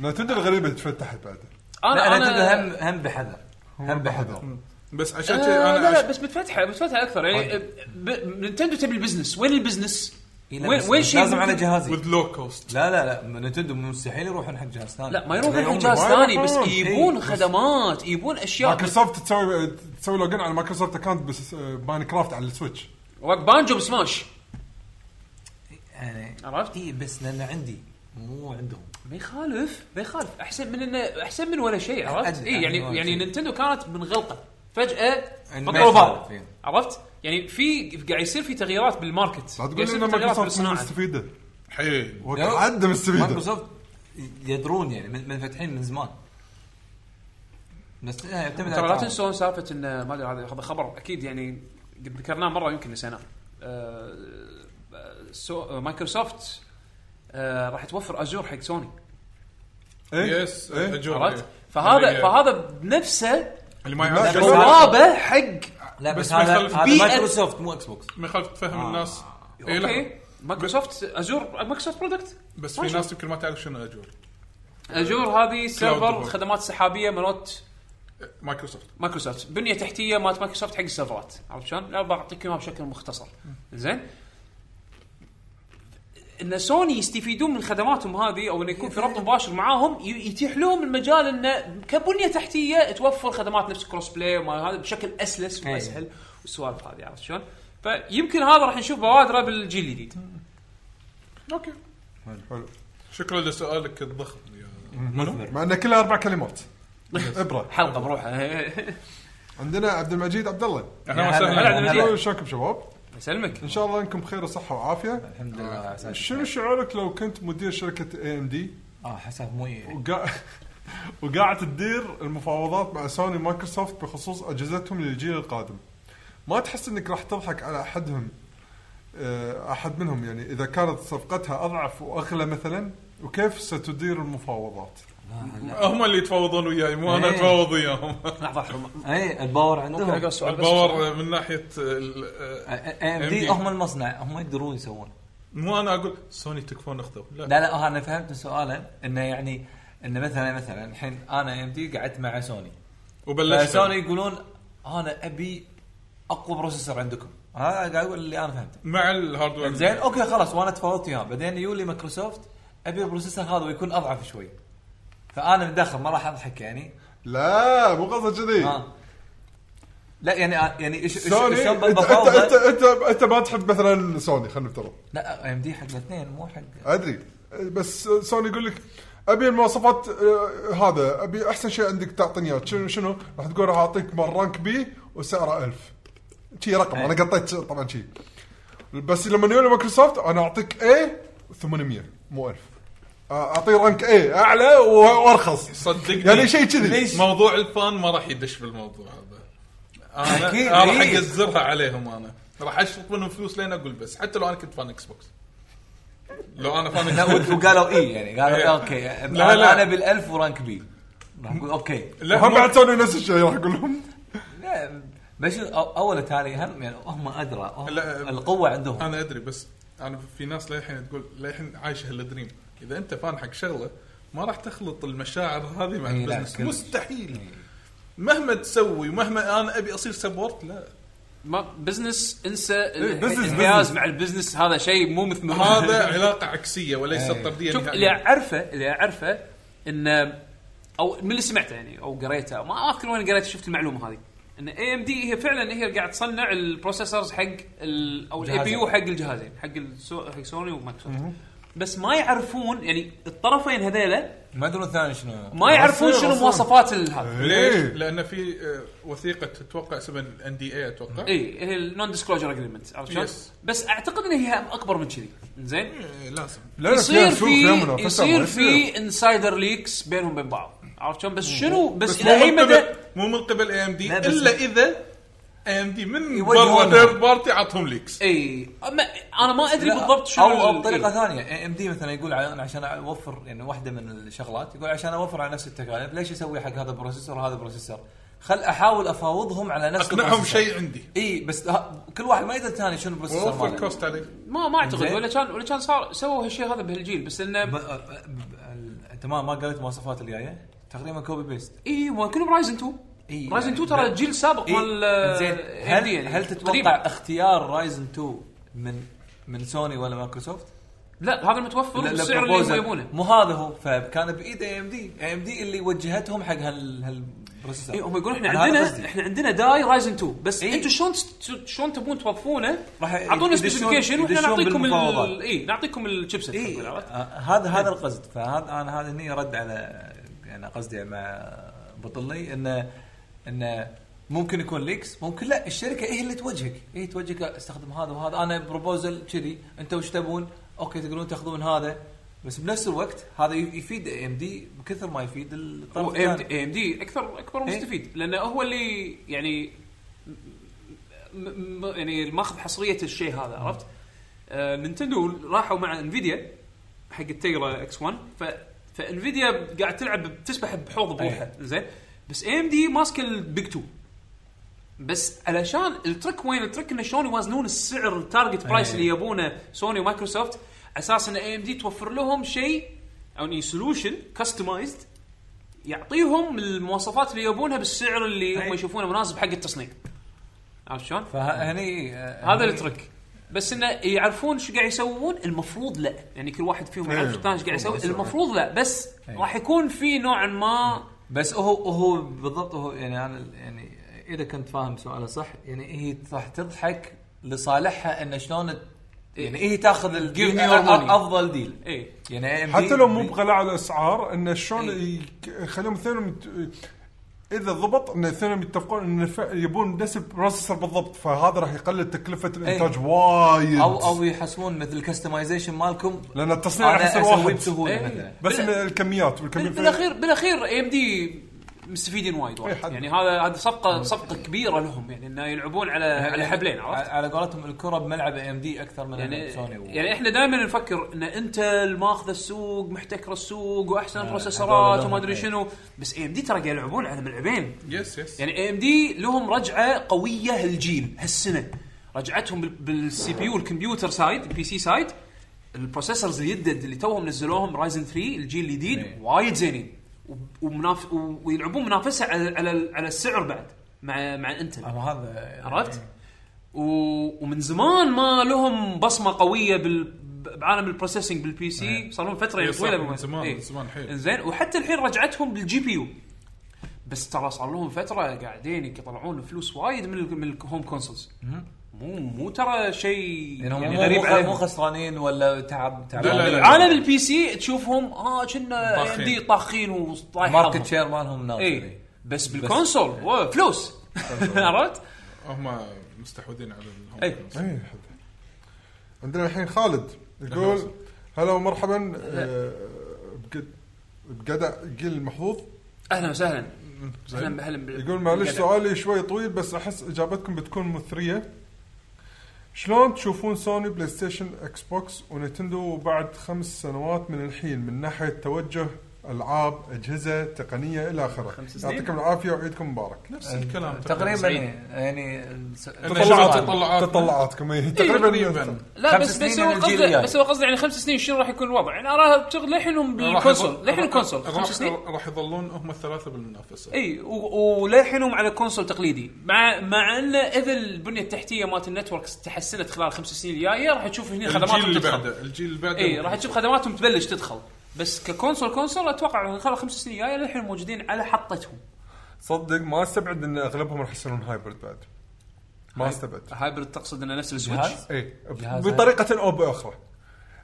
Speaker 4: نتندو الغريبه اللي تفتحت بعد
Speaker 6: لا
Speaker 2: انا
Speaker 6: انا
Speaker 2: انا
Speaker 6: تدري هم هم بحذر هم بحذر
Speaker 3: بس عشان كذي
Speaker 2: آه
Speaker 3: انا
Speaker 2: لا لا
Speaker 3: عش...
Speaker 2: بس متفتحه متفتحه اكثر يعني
Speaker 6: طيب.
Speaker 2: آه، ب- نينتندو تبي البزنس وين البزنس؟
Speaker 6: إيه،
Speaker 2: وين
Speaker 6: بس-
Speaker 2: وين
Speaker 6: بس
Speaker 2: شيء
Speaker 6: لازم
Speaker 2: ممكن-
Speaker 6: على جهازي
Speaker 3: وذ لو كوست
Speaker 6: لا لا لا نتندو مستحيل يروحون حق جهاز ثاني
Speaker 2: لا ما يروح
Speaker 6: لا
Speaker 2: يروح
Speaker 6: يعوم.
Speaker 2: جهاز
Speaker 6: ما
Speaker 2: ثاني بس
Speaker 6: يروحون.
Speaker 2: يبون
Speaker 6: إيه.
Speaker 2: خدمات يبون اشياء
Speaker 4: مايكروسوفت تسوي تسوي لوجن على مايكروسوفت اكونت بس ماينكرافت على السويتش
Speaker 2: وك بانجو بسماش
Speaker 6: يعني
Speaker 2: عرفت؟
Speaker 6: اي بس لان عندي مو عندهم
Speaker 2: ما يخالف ما يخالف احسن من انه احسن من ولا شيء عرفت؟
Speaker 6: أدري،
Speaker 2: اي يعني
Speaker 6: أدري ولا
Speaker 2: يعني
Speaker 6: شيء.
Speaker 2: نينتندو كانت من غلطه فجاه
Speaker 6: إن ما
Speaker 2: بطلوا بعض
Speaker 6: يخالف، إيه.
Speaker 2: عرفت؟ يعني في قاعد يصير في تغييرات بالماركت
Speaker 4: لا
Speaker 2: قاعد
Speaker 4: تقول لي
Speaker 2: يصير
Speaker 4: ان
Speaker 2: في تغييرات
Speaker 4: مايكروسوفت
Speaker 2: بالصناعه
Speaker 4: مو مستفيده
Speaker 3: حيل
Speaker 4: وقعد مستفيده
Speaker 6: نعم. يعني مايكروسوفت يدرون يعني من- منفتحين من زمان بس إنها يعتمد
Speaker 2: ترى لا
Speaker 6: التعاون.
Speaker 2: تنسون سالفه ان ما ادري هذا هذا خبر اكيد يعني قد ذكرناه مره يمكن نسيناه آه، آه، سو- آه، مايكروسوفت آه، راح توفر ازور حق سوني
Speaker 4: إيه؟
Speaker 3: يس أجور.
Speaker 2: إيه؟ عرفت؟
Speaker 3: يعني-
Speaker 2: فهذا فهذا بنفسه
Speaker 3: اللي ما يعرف
Speaker 4: بس-
Speaker 3: جوال،
Speaker 2: بوابه حق
Speaker 6: لا بس,
Speaker 3: بس ما
Speaker 6: هذا
Speaker 3: يخالف
Speaker 6: هذا
Speaker 2: بيئة-
Speaker 6: مايكروسوفت مو اكس بوكس
Speaker 3: ما يخالف تفهم
Speaker 2: آه.
Speaker 3: الناس اي لا
Speaker 2: اوكي مايكروسوفت ازور مايكروسوفت برودكت
Speaker 3: بس
Speaker 2: ما
Speaker 3: في
Speaker 2: شاء
Speaker 3: ناس يمكن ما تعرف شنو اجور
Speaker 2: اجور هذه سيرفر
Speaker 3: Cloud.
Speaker 2: خدمات سحابيه مالت
Speaker 3: آه، مايكروسوفت
Speaker 2: مايكروسوفت بنيه تحتيه مالت مايكروسوفت حق السيرفرات عرفت شلون؟ انا بعطيك اياها بشكل مختصر زين ان سوني يستفيدون من خدماتهم هذه او انه يكون في ربط مباشر معاهم ي- يتيح لهم المجال انه كبنيه تحتيه توفر خدمات نفس كروس بلاي وما هذا بشكل اسلس واسهل والسوالف هذه عرفت شلون؟ فيمكن هذا راح نشوف بوادره بالجيل الجديد
Speaker 3: اوكي
Speaker 4: حلو.
Speaker 3: شكرا لسؤالك الضخم يا
Speaker 4: مع انه كلها اربع كلمات ابره
Speaker 2: حلقه بروحها
Speaker 4: عندنا عبد المجيد عبد الله
Speaker 3: اهلا
Speaker 2: هلا
Speaker 3: وسهلا
Speaker 2: عبد المجيد.
Speaker 4: شلون- شلونكم شباب؟
Speaker 2: اسلمك
Speaker 4: ان شاء الله انكم بخير وصحه وعافيه
Speaker 6: الحمد لله على أساس.
Speaker 4: شنو شعورك لو كنت مدير شركه اي ام دي
Speaker 6: اه حسب مو إيه.
Speaker 4: وقاعد تدير المفاوضات مع سوني مايكروسوفت بخصوص اجهزتهم للجيل القادم ما تحس انك راح تضحك على احدهم آه، احد منهم يعني اذا كانت صفقتها اضعف واغلى مثلا وكيف ستدير المفاوضات
Speaker 3: هم اللي يتفاوضون وياي مو انا
Speaker 6: إيه.
Speaker 3: اتفاوض وياهم
Speaker 2: لحظه لحظه
Speaker 6: اي إيه، الباور
Speaker 2: ممكن اقرا
Speaker 6: عندهم
Speaker 2: السؤال بس
Speaker 3: الباور من ناحيه ال- آه،
Speaker 6: ام دي هم المصنع هم يقدرون يسوون
Speaker 3: مو انا اقول سوني تكفون اخذوا لا
Speaker 6: لا لا آه، انا فهمت من سؤاله انه يعني انه مثلا مثلا الحين انا ام دي قعدت مع سوني
Speaker 3: وبلشت
Speaker 6: فسوني يقولون انا ابي اقوى بروسيسور عندكم هذا قاعد اقول اللي انا فهمته
Speaker 3: مع الهاردوير
Speaker 6: زين اوكي خلاص وانا تفاوضت وياهم بعدين يولي مايكروسوفت ابي البروسيسور هذا ويكون اضعف شوي فانا من داخل ما راح اضحك يعني
Speaker 4: لا مو قصد كذي
Speaker 6: ها لا يعني يعني ايش إيش-
Speaker 4: سوني
Speaker 6: شلون
Speaker 4: انت انت انت
Speaker 6: بفاوضه
Speaker 4: انت, انت ما تحب مثلا سوني خلينا نفترض
Speaker 6: لا ام دي حق الاثنين مو
Speaker 3: أه.
Speaker 6: حق
Speaker 4: ادري بس سوني يقول لك ابي المواصفات آه، هذا ابي احسن شيء عندك تعطيني اياه شنو شنو راح تقول راح اعطيك مال رانك بي وسعره 1000 شي رقم انا قطيت طبعا شي بس لما يقول مايكروسوفت انا اعطيك اي 800 مو 1000 آه، اعطيه رانك اي اعلى و- وارخص
Speaker 3: صدقني
Speaker 4: يعني شيء كذي
Speaker 3: موضوع الفان ما راح يدش في الموضوع هذا انا
Speaker 6: أكيد،
Speaker 3: أنا راح
Speaker 6: إيه.
Speaker 3: اقزرها عليهم انا راح اشفط منهم فلوس لين اقول بس حتى لو انا كنت فان اكس بوكس لو انا فان
Speaker 6: لا
Speaker 3: اكس بوكس
Speaker 6: و- وقالوا اي يعني
Speaker 3: إيه.
Speaker 6: قالوا اوكي
Speaker 3: لا، لا.
Speaker 6: انا انا بالالف ورانك بي راح اقول اوكي
Speaker 4: هم
Speaker 3: مو-
Speaker 4: بعد سوني نفس الشيء راح اقول لهم
Speaker 6: لا بس أو- اول تالي هم يعني هم ادرى هم
Speaker 3: لا، أه.
Speaker 6: القوه عندهم
Speaker 3: انا ادري بس انا في ناس للحين تقول للحين عايشه هالدريم اذا انت فان حق شغله ما راح تخلط المشاعر هذه مع
Speaker 6: إي لا،
Speaker 3: البزنس
Speaker 6: كلش.
Speaker 3: مستحيل مهما تسوي ومهما انا ابي اصير سبورت لا
Speaker 2: ما بزنس انسى ال-
Speaker 4: business-
Speaker 2: الحياز
Speaker 4: business.
Speaker 2: مع البزنس هذا شيء مو مثل
Speaker 3: هذا يعني علاقه عكسيه وليس طرديه
Speaker 2: شوف اللي
Speaker 3: نهائياً.
Speaker 2: اعرفه اللي اعرفه ان او من اللي سمعته يعني او قريته ما اذكر وين قريته شفت المعلومه هذه ان اي ام دي هي فعلا هي اللي قاعد تصنع البروسيسورز حق ال او الاي بي يو حق الجهازين حق السو- حق سوني ومايكروسوفت بس ما يعرفون يعني الطرفين هذيلا
Speaker 6: ما ادري الثاني شنو
Speaker 2: ما يعرفون
Speaker 4: مصير،
Speaker 2: شنو
Speaker 4: مصير.
Speaker 2: مواصفات ال- هذا
Speaker 3: ليش؟ لان في آه، وثيقه تتوقع اسمها الان دي اي اتوقع
Speaker 2: اي إيه، هي النون ديسكلوجر اجريمنت عرفت شلون؟
Speaker 3: Yes.
Speaker 2: بس اعتقد ان هي اكبر من كذي زين
Speaker 3: إيه، لازم
Speaker 4: لا، لا، فيها
Speaker 2: يصير
Speaker 4: سوق، فيها
Speaker 2: في
Speaker 4: منافسة،
Speaker 2: يصير
Speaker 4: ما
Speaker 2: في انسايدر ليكس بينهم وبين بعض عرفت شلون بس شنو بس
Speaker 3: بس
Speaker 2: الى اي
Speaker 3: مو من
Speaker 2: مدى
Speaker 3: قبل مو من قبل اي ام دي
Speaker 6: لا، بس-
Speaker 3: الا اذا اي ام دي من برا
Speaker 6: يوجهونها.
Speaker 3: ثيرد بارتي عطهم ليكس
Speaker 2: اي أما انا ما ادري
Speaker 6: لا،
Speaker 2: بالضبط شنو
Speaker 6: او او
Speaker 2: ال-
Speaker 6: بطريقه
Speaker 2: إي.
Speaker 6: ثانيه ام دي مثلا يقول انا عشان اوفر يعني واحده من الشغلات يقول عشان اوفر على نفس التكاليف ليش اسوي حق هذا البروسيسور وهذا البروسيسور؟ خل احاول افاوضهم على نفس
Speaker 3: اقنعهم
Speaker 6: البروسيسور.
Speaker 3: شيء عندي
Speaker 6: اي بس ه- كل واحد ما يدري الثاني شنو البروسيسور
Speaker 3: ووفر
Speaker 6: ماله
Speaker 3: كوست عليه
Speaker 2: ما ما اعتقد
Speaker 6: زين.
Speaker 2: ولا كان ولا كان صار سووا هالشيء هذا بهالجيل بس
Speaker 6: ب-
Speaker 2: انه
Speaker 6: ب- ب- ال- انت ما ما قريت مواصفات الجايه تقريبا كوبي بيست
Speaker 2: اي ما كانوا برايزن 2
Speaker 6: إي،
Speaker 2: رايزن 2
Speaker 6: يعني
Speaker 2: ترى
Speaker 6: ب-
Speaker 2: الجيل السابق
Speaker 6: إيه،
Speaker 2: مال
Speaker 6: زين
Speaker 2: AMD
Speaker 6: هل
Speaker 2: يعني.
Speaker 6: هل تتوقع
Speaker 2: تقريباً.
Speaker 6: اختيار رايزن 2 من من سوني ولا مايكروسوفت؟
Speaker 2: لا هذا المتوفر
Speaker 6: لا- لا،
Speaker 2: بالسعر اللي
Speaker 6: proposal.
Speaker 2: هم يبونه
Speaker 6: مو هذا هو فكان بايد اي ام دي اي ام دي اللي وجهتهم حق هال هالبروسيسور
Speaker 2: اي إيه، هم يقولون احنا
Speaker 6: أنا هذا
Speaker 2: عندنا
Speaker 6: قصدي.
Speaker 2: احنا عندنا داي رايزن 2 بس
Speaker 6: إي.
Speaker 2: انتم شلون تست- شلون تبون توظفونه
Speaker 6: راح
Speaker 2: اعطونا
Speaker 6: يدشون-
Speaker 2: سبيسيفيكيشن واحنا
Speaker 6: يدشون
Speaker 2: نعطيكم ال
Speaker 6: بالمفاوضات.
Speaker 2: اي نعطيكم الشيبسيت
Speaker 6: اي
Speaker 2: خلينا نقول، عرفت؟
Speaker 6: آه، هذا هذا القصد فهذا انا هذا هني رد على انا قصدي مع بطلي انه انه ممكن يكون ليكس ممكن لا الشركه هي اللي توجهك هي توجهك استخدم هذا وهذا انا بروبوزل كذي انتم وش تبون؟ اوكي تقولون تاخذون هذا بس بنفس الوقت هذا ي- يفيد اي ام دي بكثر ما يفيد الطرف
Speaker 2: هو اي ام
Speaker 6: الثاني.
Speaker 2: دي, دي اكثر اكبر
Speaker 6: إيه.
Speaker 2: مستفيد لانه هو اللي يعني م- م- يعني ماخذ حصريه الشيء هذا عرفت؟ آه نينتندو راحوا مع انفيديا حق التيرا اكس 1 ف فانفيديا قاعد تلعب تسبح بحوض بروحها زين بس اي ام دي ماسكه البيج 2 بس علشان الترك وين الترك انه شلون يوازنون السعر التارجت برايس اللي يبونه سوني ومايكروسوفت على اساس ان اي ام دي توفر لهم شيء او سولوشن كستمايزد يعطيهم المواصفات اللي يبونها بالسعر اللي هم يشوفونه مناسب حق التصنيع عرفت شلون؟
Speaker 6: فهني
Speaker 2: هذا الترك بس انه يعرفون شو قاعد يسوون المفروض لا يعني كل واحد فيهم يعرف شو الثاني ايش قاعد يسوي المفروض لا بس راح يكون في نوعا ما
Speaker 6: بس هو هو بالضبط هو يعني انا يعني اذا كنت فاهم سؤاله صح يعني هي راح تضحك لصالحها ان شلون ت- يعني هي تاخذ يعني
Speaker 2: Give
Speaker 6: الديل
Speaker 2: me your money. إيه.
Speaker 6: افضل ديل
Speaker 2: اي
Speaker 6: يعني AMD
Speaker 4: حتى لو مو بغلاء على الاسعار انه شلون
Speaker 2: إيه.
Speaker 4: يخليهم اثنينهم يت- اذا ضبط ان اثنينهم يتفقون ان ف- يبون نفس البروسيسور بالضبط فهذا راح يقلل تكلفه الانتاج وايد
Speaker 6: او او يحسبون مثل الكستمايزيشن مالكم
Speaker 4: لأن التصنيع راح
Speaker 6: انا
Speaker 4: يصير
Speaker 6: اسويه
Speaker 4: واحد.
Speaker 6: بسهوله
Speaker 2: إيه.
Speaker 6: مثلا
Speaker 4: بس ان
Speaker 2: بال-
Speaker 4: الكميات
Speaker 2: بال-
Speaker 4: والكميات
Speaker 2: بالاخير بالاخير اي ام دي مستفيدين وايد
Speaker 6: إيه،
Speaker 2: وايد
Speaker 4: حد.
Speaker 2: يعني هذا هذا صفقه صفقه كبيره لهم يعني انه يلعبون على على حبلين عرفت؟
Speaker 6: على على قولتهم الكره بملعب اي ام دي اكثر من
Speaker 2: يعني
Speaker 6: سوني و-
Speaker 2: يعني احنا دائما نفكر ان انتل ماخذ السوق محتكر السوق واحسن
Speaker 6: آه، هذول
Speaker 2: بروسيسورات
Speaker 6: لهم
Speaker 2: وما ادري
Speaker 6: إيه.
Speaker 2: شنو بس اي ام دي ترى قاعد يلعبون على ملعبين
Speaker 3: يس يس
Speaker 2: يعني اي ام دي لهم رجعه قويه هالجيل هالسنه رجعتهم بال- بالسي بي يو الكمبيوتر سايد البي سي سايد البروسيسورز الجدد اللي توهم نزلوهم رايزن 3 الجيل الجديد
Speaker 6: إيه.
Speaker 2: وايد زينين وب- ومناف... و- ويلعبون منافسه على على على السعر بعد مع مع انتل
Speaker 6: أو هذا
Speaker 2: عرفت؟ و... ومن زمان ما لهم بصمه قويه بال... بعالم البروسيسنج بالبي سي صار لهم فتره يعني
Speaker 3: صح،
Speaker 2: طويله
Speaker 3: من
Speaker 2: بما-
Speaker 3: زمان-
Speaker 2: إيه.
Speaker 3: من زمان حيل.
Speaker 2: انزين وحتى الحين رجعتهم بالجي بي يو بس ترى صار لهم فتره قاعدين يطلعون فلوس وايد من ال... من الهوم كونسولز مو مو ترى شيء
Speaker 6: يعني هم
Speaker 2: يعني
Speaker 6: مو-
Speaker 2: غريب
Speaker 6: مو-
Speaker 2: عليهم
Speaker 6: مو خسرانين ولا تعب تعب
Speaker 3: لا، لا، لا.
Speaker 2: عالم البي سي تشوفهم اه كنا
Speaker 3: طاخين.
Speaker 2: عندي طاخين وطايح
Speaker 6: ماركت
Speaker 2: حظهم.
Speaker 6: شير مالهم نازل
Speaker 2: اي
Speaker 6: إيه.
Speaker 2: بس بالكونسول واو، فلوس عرفت؟
Speaker 3: هم مستحوذين على الهوم
Speaker 2: إيه.
Speaker 3: كونسول.
Speaker 4: إيه، حد. عندنا الحين خالد يقول هلا ومرحبا آه، بقد- بقدع جيل المحظوظ
Speaker 2: اهلا وسهلا
Speaker 3: زين.
Speaker 2: اهلا اهلا بال-
Speaker 4: يقول معلش
Speaker 2: بالجدع.
Speaker 4: سؤالي شوي طويل بس احس اجابتكم بتكون مثريه شلون تشوفون سوني بلاي ستيشن اكس بوكس ونتندو بعد خمس سنوات من الحين من ناحيه توجه العاب اجهزه تقنيه الى اخره
Speaker 2: سنين؟
Speaker 4: يعطيكم العافيه وعيدكم مبارك
Speaker 3: نفس الكلام
Speaker 6: تقريبا
Speaker 2: سبعين.
Speaker 6: يعني الس-
Speaker 3: تطلعات
Speaker 6: السؤال.
Speaker 3: تطلعات
Speaker 4: تطلعاتكم إيه،
Speaker 3: تقريبا
Speaker 2: لا
Speaker 6: خمس
Speaker 2: بس بس
Speaker 6: سنين
Speaker 2: هو
Speaker 6: من الجيل الجاي.
Speaker 2: قصده بس هو قصده يعني خمس سنين شنو راح يكون الوضع؟ يعني اراها بتغ- للحين بالكونسول للحين الكونسول خمس سنين
Speaker 3: راح يظلون هم الثلاثه بالمنافسه
Speaker 2: اي و- وللحينهم على كونسول تقليدي مع مع ان اذا البنيه التحتيه مالت النتورك تحسنت خلال خمس سنين الجايه راح تشوف هنا
Speaker 3: الجيل
Speaker 2: خدماتهم
Speaker 3: اللي
Speaker 2: تدخل
Speaker 3: بعده الجيل اللي بعده
Speaker 2: اي راح تشوف خدماتهم تبلش تدخل بس ككونسول كونسول اتوقع خلال خمس سنين الجايه للحين موجودين على حطتهم
Speaker 4: صدق ما استبعد ان اغلبهم راح يصيرون هايبرد بعد ما استبعد
Speaker 2: هايبرد تقصد انه نفس السويتش
Speaker 6: جهاز؟
Speaker 4: اي
Speaker 6: جهاز
Speaker 4: بطريقه او باخرى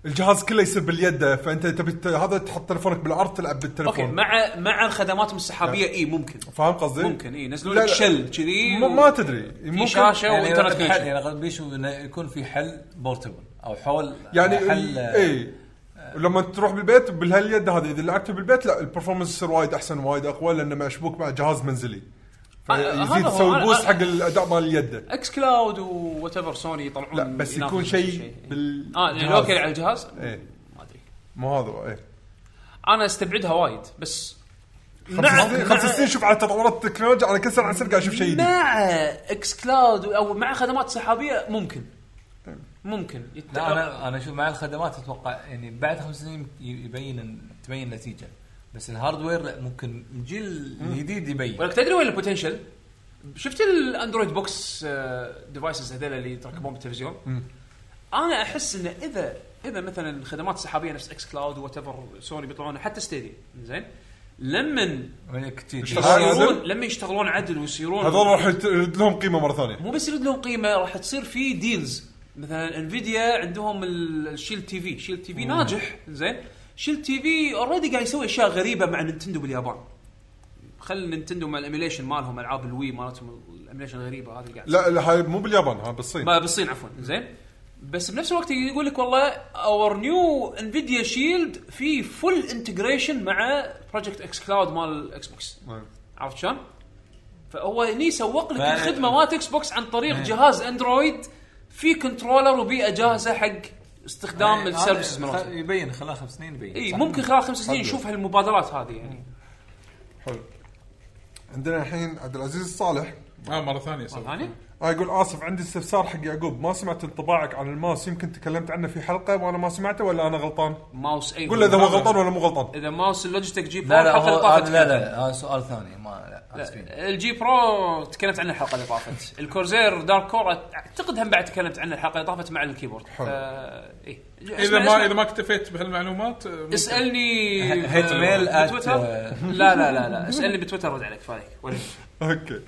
Speaker 4: الجهاز كله يصير باليد فانت تبي ت- هذا تحط تلفونك بالعرض تلعب
Speaker 2: اوكي
Speaker 4: بالتلفون
Speaker 2: مع مع خدماتهم السحابيه
Speaker 3: نعم.
Speaker 2: اي ممكن
Speaker 4: فاهم قصدي؟
Speaker 2: ممكن اي ينزلون
Speaker 4: إيه. لا،
Speaker 2: لك
Speaker 4: لا.
Speaker 2: شل كذي
Speaker 4: م- ما تدري
Speaker 2: في
Speaker 4: ممكن
Speaker 2: شاشه
Speaker 6: يعني
Speaker 2: وانترنت
Speaker 6: الحل-
Speaker 2: كونكشن
Speaker 6: يعني قد بيشوف انه يكون في حل بورتبل او حول
Speaker 4: يعني
Speaker 6: حل
Speaker 4: اي ولما تروح بالبيت بالهاليد هذه اذا لعبته بالبيت لا البرفورمانس يصير وايد احسن وايد اقوى لانه مشبوك مع جهاز منزلي
Speaker 2: آه، هذا
Speaker 4: فيزيد
Speaker 2: هو.
Speaker 4: تسوي
Speaker 2: أنا-
Speaker 4: بوست
Speaker 2: أنا-
Speaker 4: حق الاداء مال اليد
Speaker 2: اكس كلاود وات ايفر سوني يطلعون
Speaker 4: لا بس
Speaker 2: ينافسون
Speaker 4: يكون
Speaker 2: نفس
Speaker 4: شيء
Speaker 2: الشيء.
Speaker 4: بال
Speaker 2: اه يعني لوكل على الجهاز
Speaker 4: إيه.
Speaker 2: ما ادري
Speaker 4: مو هذا هو، ايه
Speaker 2: انا استبعدها وايد بس نعم.
Speaker 4: خمس سنين خمس سنين شوف على تطورات التكنولوجيا على كل سنه عن سنه قاعد اشوف شيء جديد
Speaker 2: مع اكس كلاود او مع خدمات سحابيه ممكن
Speaker 4: طيب.
Speaker 2: ممكن يت...
Speaker 6: لا انا انا اشوف مع الخدمات اتوقع يعني بعد خمس سنين ي- يبين إن- تبين النتيجه بس الهاردوير لا، ممكن الجيل الجديد يبين
Speaker 2: ولك تدري وين البوتنشل؟ شفت الاندرويد بوكس ديفايسز هذول آه، اللي يتركبون بالتلفزيون؟ انا احس انه اذا اذا مثلا خدمات سحابيه نفس اكس كلاود وات ايفر سوني بيطلعونها حتى ستيدي زين لما
Speaker 6: يعني
Speaker 2: يصيرون لما يشتغلون عدل ويصيرون
Speaker 4: هذول راح يت- يرد لهم قيمه مره ثانيه
Speaker 2: مو بس يرد لهم قيمه راح تصير في ديلز مثلا انفيديا عندهم ال- الشيل تي في شيل تي في ناجح زين شيل تي في اوريدي قاعد يسوي اشياء غريبه مع نينتندو باليابان خل نينتندو مع الاميليشن مالهم العاب الوي مالتهم الاميليشن الغريبه هذه اللي قاعد
Speaker 4: لا لا هاي مو باليابان ها بالصين
Speaker 2: ما بالصين عفوا زين بس بنفس الوقت يقول لك والله اور نيو انفيديا شيلد في فول انتجريشن مع بروجكت اكس كلاود مال الاكس بوكس
Speaker 4: نعم.
Speaker 2: عرفت شلون؟ فهو هني سوق لك
Speaker 6: ما-
Speaker 2: الخدمه مالت اكس بوكس عن طريق
Speaker 6: إيه.
Speaker 2: جهاز اندرويد في كنترولر وبيئه جاهزه حق استخدام السيرفيسز
Speaker 6: إيه، خ-
Speaker 2: مالتهم
Speaker 6: يبين خلال خمس سنين يبين
Speaker 2: اي
Speaker 6: صح؟
Speaker 2: إيه، ممكن خلال خمس سنين نشوف هالمبادرات هذه يعني
Speaker 4: حلو عندنا الحين عبد العزيز الصالح
Speaker 3: اه مره ثانيه
Speaker 2: مرة
Speaker 3: سوي.
Speaker 2: ثانيه
Speaker 4: آه يقول اسف عندي استفسار حق يعقوب ما سمعت انطباعك عن الماوس يمكن تكلمت عنه في حلقه وانا ما سمعته ولا انا غلطان؟
Speaker 2: ماوس اي
Speaker 4: قول له اذا هو غلطان ولا مو غلطان.
Speaker 2: اذا ماوس اللوجيتك جي برو
Speaker 6: لا لا
Speaker 2: الحلقه
Speaker 6: هو
Speaker 2: اللي طافت
Speaker 6: هذا- لا لا هذا سؤال ثاني ما لا آسفين.
Speaker 2: لا، إيه. الجي برو تكلمت عنه الحلقه اللي طافت الكورزير دارك كور اعتقد هم بعد تكلمت عنه الحلقه اللي طافت مع الكيبورد آه، إيه. حلو اي
Speaker 3: اذا ما اذا ما اكتفيت بهالمعلومات آه، ممكن.
Speaker 2: اسالني
Speaker 6: هيت
Speaker 2: ب-
Speaker 6: ميل at-
Speaker 2: بتويتر لا لا لا لا اسالني بتويتر رد عليك فايك وريني.
Speaker 4: اوكي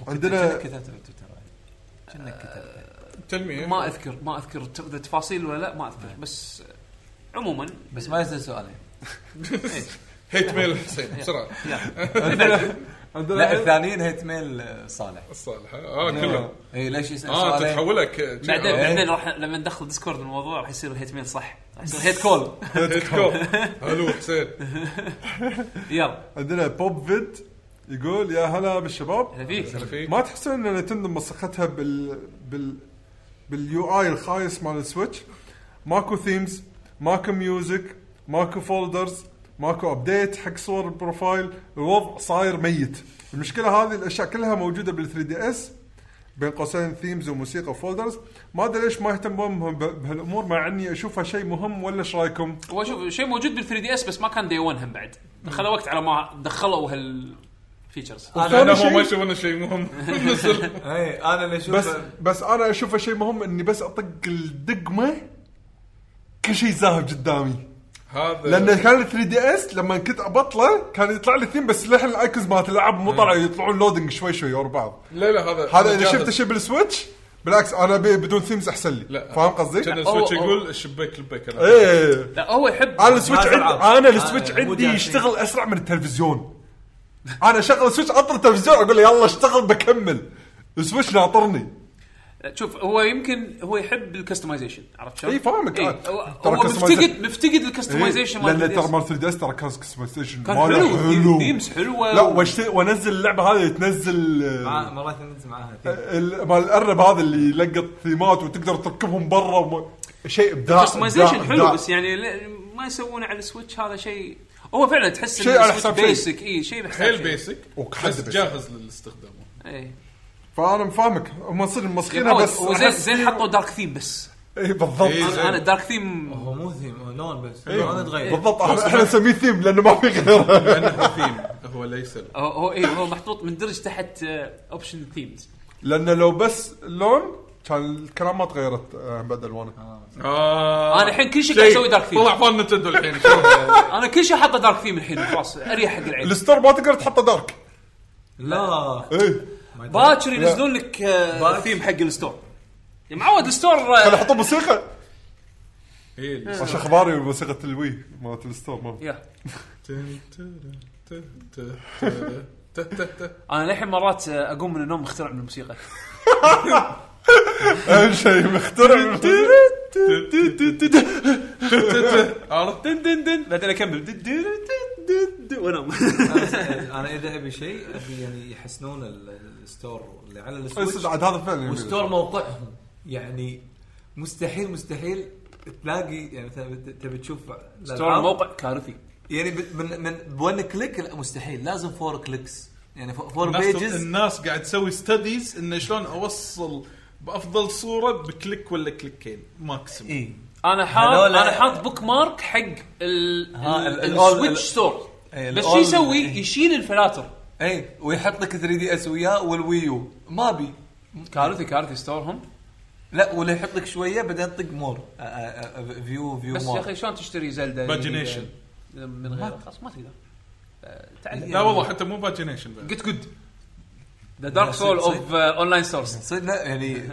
Speaker 6: كأنك
Speaker 4: عندنا
Speaker 6: كتبته بالتويتر كأنك كتبته
Speaker 3: تلميع
Speaker 2: ما اذكر ما اذكر ت- إذا تفاصيل ولا لا ما اذكر بس عموما
Speaker 6: بس ما يصير سؤالين
Speaker 3: هيت ميل حسين بسرعه
Speaker 6: لا
Speaker 4: عندنا
Speaker 6: الثانيين هيت ميل آه، صالح
Speaker 3: الصالح اه
Speaker 4: نعم.
Speaker 3: كله
Speaker 6: اي إيه، ليش يسال
Speaker 3: اه
Speaker 6: سؤالين
Speaker 3: تتحول لك آه،
Speaker 2: بعدين
Speaker 6: إيه.
Speaker 2: بعدين راح لما ندخل ديسكورد الموضوع راح يصير هيت ميل صح راح يصير هيت كول
Speaker 3: هيت كول الو حسين
Speaker 2: يلا
Speaker 4: عندنا بوب فيد يقول يا هلا بالشباب
Speaker 2: هلا فيك
Speaker 3: فيك
Speaker 4: ما تحسون ان نتندو مسختها بال بال باليو اي الخايس مال السويتش؟ ماكو ثيمز، ماكو ميوزك، ماكو فولدرز، ماكو ابديت حق صور البروفايل، الوضع صاير ميت. المشكله هذه الاشياء كلها موجوده بال 3 دي اس بين قوسين ثيمز وموسيقى وفولدرز، ما ادري ليش ما يهتمون به- بهالامور مع اني اشوفها شيء مهم ولا ايش رايكم؟
Speaker 2: هو شوف شيء موجود بال 3 دي اس بس ما كان دي 1 هم بعد خلوا وقت على ما دخلوا هالفيتشرز
Speaker 3: انا
Speaker 4: ثاني
Speaker 3: هو
Speaker 4: شيء-
Speaker 3: ما يشوفون شيء مهم نزل.
Speaker 6: اي انا إيه، اللي اشوف
Speaker 4: بس بس انا اشوفه شيء مهم اني بس اطق الدقمه كل شيء زاهب قدامي
Speaker 3: هذا
Speaker 4: لان كان 3 دي اس لما كنت ابطله كان يطلع لي ثيم بس للحين الايكونز مالت اللعب مو طالع يطلعون لودنج شوي شوي ورا بعض
Speaker 3: لا لا هذا
Speaker 4: هذا اذا
Speaker 3: جاهز.
Speaker 4: شفت شيء بالسويتش بالعكس انا أبي بدون ثيمز احسن لي
Speaker 3: لا.
Speaker 4: فاهم قصدي؟
Speaker 3: كان
Speaker 2: أو-
Speaker 3: السويتش
Speaker 2: أو-
Speaker 3: يقول الشبيك لبيك انا
Speaker 4: ايه
Speaker 2: لا هو يحب
Speaker 4: انا السويتش
Speaker 6: جهاز ألعاب.
Speaker 4: عندي انا السويتش
Speaker 6: آه، مو
Speaker 4: عندي
Speaker 6: جهاز
Speaker 4: يشتغل اسرع من التلفزيون انا اشغل السويتش اطر التلفزيون اقول له يلا اشتغل بكمل السويتش ناطرني
Speaker 2: شوف هو يمكن هو يحب الكستمايزيشن عرفت شلون؟
Speaker 4: إي، فاهمك.
Speaker 2: إي،
Speaker 4: آه،
Speaker 2: هو
Speaker 4: ترى
Speaker 2: هو مفتقد
Speaker 4: customization-
Speaker 2: مفتقد الكستمايزيشن
Speaker 4: إيه، لان ترى
Speaker 2: مال
Speaker 4: مال 3 دي اس ترى كان كستمايزيشن
Speaker 2: كان
Speaker 4: ماله
Speaker 2: حلو، themes حلوة
Speaker 4: لا
Speaker 2: و-
Speaker 4: واشت- وانزل اللعبه هذه تنزل آه،
Speaker 6: مرات ننزل معاها
Speaker 4: ال- مال الارنب هذا اللي يلقط ثيمات وتقدر تركبهم برا وما- شيء ابداع
Speaker 2: كستمايزيشن
Speaker 4: إبداع،
Speaker 2: حلو
Speaker 4: إبداع.
Speaker 2: بس يعني لا- ما يسوونه على السويتش هذا شيء هو فعلا تحس
Speaker 4: شيء على حساب شيء.
Speaker 2: بيسك اي إيه، شيء بحساب
Speaker 3: حيل
Speaker 2: شيء.
Speaker 3: بيسك
Speaker 4: وكحد
Speaker 3: بس
Speaker 4: بيسك.
Speaker 3: جاهز للاستخدام
Speaker 2: إي.
Speaker 4: فانا مفهمك هم صدق مسخينه
Speaker 2: هو-
Speaker 4: بس
Speaker 2: هو زين
Speaker 4: أحس-
Speaker 2: زين حطوا دارك ثيم بس
Speaker 4: اي بالضبط
Speaker 3: إيه.
Speaker 2: انا أنا الدارك ثيم
Speaker 6: هو مو ثيم هو لون بس لون تغير
Speaker 4: إيه. بالضبط احنا إحنا نسميه ثيم لانه ما في غيره
Speaker 3: لانه ثيم هو ليس له.
Speaker 2: هو هو اي هو محطوط مندرج تحت آه، اوبشن ثيمز
Speaker 4: لانه لو بس لون كان الكلام ما تغيرت آه، بعد الوانه
Speaker 3: آه
Speaker 2: أنا الحين كل شيء قاعد أسوي دارك ثيم.
Speaker 3: طلع فان نتندو الحين
Speaker 2: انا كل شيء حاطه دارك ثيم الحين خلاص اريح حق العين
Speaker 4: الستور ما تقدر تحطه إيه. دارك
Speaker 6: لا
Speaker 4: اي
Speaker 2: باكر ينزلون لك آه، ثيم حق الستور يا معود الستور آه،
Speaker 4: خلي احط موسيقى
Speaker 3: إيه، اللي-
Speaker 4: ايش اخباري بموسيقى الوي مالت الستور ما
Speaker 2: يا.
Speaker 3: تن- تن- تن- تن- تن- تن- تن- تن.
Speaker 2: انا للحين مرات آه، اقوم من النوم مخترع من الموسيقى
Speaker 4: اهم شيء مخترع
Speaker 3: عرفت
Speaker 2: دن دن دن بعدين اكمل دن دن دن دن دن وانام
Speaker 6: انا اذا ابي شيء ابي يعني يحسنون ال- الستور اللي على
Speaker 4: إيه، صدق
Speaker 6: السويتش
Speaker 4: عاد هذا فعلا يميل.
Speaker 6: والستور موقعهم يعني مستحيل مستحيل تلاقي يعني مثلا بت- تبي تشوف
Speaker 2: ستور
Speaker 6: الألعاب.
Speaker 2: الموقع كارثي
Speaker 6: يعني ب- من من بون كليك لا مستحيل لازم فور كليكس يعني فو- فور
Speaker 3: الناس,
Speaker 6: بيجز
Speaker 3: الناس قاعد تسوي ستديز انه شلون اوصل بافضل صوره بكليك ولا كليكين ماكسيموم
Speaker 6: اي
Speaker 2: انا حاط
Speaker 6: هذول-
Speaker 2: انا حاط بوك مارك حق ال-
Speaker 6: ها،
Speaker 2: ال-
Speaker 6: ال- all-
Speaker 2: السويتش
Speaker 6: ال-
Speaker 2: ستور
Speaker 6: إيه،
Speaker 2: بس
Speaker 6: ال-
Speaker 2: شو
Speaker 6: all-
Speaker 2: يسوي؟
Speaker 6: إيه.
Speaker 2: يشيل الفلاتر
Speaker 6: اي إيه، ويحط لك 3 دي اس وياه والويو ما ابي
Speaker 2: كارثي كارثي ستورهم
Speaker 6: لا ولا يحط لك شويه بعدين طق مور آه، آه، آه، فيو فيو
Speaker 2: بس يا
Speaker 6: مور
Speaker 2: اخي شلون تشتري زلدا
Speaker 3: Pagination.
Speaker 2: من غير خلاص ما تقدر آه، تعال
Speaker 3: لا والله حتى مو باجينيشن بعد
Speaker 2: جيت جود ذا دارك سول
Speaker 6: صدق-
Speaker 2: اوف اونلاين سورس
Speaker 6: صدق لا، يعني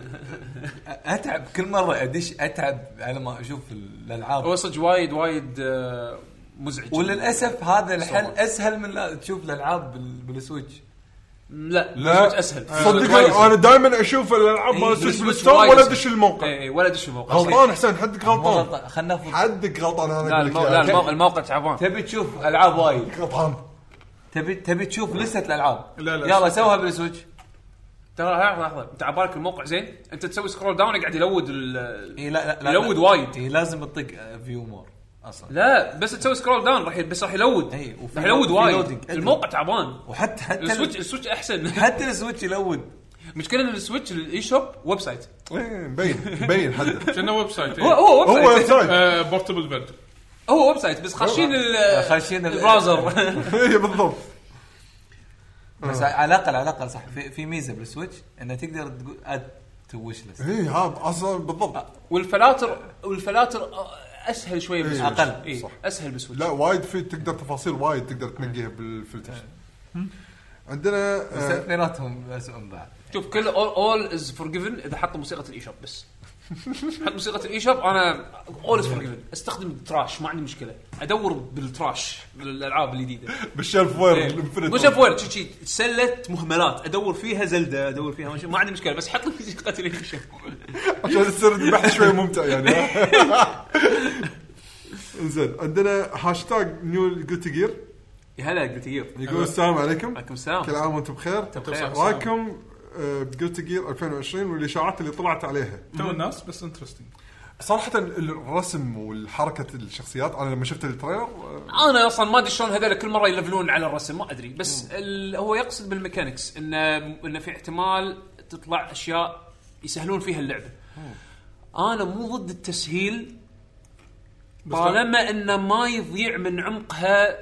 Speaker 6: اتعب كل مره ادش اتعب على ما اشوف الالعاب
Speaker 2: هو صدق وايد وايد آه، مزعج
Speaker 6: وللاسف هذا الحل اسهل من لا تشوف الالعاب بال- بالسويتش
Speaker 2: لا آه،
Speaker 4: لا. آه.
Speaker 2: لا اسهل وايد
Speaker 4: صدق انا
Speaker 2: أسهل.
Speaker 4: دائما اشوف الالعاب مال سويتش
Speaker 2: بالسويتش
Speaker 4: بالستور
Speaker 2: وايد
Speaker 4: ولا
Speaker 2: أسهل. إيه.
Speaker 4: ادش الموقع
Speaker 2: إي، إي، ولا دش الموقع
Speaker 4: غلطان حسين حدك
Speaker 6: مو
Speaker 4: غلطان
Speaker 6: غلط- خلنا نفرض
Speaker 4: حدك غلطان انا
Speaker 2: لا
Speaker 4: اقول لك
Speaker 2: الموقع لا
Speaker 4: إياها.
Speaker 2: الموقع- الموقع تعبان
Speaker 6: تبي تشوف العاب وايد
Speaker 4: غلطان
Speaker 6: تبي تبي تشوف لسه الالعاب
Speaker 3: لا، لا.
Speaker 6: يلا سوها بالسويتش
Speaker 2: ترى لحظه لحظه انت عبالك الموقع زين انت تسوي سكرول داون قاعد يلود ال-
Speaker 6: اي لا إيه، لا لا
Speaker 2: يلود
Speaker 6: لا.
Speaker 2: وايد.
Speaker 6: اي لازم تطق آه، فيو مور اصلا
Speaker 2: لا بس تسوي سكرول داون راح ي- بس راح يلود
Speaker 6: إي، إيه، وفي-
Speaker 2: راح يلود
Speaker 6: وفي loading.
Speaker 2: وايد
Speaker 6: أدري.
Speaker 2: الموقع تعبان
Speaker 6: وحتى حتى ال-
Speaker 2: السويتش السويتش احسن
Speaker 6: حتى السويتش يلود
Speaker 2: مشكله ان السويتش الاي شوب ويب سايت
Speaker 4: إيه، مبين مبين حدك
Speaker 3: كانه ويب سايت
Speaker 2: هو هو ويب
Speaker 4: هو
Speaker 2: سايت
Speaker 4: سايد
Speaker 3: آه، بورتبل فيرجن
Speaker 2: هو ويب سايت بس خاشين ال-
Speaker 6: خاشين ال-
Speaker 2: البراوزر
Speaker 4: إيه، بالضبط
Speaker 6: بس
Speaker 3: آه.
Speaker 6: على الاقل على الاقل صح في, في ميزه بالسويتش انه تقدر تقول اد تو ويش
Speaker 3: آه.
Speaker 6: ليست
Speaker 4: اي إيه، ها اصلا بالضبط
Speaker 2: والفلاتر والفلاتر اسهل شويه بس
Speaker 6: أقل.
Speaker 2: إيه.
Speaker 6: صح.
Speaker 2: اسهل بسويتش
Speaker 4: لا وايد في تقدر تفاصيل وايد تقدر تنقيها بالفلتر
Speaker 2: إيه.
Speaker 4: عندنا
Speaker 6: بس
Speaker 4: آه،
Speaker 6: اثنيناتهم اسوء من بعض
Speaker 2: شوف كل اول اول از فورجيفن اذا حط موسيقى الاي شوب بس حط موسيقى الاي شوب انا اول از فورجيفن استخدم تراش ما عندي مشكله ادور بالتراش بالالعاب الجديده
Speaker 4: بالشلف وير
Speaker 2: إيه.
Speaker 4: الانفنت
Speaker 2: مو شاف وين شي- شي سله مهملات ادور فيها زلده ادور فيها ما شي- ما عندي مشكله بس حط لي موسيقى الاي شوب
Speaker 4: عشان يصير البحث يعني شوي ممتع يعني زين عندنا هاشتاج نيو جوتي جير
Speaker 2: يا هلا قلت يب
Speaker 4: يقول السلام عليكم
Speaker 2: عليكم السلام.
Speaker 4: كل عام وانتم بخير
Speaker 2: بخير.
Speaker 4: رايكم آه، بجوتي جير 2020 والاشاعات اللي طلعت عليها
Speaker 3: تو الناس بس انترستنج
Speaker 4: صراحه الرسم والحركه الشخصيات انا لما شفت التريلر آه،
Speaker 2: انا اصلا ما ادري شلون هذول كل مره يلفلون على الرسم ما ادري بس ال- هو يقصد بالميكانكس انه انه في احتمال تطلع اشياء يسهلون فيها اللعبه انا مو ضد التسهيل طالما انه ما يضيع من عمقها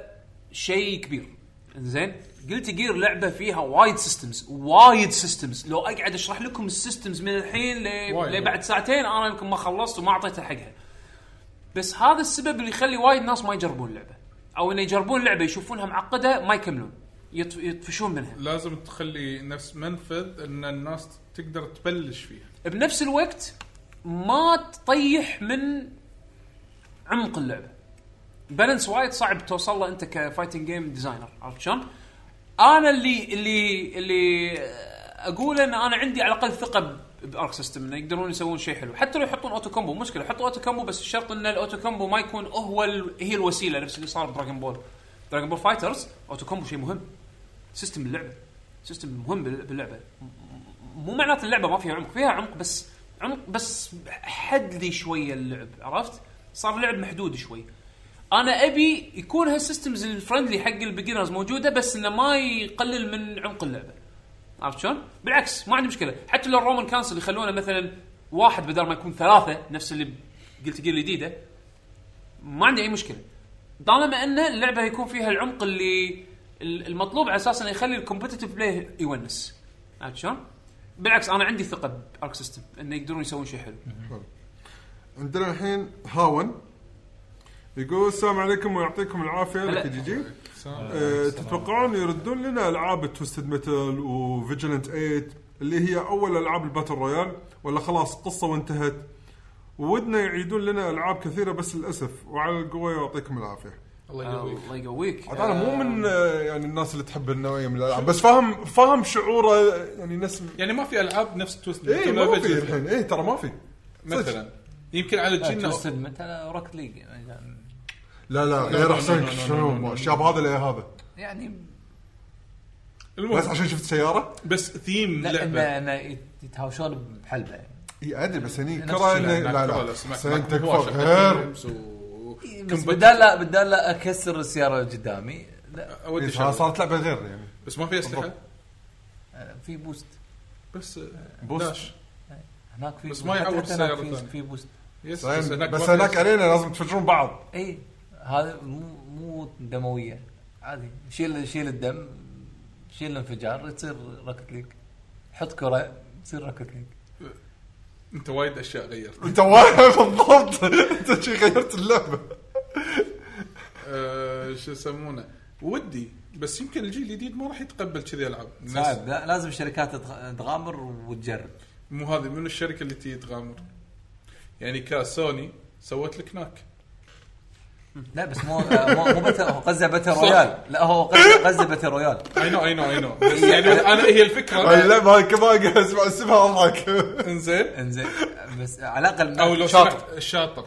Speaker 2: شيء كبير زين قلت جير لعبه فيها وايد سيستمز وايد سيستمز لو اقعد اشرح لكم السيستمز من الحين
Speaker 3: وايد.
Speaker 2: ل- لبعد ساعتين انا يمكن ما خلصت وما اعطيتها حقها بس هذا السبب اللي يخلي وايد ناس ما يجربون اللعبه او انه يجربون اللعبه يشوفونها معقده ما يكملون يط- يطفشون منها
Speaker 3: لازم تخلي نفس منفذ ان الناس تقدر تبلش فيها
Speaker 2: بنفس الوقت ما تطيح من عمق اللعبه بالانس وايد صعب توصل له انت كفايتنج جيم ديزاينر عرفت شلون؟ انا اللي اللي اللي اقول ان انا عندي على الاقل ثقه ب- بارك سيستم انه يقدرون يسوون شيء حلو حتى لو يحطون اوتو كومبو مشكله حطوا اوتو كومبو بس الشرط ان الاوتو كومبو ما يكون هو ال... هي الوسيله نفس اللي صار بدراجون بول دراجون بول فايترز اوتو كومبو شيء مهم سيستم اللعبه سيستم مهم بال- باللعبه مو معناته اللعبه ما فيها عمق فيها عمق بس عمق بس حدلي شويه اللعب عرفت صار لعب محدود شوي انا ابي يكون هالسيستمز الفرندلي حق البيجنرز موجوده بس انه ما يقلل من عمق اللعبه عرفت شلون؟ بالعكس ما عندي مشكله حتى لو الرومان كانسل يخلونه مثلا واحد بدل ما يكون ثلاثه نفس اللي قلت جيل الجديده ما عندي اي مشكله طالما ان اللعبه يكون فيها العمق اللي ال- المطلوب على اساس انه يخلي الكومبتتف بلاي يونس عرفت شلون؟ بالعكس انا عندي ثقه بارك سيستم انه يقدرون يسوون شيء حلو
Speaker 7: عندنا الحين هاون يقول السلام عليكم ويعطيكم العافيه
Speaker 2: هلا.
Speaker 7: لك جي جي آه، تتوقعون يردون لنا العاب توستد ميتال وفيجلنت 8 اللي هي اول العاب الباتل رويال ولا خلاص قصه وانتهت ودنا يعيدون لنا العاب كثيره بس للاسف وعلى القوه يعطيكم العافيه
Speaker 3: الله
Speaker 2: آه،
Speaker 3: يقويك
Speaker 2: الله يقويك
Speaker 4: عاد انا مو من آه، يعني الناس اللي تحب النوعيه من الالعاب بس فاهم فاهم شعوره يعني ناس
Speaker 3: يعني ما في العاب نفس توست
Speaker 4: اي إيه، ما في الحين اي ترى ما في
Speaker 3: مثلا يمكن على جيلنا
Speaker 6: توستد مثلا روكت ليج يعني-
Speaker 4: لا لا غير احسن شنو الشاب هذا لا هذا
Speaker 6: يعني
Speaker 3: المهم
Speaker 4: بس عشان شفت سياره
Speaker 3: بس ثيم
Speaker 6: لا
Speaker 3: لعبه
Speaker 6: انه انه يت- يتهاوشون بحلبه يعني.
Speaker 4: اي ادري بس هني
Speaker 6: نفس
Speaker 4: كرا
Speaker 6: الشيء.
Speaker 4: إنه- إيه، لا لا بس هني تكفى غير
Speaker 6: بس
Speaker 3: غير
Speaker 6: بدال لا بدال لا اكسر السياره اللي قدامي لا
Speaker 4: إي، صارت لعبه غير يعني
Speaker 3: بس ما في اسلحه
Speaker 6: أنا في بوست
Speaker 3: بس آه،
Speaker 4: بوست
Speaker 3: بوست
Speaker 6: هناك في
Speaker 3: بس
Speaker 6: بوست.
Speaker 3: ما يعوض
Speaker 6: حتى هناك
Speaker 3: السيارة
Speaker 6: في-
Speaker 3: الثانية.
Speaker 6: في بوست
Speaker 3: يس
Speaker 4: زين، بس
Speaker 3: ما
Speaker 4: هناك
Speaker 3: في-
Speaker 4: علينا لازم تفجرون بعض
Speaker 6: اي إيه، هذا مو مو دمويه عادي شيل شيل الدم شيل الانفجار تصير راكت ليج حط كره تصير راكت ليج
Speaker 3: انت وايد اشياء غيرت
Speaker 4: انت واقف بالضبط انت شي غيرت اللعبه
Speaker 3: آه، شو يسمونه ودي بس يمكن الجيل الجديد ما راح يتقبل كذي العاب الناس
Speaker 6: صعب لا لازم الشركات تغ- تغامر وتجرب
Speaker 3: مو هذه من الشركه اللي تيجي تغامر يعني كسوني سوت لك ناك
Speaker 6: لا بس مو مو, مو بتا- هو غزه باتل رويال لا هو غزه غزه باتل رويال
Speaker 3: اي نو اي نو اي نو بس يعني انا هي
Speaker 4: هاي
Speaker 3: الفكره
Speaker 4: اللعبه هاي كمان اسمع اسمها اضحك
Speaker 3: انزين
Speaker 6: انزين بس على الاقل
Speaker 3: او لو إيه،
Speaker 6: شاطر.
Speaker 3: سمحت الشاطر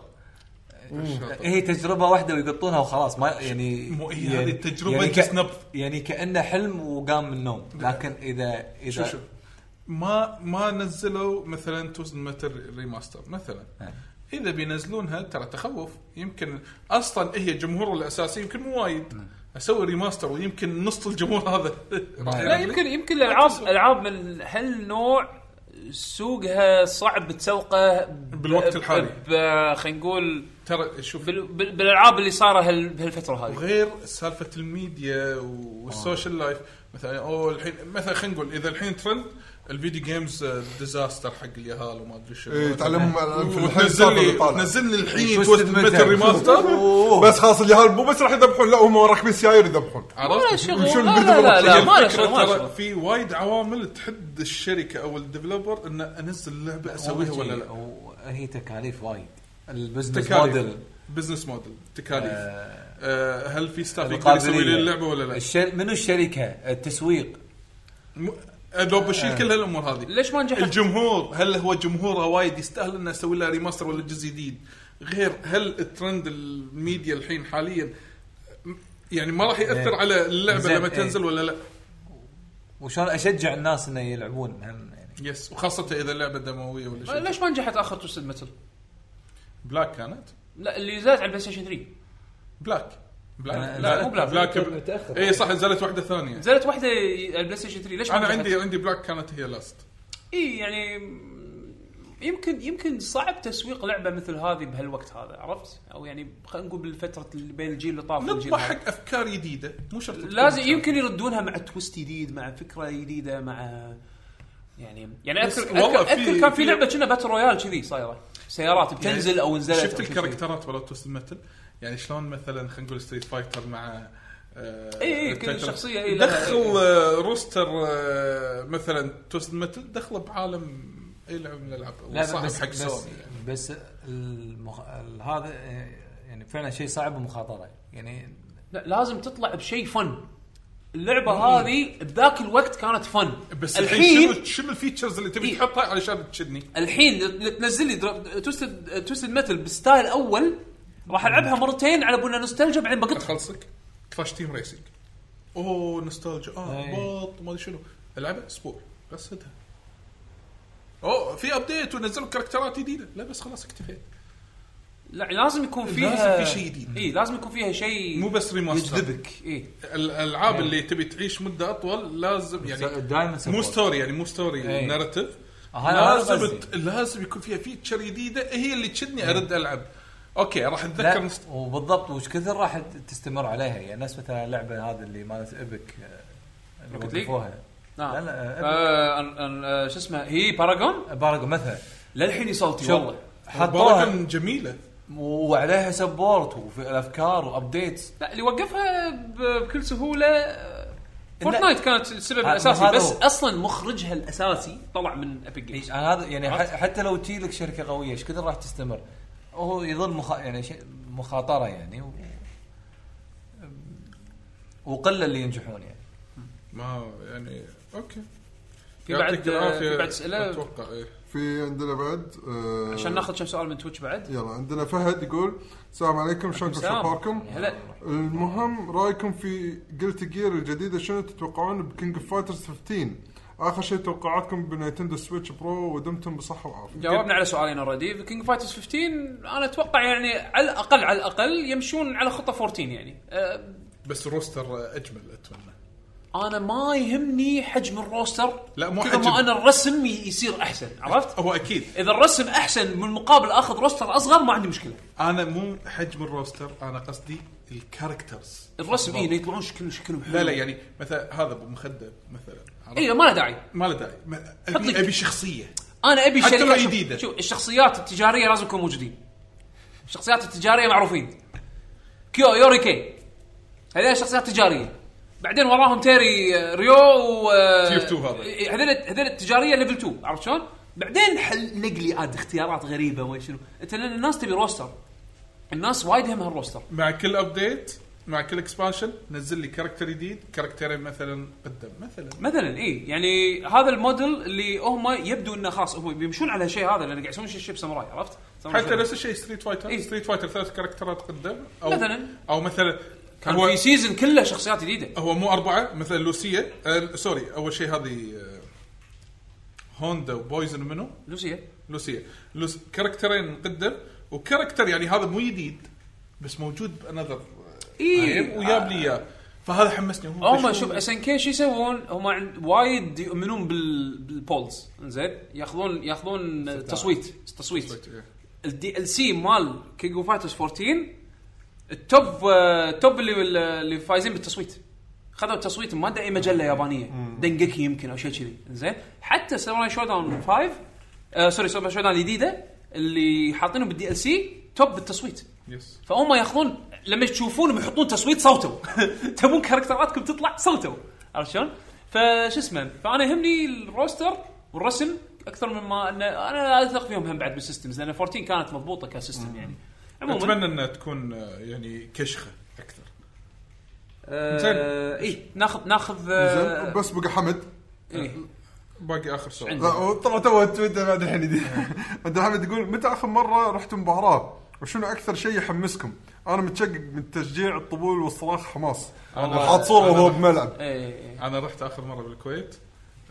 Speaker 3: الشاطر.
Speaker 6: هي تجربه واحده ويقطونها وخلاص ما يعني
Speaker 3: مو هي هذه التجربة
Speaker 6: ك-
Speaker 3: just نبض. نعم.
Speaker 6: يعني كانه حلم وقام من النوم لكن اذا اذا
Speaker 3: شو شو ما ما نزلوا مثلا توست متر ريماستر مثلا
Speaker 6: نعم.
Speaker 3: اذا بينزلونها ترى تخوف يمكن اصلا هي جمهوره الاساسي يمكن مو وايد اسوي ريماستر ويمكن نص الجمهور هذا راح
Speaker 6: نعم.
Speaker 2: لا
Speaker 3: يلعب
Speaker 2: يمكن
Speaker 3: لي.
Speaker 2: يمكن الالعاب العاب من هالنوع سوقها صعب تسوقه ب-
Speaker 3: بالوقت الحالي.
Speaker 2: ب- خلينا نقول
Speaker 3: ترى شوف
Speaker 2: بال- بال- بالالعاب اللي صارت هال- بهالفتره هذه
Speaker 3: غير سالفه الميديا والسوشيال لايف مثلا او الحين مثلا خلينا نقول اذا الحين ترند الفيديو جيمز ديزاستر حق اليهال وما ادري شنو
Speaker 4: إيه، تعلمهم على- في الحساب
Speaker 3: وتنزل
Speaker 4: اللي
Speaker 3: لي
Speaker 4: طالع
Speaker 3: نزل لي الحين
Speaker 6: شو يعني؟
Speaker 3: توست
Speaker 6: استدمتها؟
Speaker 3: متر ريماستر
Speaker 4: بس خلاص اللي هال مو بس راح يذبحون لا هم راكبين سياير يذبحون
Speaker 2: ولا
Speaker 3: عرفت؟
Speaker 2: شغل
Speaker 4: وشو
Speaker 2: لا لا
Speaker 4: البدل
Speaker 2: لا, لا
Speaker 3: هي
Speaker 2: ما له
Speaker 3: الفكرة
Speaker 2: شغل ما له
Speaker 3: ترى
Speaker 2: شغل.
Speaker 3: في وايد عوامل تحد الشركه او الديفلوبر ان انزل اللعبه اسويها ولا لا
Speaker 6: هي تكاليف وايد البزنس
Speaker 3: تكاليف
Speaker 6: موديل
Speaker 3: بزنس موديل تكاليف
Speaker 6: آه، يعني.
Speaker 3: آه، هل في ستاف يقدر يسوي لي اللعبه ولا لا؟
Speaker 6: الشر... منو الشركه التسويق
Speaker 3: م- لو بشيل
Speaker 6: آه.
Speaker 3: كل هالامور هذه
Speaker 2: ليش ما نجحت؟
Speaker 3: الجمهور هل هو جمهورها وايد يستاهل انه اسوي له ريماستر ولا جزء جديد؟ غير هل الترند الميديا الحين حاليا م- يعني ما راح ياثر
Speaker 6: إيه.
Speaker 3: على اللعبه
Speaker 6: زين،
Speaker 3: لما
Speaker 6: إيه.
Speaker 3: تنزل ولا لا؟
Speaker 6: وشلون اشجع الناس انه يلعبون هم يعني
Speaker 3: يس وخاصه اذا اللعبه دمويه ولا شيء
Speaker 2: ليش ما نجحت اخر توستد متل؟
Speaker 3: بلاك كانت
Speaker 2: لا اللي نزلت على البلاي ستيشن 3
Speaker 3: بلاك بلاك
Speaker 6: أنا-
Speaker 2: لا، مو بلاك.
Speaker 6: متأخر.
Speaker 3: اي إيه، صح نزلت واحده ثانيه
Speaker 2: نزلت واحده على البلاي ستيشن 3 ليش ما
Speaker 3: انا
Speaker 2: نجحت؟
Speaker 3: عندي عندي بلاك كانت هي لاست
Speaker 2: اي يعني يمكن يمكن صعب تسويق لعبه مثل هذه بهالوقت هذا عرفت؟ او يعني خلينا نقول بالفتره اللي بين الجيل اللي طاف والجيل
Speaker 3: نطمح
Speaker 2: هذا.
Speaker 3: حق افكار جديده مو شرط تكون
Speaker 2: لازم
Speaker 3: مشابهة.
Speaker 2: يمكن يردونها مع تويست جديد مع فكره جديده مع يعني يعني
Speaker 3: بس
Speaker 2: اذكر
Speaker 3: والله
Speaker 2: اذكر,
Speaker 3: في-
Speaker 2: أذكر كان
Speaker 3: في- يعني
Speaker 2: في لعبه كنا باتل رويال كذي صايره سيارات بتنزل او نزلت
Speaker 3: شفت
Speaker 2: أو شي
Speaker 3: الكاركترات ولا توست متل يعني شلون مثلا خلينا نقول ستريت فايتر مع آه،
Speaker 2: إي إي، إيه، كل
Speaker 3: التايتل.
Speaker 2: شخصية إي لها-
Speaker 3: دخل آه، روستر آه، مثلا توست متل دخله بعالم اي لعبه من الالعاب وصعب حق
Speaker 6: بس,
Speaker 3: سوني يعني.
Speaker 6: بس المخ... ال- هذا آه، يعني فعلا شيء صعب ومخاطره يعني
Speaker 2: لا لازم تطلع بشيء فن اللعبه هذه بذاك الوقت كانت فن
Speaker 3: بس الحين
Speaker 2: الحين إيه.
Speaker 3: شنو شنو الفيتشرز اللي تبي
Speaker 2: إي.
Speaker 3: تحطها علشان تشدني
Speaker 2: الحين اللي تنزل لي درا- توستد توستد متل بستايل اول راح العبها مرتين على بنا نوستالجيا بعدين بقطها
Speaker 3: خلصك كراش تيم ريسنج اوه نوستالجيا اه
Speaker 6: إي.
Speaker 2: إيه.
Speaker 3: بط ما ادري شنو العبها اسبوع بس هدها اوه في ابديت ونزلوا كاركترات جديده لا بس خلاص اكتفيت
Speaker 2: لا لازم يكون فيها
Speaker 6: لازم في شيء جديد.
Speaker 2: اي لازم يكون فيها شيء إيه،
Speaker 3: مو بس ريماستر
Speaker 6: يجذبك إيه.
Speaker 2: اي
Speaker 3: الالعاب اللي تبي تعيش مده اطول لازم يعني
Speaker 6: دائما
Speaker 3: مو ستوري يعني مو ستوري
Speaker 6: إيه.
Speaker 3: ناريتيف
Speaker 6: هذا
Speaker 3: لازم
Speaker 6: قصدي. إيه.
Speaker 3: ت- لازم يكون فيها فيتشر جديده هي اللي تشدني ارد العب اوكي راح اتذكر
Speaker 6: لا
Speaker 3: مست...
Speaker 6: وبالضبط وش كثر راح ت- تستمر عليها يعني نفس مثلا اللعبه هذه اللي مالت ابك آه، اللي
Speaker 2: Rocket League؟
Speaker 6: وقفوها
Speaker 2: نعم
Speaker 6: لا، لا،
Speaker 2: آه، أن- أن- آه، شو اسمه هي باراجون
Speaker 6: باراجون مثلا
Speaker 2: للحين يصوتي
Speaker 6: شوف،
Speaker 2: والله
Speaker 6: حطوها
Speaker 3: مباراة جميله
Speaker 6: وعليها سبورت وفي الافكار وابديتس
Speaker 2: لا اللي وقفها ب- بكل سهوله آه، فورتنايت كانت السبب
Speaker 6: هذا-
Speaker 2: الاساسي
Speaker 6: هذا
Speaker 2: بس
Speaker 6: هو.
Speaker 2: اصلا مخرجها الاساسي طلع من ابيك جيمز
Speaker 6: إيش، أنا هذا يعني ح- حتى لو تجي لك شركه قويه ايش كثر راح تستمر هو يظل مخ... يعني شيء مخاطره يعني و... وقله اللي ينجحون يعني
Speaker 3: ما يعني اوكي
Speaker 2: في بعد- آه،
Speaker 3: يعطيك العافية.
Speaker 2: في بعد أسئلة؟
Speaker 3: اتوقع إيه.
Speaker 7: في عندنا بعد آه،
Speaker 2: عشان ناخذ كم سؤال من تويتش بعد
Speaker 7: يلا عندنا فهد يقول السلام عليكم شلونكم
Speaker 2: السلام.
Speaker 7: شخباركم؟
Speaker 2: هلا
Speaker 7: المهم رايكم في قلت جير الجديده شنو تتوقعون بكينج اوف فايترز 15 اخر شيء توقعاتكم بنينتندو سويتش برو ودمتم بصحه وعافيه
Speaker 2: جاوبنا على سؤالين اوريدي كينج فايترز 15 انا اتوقع يعني على الاقل على الاقل يمشون على خطه 14 يعني آه،
Speaker 3: بس روستر اجمل اتمنى
Speaker 2: انا ما يهمني حجم الروستر
Speaker 3: لا، مو
Speaker 2: كذا
Speaker 3: حجم.
Speaker 2: ما انا الرسم ي- يصير احسن عرفت؟
Speaker 3: هو اكيد
Speaker 2: اذا الرسم احسن من مقابل اخذ روستر اصغر ما عندي مشكله
Speaker 3: انا مو حجم الروستر انا قصدي الكاركترز
Speaker 2: الرسم اي يطلعون شكل شكلهم حلو
Speaker 3: لا لا يعني مثلا هذا ابو مخده مثلا عرفت؟
Speaker 2: ايوه ما له داعي
Speaker 3: ما له داعي ما-
Speaker 2: حط لك-
Speaker 3: ابي ابي شخصيه
Speaker 2: انا ابي
Speaker 3: حتى
Speaker 2: شركه
Speaker 3: لو جديدة.
Speaker 2: شوف الشخصيات التجاريه لازم يكونوا موجودين الشخصيات التجاريه معروفين كيو يوري كي هذول شخصيات تجاريه بعدين وراهم تيري آه، ريو و آه،
Speaker 3: تير تو هذا.
Speaker 2: إيه، هذول هذول التجاريه ليفل 2 عرفت شلون؟ بعدين حل نقلي عاد اختيارات غريبه وين شنو انت لان الناس تبي روستر الناس وايد يهمها الروستر
Speaker 3: مع كل ابديت مع كل اكسبانشن نزل لي كاركتر جديد كاركترين مثلا قدم مثلا
Speaker 2: مثلا اي يعني هذا الموديل اللي هم يبدو انه خلاص هم بيمشون على شيء هذا لان قاعد يسوون شيء شيء بساموراي عرفت؟ ساموراي
Speaker 3: حتى نفس الشيء ستريت فايتر
Speaker 2: إيه.
Speaker 3: ستريت فايتر ثلاث كاركترات قدم او
Speaker 2: مثلاً.
Speaker 3: او مثلا
Speaker 2: كان
Speaker 3: هو
Speaker 2: في سيزون كله شخصيات جديده
Speaker 3: هو مو اربعه مثلا لوسيا آه سوري اول شيء هذه آه، هوندا وبويزن منو
Speaker 2: لوسيا
Speaker 3: لوسيا لوس كاركترين قدم وكاركتر يعني هذا مو جديد بس موجود بانذر
Speaker 2: اي
Speaker 3: وياب لي اياه فهذا حمسني هو
Speaker 2: هم إيه. شوف اس ان كي شو يسوون؟ هم عند وايد يؤمنون بال... بالبولز زين ياخذون ياخذون تصويت تصويت
Speaker 3: إيه.
Speaker 2: الدي ال سي مال كينج اوف فايترز 14 التوب آه، التوب اللي اللي فايزين بالتصويت خذوا التصويت ما ادري اي مجله يابانيه دنجكي يمكن او شيء كذي زين حتى ساموراي شو داون 5 آه سوري ساموراي شو داون الجديده اللي حاطينهم بالدي ال سي توب بالتصويت
Speaker 3: يس
Speaker 2: فهم ياخذون لما تشوفونهم يحطون تصويت صوتوا تبون كاركتراتكم تطلع صوتوا عرفت شلون؟ فشو اسمه فانا يهمني الروستر والرسم اكثر مما ان انا اثق فيهم هم بعد بالسيستمز لان 14 كانت مضبوطه كسيستم يعني عموما
Speaker 3: اتمنى انها تكون آه، يعني كشخه اكثر
Speaker 2: آه اي ناخذ ناخذ
Speaker 7: زين
Speaker 2: آه
Speaker 7: بس بقى حمد
Speaker 2: إيه.
Speaker 3: باقي اخر سؤال
Speaker 2: عندي.
Speaker 7: لا هو طلع تو تويتر بعد الحين يدي. عبد الحميد يقول متى اخر مره رحتوا مباراه وشنو اكثر شيء يحمسكم؟ انا متشقق من تشجيع الطبول والصراخ حماس
Speaker 3: والله
Speaker 7: حاط صوره وهو بملعب
Speaker 2: إيه.
Speaker 3: انا رحت اخر مره بالكويت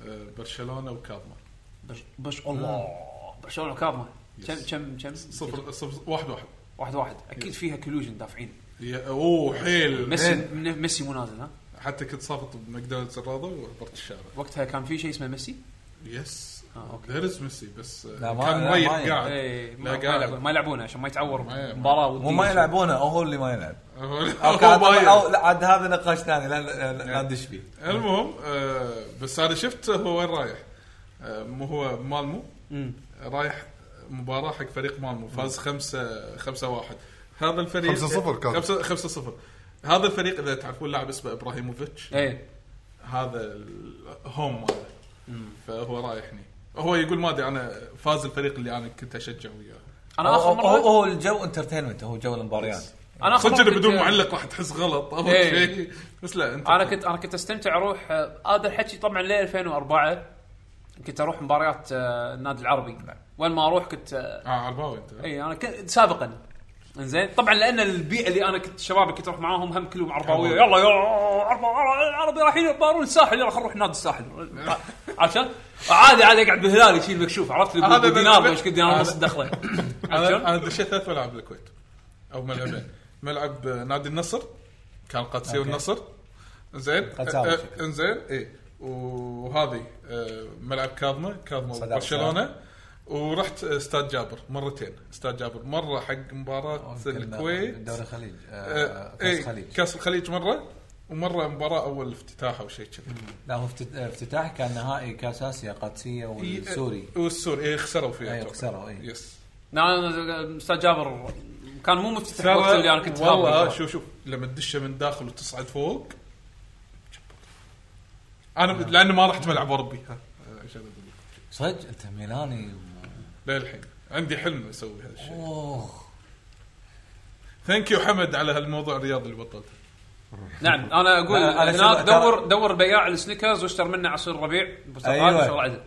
Speaker 3: آه، برشلونه وكاظمه
Speaker 2: بش بش الله برشلونه كاظمه كم كم كم
Speaker 3: صفر صفر واحد واحد
Speaker 2: واحد واحد اكيد فيها كلوجن دافعين
Speaker 3: يا- اوه حيل
Speaker 2: ميسي من- ميسي مو نازل ها
Speaker 3: حتى كنت صافط بماكدونالدز الراضه وعبرت الشارع
Speaker 2: وقتها كان في شيء اسمه ميسي
Speaker 3: يس
Speaker 2: آه، أوكي.
Speaker 3: غير ميسي بس آه،
Speaker 6: لا، ما-
Speaker 3: كان
Speaker 6: لا،
Speaker 3: مريح
Speaker 6: ما إيه. يلعب.
Speaker 3: قاعد
Speaker 2: ايه
Speaker 3: لا
Speaker 2: ما ما يلعبون
Speaker 3: قاعد
Speaker 2: ما يلعبون عشان ما يتعور
Speaker 3: ما-
Speaker 2: مباراه
Speaker 6: مو
Speaker 2: وديه
Speaker 6: ما يلعبونه او هو اللي ما يلعب
Speaker 3: هو يعني
Speaker 6: أو كان-
Speaker 3: باين.
Speaker 6: أو- لا عاد هذا نقاش ثاني لا لا- لا- لا ندش فيه
Speaker 3: المهم آه بس انا شفت هو وين رايح آه، مو هو مالمو رايح مباراه حق فريق مالمو فاز خمسة خمسة واحد هذا الفريق
Speaker 7: خمسة صفر كان.
Speaker 3: خمسة, خمسة صفر هذا الفريق اذا تعرفون لاعب اسمه ابراهيموفيتش
Speaker 2: ايه
Speaker 3: هذا الهوم ماله فهو رايح هني هو يقول ما ادري انا فاز الفريق اللي انا كنت اشجع وياه
Speaker 2: انا
Speaker 6: هو
Speaker 2: اخر مره
Speaker 6: هو الجو انترتينمنت هو جو المباريات
Speaker 2: انا اخر
Speaker 3: صدق
Speaker 2: مرة
Speaker 3: إنه
Speaker 2: كنت-
Speaker 3: بدون معلق راح تحس غلط اول
Speaker 2: إيه.
Speaker 3: شيء بس لا انت
Speaker 2: انا كنت انا كنت استمتع اروح آه، هذا الحكي طبعا ليه 2004 كنت اروح مباريات آه، النادي العربي وين ما اروح كنت آه،
Speaker 3: اه عرباوي انت
Speaker 2: اي انا كنت سابقا زين طبعا لان البيئه اللي انا كنت شبابي كنت اروح معاهم هم كلهم عرباويه يلا يلا عرب- عرب- العربي رايحين يبارون الساحل يلا خلينا نروح نادي الساحل عشان عادي عادي اقعد بالهلال يشيل مكشوف عرفت اللي
Speaker 3: هذا-
Speaker 2: بالدينار
Speaker 3: هذا-
Speaker 2: ايش كل دينار ونص
Speaker 3: هذا-
Speaker 2: دخله
Speaker 3: انا انا دشيت ثلاث ملاعب بالكويت او ملعبين ملعب آه، نادي النصر كان قادسية والنصر زين
Speaker 6: قادساوي
Speaker 3: آه، آه،
Speaker 6: شكله.
Speaker 3: انزين اي وهذه آه، ملعب كاظمه كاظمه
Speaker 6: صدام
Speaker 3: برشلونه ورحت استاد جابر مرتين استاد جابر مره حق مباراه الكويت
Speaker 6: دوري الخليج آه،
Speaker 3: آه،
Speaker 6: كاس
Speaker 3: إيه،
Speaker 6: الخليج
Speaker 3: كاس الخليج مره ومره مباراه اول افتتاح او شيء كذي
Speaker 6: لا هو افت- افتتاح كان نهائي كاس اسيا
Speaker 3: إيه،
Speaker 6: قادسيه والسوري
Speaker 3: والسوري إيه، خسروا فيها
Speaker 6: أي،
Speaker 3: أتوقع.
Speaker 6: أيوة، خسروا، إيه. أي.
Speaker 3: يس
Speaker 2: انا استاذ نعم، جابر كان مو مفتتح وقت اللي انا كنت
Speaker 3: ترى والله آه،
Speaker 2: خابر.
Speaker 3: شوف شوف لما تدشه من داخل وتصعد فوق انا
Speaker 2: نعم.
Speaker 3: ب- لاني ما رحت ملعب اوروبي ها عشان أقول لك.
Speaker 6: صدق انت ميلاني
Speaker 3: للحين عندي حلم اسوي هذا الشيء
Speaker 6: اوه
Speaker 3: ثانك يو حمد على هالموضوع الرياضي اللي بطلته
Speaker 2: نعم انا اقول
Speaker 6: أنا- أنا
Speaker 2: هناك
Speaker 6: شوف-
Speaker 2: دور دور بياع السنيكرز واشتر منه عصير ربيع برتقال
Speaker 6: أيوة.
Speaker 2: وشغل عدل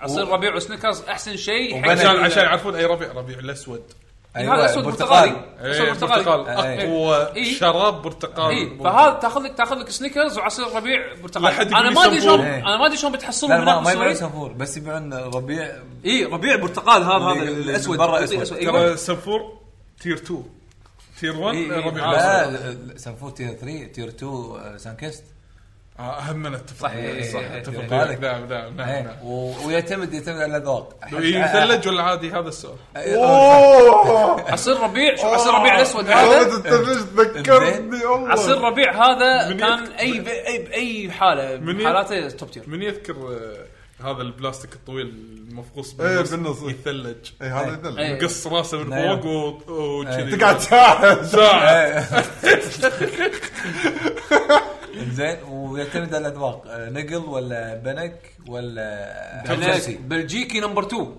Speaker 2: عصير ربيع وسنيكرز احسن شيء حق
Speaker 3: عشان
Speaker 2: ال-
Speaker 3: عشان يعرفون اي ربيع ربيع الاسود
Speaker 2: يعني
Speaker 6: أيوة،
Speaker 2: هذا اسود برتقالي
Speaker 3: إيه، أيوة.
Speaker 2: اسود برتقالي
Speaker 3: اقوى
Speaker 2: إيه.
Speaker 3: شراب برتقال
Speaker 2: اي
Speaker 3: موجود.
Speaker 2: فهذا تاخذ لك تاخذ لك سنيكرز وعصير ربيع برتقال
Speaker 3: لحد يقول
Speaker 2: انا ما ادري شلون
Speaker 3: يسمون.
Speaker 6: إيه.
Speaker 2: انا ما ادري شلون بتحصلهم
Speaker 6: لا ما
Speaker 2: هناك
Speaker 6: ما يبيعون
Speaker 2: بالسويد
Speaker 6: سنفور بس يبيعون ربيع
Speaker 2: اي ربيع برتقال هذا هذا
Speaker 6: اللي- اللي
Speaker 2: الاسود
Speaker 6: برا
Speaker 2: الأسود.
Speaker 6: أسود.
Speaker 2: أيوة.
Speaker 3: ترى سنفور تير 2 تير 1
Speaker 2: إيه، إيه.
Speaker 3: ربيع
Speaker 2: آه.
Speaker 3: الاسود
Speaker 6: لا لا، سنفور تير 3 تير 2 سانكيست
Speaker 3: آه، اهم من اتفق
Speaker 6: إيه،
Speaker 3: صح
Speaker 6: إيه،
Speaker 3: اتفق
Speaker 6: إيه.
Speaker 3: نعم نعم نعم نعم
Speaker 6: إيه، و- ويعتمد يعتمد على الاذواق أحس-
Speaker 3: إيه، يثلج ولا عادي هذا السؤال
Speaker 7: اوه
Speaker 2: عصير ربيع شو عصير ربيع الاسود
Speaker 7: هذا
Speaker 2: هذا
Speaker 7: التلج ذكرني والله
Speaker 2: عصير ربيع هذا
Speaker 3: من
Speaker 2: كان
Speaker 3: يذكر-
Speaker 2: اي باي باي حاله
Speaker 3: من
Speaker 2: من
Speaker 3: يذ-
Speaker 2: حالاته توب تير
Speaker 3: من يذكر آه، هذا البلاستيك الطويل المفقوس
Speaker 7: إيه، بالنص.
Speaker 3: يثلج
Speaker 7: اي هذا يدل
Speaker 2: إيه.
Speaker 3: يقص راسه من
Speaker 6: نعم.
Speaker 3: فوق و- وكذي
Speaker 7: تقعد ساعه
Speaker 3: ساعة
Speaker 6: زين ويعتمد على الاذواق آه، نقل ولا بنك ولا
Speaker 2: هناك
Speaker 6: بنك
Speaker 2: طيب، بلجيكي نمبر 2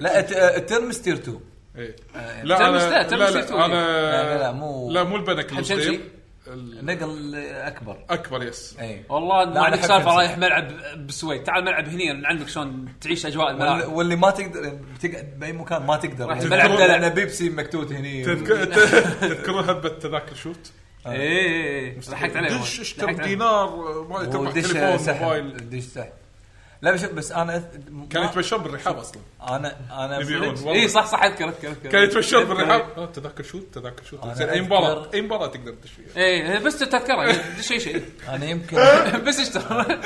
Speaker 6: لا الت- آه، الترمس تير 2
Speaker 3: إيه.
Speaker 6: آه،
Speaker 3: لا
Speaker 2: تلمس
Speaker 3: انا
Speaker 2: لا،
Speaker 3: لا
Speaker 2: تلمس يسوي.
Speaker 3: لا انا
Speaker 6: لا، لا، لا، مو-
Speaker 3: لا مو البنك
Speaker 2: حمشنشي.
Speaker 3: الصغير. ال-
Speaker 6: نقل اكبر
Speaker 3: اكبر يس
Speaker 6: اي
Speaker 2: والله ما
Speaker 6: أنا
Speaker 2: عندك
Speaker 6: أحب
Speaker 2: سالفه
Speaker 6: أمسك.
Speaker 2: رايح ملعب بالسويد تعال ملعب هنا عندك شلون تعيش اجواء
Speaker 6: وال-
Speaker 2: الملاعب
Speaker 6: واللي ما تقدر تقعد باي مكان ما تقدر
Speaker 2: نعم. راح
Speaker 6: يعني
Speaker 2: الملعب
Speaker 6: تقدر
Speaker 2: ده.
Speaker 6: على بيبسي مكتوت هني
Speaker 3: تذكر- ت- تذكرون هبه تذاكر شوت
Speaker 2: اي اي اي إيه، ضحكت عليه
Speaker 3: دش
Speaker 2: ضحكت
Speaker 3: اشتر
Speaker 2: عليه.
Speaker 3: دينار آه، ما تربح
Speaker 6: ودش
Speaker 3: تليفون موبايل
Speaker 6: سحب دش سحب لا بس بس انا أث- ما-
Speaker 3: كان يتمشون بالرحاب اصلا
Speaker 6: انا انا
Speaker 3: يبيعون والله
Speaker 2: اي إيه، صح صح اذكر اذكر اذكر
Speaker 3: كان يتمشون بالرحاب آه، تذاكر شوت تذاكر شوت
Speaker 6: أنا
Speaker 3: زين اي
Speaker 6: أذكر-
Speaker 3: مباراه اي مباراه تقدر تدش
Speaker 2: اي
Speaker 3: فيها
Speaker 2: إيه، بس تذكره دش اي شيء
Speaker 6: انا يمكن
Speaker 2: بس اشتر
Speaker 6: هو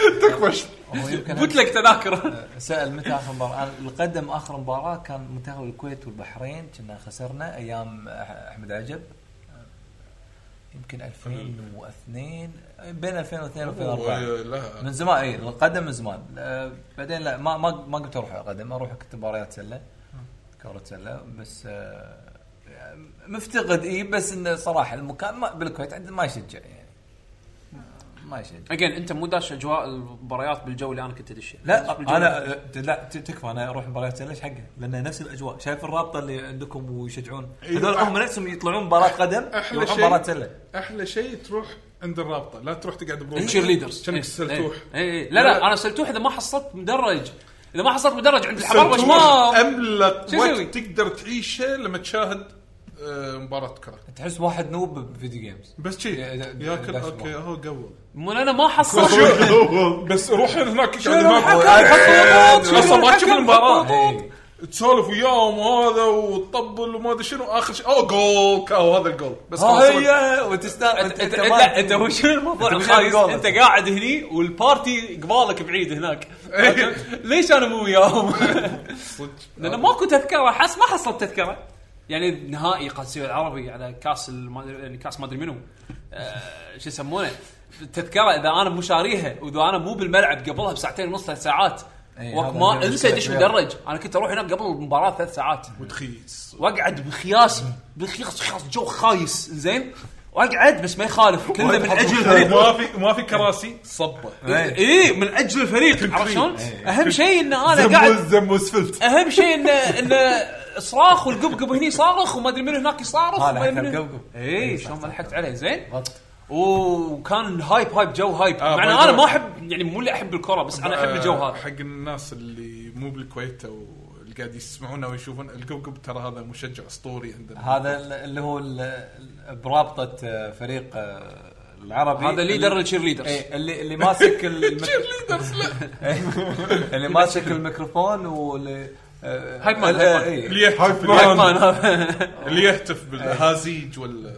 Speaker 6: يمكن
Speaker 2: قلت لك تذاكر
Speaker 6: سال متى اخر مباراه أنا القدم اخر مباراه كان منتخب الكويت والبحرين كنا خسرنا ايام أح- احمد عجب يمكن 2002 بين 2002 و2004
Speaker 3: أوه، لا
Speaker 6: من زمان اي القدم من زمان آه، بعدين لا ما ما ما قمت اروح القدم اروح كنت مباريات سله كره سله بس آه، مفتقد اي بس انه صراحه المكان ما بالكويت عندنا ما يشجع يعني ما يشجع
Speaker 2: اجين انت مو داش اجواء المباريات بالجو اللي انا كنت ادشه
Speaker 6: لا انا لا ت- تكفى انا اروح مباريات ليش حقه؟ لان نفس الاجواء شايف الرابطه اللي عندكم ويشجعون
Speaker 3: إيه.
Speaker 6: هذول هم نفسهم يطلعون مباراه قدم
Speaker 3: أحلى
Speaker 6: يروحون
Speaker 3: شيء.
Speaker 6: مباراه سله
Speaker 3: احلى شيء تروح عند الرابطه لا تروح تقعد بروحك
Speaker 2: تشير ليدرز
Speaker 3: كانك سلتوح
Speaker 2: اي إيه، لا لا انا سلتوح اذا ما حصلت مدرج اذا ما حصلت مدرج عند الحبربش
Speaker 3: سلتوح
Speaker 2: ما
Speaker 3: املك
Speaker 2: شو يسوي؟
Speaker 3: وقت تقدر تعيشه لما تشاهد آه، مباراه كره
Speaker 6: تحس واحد نوب بفيديو جيمز
Speaker 3: بس شي
Speaker 6: يا- يا-
Speaker 3: ياكل
Speaker 6: داش
Speaker 3: اوكي هو قول
Speaker 2: مو انا ما حصلت
Speaker 3: بس روح هناك يقعد
Speaker 2: الحكم
Speaker 3: هناك
Speaker 2: يحط نقط،
Speaker 3: إيه، أصلاً ما
Speaker 2: الحكم
Speaker 3: تشوف
Speaker 2: يحط
Speaker 3: المباراة.
Speaker 2: نقط.
Speaker 6: إيه.
Speaker 3: تسولف وياهم وهذا وتطبل وما ادري شنو اخر شيء اوه جول او هذا الجول بس
Speaker 6: اه
Speaker 3: خلاص
Speaker 6: هي وتستاهل
Speaker 2: انت
Speaker 6: انت
Speaker 2: انت
Speaker 6: أنت
Speaker 3: إيه،
Speaker 2: لا انت
Speaker 6: ما-
Speaker 2: هو شنو الموضوع
Speaker 6: أنت مش
Speaker 2: الخايس
Speaker 6: عارف
Speaker 2: انت
Speaker 6: جولك.
Speaker 2: قاعد هني والبارتي قبالك بعيد هناك ليش انا مو وياهم؟ لان ماكو تذكره حس ما حصلت تذكره يعني نهائي قادسية العربي على كاس الما- يعني كاس ما ادري منو آه، شو يسمونه التذكره اذا انا مو شاريها واذا انا مو بالملعب قبلها بساعتين ونص ثلاث ساعات
Speaker 6: إي،
Speaker 2: وقت
Speaker 6: هذا
Speaker 2: ما
Speaker 6: مشكلة
Speaker 2: انسى ادش
Speaker 6: كبيرة.
Speaker 2: مدرج انا كنت اروح هناك قبل المباراه ثلاث ساعات
Speaker 3: وتخيس
Speaker 2: واقعد بخياس بخياس خياس جو خايس زين واقعد بس ما يخالف كله من اجل الفريق
Speaker 3: ما في ما في كراسي صبه
Speaker 6: إيه.
Speaker 2: اي من اجل الفريق عرفت شلون؟ اهم شيء ان انا
Speaker 7: زم
Speaker 2: قاعد
Speaker 7: زم وسفلت
Speaker 2: اهم شيء ان ان صراخ والقبقب هني صارخ وما ادري منو هناك يصارخ
Speaker 6: آه، لحق
Speaker 2: وما أدري منو-
Speaker 6: القبقب.
Speaker 2: اي
Speaker 6: إي، صح،
Speaker 2: شلون ما
Speaker 6: صح،
Speaker 2: لحقت عليه زين
Speaker 6: غلط.
Speaker 2: وكان هايب هايب جو هايب مع ان
Speaker 3: باي
Speaker 2: انا
Speaker 3: جو.
Speaker 2: ما احب يعني مو اللي احب الكره بس انا احب الجو
Speaker 3: آه،
Speaker 2: هذا
Speaker 3: حق الناس اللي مو بالكويت او اللي قاعد يسمعونا ويشوفون القبقب ترى هذا مشجع اسطوري عندنا
Speaker 6: هذا ال- اللي هو ال- ال- برابطه آه، فريق آه، العربي
Speaker 2: هذا ليدر
Speaker 6: اللي-
Speaker 2: الشير ليدرز
Speaker 6: إيه، اللي اللي ماسك المك... اللي ماسك الميكروفون واللي آه، إيه،
Speaker 2: هايب مان، هايب مان.
Speaker 6: اي
Speaker 3: اللي يهتف
Speaker 2: هايب
Speaker 3: بالهاز-
Speaker 2: مان هذا.
Speaker 3: اللي يهتف
Speaker 2: إيه.
Speaker 3: بالهازيج ولا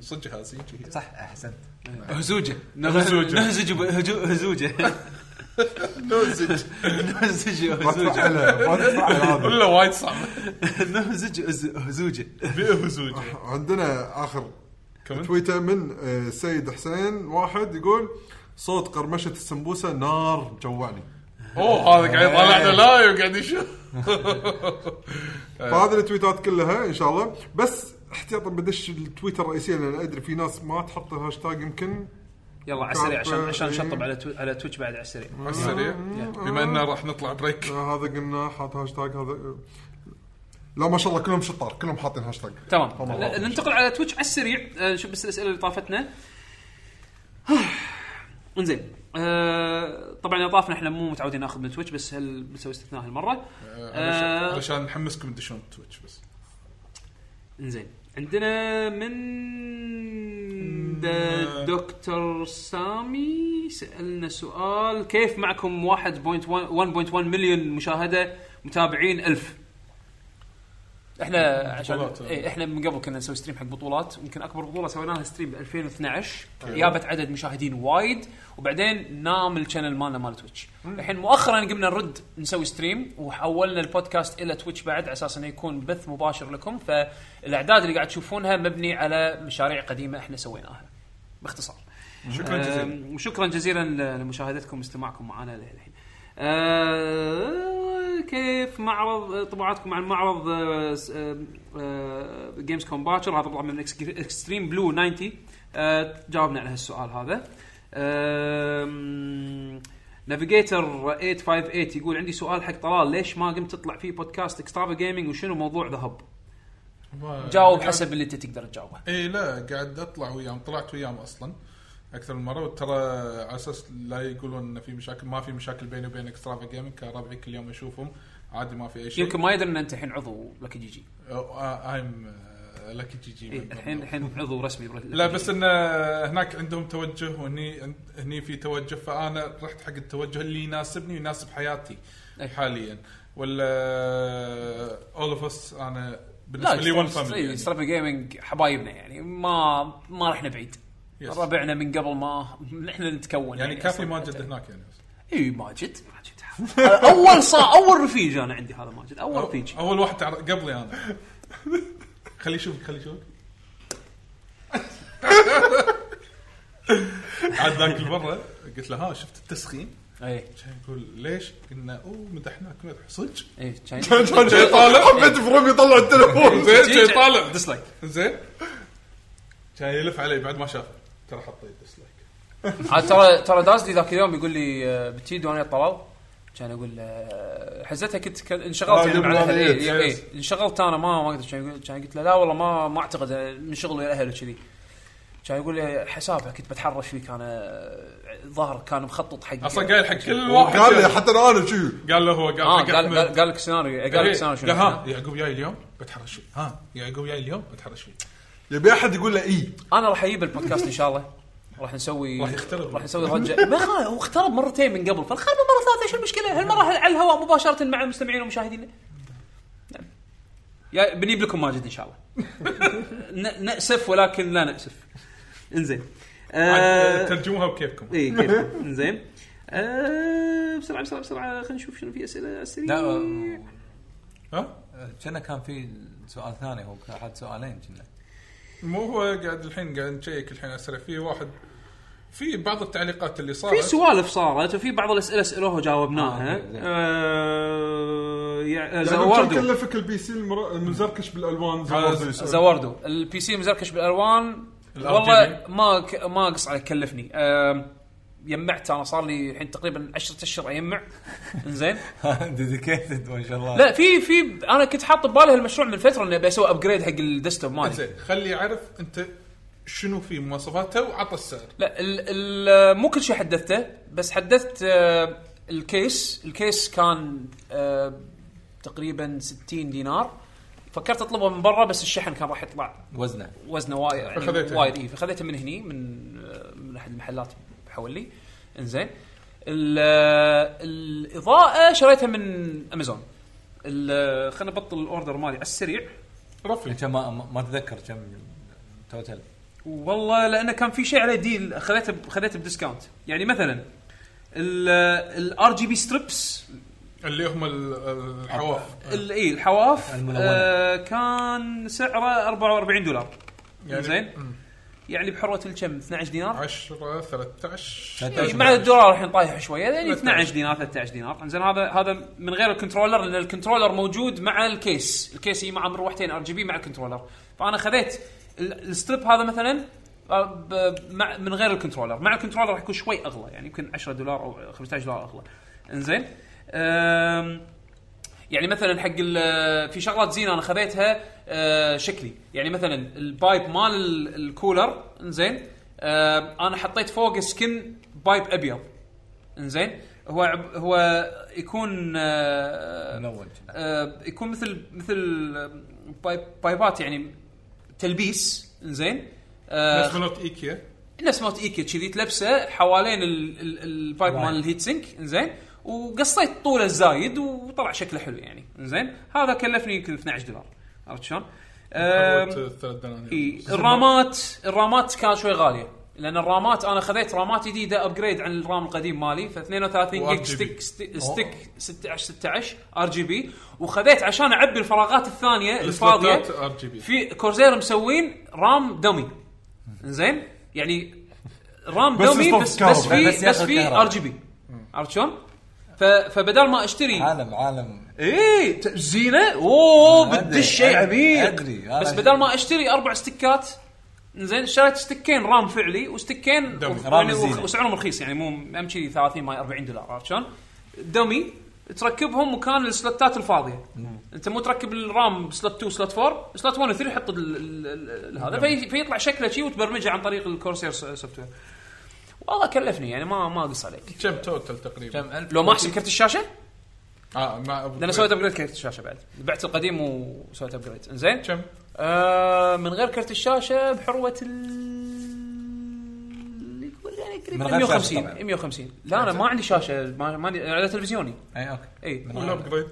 Speaker 3: صدق هازيج
Speaker 6: صح احسنت
Speaker 2: هزوجه
Speaker 3: هزوجة.
Speaker 2: نهزج ب- هجو- هزوجه
Speaker 3: نوزج
Speaker 2: نهزج
Speaker 4: ما
Speaker 2: هزوجه
Speaker 4: تفعله ما تفعله هذا
Speaker 3: ولا وايد صعب
Speaker 2: نهزج هز- هزوجه
Speaker 3: بهزوج
Speaker 7: عندنا اخر
Speaker 3: كمل.
Speaker 7: تويتر من آه، سيد حسين واحد يقول صوت قرمشه السمبوسه نار جوعني
Speaker 3: اوه هذا قاعد
Speaker 2: إيه.
Speaker 3: يطالعنا لايف قاعد يشوف
Speaker 7: فهذه التويتات كلها ان شاء الله بس احتياطا بدش التويتر الرئيسيه لان ادري في ناس ما تحط الهاشتاج يمكن
Speaker 2: يلا على السريع عشان عشان نشطب على تو- على تويتش بعد على السريع
Speaker 3: على السريع بما انه راح نطلع بريك
Speaker 7: آه، هذا قلنا حاط هاشتاج هذا لا ما شاء الله كلهم شطار كلهم حاطين هاشتاج
Speaker 2: تمام ن- ننتقل على تويتش على السريع آه، نشوف بس الاسئله اللي طافتنا انزين آه، طبعا اللي طافنا احنا مو متعودين ناخذ من تويتش بس هل بنسوي استثناء هالمره آه.
Speaker 3: علشان- علشان نحمسكم تدشون تويتش بس
Speaker 2: انزين عندنا من د- دكتور سامي سالنا سؤال كيف معكم 1.1 1.1 مليون مشاهده متابعين 1000 احنا عشان
Speaker 3: بطولات.
Speaker 2: ايه احنا من قبل كنا نسوي ستريم حق بطولات يمكن اكبر بطوله سوينا لها ستريم ب 2012 جابت عدد مشاهدين وايد وبعدين نام الشانل مالنا مال تويتش الحين مؤخرا قمنا نرد نسوي ستريم وحولنا البودكاست الى تويتش بعد على اساس انه يكون بث مباشر لكم فالاعداد اللي قاعد تشوفونها مبني على مشاريع قديمه احنا سويناها باختصار
Speaker 3: شكرا
Speaker 2: آه.
Speaker 3: جزيلا
Speaker 2: أم، وشكرا جزيلا ل- لمشاهدتكم واستماعكم معنا للحين أه، كيف معرض طبعاتكم عن معرض آه، جيمز كوم باتشر آه، هذا طبعا من اكستريم بلو 90 أه، جاوبنا على هالسؤال هذا نافيجيتر 858 يقول عندي سؤال حق طلال ليش ما قمت تطلع فيه بودكاست اكسترافا جيمنج وشنو موضوع ذهب؟ جاوب حسب اللي انت تقدر تجاوبه
Speaker 3: اي إيه، لا قاعد اطلع وياهم طلعت وياهم اصلا اكثر من مره وترى على اساس لا يقولون ان في مشاكل ما في مشاكل بيني وبين اكسترافا جيمنج كان ربعي كل يوم اشوفهم عادي ما في اي شيء آه،
Speaker 2: يمكن ما يدري ان انت الحين عضو لكي جي جي
Speaker 3: ايم لكي جي جي
Speaker 2: إيه، الحين الحين عضو رسمي بر-
Speaker 3: لا
Speaker 2: Lucky
Speaker 3: بس ان هناك عندهم توجه وهني هني في توجه فانا رحت حق التوجه اللي يناسبني ويناسب حياتي
Speaker 2: أي.
Speaker 3: حاليا ولا آه، اول اوف اس انا بالنسبه لي يعني. ون فاميلي
Speaker 2: سترابل جيمنج حبايبنا يعني ما ما رحنا بعيد
Speaker 3: Yes.
Speaker 2: ربعنا من قبل ما احنا نتكون
Speaker 3: يعني كافي ماجد
Speaker 2: هنا
Speaker 3: هناك يعني
Speaker 2: اي ماجد ماجد اول صا اول رفيج انا عندي هذا ماجد اول رفيج
Speaker 3: اول واحد تعر- قبلي انا خليه يشوفك خليه يشوفك عاد ذاك المره قلت له ها شفت التسخين
Speaker 2: اي
Speaker 3: كان يقول ليش؟ قلنا اوه مدحناك مدح صدق
Speaker 2: اي كان
Speaker 3: جاي طالع
Speaker 7: حبيت فروم يطلع التليفون
Speaker 3: زين جاي طالع
Speaker 2: ديسلايك
Speaker 3: زين كان يلف علي بعد ما شافه ترى حطيت ديسلايك
Speaker 2: عاد آه، ترى ترى دازلي ذاك اليوم يقول لي آه، بتيد وانا طلال كان اقول آه، حزتها كنت ك- انشغلت
Speaker 4: آه،
Speaker 2: يعني مع
Speaker 4: قبل
Speaker 2: الاهل
Speaker 4: العملية،
Speaker 2: إيه، إيه، انشغلت انا ما ما اقدر كان يقول- كان قلت له لا والله ما ما اعتقد آه، من شغلي الاهل وكذي كان يقول لي حسابها كنت بتحرش فيك انا آه، ظهر كان مخطط حق
Speaker 3: اصلا قايل حق كل واحد
Speaker 7: قال لي حتى انا شو
Speaker 3: قال له هو قال
Speaker 2: اه
Speaker 3: حق
Speaker 2: قال قال-
Speaker 3: احمد
Speaker 2: قال لك سيناريو قال لك
Speaker 3: إيه،
Speaker 2: سيناريو
Speaker 3: قال
Speaker 2: شنو يعني."
Speaker 3: ها يعقوب جاي اليوم بتحرش فيه ها يعقوب جاي اليوم بتحرش فيه
Speaker 4: يبي احد يقول له اي
Speaker 2: انا راح اجيب البودكاست ان شاء الله راح نسوي
Speaker 3: راح يخترب.
Speaker 2: راح نسوي ضجه ما خا- هو اخترب مرتين من قبل فالخرب مره ثالثه شو المشكله هالمره على الهواء مباشره مع المستمعين ومشاهدينا نعم. يا بنجيب لكم ماجد ان شاء الله ن- ناسف ولكن لا ناسف انزين آه،
Speaker 3: عاد ترجموها بكيفكم
Speaker 2: اي كيف انزين آه، بسرعه بسرعه بسرعه خلينا نشوف شنو في اسئله على السريع
Speaker 6: لا
Speaker 2: آه،
Speaker 6: آه،
Speaker 3: ها
Speaker 6: كنا كان في سؤال ثاني هو كان حد سؤالين كنا
Speaker 3: مو هو قاعد الحين قاعد نشيك الحين اسرع في واحد في بعض التعليقات اللي
Speaker 2: في
Speaker 3: صارت
Speaker 2: سوالف صارت وفي بعض الاسئله سالوها وجاوبناها
Speaker 6: آه، أوكي، زين.
Speaker 2: آه، يع-
Speaker 7: كان
Speaker 2: زواردو
Speaker 7: كلفك البي سي المر- المزركش بالالوان
Speaker 3: هذا
Speaker 7: زواردو.
Speaker 2: زوردو البي سي مزركش بالالوان
Speaker 3: ال
Speaker 2: والله
Speaker 3: RGB.
Speaker 2: ما ك... ما اقص على كلفني أم... يمعت انا صار لي الحين تقريبا 10 اشهر اجمع انزين
Speaker 6: ديديكيتد ما شاء الله
Speaker 2: لا في في انا كنت حاط ببالي هالمشروع من فتره اني بسوي ابجريد حق الديسكتوب مالي
Speaker 3: زين خلي يعرف انت شنو في مواصفاته وعطى السعر
Speaker 2: لا ال... ال... مو كل شيء حدثته بس حدثت آه، الكيس الكيس كان آه، تقريبا 60 دينار فكرت اطلبه من برا بس الشحن كان راح يطلع
Speaker 6: وزنه
Speaker 2: وزنه وايد يعني
Speaker 3: فخذيته.
Speaker 2: وايد اي فخذيته من هني من آه، من احد المحلات حولي انزين ال- آه، الاضاءه شريتها من امازون ال- خلنا نبطل الاوردر مالي على السريع
Speaker 3: رفي
Speaker 6: كم ما, ما اتذكر كم توتل
Speaker 2: والله لانه كان في شيء عليه ديل خذيته ب- خذيته بديسكاونت يعني مثلا الار جي بي ستريبس
Speaker 3: اللي هم ال- الحواف
Speaker 2: اي إيه، الحواف
Speaker 6: الملونة.
Speaker 2: آه كان سعره 44 دولار
Speaker 3: يعني
Speaker 2: زين يعني بحروه الكم 12 دينار
Speaker 3: 10 13
Speaker 2: يعني
Speaker 6: 13
Speaker 2: مع الدولار الحين طايح شويه يعني
Speaker 3: 13.
Speaker 2: 12 دينار 13 دينار زين هذا هذا من غير الكنترولر لان الكنترولر موجود مع الكيس الكيس يجي معه مروحتين ار جي بي مع الكنترولر فانا خذيت ال- الستريب هذا مثلا آه، ب- مع من غير الكنترولر مع الكنترولر راح يكون شوي اغلى يعني يمكن 10 دولار او 15 دولار اغلى انزين أم، يعني مثلا حق ال- آه، في شغلات زينه انا خذيتها آه، شكلي يعني مثلا البايب مال ال- الكولر انزين آه، انا حطيت فوق سكن بايب ابيض انزين هو عب- هو يكون آه،
Speaker 6: منون
Speaker 2: آه، يكون مثل مثل آه، بايب بايبات يعني تلبيس انزين آه،
Speaker 3: نفس بنوت ايكيا
Speaker 2: نفس موت ايكي كذي تلبسه حوالين ال- ال- البايب
Speaker 6: وايد.
Speaker 2: مال الهيت سينك زين وقصيت طوله الزايد وطلع شكله حلو يعني زين هذا كلفني يمكن 12 دولار عرفت شلون؟ أم،
Speaker 3: حولت الثلاث دنانير
Speaker 2: إي، الرامات الرامات كانت شوي غاليه لان الرامات انا خذيت رامات جديده ابجريد عن الرام القديم مالي ف 32 جيج
Speaker 3: و RGB.
Speaker 2: ستيك ستيك- ستيك 16 16 ار جي بي وخذيت عشان اعبي الفراغات الثانيه الفاضيه
Speaker 3: ار جي بي
Speaker 2: في كورسير مسوين رام دمي زين يعني رام
Speaker 4: بس
Speaker 2: دمي
Speaker 4: يصرف
Speaker 2: بس بس
Speaker 4: كهرباء.
Speaker 2: في
Speaker 6: بس
Speaker 2: بس
Speaker 6: ياخذ
Speaker 2: في
Speaker 6: كهرباء.
Speaker 2: ار جي بي عرفت شلون؟ ف- فبدال ما اشتري
Speaker 6: عالم عالم
Speaker 2: اي ت- زينه اوه
Speaker 6: أدري،
Speaker 2: بتدش شيء
Speaker 6: أدري،
Speaker 2: عميق
Speaker 6: أدري، أنا
Speaker 2: بس
Speaker 6: أدري.
Speaker 2: بدال ما اشتري اربع ستكات زين اشتريت ستكين رام فعلي وستكين
Speaker 3: دمي.
Speaker 2: وخ-
Speaker 6: رام
Speaker 2: يعني
Speaker 6: زينة.
Speaker 2: وخ- وسعرهم رخيص يعني مو ام شي 30 ماي 40 دولار عرفت شلون؟ دمي تركبهم مكان السلوتات الفاضيه انت مو تركب الرام سلوت 2 سلوت 4 سلوت 1 و 3 حط ال- ال- ال- ال- هذا في- فيطلع شكله شي وتبرمجه عن طريق الكورسير سوفت وير والله كلفني يعني ما ما اقص عليك
Speaker 3: كم توتل تقريبا؟
Speaker 6: كم الف
Speaker 2: لو ما احسب كرت الشاشه
Speaker 3: اه مع
Speaker 2: ده انا سويت ابجريد كرت الشاشه بعد بعت القديم وسويت ابجريد زين
Speaker 3: كم؟
Speaker 2: آه من غير كرت الشاشه بحروه ال يعني
Speaker 6: من
Speaker 2: قريبا
Speaker 6: غير شاشة
Speaker 2: 150
Speaker 6: طبعاً.
Speaker 2: 150 لا انا ما عندي شاشه ما ما عندي على تلفزيوني
Speaker 6: اي اوكي
Speaker 2: اي
Speaker 3: والابجريد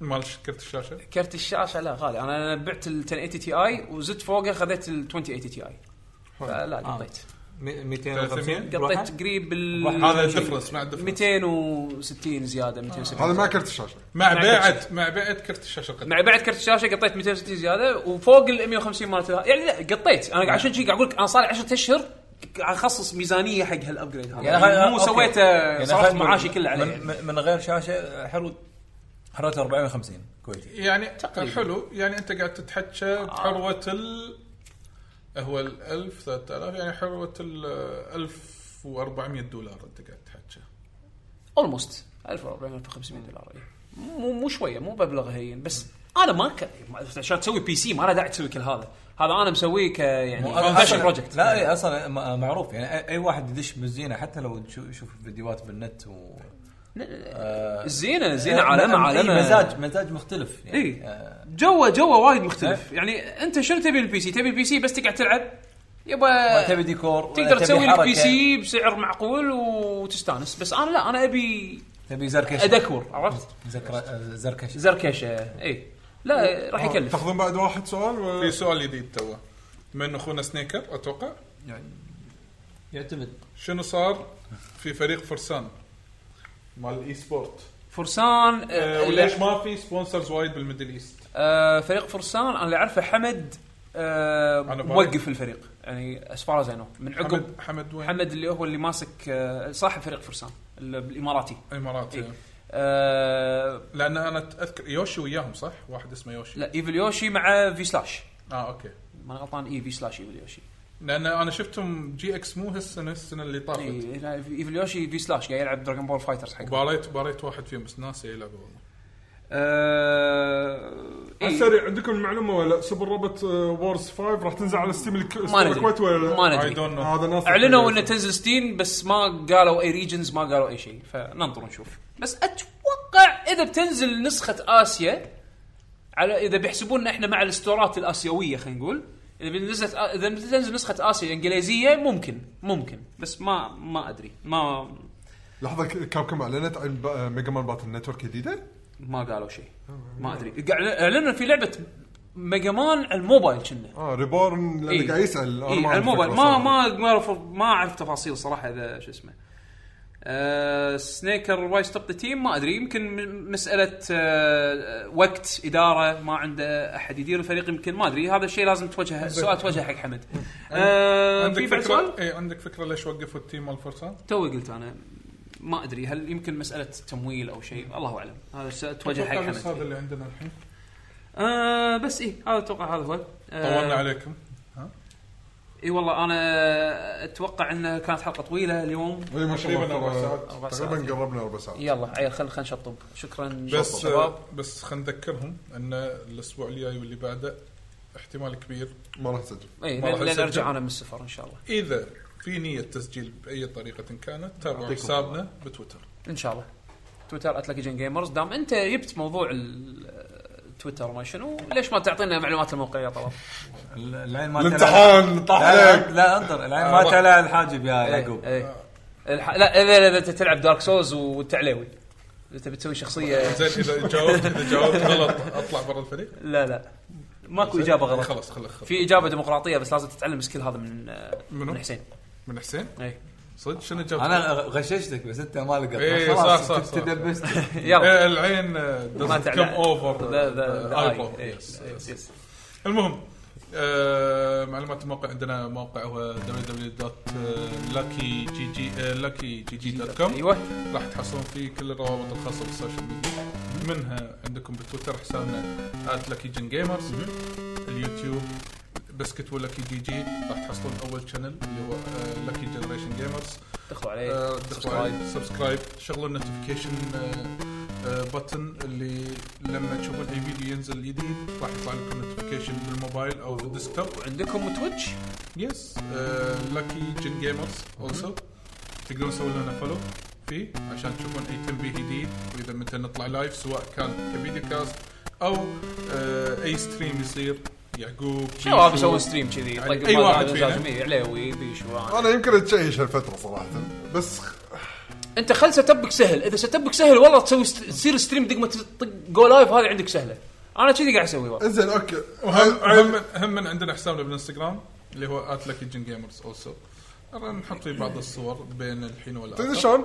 Speaker 3: مال ش- كرت الشاشه
Speaker 2: كرت الشاشه لا غالي انا أنا بعت ال 1080 تي اي وزدت فوقه خذيت ال 2080 تي اي فلا قطيت
Speaker 5: 250
Speaker 3: 300.
Speaker 2: قطيت قريب ال
Speaker 3: هذا الدفرنس مع الدفرنس
Speaker 2: 260 زياده 270
Speaker 7: هذا مع كرت الشاشه
Speaker 2: مع
Speaker 3: مع
Speaker 2: كرت
Speaker 3: بيعه مع بيعه كرت الشاشه القديم
Speaker 2: مع بعد كرت الشاشه قطيت 260 زياده وفوق ال 150 مالت ال- يعني لا قطيت
Speaker 6: نعم.
Speaker 2: انا عشان شي قاعد اقول لك انا صار لي 10 اشهر قاعد اخصص ميزانيه حق هالابجريد هذا
Speaker 6: يعني
Speaker 2: يعني
Speaker 6: خل-
Speaker 2: مو
Speaker 6: أوكي.
Speaker 2: سويته
Speaker 6: يعني
Speaker 2: صرفت
Speaker 6: خل-
Speaker 2: معاشي كله عليه
Speaker 6: من-
Speaker 2: يعني.
Speaker 6: من, من غير شاشه حلو حرته 40 50 كويتي
Speaker 3: يعني حلو يعني انت قاعد
Speaker 2: آه.
Speaker 3: تتحكى بحروه ال هو ال 1000 3000 يعني حروه ال 1400 دولار انت قاعد تتحكى
Speaker 2: اولموست 1400 1500 دولار إيه. مو مو شويه مو مبلغ هين بس انا ما ك... ما- عشان تسوي بي سي ما له داعي تسوي كل هذا هذا انا مسويه ك يعني فاشن بروجكت
Speaker 6: لا اي اصلا م- معروف يعني أي- اي واحد يدش بالزينه حتى لو تشو- يشوف فيديوهات بالنت و آه،
Speaker 2: زينه زينه
Speaker 6: آه،
Speaker 2: علامه
Speaker 6: إي،
Speaker 2: علامه
Speaker 6: مزاج مزاج مختلف يعني
Speaker 2: اي
Speaker 6: آه،
Speaker 2: جوه جوه وايد مختلف يعني انت شنو تبي البي سي تبي البي سي بس تقعد تلعب يبا
Speaker 6: ولا تبي ديكور ولا
Speaker 2: تقدر
Speaker 6: تبي
Speaker 2: تسوي
Speaker 6: حركة،
Speaker 2: البي سي بسعر معقول وتستانس بس انا لا انا ابي
Speaker 6: تبي زركشه
Speaker 2: ادكور عرفت
Speaker 6: زكرا- آه، زركشه
Speaker 2: زركشه اي لا راح يكلف
Speaker 7: تاخذون بعد واحد سؤال ولا
Speaker 2: آه.
Speaker 3: في سؤال جديد توه من اخونا سنيكر اتوقع
Speaker 6: يعتمد
Speaker 3: شنو صار في فريق فرسان مال الاي سبورت
Speaker 2: فرسان
Speaker 3: أه
Speaker 2: آه،
Speaker 3: وليش ما في سبونسرز وايد بالميدل ايست
Speaker 2: آه، فريق فرسان انا اللي اعرفه حمد آه،
Speaker 3: أنا بعرف.
Speaker 2: موقف الفريق يعني از فار از من عقب
Speaker 3: حمد حمد وين؟
Speaker 2: حمد اللي هو اللي ماسك آه، صاحب فريق فرسان اللي بالاماراتي
Speaker 3: الامارات
Speaker 2: إيه.
Speaker 3: إيه.
Speaker 2: آه،
Speaker 3: لان انا اذكر يوشي وياهم صح؟ واحد اسمه يوشي
Speaker 2: لا ايفل يوشي مع في سلاش
Speaker 3: اه اوكي
Speaker 2: ما أنا غلطان اي في سلاش ايفل يوشي
Speaker 3: لان انا شفتهم جي اكس مو هالسنه السنه اللي طافت
Speaker 2: إي، إيه، لا، ايفل يوشي في سلاش قاعد يلعب دراجون بول فايترز حق
Speaker 3: باريت باريت واحد فيهم بس ناسي يلعبه والله
Speaker 2: آه،
Speaker 4: على
Speaker 2: إي،
Speaker 4: السريع عندكم المعلومه ولا سوبر روبوت آه، وورز 5 راح تنزل على ستيم الك- ستيم
Speaker 2: ما ندري
Speaker 4: الكويت ولا لا؟
Speaker 2: ما
Speaker 3: اي
Speaker 2: ندري
Speaker 3: دونت نو
Speaker 4: هذا ناس
Speaker 2: اعلنوا انه تنزل ستيم بس ما قالوا اي ريجنز ما قالوا اي شيء فننطر نشوف بس اتوقع اذا بتنزل نسخه اسيا على اذا بيحسبونا احنا مع الاستورات الاسيويه خلينا نقول اذا بنزلت اذا بتنزل نسخه اسيا انجليزيه ممكن ممكن بس ما ما ادري ما
Speaker 4: آه، لحظه كابكم اعلنت عن ب- ميجا مان باتل نتورك جديده
Speaker 2: ما قالوا شيء ما ادري قاعد اعلنوا في لعبه ميجا مان على الموبايل كنا
Speaker 4: اه ريبورن لانه قاعد يسال
Speaker 2: إيه على الموبايل ما ما ما اعرف ما اعرف تفاصيل صراحه اذا شو اسمه آه سنيكر واي ستوب ذا تيم ما ادري يمكن م- مساله آه وقت اداره ما عنده احد يدير الفريق يمكن ما ادري هذا الشيء لازم توجه سؤال توجه حق حمد آه في
Speaker 3: عندك
Speaker 2: بعد سؤال
Speaker 3: فكره اي عندك فكره ليش وقفوا التيم مال فرسان؟
Speaker 2: توي قلت انا ما ادري هل يمكن مساله تمويل او شيء الله اعلم هذا السؤال توجه حق
Speaker 3: أتوقع بس هذا
Speaker 2: حمد
Speaker 3: اللي عندنا الحين
Speaker 2: آه بس ايه هذا اتوقع هذا هو آه،
Speaker 3: طولنا عليكم
Speaker 2: اي والله انا اتوقع انها كانت حلقه طويله اليوم
Speaker 4: إيه،
Speaker 3: تقريبا أربع ساعات.
Speaker 2: أربع ساعات.
Speaker 7: تقريبا قربنا اربع ساعات
Speaker 2: يلا عيل خل خل نشطب شكرا
Speaker 3: بس
Speaker 2: شباب
Speaker 3: آه، بس خلينا نذكرهم ان الاسبوع الجاي واللي بعده احتمال كبير
Speaker 7: ما راح نسجل
Speaker 2: اي
Speaker 3: ما راح
Speaker 2: إيه، لين
Speaker 3: يصير
Speaker 2: ارجع
Speaker 3: جد.
Speaker 2: انا من السفر ان شاء الله
Speaker 3: اذا في نيه تسجيل باي طريقه كانت تابعوا
Speaker 7: يعطيكم
Speaker 3: حسابنا بتويتر
Speaker 2: ان شاء الله تويتر @لكيجن جيمرز دام انت جبت موضوع ال- تويتر ما شنو ليش ما تعطينا معلومات الموقع يا طلال
Speaker 6: العين ما
Speaker 4: الامتحان طاح
Speaker 6: لا
Speaker 4: عليك
Speaker 6: لا, لا انطر العين
Speaker 2: آه،
Speaker 6: ما تلا الحاجب
Speaker 2: إيه.
Speaker 6: يا يعقوب
Speaker 2: إي، إي. إيه. الح... لا اذا اذا انت تلعب دارك سوز وانت عليوي انت بتسوي شخصيه
Speaker 3: زين اذا جاوبت اذا جاوبت غلط اطلع برا الفريق
Speaker 2: لا لا ماكو اجابه غلط
Speaker 3: خلاص خلاص خلاص
Speaker 2: في اجابه ديمقراطيه بس لازم تتعلم السكيل هذا من آه،
Speaker 3: منو؟
Speaker 2: من حسين إيه.
Speaker 3: من حسين
Speaker 2: اي
Speaker 3: صدق شنو جاوبت؟
Speaker 6: انا غ- غششتك بس انت ما لقيت
Speaker 3: إيه، صح، صح، صح.
Speaker 6: تدبست
Speaker 2: يلا
Speaker 3: إيه، العين كم اوفر
Speaker 2: ذا
Speaker 3: آه،
Speaker 2: ذا إيه.
Speaker 3: المهم آه، معلومات الموقع عندنا موقع هو آه، www.luckygg.com
Speaker 2: ايوه
Speaker 3: راح تحصلون فيه كل الروابط الخاصه بالسوشيال ميديا منها عندكم بتويتر حسابنا @luckygengamers اليوتيوب بسكت ولاكي جي جي راح تحصلون اول شانل اللي هو آه، لاكي جنريشن جيمرز
Speaker 2: دخلوا عليه
Speaker 3: آه، دخلوا عليه، سبسكرايب شغلوا النوتيفيكيشن بتن اللي لما تشوفون اي فيديو ينزل جديد راح يطلع لكم نوتيفيكيشن بالموبايل او بالديسكتوب
Speaker 2: عندكم تويتش
Speaker 3: يس آه، لاكي جن جيمرز اولسو تقدرون تسوي لنا فولو فيه عشان تشوفون اي تنبيه جديد واذا متى نطلع لايف سواء كان كفيديو كاست او آه، اي ستريم يصير يعقوب
Speaker 2: شباب
Speaker 3: بيشو.
Speaker 2: يسوون ستريم كذي طيب
Speaker 3: يعني أي واحد فينا.
Speaker 2: عليوي بيشو أنا.
Speaker 7: انا يمكن اتشيش هالفتره صراحه بس
Speaker 2: انت خل سيت ابك سهل اذا سيت ابك سهل والله تسوي ست- تصير ستريم دق ما تطق جو لايف هذه عندك سهله انا كذي قاعد اسوي والله
Speaker 7: انزين اوكي
Speaker 3: هم هم من عندنا حسابنا بالانستغرام اللي هو @لاكي جن جيمرز اولسو نحط فيه بعض الصور بين الحين
Speaker 4: تدري
Speaker 3: والاخر
Speaker 4: شلون؟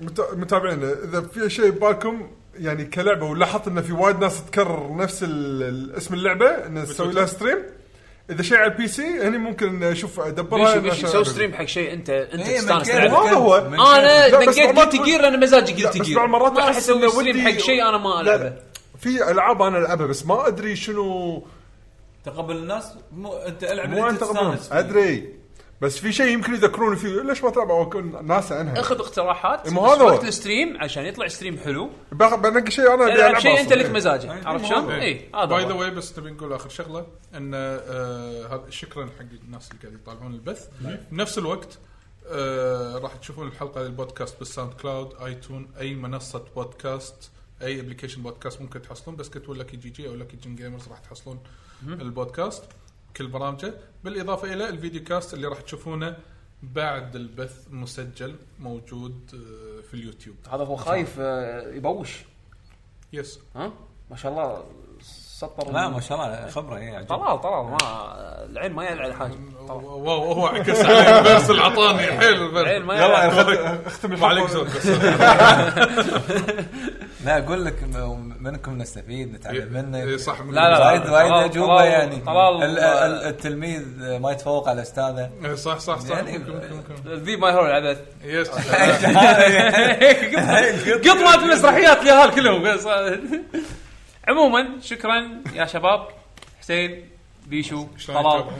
Speaker 4: مت- متابعينا اذا في شيء ببالكم يعني كلعبه ولاحظت ان في وايد ناس تكرر نفس ال- ال- اسم اللعبه انه تسوي لها ستريم اذا شيء على البي سي هني ممكن اشوف ادبرها
Speaker 2: بيشو بيشو
Speaker 4: عشان
Speaker 2: سوي
Speaker 4: أدري.
Speaker 2: ستريم حق شيء انت انت
Speaker 6: إيه،
Speaker 2: تستانس
Speaker 6: من كيف.
Speaker 2: تلعبه.
Speaker 4: هذا هو
Speaker 6: من
Speaker 2: انا
Speaker 4: لا، بس
Speaker 2: دقيت
Speaker 4: بعض
Speaker 2: قلت
Speaker 4: مرات-
Speaker 2: جير انا مزاجي قلت
Speaker 4: لا، بس
Speaker 2: جير
Speaker 4: بعض مرات
Speaker 2: ما راح
Speaker 4: أحس إنه
Speaker 2: اسوي ستريم
Speaker 4: ودي-
Speaker 2: حق شيء انا ما
Speaker 4: لا،
Speaker 2: العبه
Speaker 4: في العاب انا العبها بس ما ادري شنو
Speaker 6: تقبل الناس مو انت العب
Speaker 4: مو
Speaker 6: اللي
Speaker 4: عن
Speaker 6: انت
Speaker 4: تقبلهم
Speaker 6: تستانس فيه.
Speaker 4: ادري بس في شيء يمكن يذكروني فيه ليش ما تلعب او كن ناسى عنها
Speaker 2: اخذ اقتراحات
Speaker 4: إيه، ما هذا هو.
Speaker 2: وقت الستريم عشان يطلع ستريم حلو
Speaker 4: بأخ- بنقي شيء انا أبي
Speaker 2: العب
Speaker 4: ألعبه
Speaker 2: شيء
Speaker 4: أصلاً.
Speaker 2: انت لك
Speaker 4: إيه.
Speaker 2: مزاجك عرفت شلون؟
Speaker 3: إيه.
Speaker 2: اي هذا
Speaker 3: باي ذا
Speaker 2: هو.
Speaker 3: واي بس نبي نقول اخر شغله ان آه، هذا شكرا حق الناس اللي قاعد يطالعون البث نفس الوقت آه، راح تشوفون الحلقه للبودكاست بالساوند كلاود ايتون اي منصه بودكاست اي ابلكيشن بودكاست ممكن تحصلون بس كتبوا لكي جي جي او لكي جن جيمرز راح تحصلون البودكاست كل برامجه بالاضافه الى الفيديو كاست اللي راح تشوفونه بعد البث مسجل موجود آه، في اليوتيوب
Speaker 2: هذا هو خايف آه، يبوش
Speaker 3: يس
Speaker 2: ها ما شاء الله سطر
Speaker 6: لا ما شاء الله خبره ايه عجيب.
Speaker 2: طلال طلال ما العين ما يلعب حاجه طلال.
Speaker 3: واو هو عكس عليه الفيرس اللي عطاني حلو الفيرس.
Speaker 2: العين ما
Speaker 4: يلا
Speaker 2: يلعب
Speaker 4: أخت- اختم
Speaker 3: ما عليك
Speaker 4: الحلقه
Speaker 3: زود بس
Speaker 6: لا اقول لك م- منكم نستفيد نتعلم
Speaker 3: إيه،
Speaker 6: منك
Speaker 3: صح من
Speaker 2: لا، لا، لا.
Speaker 6: وايد وايد
Speaker 2: طلال-
Speaker 6: اجوبه
Speaker 2: طلال-
Speaker 6: يعني
Speaker 2: طلال-
Speaker 6: ال- ال- التلميذ ما يتفوق على استاذه
Speaker 3: إيه، صح صح صح
Speaker 6: يعني-
Speaker 3: ممكن ممكن ممكن
Speaker 2: ذي ما يهرب العبث
Speaker 3: يس
Speaker 2: قط مالت المسرحيات اللي هال كلهم بس عموما شكرا يا شباب حسين بيشو
Speaker 3: شلون
Speaker 2: طلال
Speaker 3: يتابعونك؟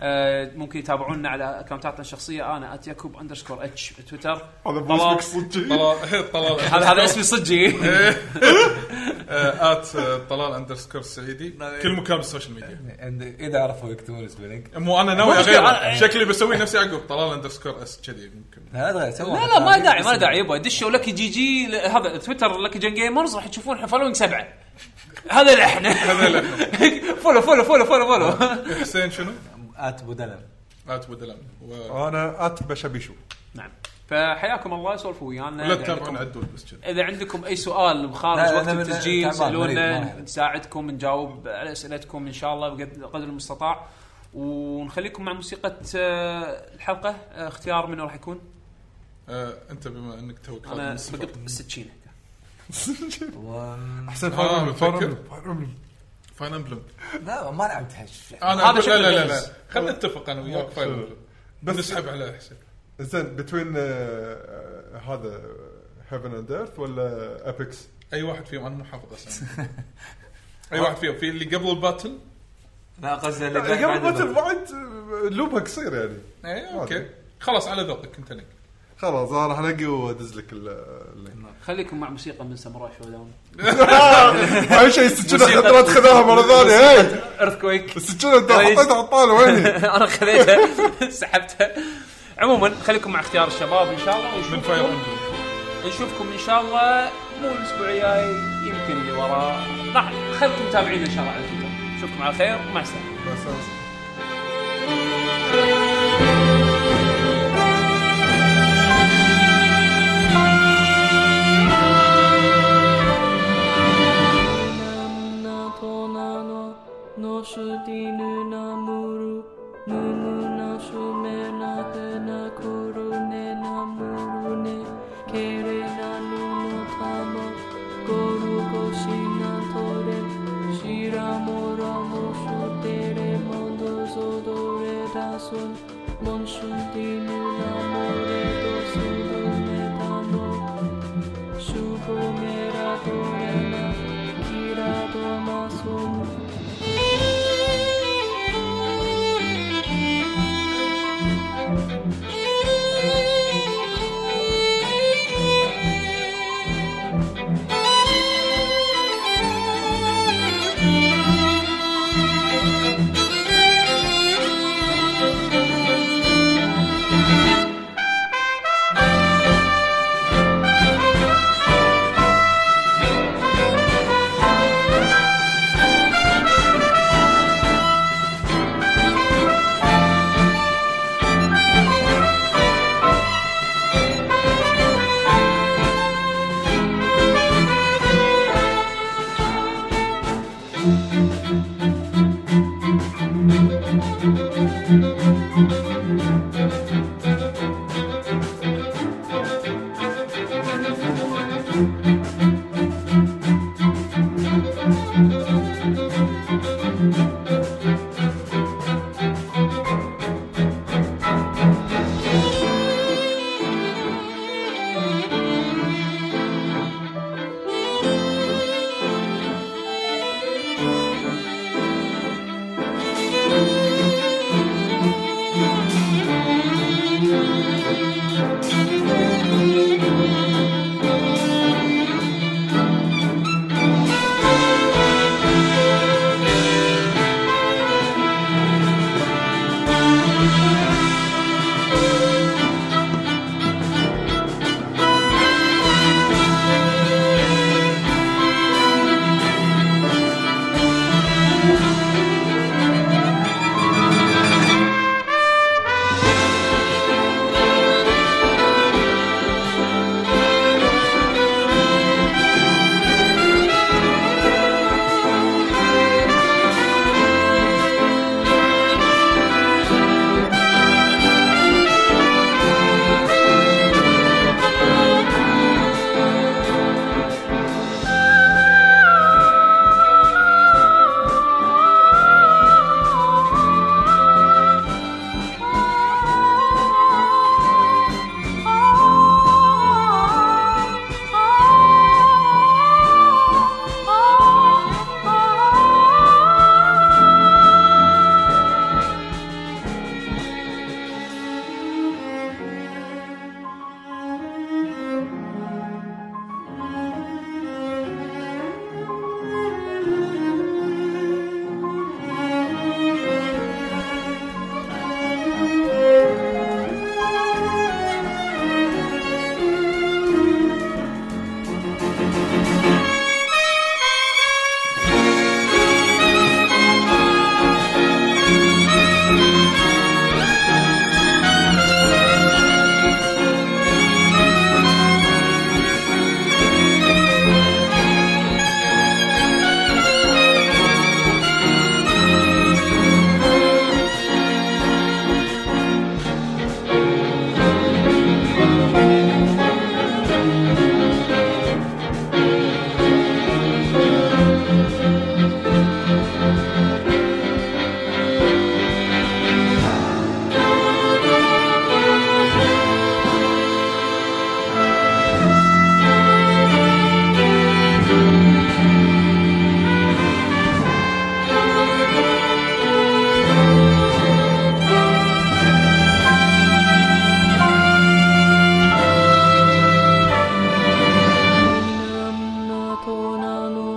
Speaker 2: آه، ممكن يتابعونا على اكونتاتنا الشخصيه انا @يكوب اندرسكور اتش تويتر
Speaker 7: هذا
Speaker 2: طلال.
Speaker 7: بوسك صدقي
Speaker 3: طلال إيه، طلال
Speaker 2: هذا هذا اسمي صجي
Speaker 3: آه، ات آه، طلال اندرسكور سعيدي كل مكان بالسوشيال ميديا
Speaker 6: عند- اذا عرفوا يكتبون سبيلنج
Speaker 3: مو انا ناوي
Speaker 2: مو مشكلة،
Speaker 3: اغير
Speaker 2: أنا-
Speaker 3: شكلي بسوي نفسي عقب طلال اندرسكور اس كذي ممكن
Speaker 6: لا لا سووا
Speaker 2: لا لا ما داعي ما داعي يبا دشوا لك جي جي ل- هذا تويتر لك جن جيمرز راح تشوفون فولوينج سبعه هذا اللي احنا
Speaker 3: هذا اللي
Speaker 2: فولو فولو فولو فولو فولو
Speaker 3: إيه، حسين شنو؟
Speaker 6: ات بودلم
Speaker 3: ات بدلم
Speaker 4: انا ات بشبيشو
Speaker 2: نعم فحياكم الله سولفوا ويانا
Speaker 3: ولا
Speaker 2: إذا
Speaker 3: تتابعون
Speaker 2: عندكم-
Speaker 3: عدول بس كذي
Speaker 2: اذا عندكم اي سؤال بخارج
Speaker 6: لا، لا،
Speaker 2: وقت
Speaker 6: لا، لا،
Speaker 2: التسجيل
Speaker 6: تعبان، مريض، ما
Speaker 2: سألونا
Speaker 6: نعرف.
Speaker 2: نساعدكم نجاوب على اسئلتكم ان شاء الله بقد- بقدر المستطاع ونخليكم مع موسيقى آه، الحلقه آه، اختيار منو راح يكون؟
Speaker 3: آه، انت بما انك توك خارج طيب، من
Speaker 2: انا
Speaker 3: السفر.
Speaker 2: بقط السكينه
Speaker 4: احسن
Speaker 3: آه،
Speaker 4: فاير
Speaker 3: مفكر.
Speaker 4: فاير
Speaker 3: فاين امبلم
Speaker 6: لا ما لعبت هالشيء
Speaker 3: انا
Speaker 2: هذا
Speaker 3: أقول- لا
Speaker 2: شكل
Speaker 3: لا لا,
Speaker 2: الجهاز.
Speaker 3: لا. خلينا نتفق انا وياك فاين امبلم
Speaker 4: بس-
Speaker 3: بس نسحب على حسين
Speaker 4: زين بتوين هذا هيفن اند ايرث ولا ابيكس؟
Speaker 3: اي واحد فيهم انا مو حافظ اسامي اي واحد فيهم في اللي قبل الباتل
Speaker 6: لا قصدي اللي بعد-
Speaker 4: يعني قبل
Speaker 6: بعد
Speaker 4: باتل
Speaker 6: البطل.
Speaker 4: بعد آه، لوبها قصير يعني
Speaker 3: اي
Speaker 4: هذا.
Speaker 3: اوكي إيه، خلاص على ذوقك انت نك
Speaker 4: خلاص انا راح انقي وادز لك ال- اللينك
Speaker 2: خليكم مع موسيقى من ساموراي شو داون
Speaker 4: اهم شيء السكينه خطرات خذاها مره ثانيه هي
Speaker 2: ايرث كويك
Speaker 4: السكينه انت
Speaker 2: كويس.
Speaker 4: حطيتها عطاله وين
Speaker 2: انا خذيتها سحبتها عموما خليكم مع اختيار الشباب ان شاء الله
Speaker 3: من فاير
Speaker 2: ونشوفكم
Speaker 3: امبلم
Speaker 2: نشوفكم ان شاء الله مو الاسبوع الجاي يمكن اللي وراه راح خليكم متابعين ان شاء الله على تويتر نشوفكم على خير ومع السلامه
Speaker 4: هي؟
Speaker 9: ナトナナノシュディヌナムルムムナシュメナヘナクルネナムルネケレナヌノタマゴルゴシナトレシラモラモシュテレモドゾドレダソンモンシュディヌナモレドソドレダノ Shugo mera dorena, kira do masum.
Speaker 10: シ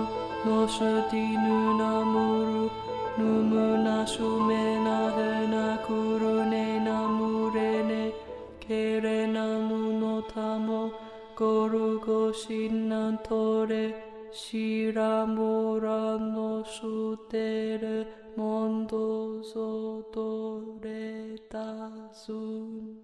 Speaker 10: ヌナムルヌムナシュメナヘナクルネナムレネケレナムノタモゴルゴシナントレシラモラノシュテレモンドゾドレタズン